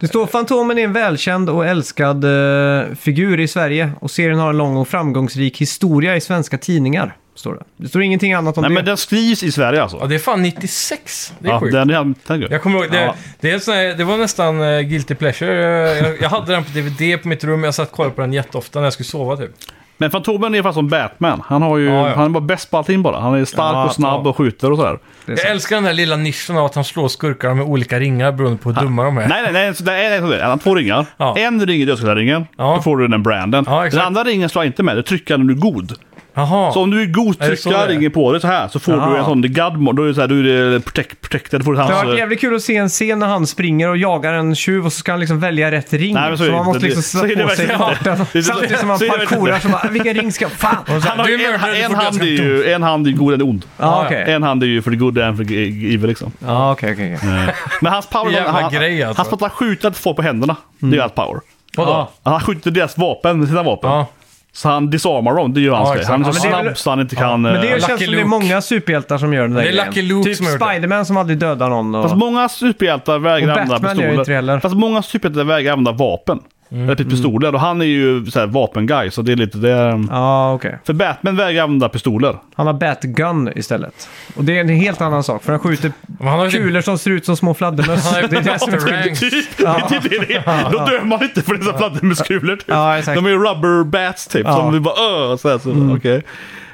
B: det står Fantomen är en välkänd och älskad eh, figur i Sverige och serien har en lång och framgångsrik historia i svenska tidningar. Står det. det står ingenting annat om
C: Nej,
B: det.
C: men den skrivs i Sverige
A: Ja,
C: alltså.
A: det är fan 96. Det är
C: Ja,
A: sjukt.
C: den är den är-
A: Jag kommer ihåg, det,
C: Ja.
A: det, är en sån här, det var nästan eh, guilty pleasure. Eh, Jag, jag hade den på DVD på mitt rum, jag satt och kollade på den jätteofta när jag skulle sova typ.
C: Men Fantomen är fast som Batman. Han, har ju,
A: Ja, ja.
C: han är bara bäst på allting bara. Han är stark
B: Ja,
C: och snabb
B: ja.
C: och skjuter och sådär.
B: Det är
A: Jag
B: sant.
A: älskar den där lilla nischen av att han slår skurkar med olika ringar beroende på hur dumma de är.
C: Nej, nej, nej. så det är- det är- Han har två ringar.
A: Ja.
C: En ring är dödskallarringen.
A: Ja.
C: Då får du den branden.
A: Ja, exakt.
C: den andra ringen slår inte med. Du trycker när du är god.
A: Jaha.
C: Så om du är god
A: Är det så
C: trycker
A: det är?
C: ringen på dig så här så får
A: Ja.
C: du en sån The Godmod. Då är det så här, du är eh, protect, protected. Får du
B: Det
C: hans,
B: har varit
C: eh,
B: jävligt kul att se en scen när han springer och jagar en tjuv och så ska han liksom välja rätt ring.
C: Nej, men så är det
B: man
C: inte.
B: måste liksom
C: Det- så är
B: sätta
C: det
B: på sig
C: verkligen inte.
B: farten.
C: Det är-
B: Samtidigt som man
C: så är det verkligen
B: parkourar
C: inte.
B: så bara, vilken ring ska... Fan!
A: Och så här,
C: han har
A: du
C: ju
A: är
C: en,
A: mördare, du
C: en,
A: får
C: hand är
A: dödsstraff.
C: ju, en hand är god, en är ond.
B: Ja, okej.
C: En hand är ju för the good och en för evil liksom.
B: Ja, okej, okej.
C: Eh,
B: okej.
C: Men hans power...
A: Jävla
C: han,
A: grej, alltså.
C: Hans att skjuta folk på händerna.
B: Mm.
C: Det är hans power.
A: Vadå?
B: Ja.
C: Han skjuter deras vapen med sina vapen.
A: Ja.
C: Så han disarmar dem, det gör hans
A: Ja,
C: grej.
A: exakt.
C: Han är så
B: Ja, men det är
C: snabb
B: väl-
C: så han inte kan...
B: Men det
C: eh,
B: känns som det är
A: Luke.
B: många superhjältar som gör den där
A: Det är
B: grejen.
A: Lucky Luke
B: Typ
A: som har gjort det.
B: Spiderman som aldrig dödar någon. Och...
C: Fast många superhjältar
B: Och
C: vägrar använda
B: Batman gör
C: pistoler.
B: inte det heller. Mm.
C: Fast många superhjältar vägrar använda vapen. Eller typ pistoler. Och han är ju så här, vapenguy, så det är lite det. ehm,
B: Ja, okej.
C: För Batman vägrar använda pistoler.
B: Han har Batgun istället. Och det är en helt annan sak, för han skjuter
A: Men han har ju typ,
B: kulor som ser ut som små fladdermöss.
A: han har ju
B: det är det som är
A: blaster
B: kul.
A: ranks.
C: Det är det det är. Då dör man inte för dessa fladdermuskulor typ.
B: Ja, exakt.
C: De är ju rubber bats typ.
B: Ja. Mm.
C: Som vi bara öh, så här, så, okej.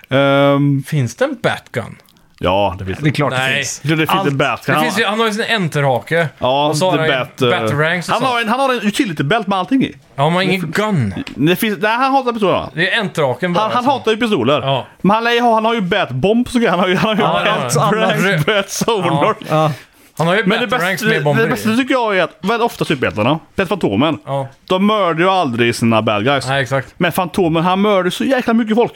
C: Ehm,
A: Finns det en Batgun?
C: ja, det finns
B: Det är
C: det.
B: klart det
A: Nej.
B: finns.
C: Det finns
B: Allt-
C: en Batman.
A: Det
C: Han-
A: finns ju, han har ju sin enterhake.
C: Ja,
A: och så har
C: the
A: han ju
C: bat, eh,
A: Batranks och
C: han, har
A: sånt.
C: en, han har en utility belt med allting i.
A: Ja, man har ingen gun.
C: Det finns, nej, han hatar pistoler.
A: Det är enterhaken bara. alltså.
C: Han,
A: som-
C: han hatar ju pistoler.
A: Ja.
C: Men han, lär- han har ju batbomb så han har ju, han har ju
A: Ja, det har
C: bat,
B: han.
C: ranks, bat solar.
B: Ja.
A: han har ju
C: Men det
A: Batranks
C: bästa,
A: med
C: det,
A: bomber
C: det
A: i.
C: bästa tycker jag är typ att väldigt ofta superhjältarna, speciellt Fantomen,
A: Ja.
C: de mördar ju aldrig sina bad guys.
A: Nej, exakt.
C: Men Fantomen han mördar ju så jäkla mycket folk.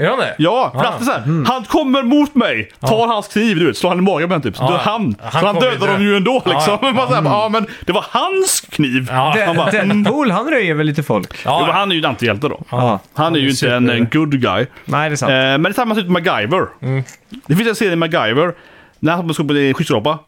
A: Är han det?
C: Ja, för att det är så här,
A: Mm.
C: han kommer mot mig, tar hans kniv, du vet, slår han i magen med den typ. Så
A: Ja,
C: dör
A: ja.
C: han.
A: Han
C: så han
A: kommer
C: dödar
A: ju
C: dem
A: dö.
C: ju ändå
A: Ja,
C: liksom.
A: ja.
C: Men, man så här, bara, ja, men det var hans kniv.
A: Ja.
C: Han bara, "Mm."
B: De- Deadpool, han röjer väl lite folk?
A: Ja,
C: jo, men
A: ja.
C: han är ju en antihjälte då.
B: Ja.
C: Han är ju inte en, en good guy.
B: Nej, det är sant.
C: Eh, men det är samma sak med MacGyver.
A: mm.
C: Det finns en serie med MacGyver. När han ska på en skyskrapa.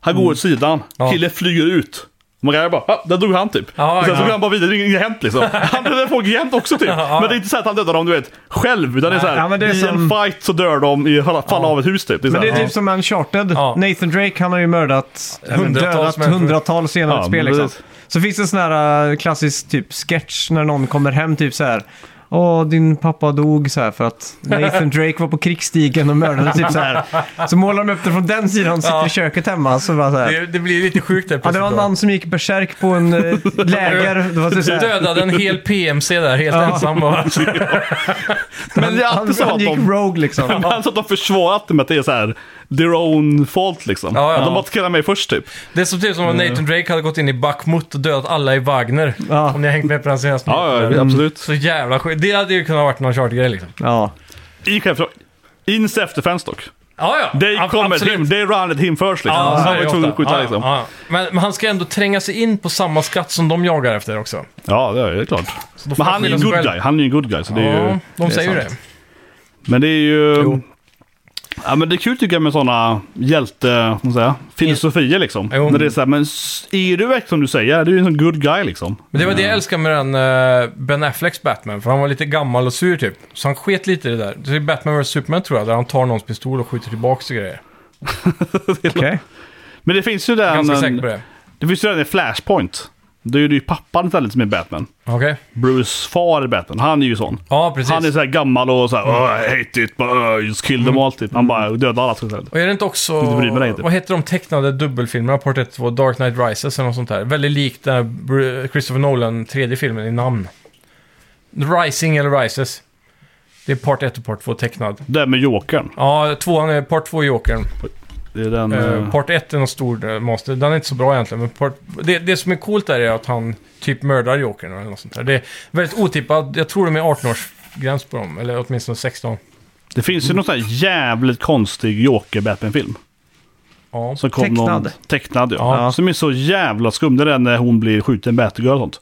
C: Han går åt sidan.
A: Mm. Ja.
C: Killen flyger ut. MacGyver bara, ah, där dog han typ.
A: Ja,
C: och sen så
A: ja.
C: går han bara vidare, det är inget hänt liksom. Han dödar folk jämt också typ.
A: Ja, ja.
C: Men det är inte så att han dödar dem du vet, själv. Utan det är så här,
B: Ja, men det är
C: i en
B: som-
C: fight så dör de i alla fall av ett hus typ. Det är, så
B: Men
C: här,
B: det är
C: ja.
B: typ som Uncharted.
A: Ja.
B: Nathan Drake, han har ju mördat, eller
A: Hundratals
B: dödat
A: människor.
B: hundratals genom
C: Ja,
B: ett spel
C: men
B: liksom.
C: precis.
B: Så finns det en sån här äh, klassisk typ sketch när någon kommer hem typ så här. Åh, din pappa dog så här för att Nathan Drake var på krigsstigen och mördade typ så här. Så målar de upp det från den sidan, sitter
A: Ja.
B: i köket hemma. Så bara så här.
A: Det, det blir lite sjukt där
B: Ja, det var en man som gick berserk på en äh, läger. Det var typ så
A: Du
B: här.
A: dödade en hel PMC där helt
B: Ja.
A: ensam. Och,
C: men det är
B: Han,
C: alltid så
B: han
C: att
B: gick
C: de...
B: rogue liksom.
C: Men så att de försvarar alltid med att det är så här, their own fault liksom.
A: Ja, ja.
C: Att de bara killar mig först typ.
A: det är så typ som om Nathan Drake hade gått in i Bakhmut och dödat alla i Wagner.
B: Ja.
A: Om ni har hängt med på den senaste
C: Ja, ja
A: nyheten.
C: absolut.
A: Så jävla sjukt. Det hade ju kunnat varit någon chartergrej liksom.
B: Ja.
C: I självförsvar. In self-defense dock.
A: Ja, ja.
C: They
A: Ab-
C: come at him, they run at him first liksom.
A: Ja,
C: så
A: så
C: han
A: är
C: var
A: det ofta.
C: tvungen att skjuta
A: Ja,
C: liksom.
A: ja, ja. Men, men han ska ändå tränga sig in på samma skatt som de jagar efter också.
C: Ja, det är det är klart.
A: Så då får
C: Men han är ju en
A: skylla sig
C: good
A: själv.
C: guy. Han är ju en good guy. Så det är ju,
A: Ja, de
B: det är
A: säger ju det.
B: sant.
C: men det är ju...
A: Jo.
C: Ja, men det är kul tycker jag med sådana hjälte... vad ska man säga, filosofier liksom.
A: Jo.
C: När det är så här, men s- är du verkligen som du säger? Du är ju en sån good guy liksom.
A: Men det var det jag älskade med den eh, Ben Afflecks Batman, för han var lite gammal och sur typ. Så han sket lite i det där. Det är Batman vs Superman tror jag, där han tar någons pistol och skjuter tillbaka och grejer.
B: Okej.
C: Men det finns ju
A: Jag är
C: den...
A: ganska säker på det.
C: det finns ju den i Flashpoint. Då är det ju pappan istället som är Batman.
A: Okej?
C: Bruce far är Batman. Han är ju sån.
A: Ja, precis. Mm.
C: Han är så här gammal och så här, oh, I hate it, but, oh, just kill them all typ. Han bara dödar alla. så att säga.
A: Och är det inte också...
C: Inte bryr mig inte.
A: Vad heter de tecknade dubbelfilmerna? Part 1 2, Dark Knight Rises eller något sånt där. Väldigt likt den här Br- Christopher Nolan tredje filmen i namn. Rising eller Rises. Det är Part 1 och Part 2 tecknad.
C: Det där med Jokern.
A: Ja, tvåan är Part 2 i Jokern.
C: Det är den...
A: Eh,
C: eh,
A: part 1 är någon stor eh, monster. Den är inte så bra egentligen. Men part... det, det som är coolt där är att han typ mördar Jokern eller något sånt där. Det är väldigt otippat. Jag tror de är 18-årsgräns på dem. Eller åtminstone 16.
C: Det finns ju någon sån här jävligt konstig Joker-Batman-film.
A: Ja.
C: Som kom
B: Tecknad.
C: Någon, tecknad ja.
A: Ja.
C: Som är så jävla skum. Det är den när hon blir skjuten, Batgirl och sånt.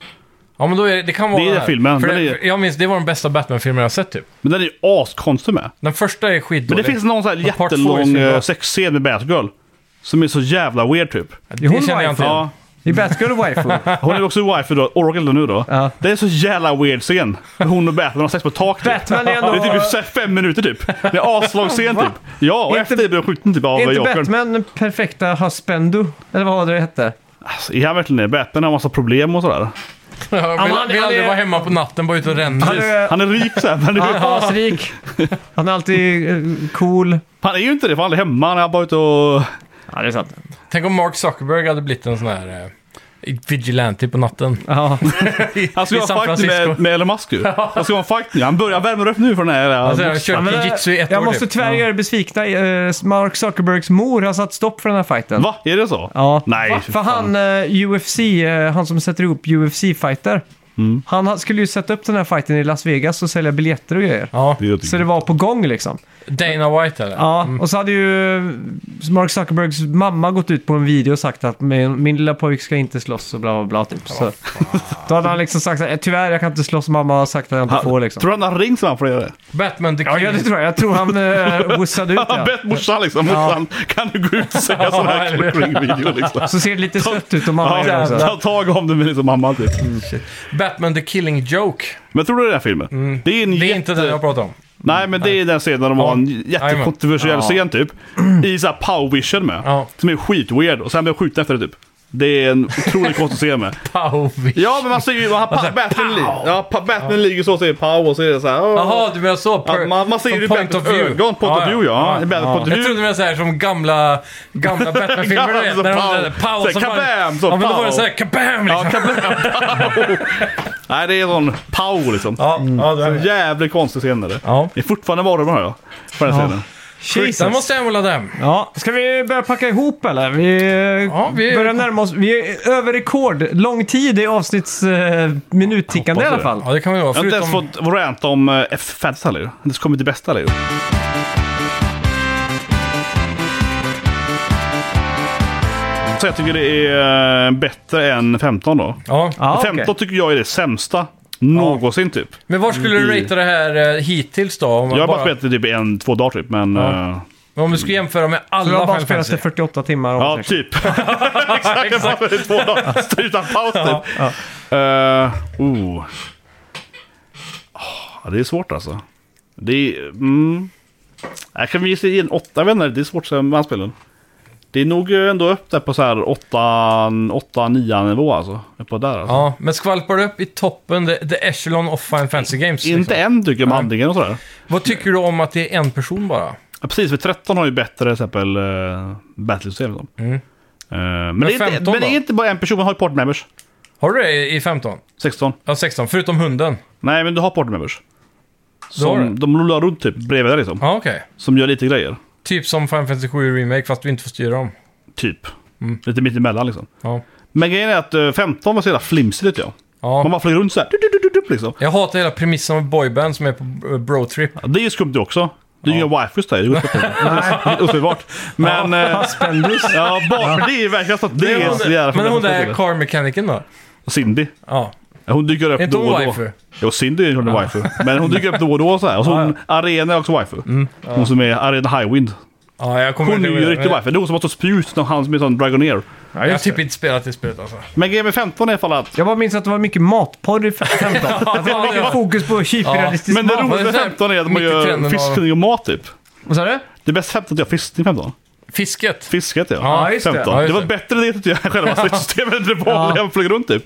A: ja, men då är det, det kan vara
C: Det är
A: den
C: den
A: här.
C: filmen,
A: För
C: men det
A: det,
C: är-
A: Jag minns, det var den bästa Batman-filmen jag har sett typ.
C: Men den är ju askonstig med.
A: Den första är
C: Men det
A: skitdålig.
C: finns någon sån här
A: Och part four är
C: jättelång
A: så bra.
C: eh, sexscen med Batgirl. Som är så jävla weird typ.
A: Det
B: Hon
A: känner
B: var
A: jag
B: i
A: inte
C: Ja.
B: I Batgirl och Waifu.
C: Hon är också wifi då, Oracle nu då.
B: Ja.
C: Det är en så jävla weird scen. Hon och Batman har sex på tak typ.
B: Batman är ändå-
C: Det är typ så här fem minuter typ. Det är aslång scen typ. Ja, och
B: Inte-
C: efter det blir de skjuten typ av
B: Är inte
C: Jokern.
B: Batman den perfekta husbando? Eller vad var det det hette?
C: Alltså, är han verkligen det? Batman har massa problem och sådär.
A: Jag
B: men
A: vill,
B: han-
A: vill
B: han
A: aldrig
B: är-
A: vara hemma på natten, bara ute och ränna.
B: Han är,
C: Han är rik såhär, men det-
B: han är asrik. Han är alltid eh, cool.
C: han är ju inte det för han är hemma. Han är bara ute och...
B: Ja, det är sant.
A: Tänk om Mark Zuckerberg hade blivit en sån här eh, vigilante på natten.
B: Ja.
A: I,
C: Han ska
A: i
C: ha en
A: San
C: fight nu
A: Francisco.
C: med, med Elon Musk ju. Han ska ha en fight nu. Han börjar värma upp nu för den här...
A: Alltså, han har
B: Ja, men,
A: kört jitsu i ett
B: jag
A: år
B: måste
A: typ.
B: tyvärr göra er besvikna. Eh, Mark Zuckerbergs mor har satt stopp för den här fighten.
C: Va? Är det så?
B: Ja.
C: Nej,
B: Va?
C: fy
B: För
C: fan.
B: han, eh, UFC, eh, han som sätter ihop UFC-fighter.
C: Mm.
B: Han ha- skulle ju sätta upp den här fighten i Las Vegas och sälja biljetter och grejer.
A: Ja.
C: Det är typ-
B: Så det var på gång liksom.
A: Dana White eller? Mm.
B: Ja,
C: Mm.
B: och så hade ju Mark Zuckerbergs mamma gått ut på en video och sagt att min, min lilla pojk ska inte slåss och bla bla bla typ. Så, då hade han liksom sagt så här, tyvärr jag kan inte slåss, mamma har sagt att jag inte får liksom.
C: Tror du han har ringt så han får göra det?
A: Batman the
B: Ja,
A: Kid.
B: ja, det tror jag. Jag tror han uh, wussade ut
C: Han har
B: ja.
C: bett morsan liksom. Morsan, kan du gå ut och säga sån här
A: eller hur?
C: ring-video liksom?
B: Så ser det lite sött ut och mamma gör det
C: Ja,
B: också.
C: ta tag om det med liksom mamma typ.
A: Batman the Killing Joke.
C: Men tror du det är den här filmen? Det är en
A: Det är
C: jätte...
A: inte den jag pratar om.
C: Nej, men det är den scenen där de
A: Ja.
C: har en jättekontroversiell
A: Ja.
C: scen typ. I så här power vision med.
A: Ja.
C: Som är skitweird. Och sen blir jag skjuten efter det typ. Det är en otroligt konstig scen med.
A: Powvish.
C: Ja, men man ser ju... Man,
A: säger,
C: pa, Batman, li- ja, pa, Batman ligger så och säger pow och så är det så här... "Åh."
A: Jaha, du menar så? Per,
C: Ja, man, man ser
A: från
C: ju Batmans ögon. Point of view, ja. ja. Point of
A: Jag trodde
C: view.
A: du menade såhär som gamla, gamla Batman-filmer.
C: Gamla
A: du vet,
C: som
A: när de
C: pow.
A: hade pow.
C: Såhär,
A: som var-
C: kabam, så
A: Ja, men då
C: pow.
A: var det såhär kabam
C: Ja,
A: liksom.
C: kan bli Nej, det är sån pow liksom.
A: Ja, ja, det är
C: En jävligt konstig scen är det.
A: Ja.
C: Det är fortfarande varumärke har jag. På den scenen.
A: Jesus. Den måste jag hålla den.
B: Ja, ska vi börja packa ihop eller? Vi, eh,
A: Ja, vi-
B: börjar närma oss. Vi är över rekord. Lång tid i avsnitts eh, minuttickande i
C: Hoppas
B: alla
C: det.
B: fall.
A: Ja, det kan vi vara.
C: Jag har inte ens
A: Förutom...
C: fått ranta om eh, F-Fantasy heller ju. Jag har inte ens kommit till bästa heller ju. Så jag tycker det är eh, bättre än 15 då.
A: Ja.
B: Ja, okej.
C: 15 tycker jag är det sämsta någonsin typ.
A: Men var skulle du
C: I-
A: ratea det här eh, hittills då? Om, man
C: Jag har bara
A: bara
C: spelat det typ en, två dagar typ. Men eh,
A: om du skulle jämföra med
B: Så du har bara
A: alla Final
B: spelat
A: Fantasy?
B: det 48 timmar. om
C: ja,
B: man säger så.
C: typ. Exakt, jag bara i två dagar. Utan paus typ. Eh, oh. Ah, det är svårt alltså. Det är... Mm. Jag kan vi ge en åtta, jag vet inte, det är svårt att säga med anspelen. Det är nog eh, ändå upp där på så här 8-9 nivå alltså. På där alltså.
A: Ja, men skvalpar du upp i toppen, the, the echelon of Final Fantasy Games?
C: Inte
A: liksom.
C: än tycker jag med handlingen och sådär.
A: Vad tycker du om att det är en person bara?
C: Ja, precis, för 13 har ju bättre till exempel uh, battle-system. Liksom. Eh, men, det är
A: 15
C: inte, men det
A: Mm. då?
C: är inte bara en person, man har ju party members.
A: Har du det i 15?
C: 16.
A: Ja, 16. Förutom hunden.
C: Nej, men du har party members.
A: har
C: Som,
A: du.
C: de rullar runt typ bredvid dig liksom.
A: Ja, okej.
C: Som gör lite grejer.
A: Typ som Final Fantasy 7 Remake, fast du inte får styra dem.
C: Typ.
A: Mm.
C: Lite mitt emellan liksom.
A: Ja.
C: Men grejen är att eh, 15 var så jävla flimsig tyckte jag. Man
A: ja.
C: bara flyger runt så här. Du, du, du, du, du, liksom.
A: Jag hatar hela premissen med boyband som är på eh, Brotrip.
C: Ja, Det är ju skumt det också. Det är ju inga wifus där. Det är ju uppenbart. uppenbart. Men... eh,
B: Spändus.
C: Ja, bara det är ju verkligen så att det är så jävla
A: Men hon där
C: förbättrat.
A: car mechanicen då?
C: Cindy.
A: Ja.
C: Ja, Hon dyker upp
A: Är inte
C: då
A: hon
C: och då.
A: waifu?
C: Jo, Cindy är hon är waifu. Men hon dyker upp då och då så här. Och så hon, Arena är också waifu. Hon som är Arena Highwind.
A: Mm. Ja, jag kommer
C: Hon är
A: ihåg
C: ju
A: det.
C: riktig waifu. Det är hon som har så spjut. Han som är sån Dragonair.
A: Jag har typ inte spelat det spelet alltså.
C: Men grejen med 15 är i alla fall att
B: Jag bara minns att det var mycket matporr i 15. Att det var mycket fokus på kyprealistisk
C: Men det
B: mat.
A: det
C: roliga
A: är
C: med
A: så här
C: 15 är att man
A: mitt i
C: gör
A: trenden
C: fiskning och mat typ.
B: Vad sa du?
C: Det bästa 15 är att jag fiskning 15.
A: Fisket.
C: Fisket ja.
A: Ja,
B: just det.
C: 15.
A: Ja,
C: Det.
A: just
C: var
A: det.
C: bättre det tyckte jag än själva stridssystemet. än Det var
B: Ja.
C: när jag flög runt typ.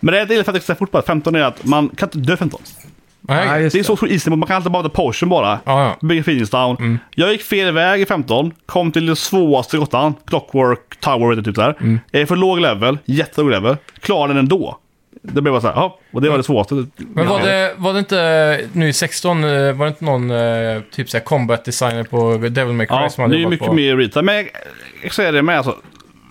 C: Men det jag gillar faktiskt fort på att 15 är att man kan inte dö 15.
B: Ja,
A: Nej.
B: just
C: Det är så stor isnivå, man kan alltid bara ta potion bara.
A: Ja, Mm. ja.
C: Bygga Phoenix Down. Jag gick fel väg i 15, kom till det svåraste grottan. Clockwork Tower heter det typ där.
A: Mm.
C: Jag är för låg level, jättelåg level. Klarar den ändå. Det blev bara så här, ja, och det var det svåraste.
A: Mm. Men var det, var det inte nu i 16, eh, var det inte någon eh, typ såhär combat designer på Devil May Cry
C: Ja,
A: som
C: det
A: hade
C: är ju
A: jobbat
C: mycket
A: på?
C: mer rita. Men jag, jag säger det med alltså.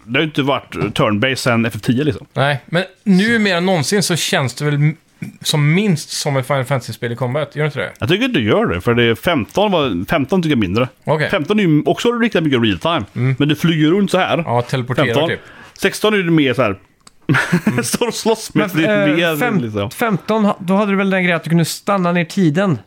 C: Det har ju inte varit turn-based sen FF10 liksom.
A: Nej, men nu mer än någonsin så känns det väl m- som minst som ett Final Fantasy-spel i combat, gör det inte det?
C: Jag tycker inte du gör det, för det är 15, var, 15 tycker jag mindre.
A: Okej. Mm.
C: 15 är ju också riktigt mycket real time. Men du flyger runt så här.
A: Ja, teleportera
C: 15.
A: typ.
C: 16 är ju mer så här. Står och slåss med
B: Men,
C: ditt
B: eh,
C: ben.
B: fem,
C: liksom.
B: 15, ha- då hade du väl den grejen att du kunde stanna ner tiden.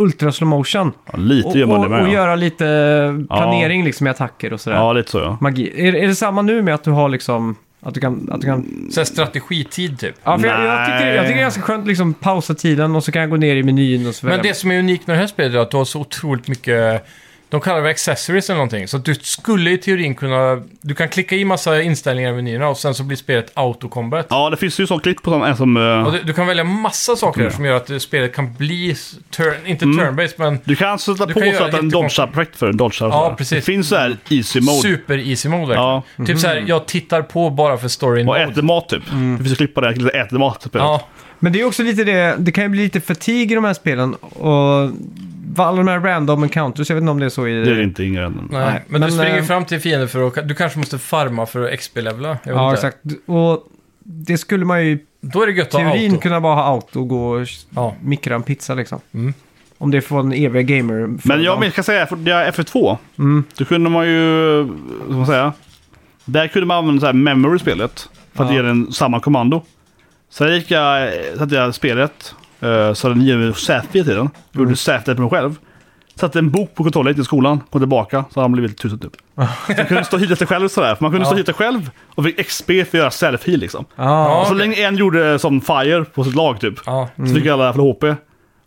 B: Ultra slow motion.
C: Ja, lite
B: Och,
C: gör man det
B: och,
C: med.
B: och
C: ja.
B: göra lite planering liksom i attacker och sådär.
C: ja, lite så ja.
B: Magi. Är, är det samma nu med att du har liksom Att du kan... Att du kan...
A: Så här strategitid typ.
B: Ja, för jag, jag, tycker, jag tycker det är ganska skönt att liksom pausa tiden och så kan jag gå ner i menyn och så
A: Men
B: välja.
A: det som är unikt med det här spelet är att du har så otroligt mycket... De kallar det accessories eller någonting. Så att du skulle i teorin kunna... Du kan klicka i massa inställningar i menyerna och sen så blir spelet auto-combat.
C: Ja, det finns ju sån klipp på sån en som... eh,
A: Och du, du kan välja massa saker
C: Mm.
A: som gör att eh, spelet kan bli... s- Turn, inte turn-based, men
C: Du kan alltså sätta
A: Du
C: på
A: kan
C: så
A: göra
C: att den
A: jättekonstigt.
C: dodgar perfekt för den. Dodgar och
A: Ja,
C: sådär.
A: precis.
C: Det finns så här easy mode.
A: super-easy mode verkligen.
C: Ja. Mm.
A: Typ så här, jag tittar på bara för storyn.
C: Och äter mat typ. Det finns ett klipp på det, lite äter mat. Typ.
A: Mm. Ja,
B: Men det är också lite det, det kan ju bli lite fatig i de här spelen. Och vad alla de här random encounters, jag vet inte om det är så i...
C: Det är inte inga änden.
A: nej.
B: Nej,
A: Men,
B: men,
A: du springer
B: eh,
A: fram till fiender för att... Du kanske måste farma för att XP-levela. Jag vet
B: ja,
A: inte.
B: exakt. Och det skulle man ju i
A: Då är det gött att ha
B: teorin
A: auto.
B: kunna bara ha auto och gå och s-
A: Ja.
B: mikra en pizza liksom.
A: Mm.
B: Om det får en eviga gamer
C: Men jag minns- kan säga, för det är FF2,
B: Mm.
C: då kunde man ju... Vad ska man säga? Där kunde man använda så här memory i spelet. För att
B: Ja.
C: ge den samma kommando. Sen gick jag, satte jag spelet, eh, så den ger mig säte i tiden.
A: Mm.
C: Gjorde sätet på mig själv. Satte en bok på kontrollen, gick till skolan, kom tillbaka, så hade han blivit tusen typ. Så jag kunde stå och hita sig själv sådär. För man kunde stå och hita själv och fick XP för att göra selfie liksom.
B: Ja,
A: Ja.
C: Och så
A: okej.
C: länge en gjorde som fire på sitt lag typ.
A: Ja. Mm.
C: Så fick alla för HP.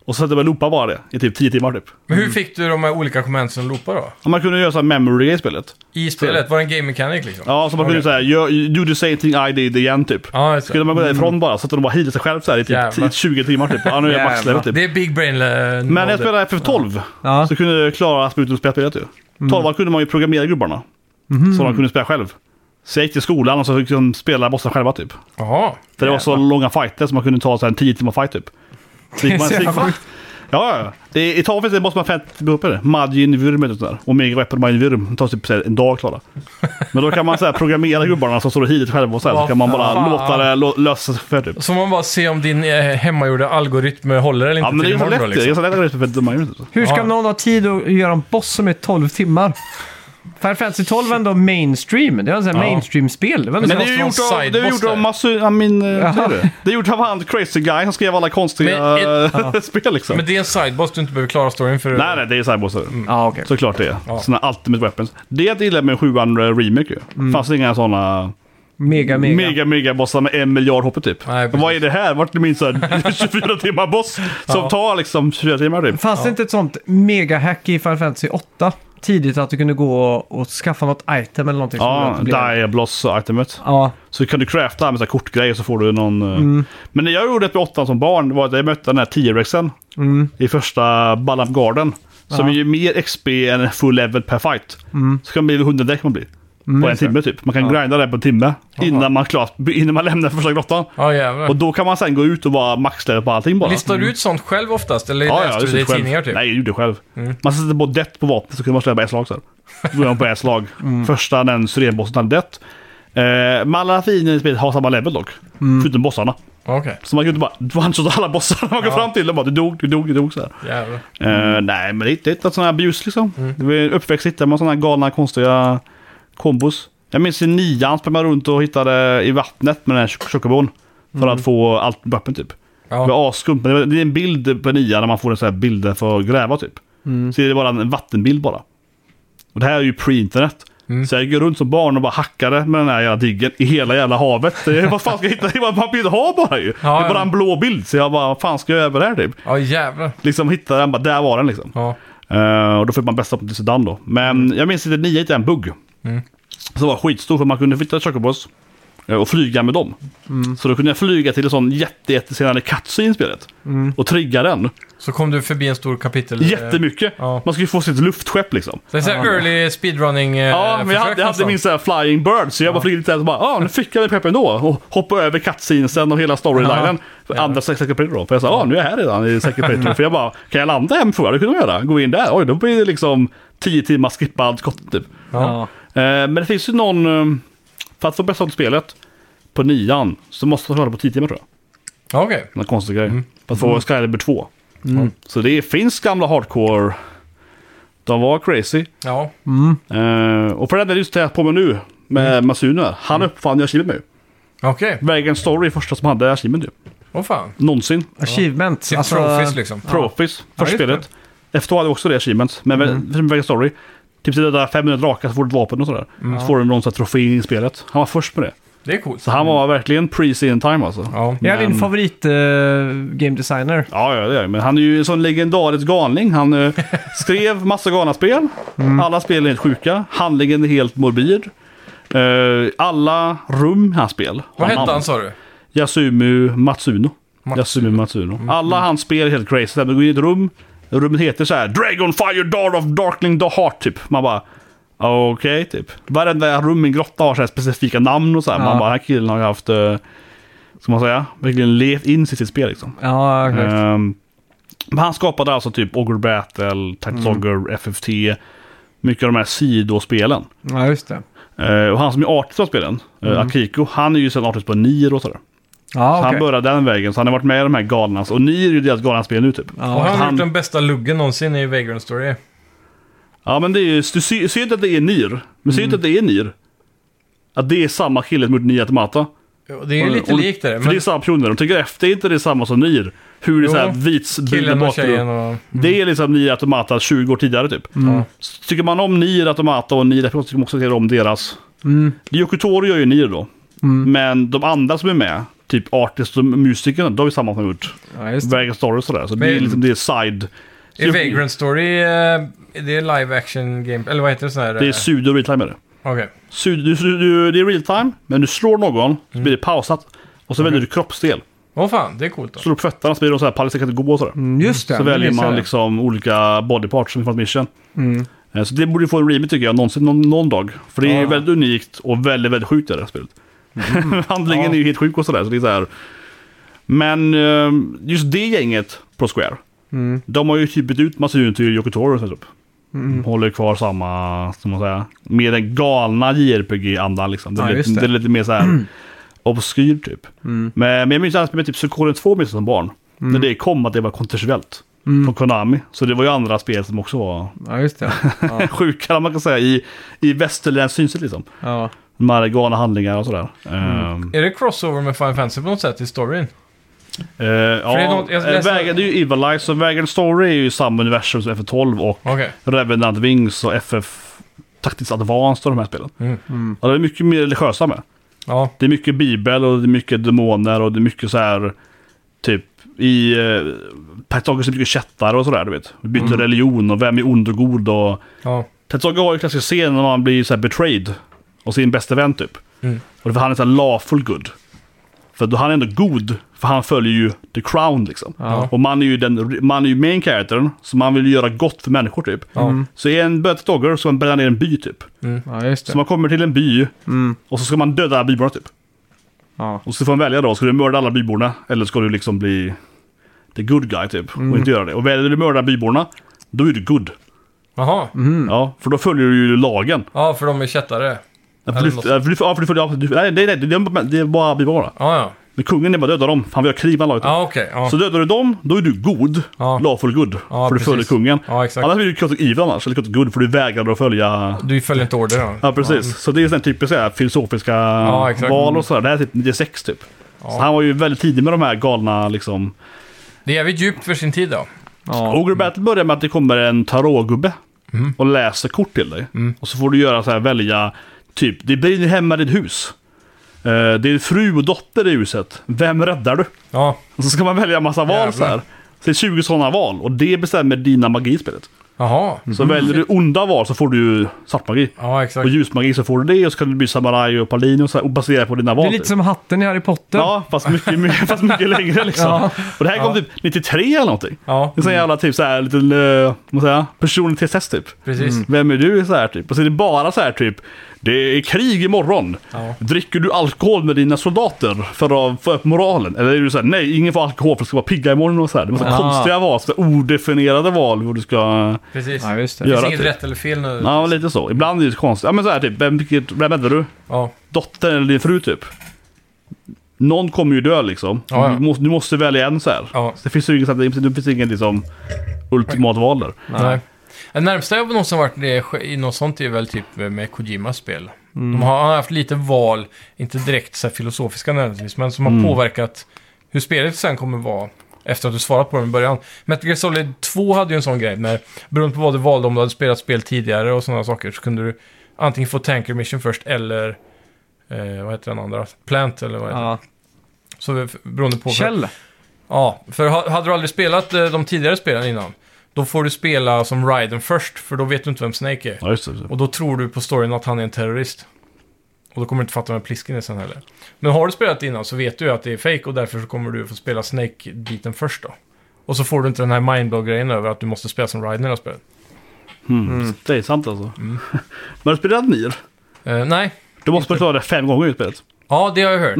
C: Och så satte jag loopa bara det i typ 10 timmar typ.
A: Men hur fick du de här olika kommandsen att loopa då?
C: Och man kunde göra så här memory i spelet.
A: I spelet? Var det en game mechanic liksom?
C: Ja, så man kunde
A: Okej.
C: säga you, you do the same thing I did igen typ.
A: Ja, just det.
C: Skulle man gå därifrån bara så att de bara healade sig själv så här i typ
A: Jävlar.
C: 10 20 timmar typ. Ja, nu är jag
B: Jävlar.
C: maxlevel typ.
A: Det är big brain eh,
C: Men när jag
A: nåder.
C: spelade FF12
B: Ja.
C: så kunde jag klara Asputum spela spelet ju. 12 kunde man ju programmera gubbarna. Så de kunde spela själv. Så jag gick till skolan och så fick de spela bossarna själva typ.
A: Jaha.
C: För det var så långa fighter så man kunde ta så här, en 10 timmar fight typ. Så gick man,
B: så
C: så gick
B: jävla
C: man, ja, ja. Det är, I Tafis är det bara som att man upp det. Majin Vyrm och sådär. Omega Weapon Majin Vyrm. Det tar typ så här en dag att klara. Men då kan man så här, programmera gubbarna som står och healet själva och så, här, så
A: Vad
C: kan man bara
A: fan.
C: låta det lo- lösa sig för typ.
A: Så man bara se om din eh, hemmagjorda algoritm eh, håller eller inte
C: Ja men det är
A: till
C: ganska
A: imorgon
C: lätt
A: då,
C: det. Det
A: liksom.
C: är ganska lätt att lösa för dumma djur. Typ.
B: Hur ska
A: Ja.
B: någon ha tid att göra en boss som är 12 timmar? Final Fantasy 12 är ändå mainstream. Det är en sån här
A: Ja.
B: mainstream-spel. Det var ändå
C: Men
B: så
C: det
A: måste
C: är ju
A: vara
C: gjort av, det är
A: sideboss
C: gjort av
A: där.
C: Masu, ja, min,
B: Jaha.
C: det? det är gjort av han Crazy Guy som skrev alla konstiga
A: Men
C: spel liksom.
A: Men det är en sideboss du inte behöver klara storyn för.
C: Nej nej, det är sidebossar.
B: Ja, okej.
C: Såklart det är.
A: Ja.
C: Såna Ultimate Weapons. Det jag gillar med 7 Remake ju.
A: Mm.
C: Fanns det inga såna
B: Mega, mega.
C: mega mega bossar med en miljard HP typ.
A: Nej, precis.
C: Vad är det här? Vart är min så här 24 timmar boss som
A: Ja.
C: tar liksom 24 timmar typ?
B: Fanns det inte ett sånt mega-hack i Final Fantasy 8? Tidigt att du kunde gå och, och skaffa något item eller någonting. som gjorde
C: Ja,
B: att det blev-
C: Diablos-itemet.
B: Ja,
C: Så kan du crafta med så här kortgrejer så får du någon... eh, Men när jag gjorde det med åttan som barn var att jag mötte den här T-rexen i första Ballamp Garden. Som ger mer XP än en full level per fight. Så kan man bli 100 däck man blir. på en timme typ. Man kan grinda det på en timme innan man, klart, innan man lämnar första grottan.
A: Ja, jävlar.
C: Och då kan man sen gå ut och vara maxlevel på allting bara.
A: Listar du ut sånt själv oftast? Eller läste
C: jag
A: du det i
C: gjorde själv.
A: tidningar typ?
C: Nej, jag gjorde det själv. Man sätter på dött på vapnet så kunde man slå på ett slag. Så här. Då går man på ett slag. Första den syrenbossen hade dött. Eh, men alla fiender i spelet har samma level dock. Förutom bossarna.
A: Okej,
C: Så man kunde bara one-shota alla bossar man går
A: Ja. Mm.
C: fram till. dem bara du dog, du dog, du dog. Så här.
A: jävlar.
C: Eh, nej, men det är inte- det är inte sådana här abuse liksom.
A: Mm.
C: Det var en uppväxt hittade man sådana här galna konstiga kombos. Jag minns i nian sprang man runt och hittade i vattnet med den här chok- chokobon. För
A: Mm.
C: att få allt vapen typ.
A: Ja.
C: Det var asskumt. Men det var- det är en bild på nian när man får en sån här bild för att gräva typ.
A: Mm.
C: Så är det bara en vattenbild bara. Och det här är ju pre-internet.
A: Mm.
C: Så jag gick runt som barn och bara hackade med den här jävla diggen i hela jävla havet. Det är- Vad fan ska jag hitta? Det är bara- Man vill ju ha bara ju.
A: Ja,
C: det är bara
A: ja.
C: en blå bild. Så jag bara, vad fan ska jag göra med det här typ?
A: Ja, jävlar.
C: Liksom hittade den, bara där var den liksom.
A: Ja.
C: Eh, och då fick man bästa på till Sudan då. Men
A: Mm.
C: jag minns inte, nio hittade en bugg. Som var skitstor för man kunde flytta chocobos eh, och flyga med dem.
A: Mm.
C: Så då kunde jag flyga till en sån jätte, jättesenare cutscene i spelet.
A: Mm.
C: Och trigga den
A: Så kom du förbi en stor kapitel...
C: jättemycket.
A: Eh, ja.
C: Man skulle få sitt luftskepp liksom.
A: Det är så här early speedrunning eh,
C: Ja, men jag hade,
A: försök
C: jag hade
A: nästan.
C: min sån här flying bird så jag bara flög lite där och bara ah, nu fick jag den peppen då och hoppade över cutscenesen och hela storylinen. För andra sex kapitel då. För jag sa ah, nu är jag här redan i sex kapitel. för jag bara kan jag landa hemifrån? Det kunde jag göra. Gå in där. Oj, då blir det liksom tio timmar skippad kott typ.
B: ja.
C: Eh, men det finns ju någon, eh, för att få bästa av spelet på nian så måste man klara på tio timmar tror jag.
A: Ja, Okej.
C: Någon konstig grej.
B: Mm.
C: För att få Skyrim 2. Så det finns gamla hardcore. De var crazy.
A: Ja.
C: Eh, och på den där just det här på mig nu med
B: Mm.
C: Masuno här. Han uppfann ju Achievemen ju.
A: Okej.
C: Vägen Story första som hade Achievemen ju.
A: Åh fan.
C: Någonsin.
B: Achievement.
A: Typ
B: alltså-
A: trophies liksom.
C: Profis,
B: Ja,
C: första
B: just
C: spelet. F2 hade också det Achievement. Men mm. Vägen Story.
B: Mm.
C: Typ till det där 500 drakar så får du ett vapen och sådär. Så får du någon sån här trofé i spelet. Han var först med det.
A: Det är coolt.
C: Så han var verkligen pre-scene time alltså.
A: Mm. Ja.
B: Jag är din
C: Men-
B: favorit eh, game designer.
C: Ja, ja, det är jag. Men han är ju en sån legendarisk galning. Han eh, skrev massa galna spel.
A: Mm.
C: Alla spel är helt sjuka. Handlingen är helt morbid. Eh, alla rum hans spel.
A: Vad hette han sa du?
C: Yasumu Matsuno.
A: Matsuno.
C: Yasumu Matsuno. Alla hans spel är helt crazy. Du går in i ett rum. Rummet heter så här Dragonfire Dart of Darkling the Heart typ. Man bara... Okej, typ. Varenda rum i en grotta har så här specifika namn och så här. Man
B: Ja.
C: bara, den här killen har ju haft... eh, Ska man säga? Verkligen levt in sig i sitt spel liksom.
B: Ja, exakt.
C: Ehm, men han skapade alltså typ Ogre Battle, Tactics Ogre, FFT. Mycket av de här sidospelen.
B: Ja, just det.
C: Eh, och han som är artist av spelen, eh, Akiko, han är ju sedan artist på Nier och sådär.
B: Ja,
C: Så
B: okej.
C: han började den vägen, så han har varit med i de här galna. Och Nier är ju deras galna spel nu typ.
A: Och
B: Ja,
A: han har
C: han-
A: gjort den bästa luggen någonsin i Vagrant Story.
C: Ja men det är ju, du ser ser ju inte att det är Nier. Men
A: Mm.
C: ser ju inte att det är Nier. Att det är samma kille som gjort Nier Automata.
A: Och Det är ju
C: Och-
A: lite
C: och-
A: likt det.
C: För det
A: Men
C: är samma personer, de tycker efter inte det är samma som Nier. Hur det är
A: Jo.
C: såhär vits
A: killen och tjejen Mm. och...
C: Det är liksom Nier Automata 20 år tidigare typ. Så Tycker man om Nier Automata och Nier Automata tycker man också tycker om deras.
B: Mm.
C: Yoko Toro gör ju Nier då.
A: Mm.
C: Men de andra som är med, typ artist och musikerna, de är samma som har gjort
B: ja, just det.
C: Vägen Story och sådär. Så det är
A: Men-
C: liksom det är side.
A: Är Vagrant Story... eh, Är det live action game? Eller vad heter det sån här?
C: Det är
A: eh,
C: pseudo real time är det.
A: Okej.
C: Pseudo, du, du, du, det är real time, men du slår någon, så
A: Mm.
C: blir det pausat. Och så väljer du kroppsdel.
A: Åh fan, det är coolt då.
C: Slår upp fötterna så blir de så här pallar kan inte gå och sådär.
B: Mm, Just det.
C: Så
B: det
C: väljer
B: visar
C: man
B: det.
C: liksom olika body parts som är från ett mission.
B: Mm.
C: Eh, Så det borde ju få en remake tycker jag, någonsin, någon, någon dag. För det är
A: Ja. Mm.
C: väldigt unikt och väldigt, väldigt sjukt det här spelet. Handlingen
A: Ja.
C: är ju helt sjuk och sådär. Så det är så här. Men eh, just det gänget på Square,
B: Mm.
C: de har ju typ bytt ut Masuno till Yoko Toro. och sånt, Typ.
A: Mm.
C: Håller kvar samma, som man säger, med den galna JRPG-andan liksom. Det är,
B: Ja,
C: lite,
B: just
C: det.
B: det.
C: är lite mer så här obskyr typ.
A: Mm.
C: Men, men jag minns alltid med typ Suikoden 2 minns jag som barn. När det kom att det var kontroversiellt.
A: Mm.
C: Från Konami. Så det var ju andra spel som också var
B: Mm. Ja, just det. Ja.
C: sjukare man kan säga i, i västerländskt synsätt liksom.
B: ja.
C: De här galna handlingar och sådär.
A: Mm.
C: Ehm,
A: Är det crossover med Final Fantasy på något sätt i storyn?
C: eh, ja,
A: det är något- jag
C: eh,
A: läste-
C: Vägen, det är ju Evilize och Vägen Story är ju samma universum som FF12 och
A: Okej.
C: Revenant Wings och FF Tactics Advanced och de här spelen.
A: Mm.
C: Ja, de är mycket mer religiösa med.
A: Ja.
C: Det är mycket bibel och det är mycket demoner och det är mycket så här typ i eh, Pactagus är mycket kättare och sådär du vet. Vi
A: Mm.
C: byter religion och vem är ond och god och
A: ja.
C: Tetsuga har ju klassiska scenen när man blir så här betrayed. Och sin bästa vän typ.
A: Mm.
C: Och för han är så här lawful good. För då han är ändå god. För han följer ju the crown liksom.
B: Ja.
C: Och man är ju den, man är ju main charactern. Så man vill ju göra gott för människor typ.
A: Ja.
C: Så i en bötesdogger ska man bränna ner en by typ.
B: Mm. ja, just
C: Så
B: det.
C: man kommer till en by.
B: Mm.
C: Och så ska man döda byborna typ.
B: Ja.
C: Och så får man välja då. Ska du mörda alla byborna? Eller ska du liksom bli the good guy typ.
A: Mm.
C: Och inte göra det. Och väljer du att mörda byborna. Då är du good.
A: Jaha.
C: Mm. Ja, för då följer du ju lagen.
A: Ja, för de är kättare.
C: Ja, för
A: Eller
C: du,
A: något.
C: ja, för du, ja, för du, ja, för du, nej, nej, nej, det är bara- det är bara bibara.
A: Ja, ja.
C: Men kungen är bara döda dem, han vill ha krig med laget.
A: Ja, okej. Ja.
C: Så dödar du dem, då är du god.
A: Ja.
C: Lawful good.
A: Ja,
C: för du
A: precis.
C: följer kungen.
A: Ja, exakt.
C: Annars blir du Chaotic evil annars, eller Chaotic good, för du vägrar att följa...
A: Du följer inte order då?
C: Ja, precis. Så det är sån typiskt filosofiska
A: exakt.
C: val och sådär. Det här är typ 96 typ. Så han var ju väldigt tidig med de här galna liksom...
A: Det är jävligt djupt för sin tid då.
B: Ja.
C: Ogre Battle börjar med att det kommer en tarotgubbe och läser kort till dig. Och så får du göra så här, välja, typ, det brinner hemma i ditt hus. Eh, Din fru och dotter i huset. Vem räddar du?
A: Ja.
C: Och så ska man välja en massa val så här. Så det är 20 sådana val och det bestämmer dina magi i spelet.
A: Jaha.
C: Så väljer du onda val så får du ju svart magi.
A: Ja,
C: Mm. Och
A: exakt.
C: ljusmagi så får du det och så kan du bli samuraj och palin och så här, och baserat på dina val.
B: Det är lite
C: typ.
B: som hatten i Harry Potter.
C: Ja, fast mycket, mycket, fast mycket längre liksom.
B: Ja.
C: Och det här kom typ 93 eller någonting.
A: Ja,
C: Det är sån jävla typ såhär liten, uh, vad säger jag, personlighetstest typ.
A: precis.
C: Vem är du så här typ? Och så är det bara så här typ, det är krig imorgon.
A: Ja.
C: Dricker du alkohol med dina soldater för att få upp moralen? Eller är du såhär, nej ingen får alkohol för att ska vara pigga imorgon och så här. Det är massa
B: Ja.
C: konstiga val, så här odefinierade val hur du ska...
A: Precis.
B: Ja,
A: det
B: just det.
C: Ja.
A: finns
C: göra
A: inget
C: typ.
A: rätt eller fel nu.
C: Ja, lite så. Ibland är det konstigt. Ja men så här typ, vem, vilket- vem är du?
A: Ja.
C: Dottern eller din fru typ? Någon kommer ju dö liksom.
A: Ja, ja.
C: Du, måste, du måste välja en så här.
A: Ja.
C: Så det finns ju inget, det finns inget liksom, ultimat val där.
A: Nej. Det närmsta jag någonsin varit det i något sånt är väl typ med Kojimas spel. De har, han har haft lite val, inte direkt så här filosofiska nödvändigtvis, men som har påverkat hur spelet sen kommer vara efter att du svarat på dem i början. Metal Gear Solid 2 hade ju en sån grej när, beroende på vad du valde, om du hade spelat spel tidigare och sådana saker, så kunde du antingen få Tanker Mission först eller Eh, vad heter den andra? Plant eller vad heter
B: Ja.
A: den? Så det- beroende på... För,
B: Kjell.
A: ja, för ha- hade du aldrig spelat eh, de tidigare spelen innan, då får du spela som Raiden först, för då vet du inte vem Snake är.
C: Ja, just det. just det.
A: Och då tror du på storyn att han är en terrorist. Och då kommer du inte fatta vem Plisken är sen heller. Men har du spelat innan så vet du ju att det är fake och därför så kommer du få spela Snake-biten först då. Och så får du inte den här mindblow-grejen över att du måste spela som Raiden i det här spelet.
C: Mm. Det är sant alltså. Men har du spelat Nier?
A: Eh, nej.
C: Du måste klara det fem gånger i spelet.
A: Ja, det har jag hört.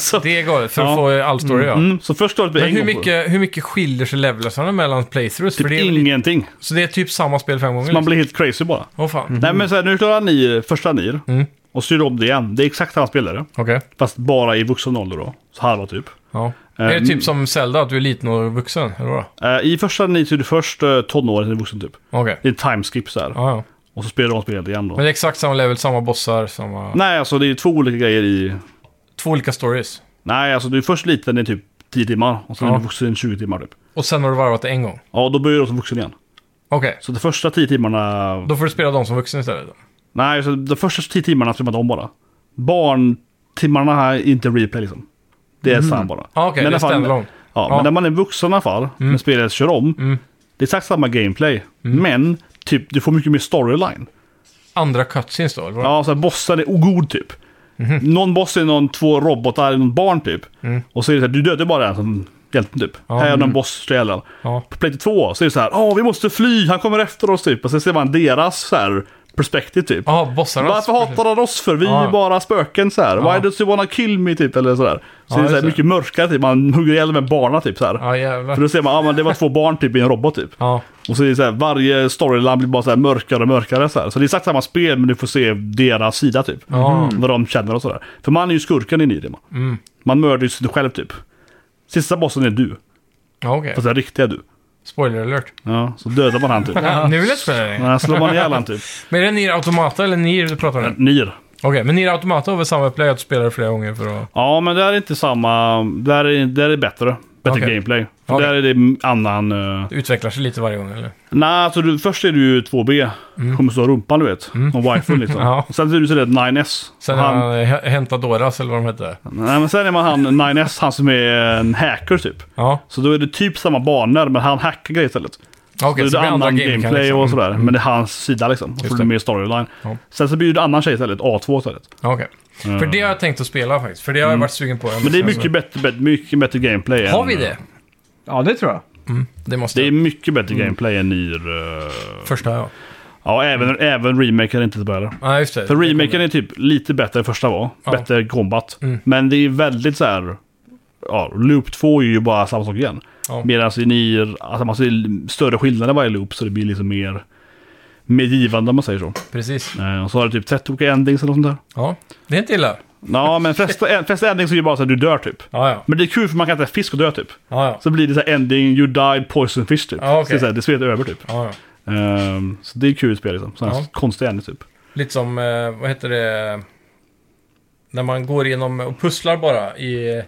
C: så,
A: Det är galet, för att
C: Ja.
A: få all story ja.
C: mm, så först klarar du det
A: Men
C: en
A: hur
C: gång. på det.
A: mycket, hur mycket skiljer sig levelsarna mellan playthroughs? för det
C: Typ
A: är, väl-
C: ingenting.
A: Så det är typ samma spel fem gånger?
C: Så man blir Mm. helt crazy bara.
A: liksom? Åh fan.
C: Nej men så här, nu klarar Nier, första Nier.
A: Mm.
C: Och så gör du om det igen. Det är exakt samma spelare.
A: Okej.
C: Fast bara i vuxen ålder då. Så halva typ.
A: Ja. Är det
C: Mm.
A: typ som Zelda, att du är liten och vuxen? Eller vadå?
C: Eh, I första Nier så är du först uh, tonåring eller vuxen typ.
A: Okej.
C: Det är en timeskip så här.
A: Ja, ja.
C: Och så spelar du om spelet igen då.
A: Men det är exakt samma level, samma bossar, samma...
C: Nej alltså det är två olika grejer i...
A: Två olika stories.
C: Nej alltså du är först liten i typ 10 timmar. Och sen
A: Ja.
C: är du vuxen i 20 timmar typ.
A: Och sen har du varvat det en gång.
C: Ja då börjar du som vuxen igen.
A: Okej,
C: Så de första 10 timmarna...
A: då får du spela dem som vuxen istället. då.
C: Nej alltså de första 10 timmarna spelar man om bara. Barntimmarna här är inte replay liksom. Det är så här bara.
A: Mhm. Ja, Ah, okej, det
C: Men i
A: är
C: alla fall-
A: standalone.
C: Ja,
A: Ja. Mm.
C: men när man är vuxen i alla fall, när spelet kör om, det är exakt samma gameplay. Men typ, du får mycket mer storyline.
A: Andra cutscenes då, eller? vad?
C: Ja, så här, bossen är ogod typ.
A: Mhm.
C: Någon boss är någon två robotar, någon barn typ.
A: Mm.
C: Och så är det så här, du dödar bara den som hjälten typ. här är någon boss som slår ihjäl den.
A: Ja.
C: På Play 2 så är det så här, åh vi måste fly, han kommer efter oss typ. Och sen ser man deras så här perspektiv typ.
A: Ja, bossarna.
C: Varför hatar han oss för? Vi är
A: Ja.
C: ju bara spöken så här. Why does you wanna kill me typ eller sådär.
A: Ja,
C: Så det är så
A: just
C: här,
A: det.
C: mycket mörkare typ. Man hugger ihjäl med barna typ så här.
A: Ja,
C: För
A: jävlar.
C: då ser man, ja ah, men det var två barn typ i en robot typ.
A: Ja,
C: Och så är det så här, varje storyline blir bara så här mörkare och mörkare så här. Så det är exakt samma spel men du får se deras sida typ.
A: Ja. Mm.
C: Vad de känner och sådär. För man är ju skurken i Nidima. Man mördar ju sig själv typ. Sista bossen är du.
A: ja okej.
C: Fast den riktiga du.
A: Spoiler alert.
C: Ja, så dödar man han typ.
A: Ja, nu vill jag spela det.
C: Ja, slår man ihjäl han typ.
A: Men är det Nier Automata eller Nier du pratar om? Okej,
C: Nir.
A: men Nier Automata har väl samma upplägg att spela det flera gånger för att...
C: Ja, men där är inte samma. Där är, där är bättre. Bättre
A: Okej.
C: gameplay. För
A: Okej.
C: där är det annan... eh,
A: Det utvecklar sig lite varje gång, eller?
C: Nej, alltså du, först är du ju 2B. Kommer stå rumpan du vet. Och wifen liksom.
A: Mm. Ja.
C: Sen är du sådär 9S.
A: Sen
C: Och
A: är
C: han,
A: han eh, H- Hentadoras, eller vad de hette.
C: nej, men sen är man han 9S, han som är en hacker typ.
A: Ja,
C: Så då är det typ samma banor, men han hackar grejer istället.
A: okej.
C: Okay,
A: så
C: det
A: det
C: är
A: blir andra
C: annan
A: game kan
C: gameplay
A: liksom.
C: och sådär. Men det är hans sida liksom. Och så blir det
A: det.
C: mer storyline.
A: Ja.
C: Sen så blir det en annan tjej istället, A2 istället.
A: Ja, Mm. Okej. För det har jag tänkt att spela faktiskt. För det har jag varit sugen på.
C: Mm. Men det är mycket bättre, bättre, mycket bättre gameplay.
A: Alltså. Har
C: än,
A: vi det?
B: Ja, det tror jag.
A: Det måste
C: Det är
A: jag.
C: mycket bättre
A: Mm.
C: gameplay än Nier. eh,
A: Första, ja.
C: Ja, även, även remaken är inte så bra heller.
A: Ja, just det.
C: För remaken är typ lite bättre än första var.
A: Ja. Mm.
C: Bättre combat. Men det är väldigt så här... Ja, loop 2 är ju bara samma sak igen.
A: Ja.
C: Medan i nier, alltså man ser större skillnader varje loop så det blir liksom mer, mer givande om man säger så.
A: Precis.
C: Eh, och så har det typ 30 olika endings eller något sånt där.
A: Ja, det är inte illa.
C: Ja, men flesta, flesta endings är ju bara så att du dör typ.
A: Ja, ja.
C: Men det är kul för man kan äta fisk och dö typ.
A: ja, ja.
C: Så blir det så här ending, you died poison fish typ.
A: Ja, Ah, okej.
C: Så det är så här, det spelet är över typ.
A: ja, ja.
C: Ehm, så det är kul spel liksom. Sådana här
A: Ja.
C: konstiga endings typ.
A: Lite som, eh, vad heter det, när man går igenom och pusslar bara i,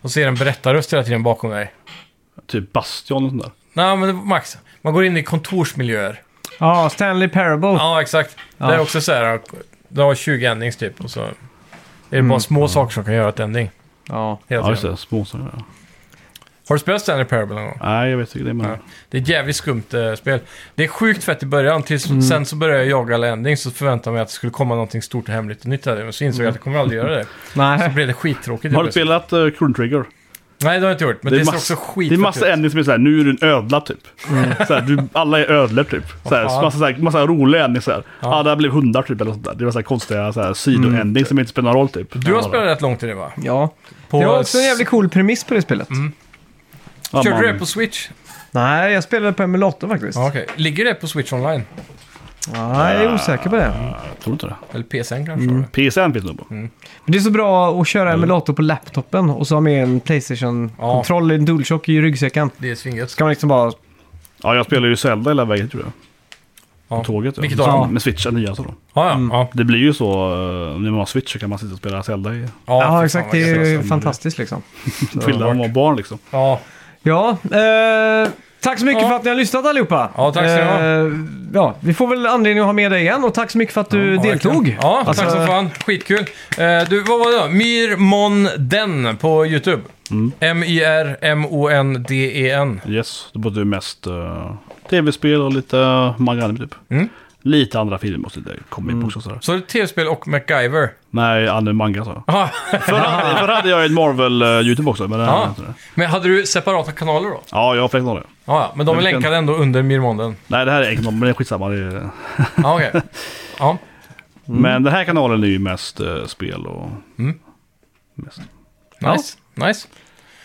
A: och ser en berättarröst hela tiden bakom dig.
C: Typ Bastion och sånt där.
A: Nej, men det var Max, man går in i kontorsmiljöer.
B: Ja, Stanley Parable.
A: Ja, exakt. Det är också så här, det har 20 endings typ och så är det bara små saker som kan göra ett ending.
B: Ja.
C: Mm. Ja,
A: Hela
C: just
A: tiden.
C: det. Småsaker. ja.
A: Har du spelat Stanley Parable någon gång?
C: Nej, jag vet inte. Det är man...
A: Ja. Det är ett jävligt skumt eh, spel. Det är sjukt fett i början, tills
C: Mm.
A: sen så började jag jaga alla endings och förväntade mig att det skulle komma någonting stort och hemligt och nytt där. Men så insåg jag att det kommer aldrig göra det. Så
B: Nej.
A: blev det skittråkigt.
C: Mm. Har du spelat uh, Chrono Trigger?
A: Nej, det har jag inte gjort. Men det, ser
C: mass-
A: också skit
C: Det är massa endings som är såhär, nu är du en ödla typ. Såhär, du, alla är ödlor typ. Såhär,
A: fan.
C: massa, såhär, massa roliga endings såhär. Ja, ah, där blev hundar typ eller sånt där. Det var såhär konstiga såhär, sido-endings som inte spelar någon roll typ.
A: Mm. Du har spelat rätt långt i det va?
B: Ja.
A: På Mm.
B: Det var också en jävligt cool premiss på det spelet.
C: ja,
A: Körde
C: man-
A: du det på Switch?
B: Nej, jag spelade på emulator faktiskt.
A: Ja, okej. Ligger det på Switch online?
B: Nej, jag är osäker på
A: Mm.
B: det.
C: Jag tror inte det.
A: Eller PSN kanske?
C: Mm.
A: har det.
C: PSN finns det nog på.
A: Mm.
B: Men det är så bra att köra emulator på laptopen och så ha med en Playstation-kontroll, en DualShock i ryggsäcken.
A: Det är svingött.
B: Ska man liksom bara...
C: Ja, jag spelar ju Zelda hela vägen tror jag.
A: Ja.
C: På tåget. Ja. Mm.
A: Vilket
C: Så-
A: av dem?
C: Med Switchen nya så då.
A: Ja, ja. ja.
C: Det blir ju så, eh, när man har Switch så kan man sitta och spela Zelda i
A: Ja, fy
B: Ja,
A: fan,
B: exakt.
A: vad alltså.
B: Det är
A: gött.
B: ju
C: det.
B: fantastiskt liksom.
C: skillnad om man var barn liksom.
A: Ja,
B: Ja, eh, Tack så mycket
A: Ja.
B: för att ni har lyssnat allihopa.
A: Ja, tack ska ni ha.
B: Eh, ja, vi får väl anledning att ha med dig igen och tack så mycket för att du
A: Ja,
B: deltog.
A: verkligen. Ja,
B: Alltså,
A: tack som fan. Skitkul. Eh, du, vad var det då? Myrmonden på YouTube.
B: Mm.
A: M-Y-R-M-O-N-D-E-N.
C: Yes, det både mest eh, tv-spel och lite uh, mangani typ.
A: Mm.
C: Lite andra filmer och så lite komma in på också. Sådär.
A: Så är det tv-spel och MacGyver.
C: Nej, anime manga så.
A: Aha.
C: Förr hade, förr hade jag ett Marvel-YouTube också. Men,
A: Ja.
C: ja.
A: Men hade du separata kanaler då?
C: ja, jag har fler kanaler.
A: Ja, ja, men de är
C: Men vi kan-
A: länkade ändå under Myrmonden.
C: Nej, det här är en kanal, men det är skitsamma. Det är...
A: Ja, okej. Ja.
C: Men den här kanalen är ju mest eh, spel och...
A: Mm.
C: Mest.
A: Nice. Nice.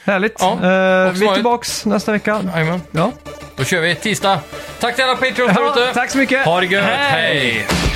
B: Härligt.
A: Ja,
B: Eh,
A: och
B: vi
A: så var
B: är
A: det-
B: tillbaks nästa vecka.
A: Jajamän.
B: Ja.
A: Då kör vi tisdag. Tack till alla Patreons där
B: Ja,
A: ute.
B: tack så mycket.
A: Ha det gött. Hej.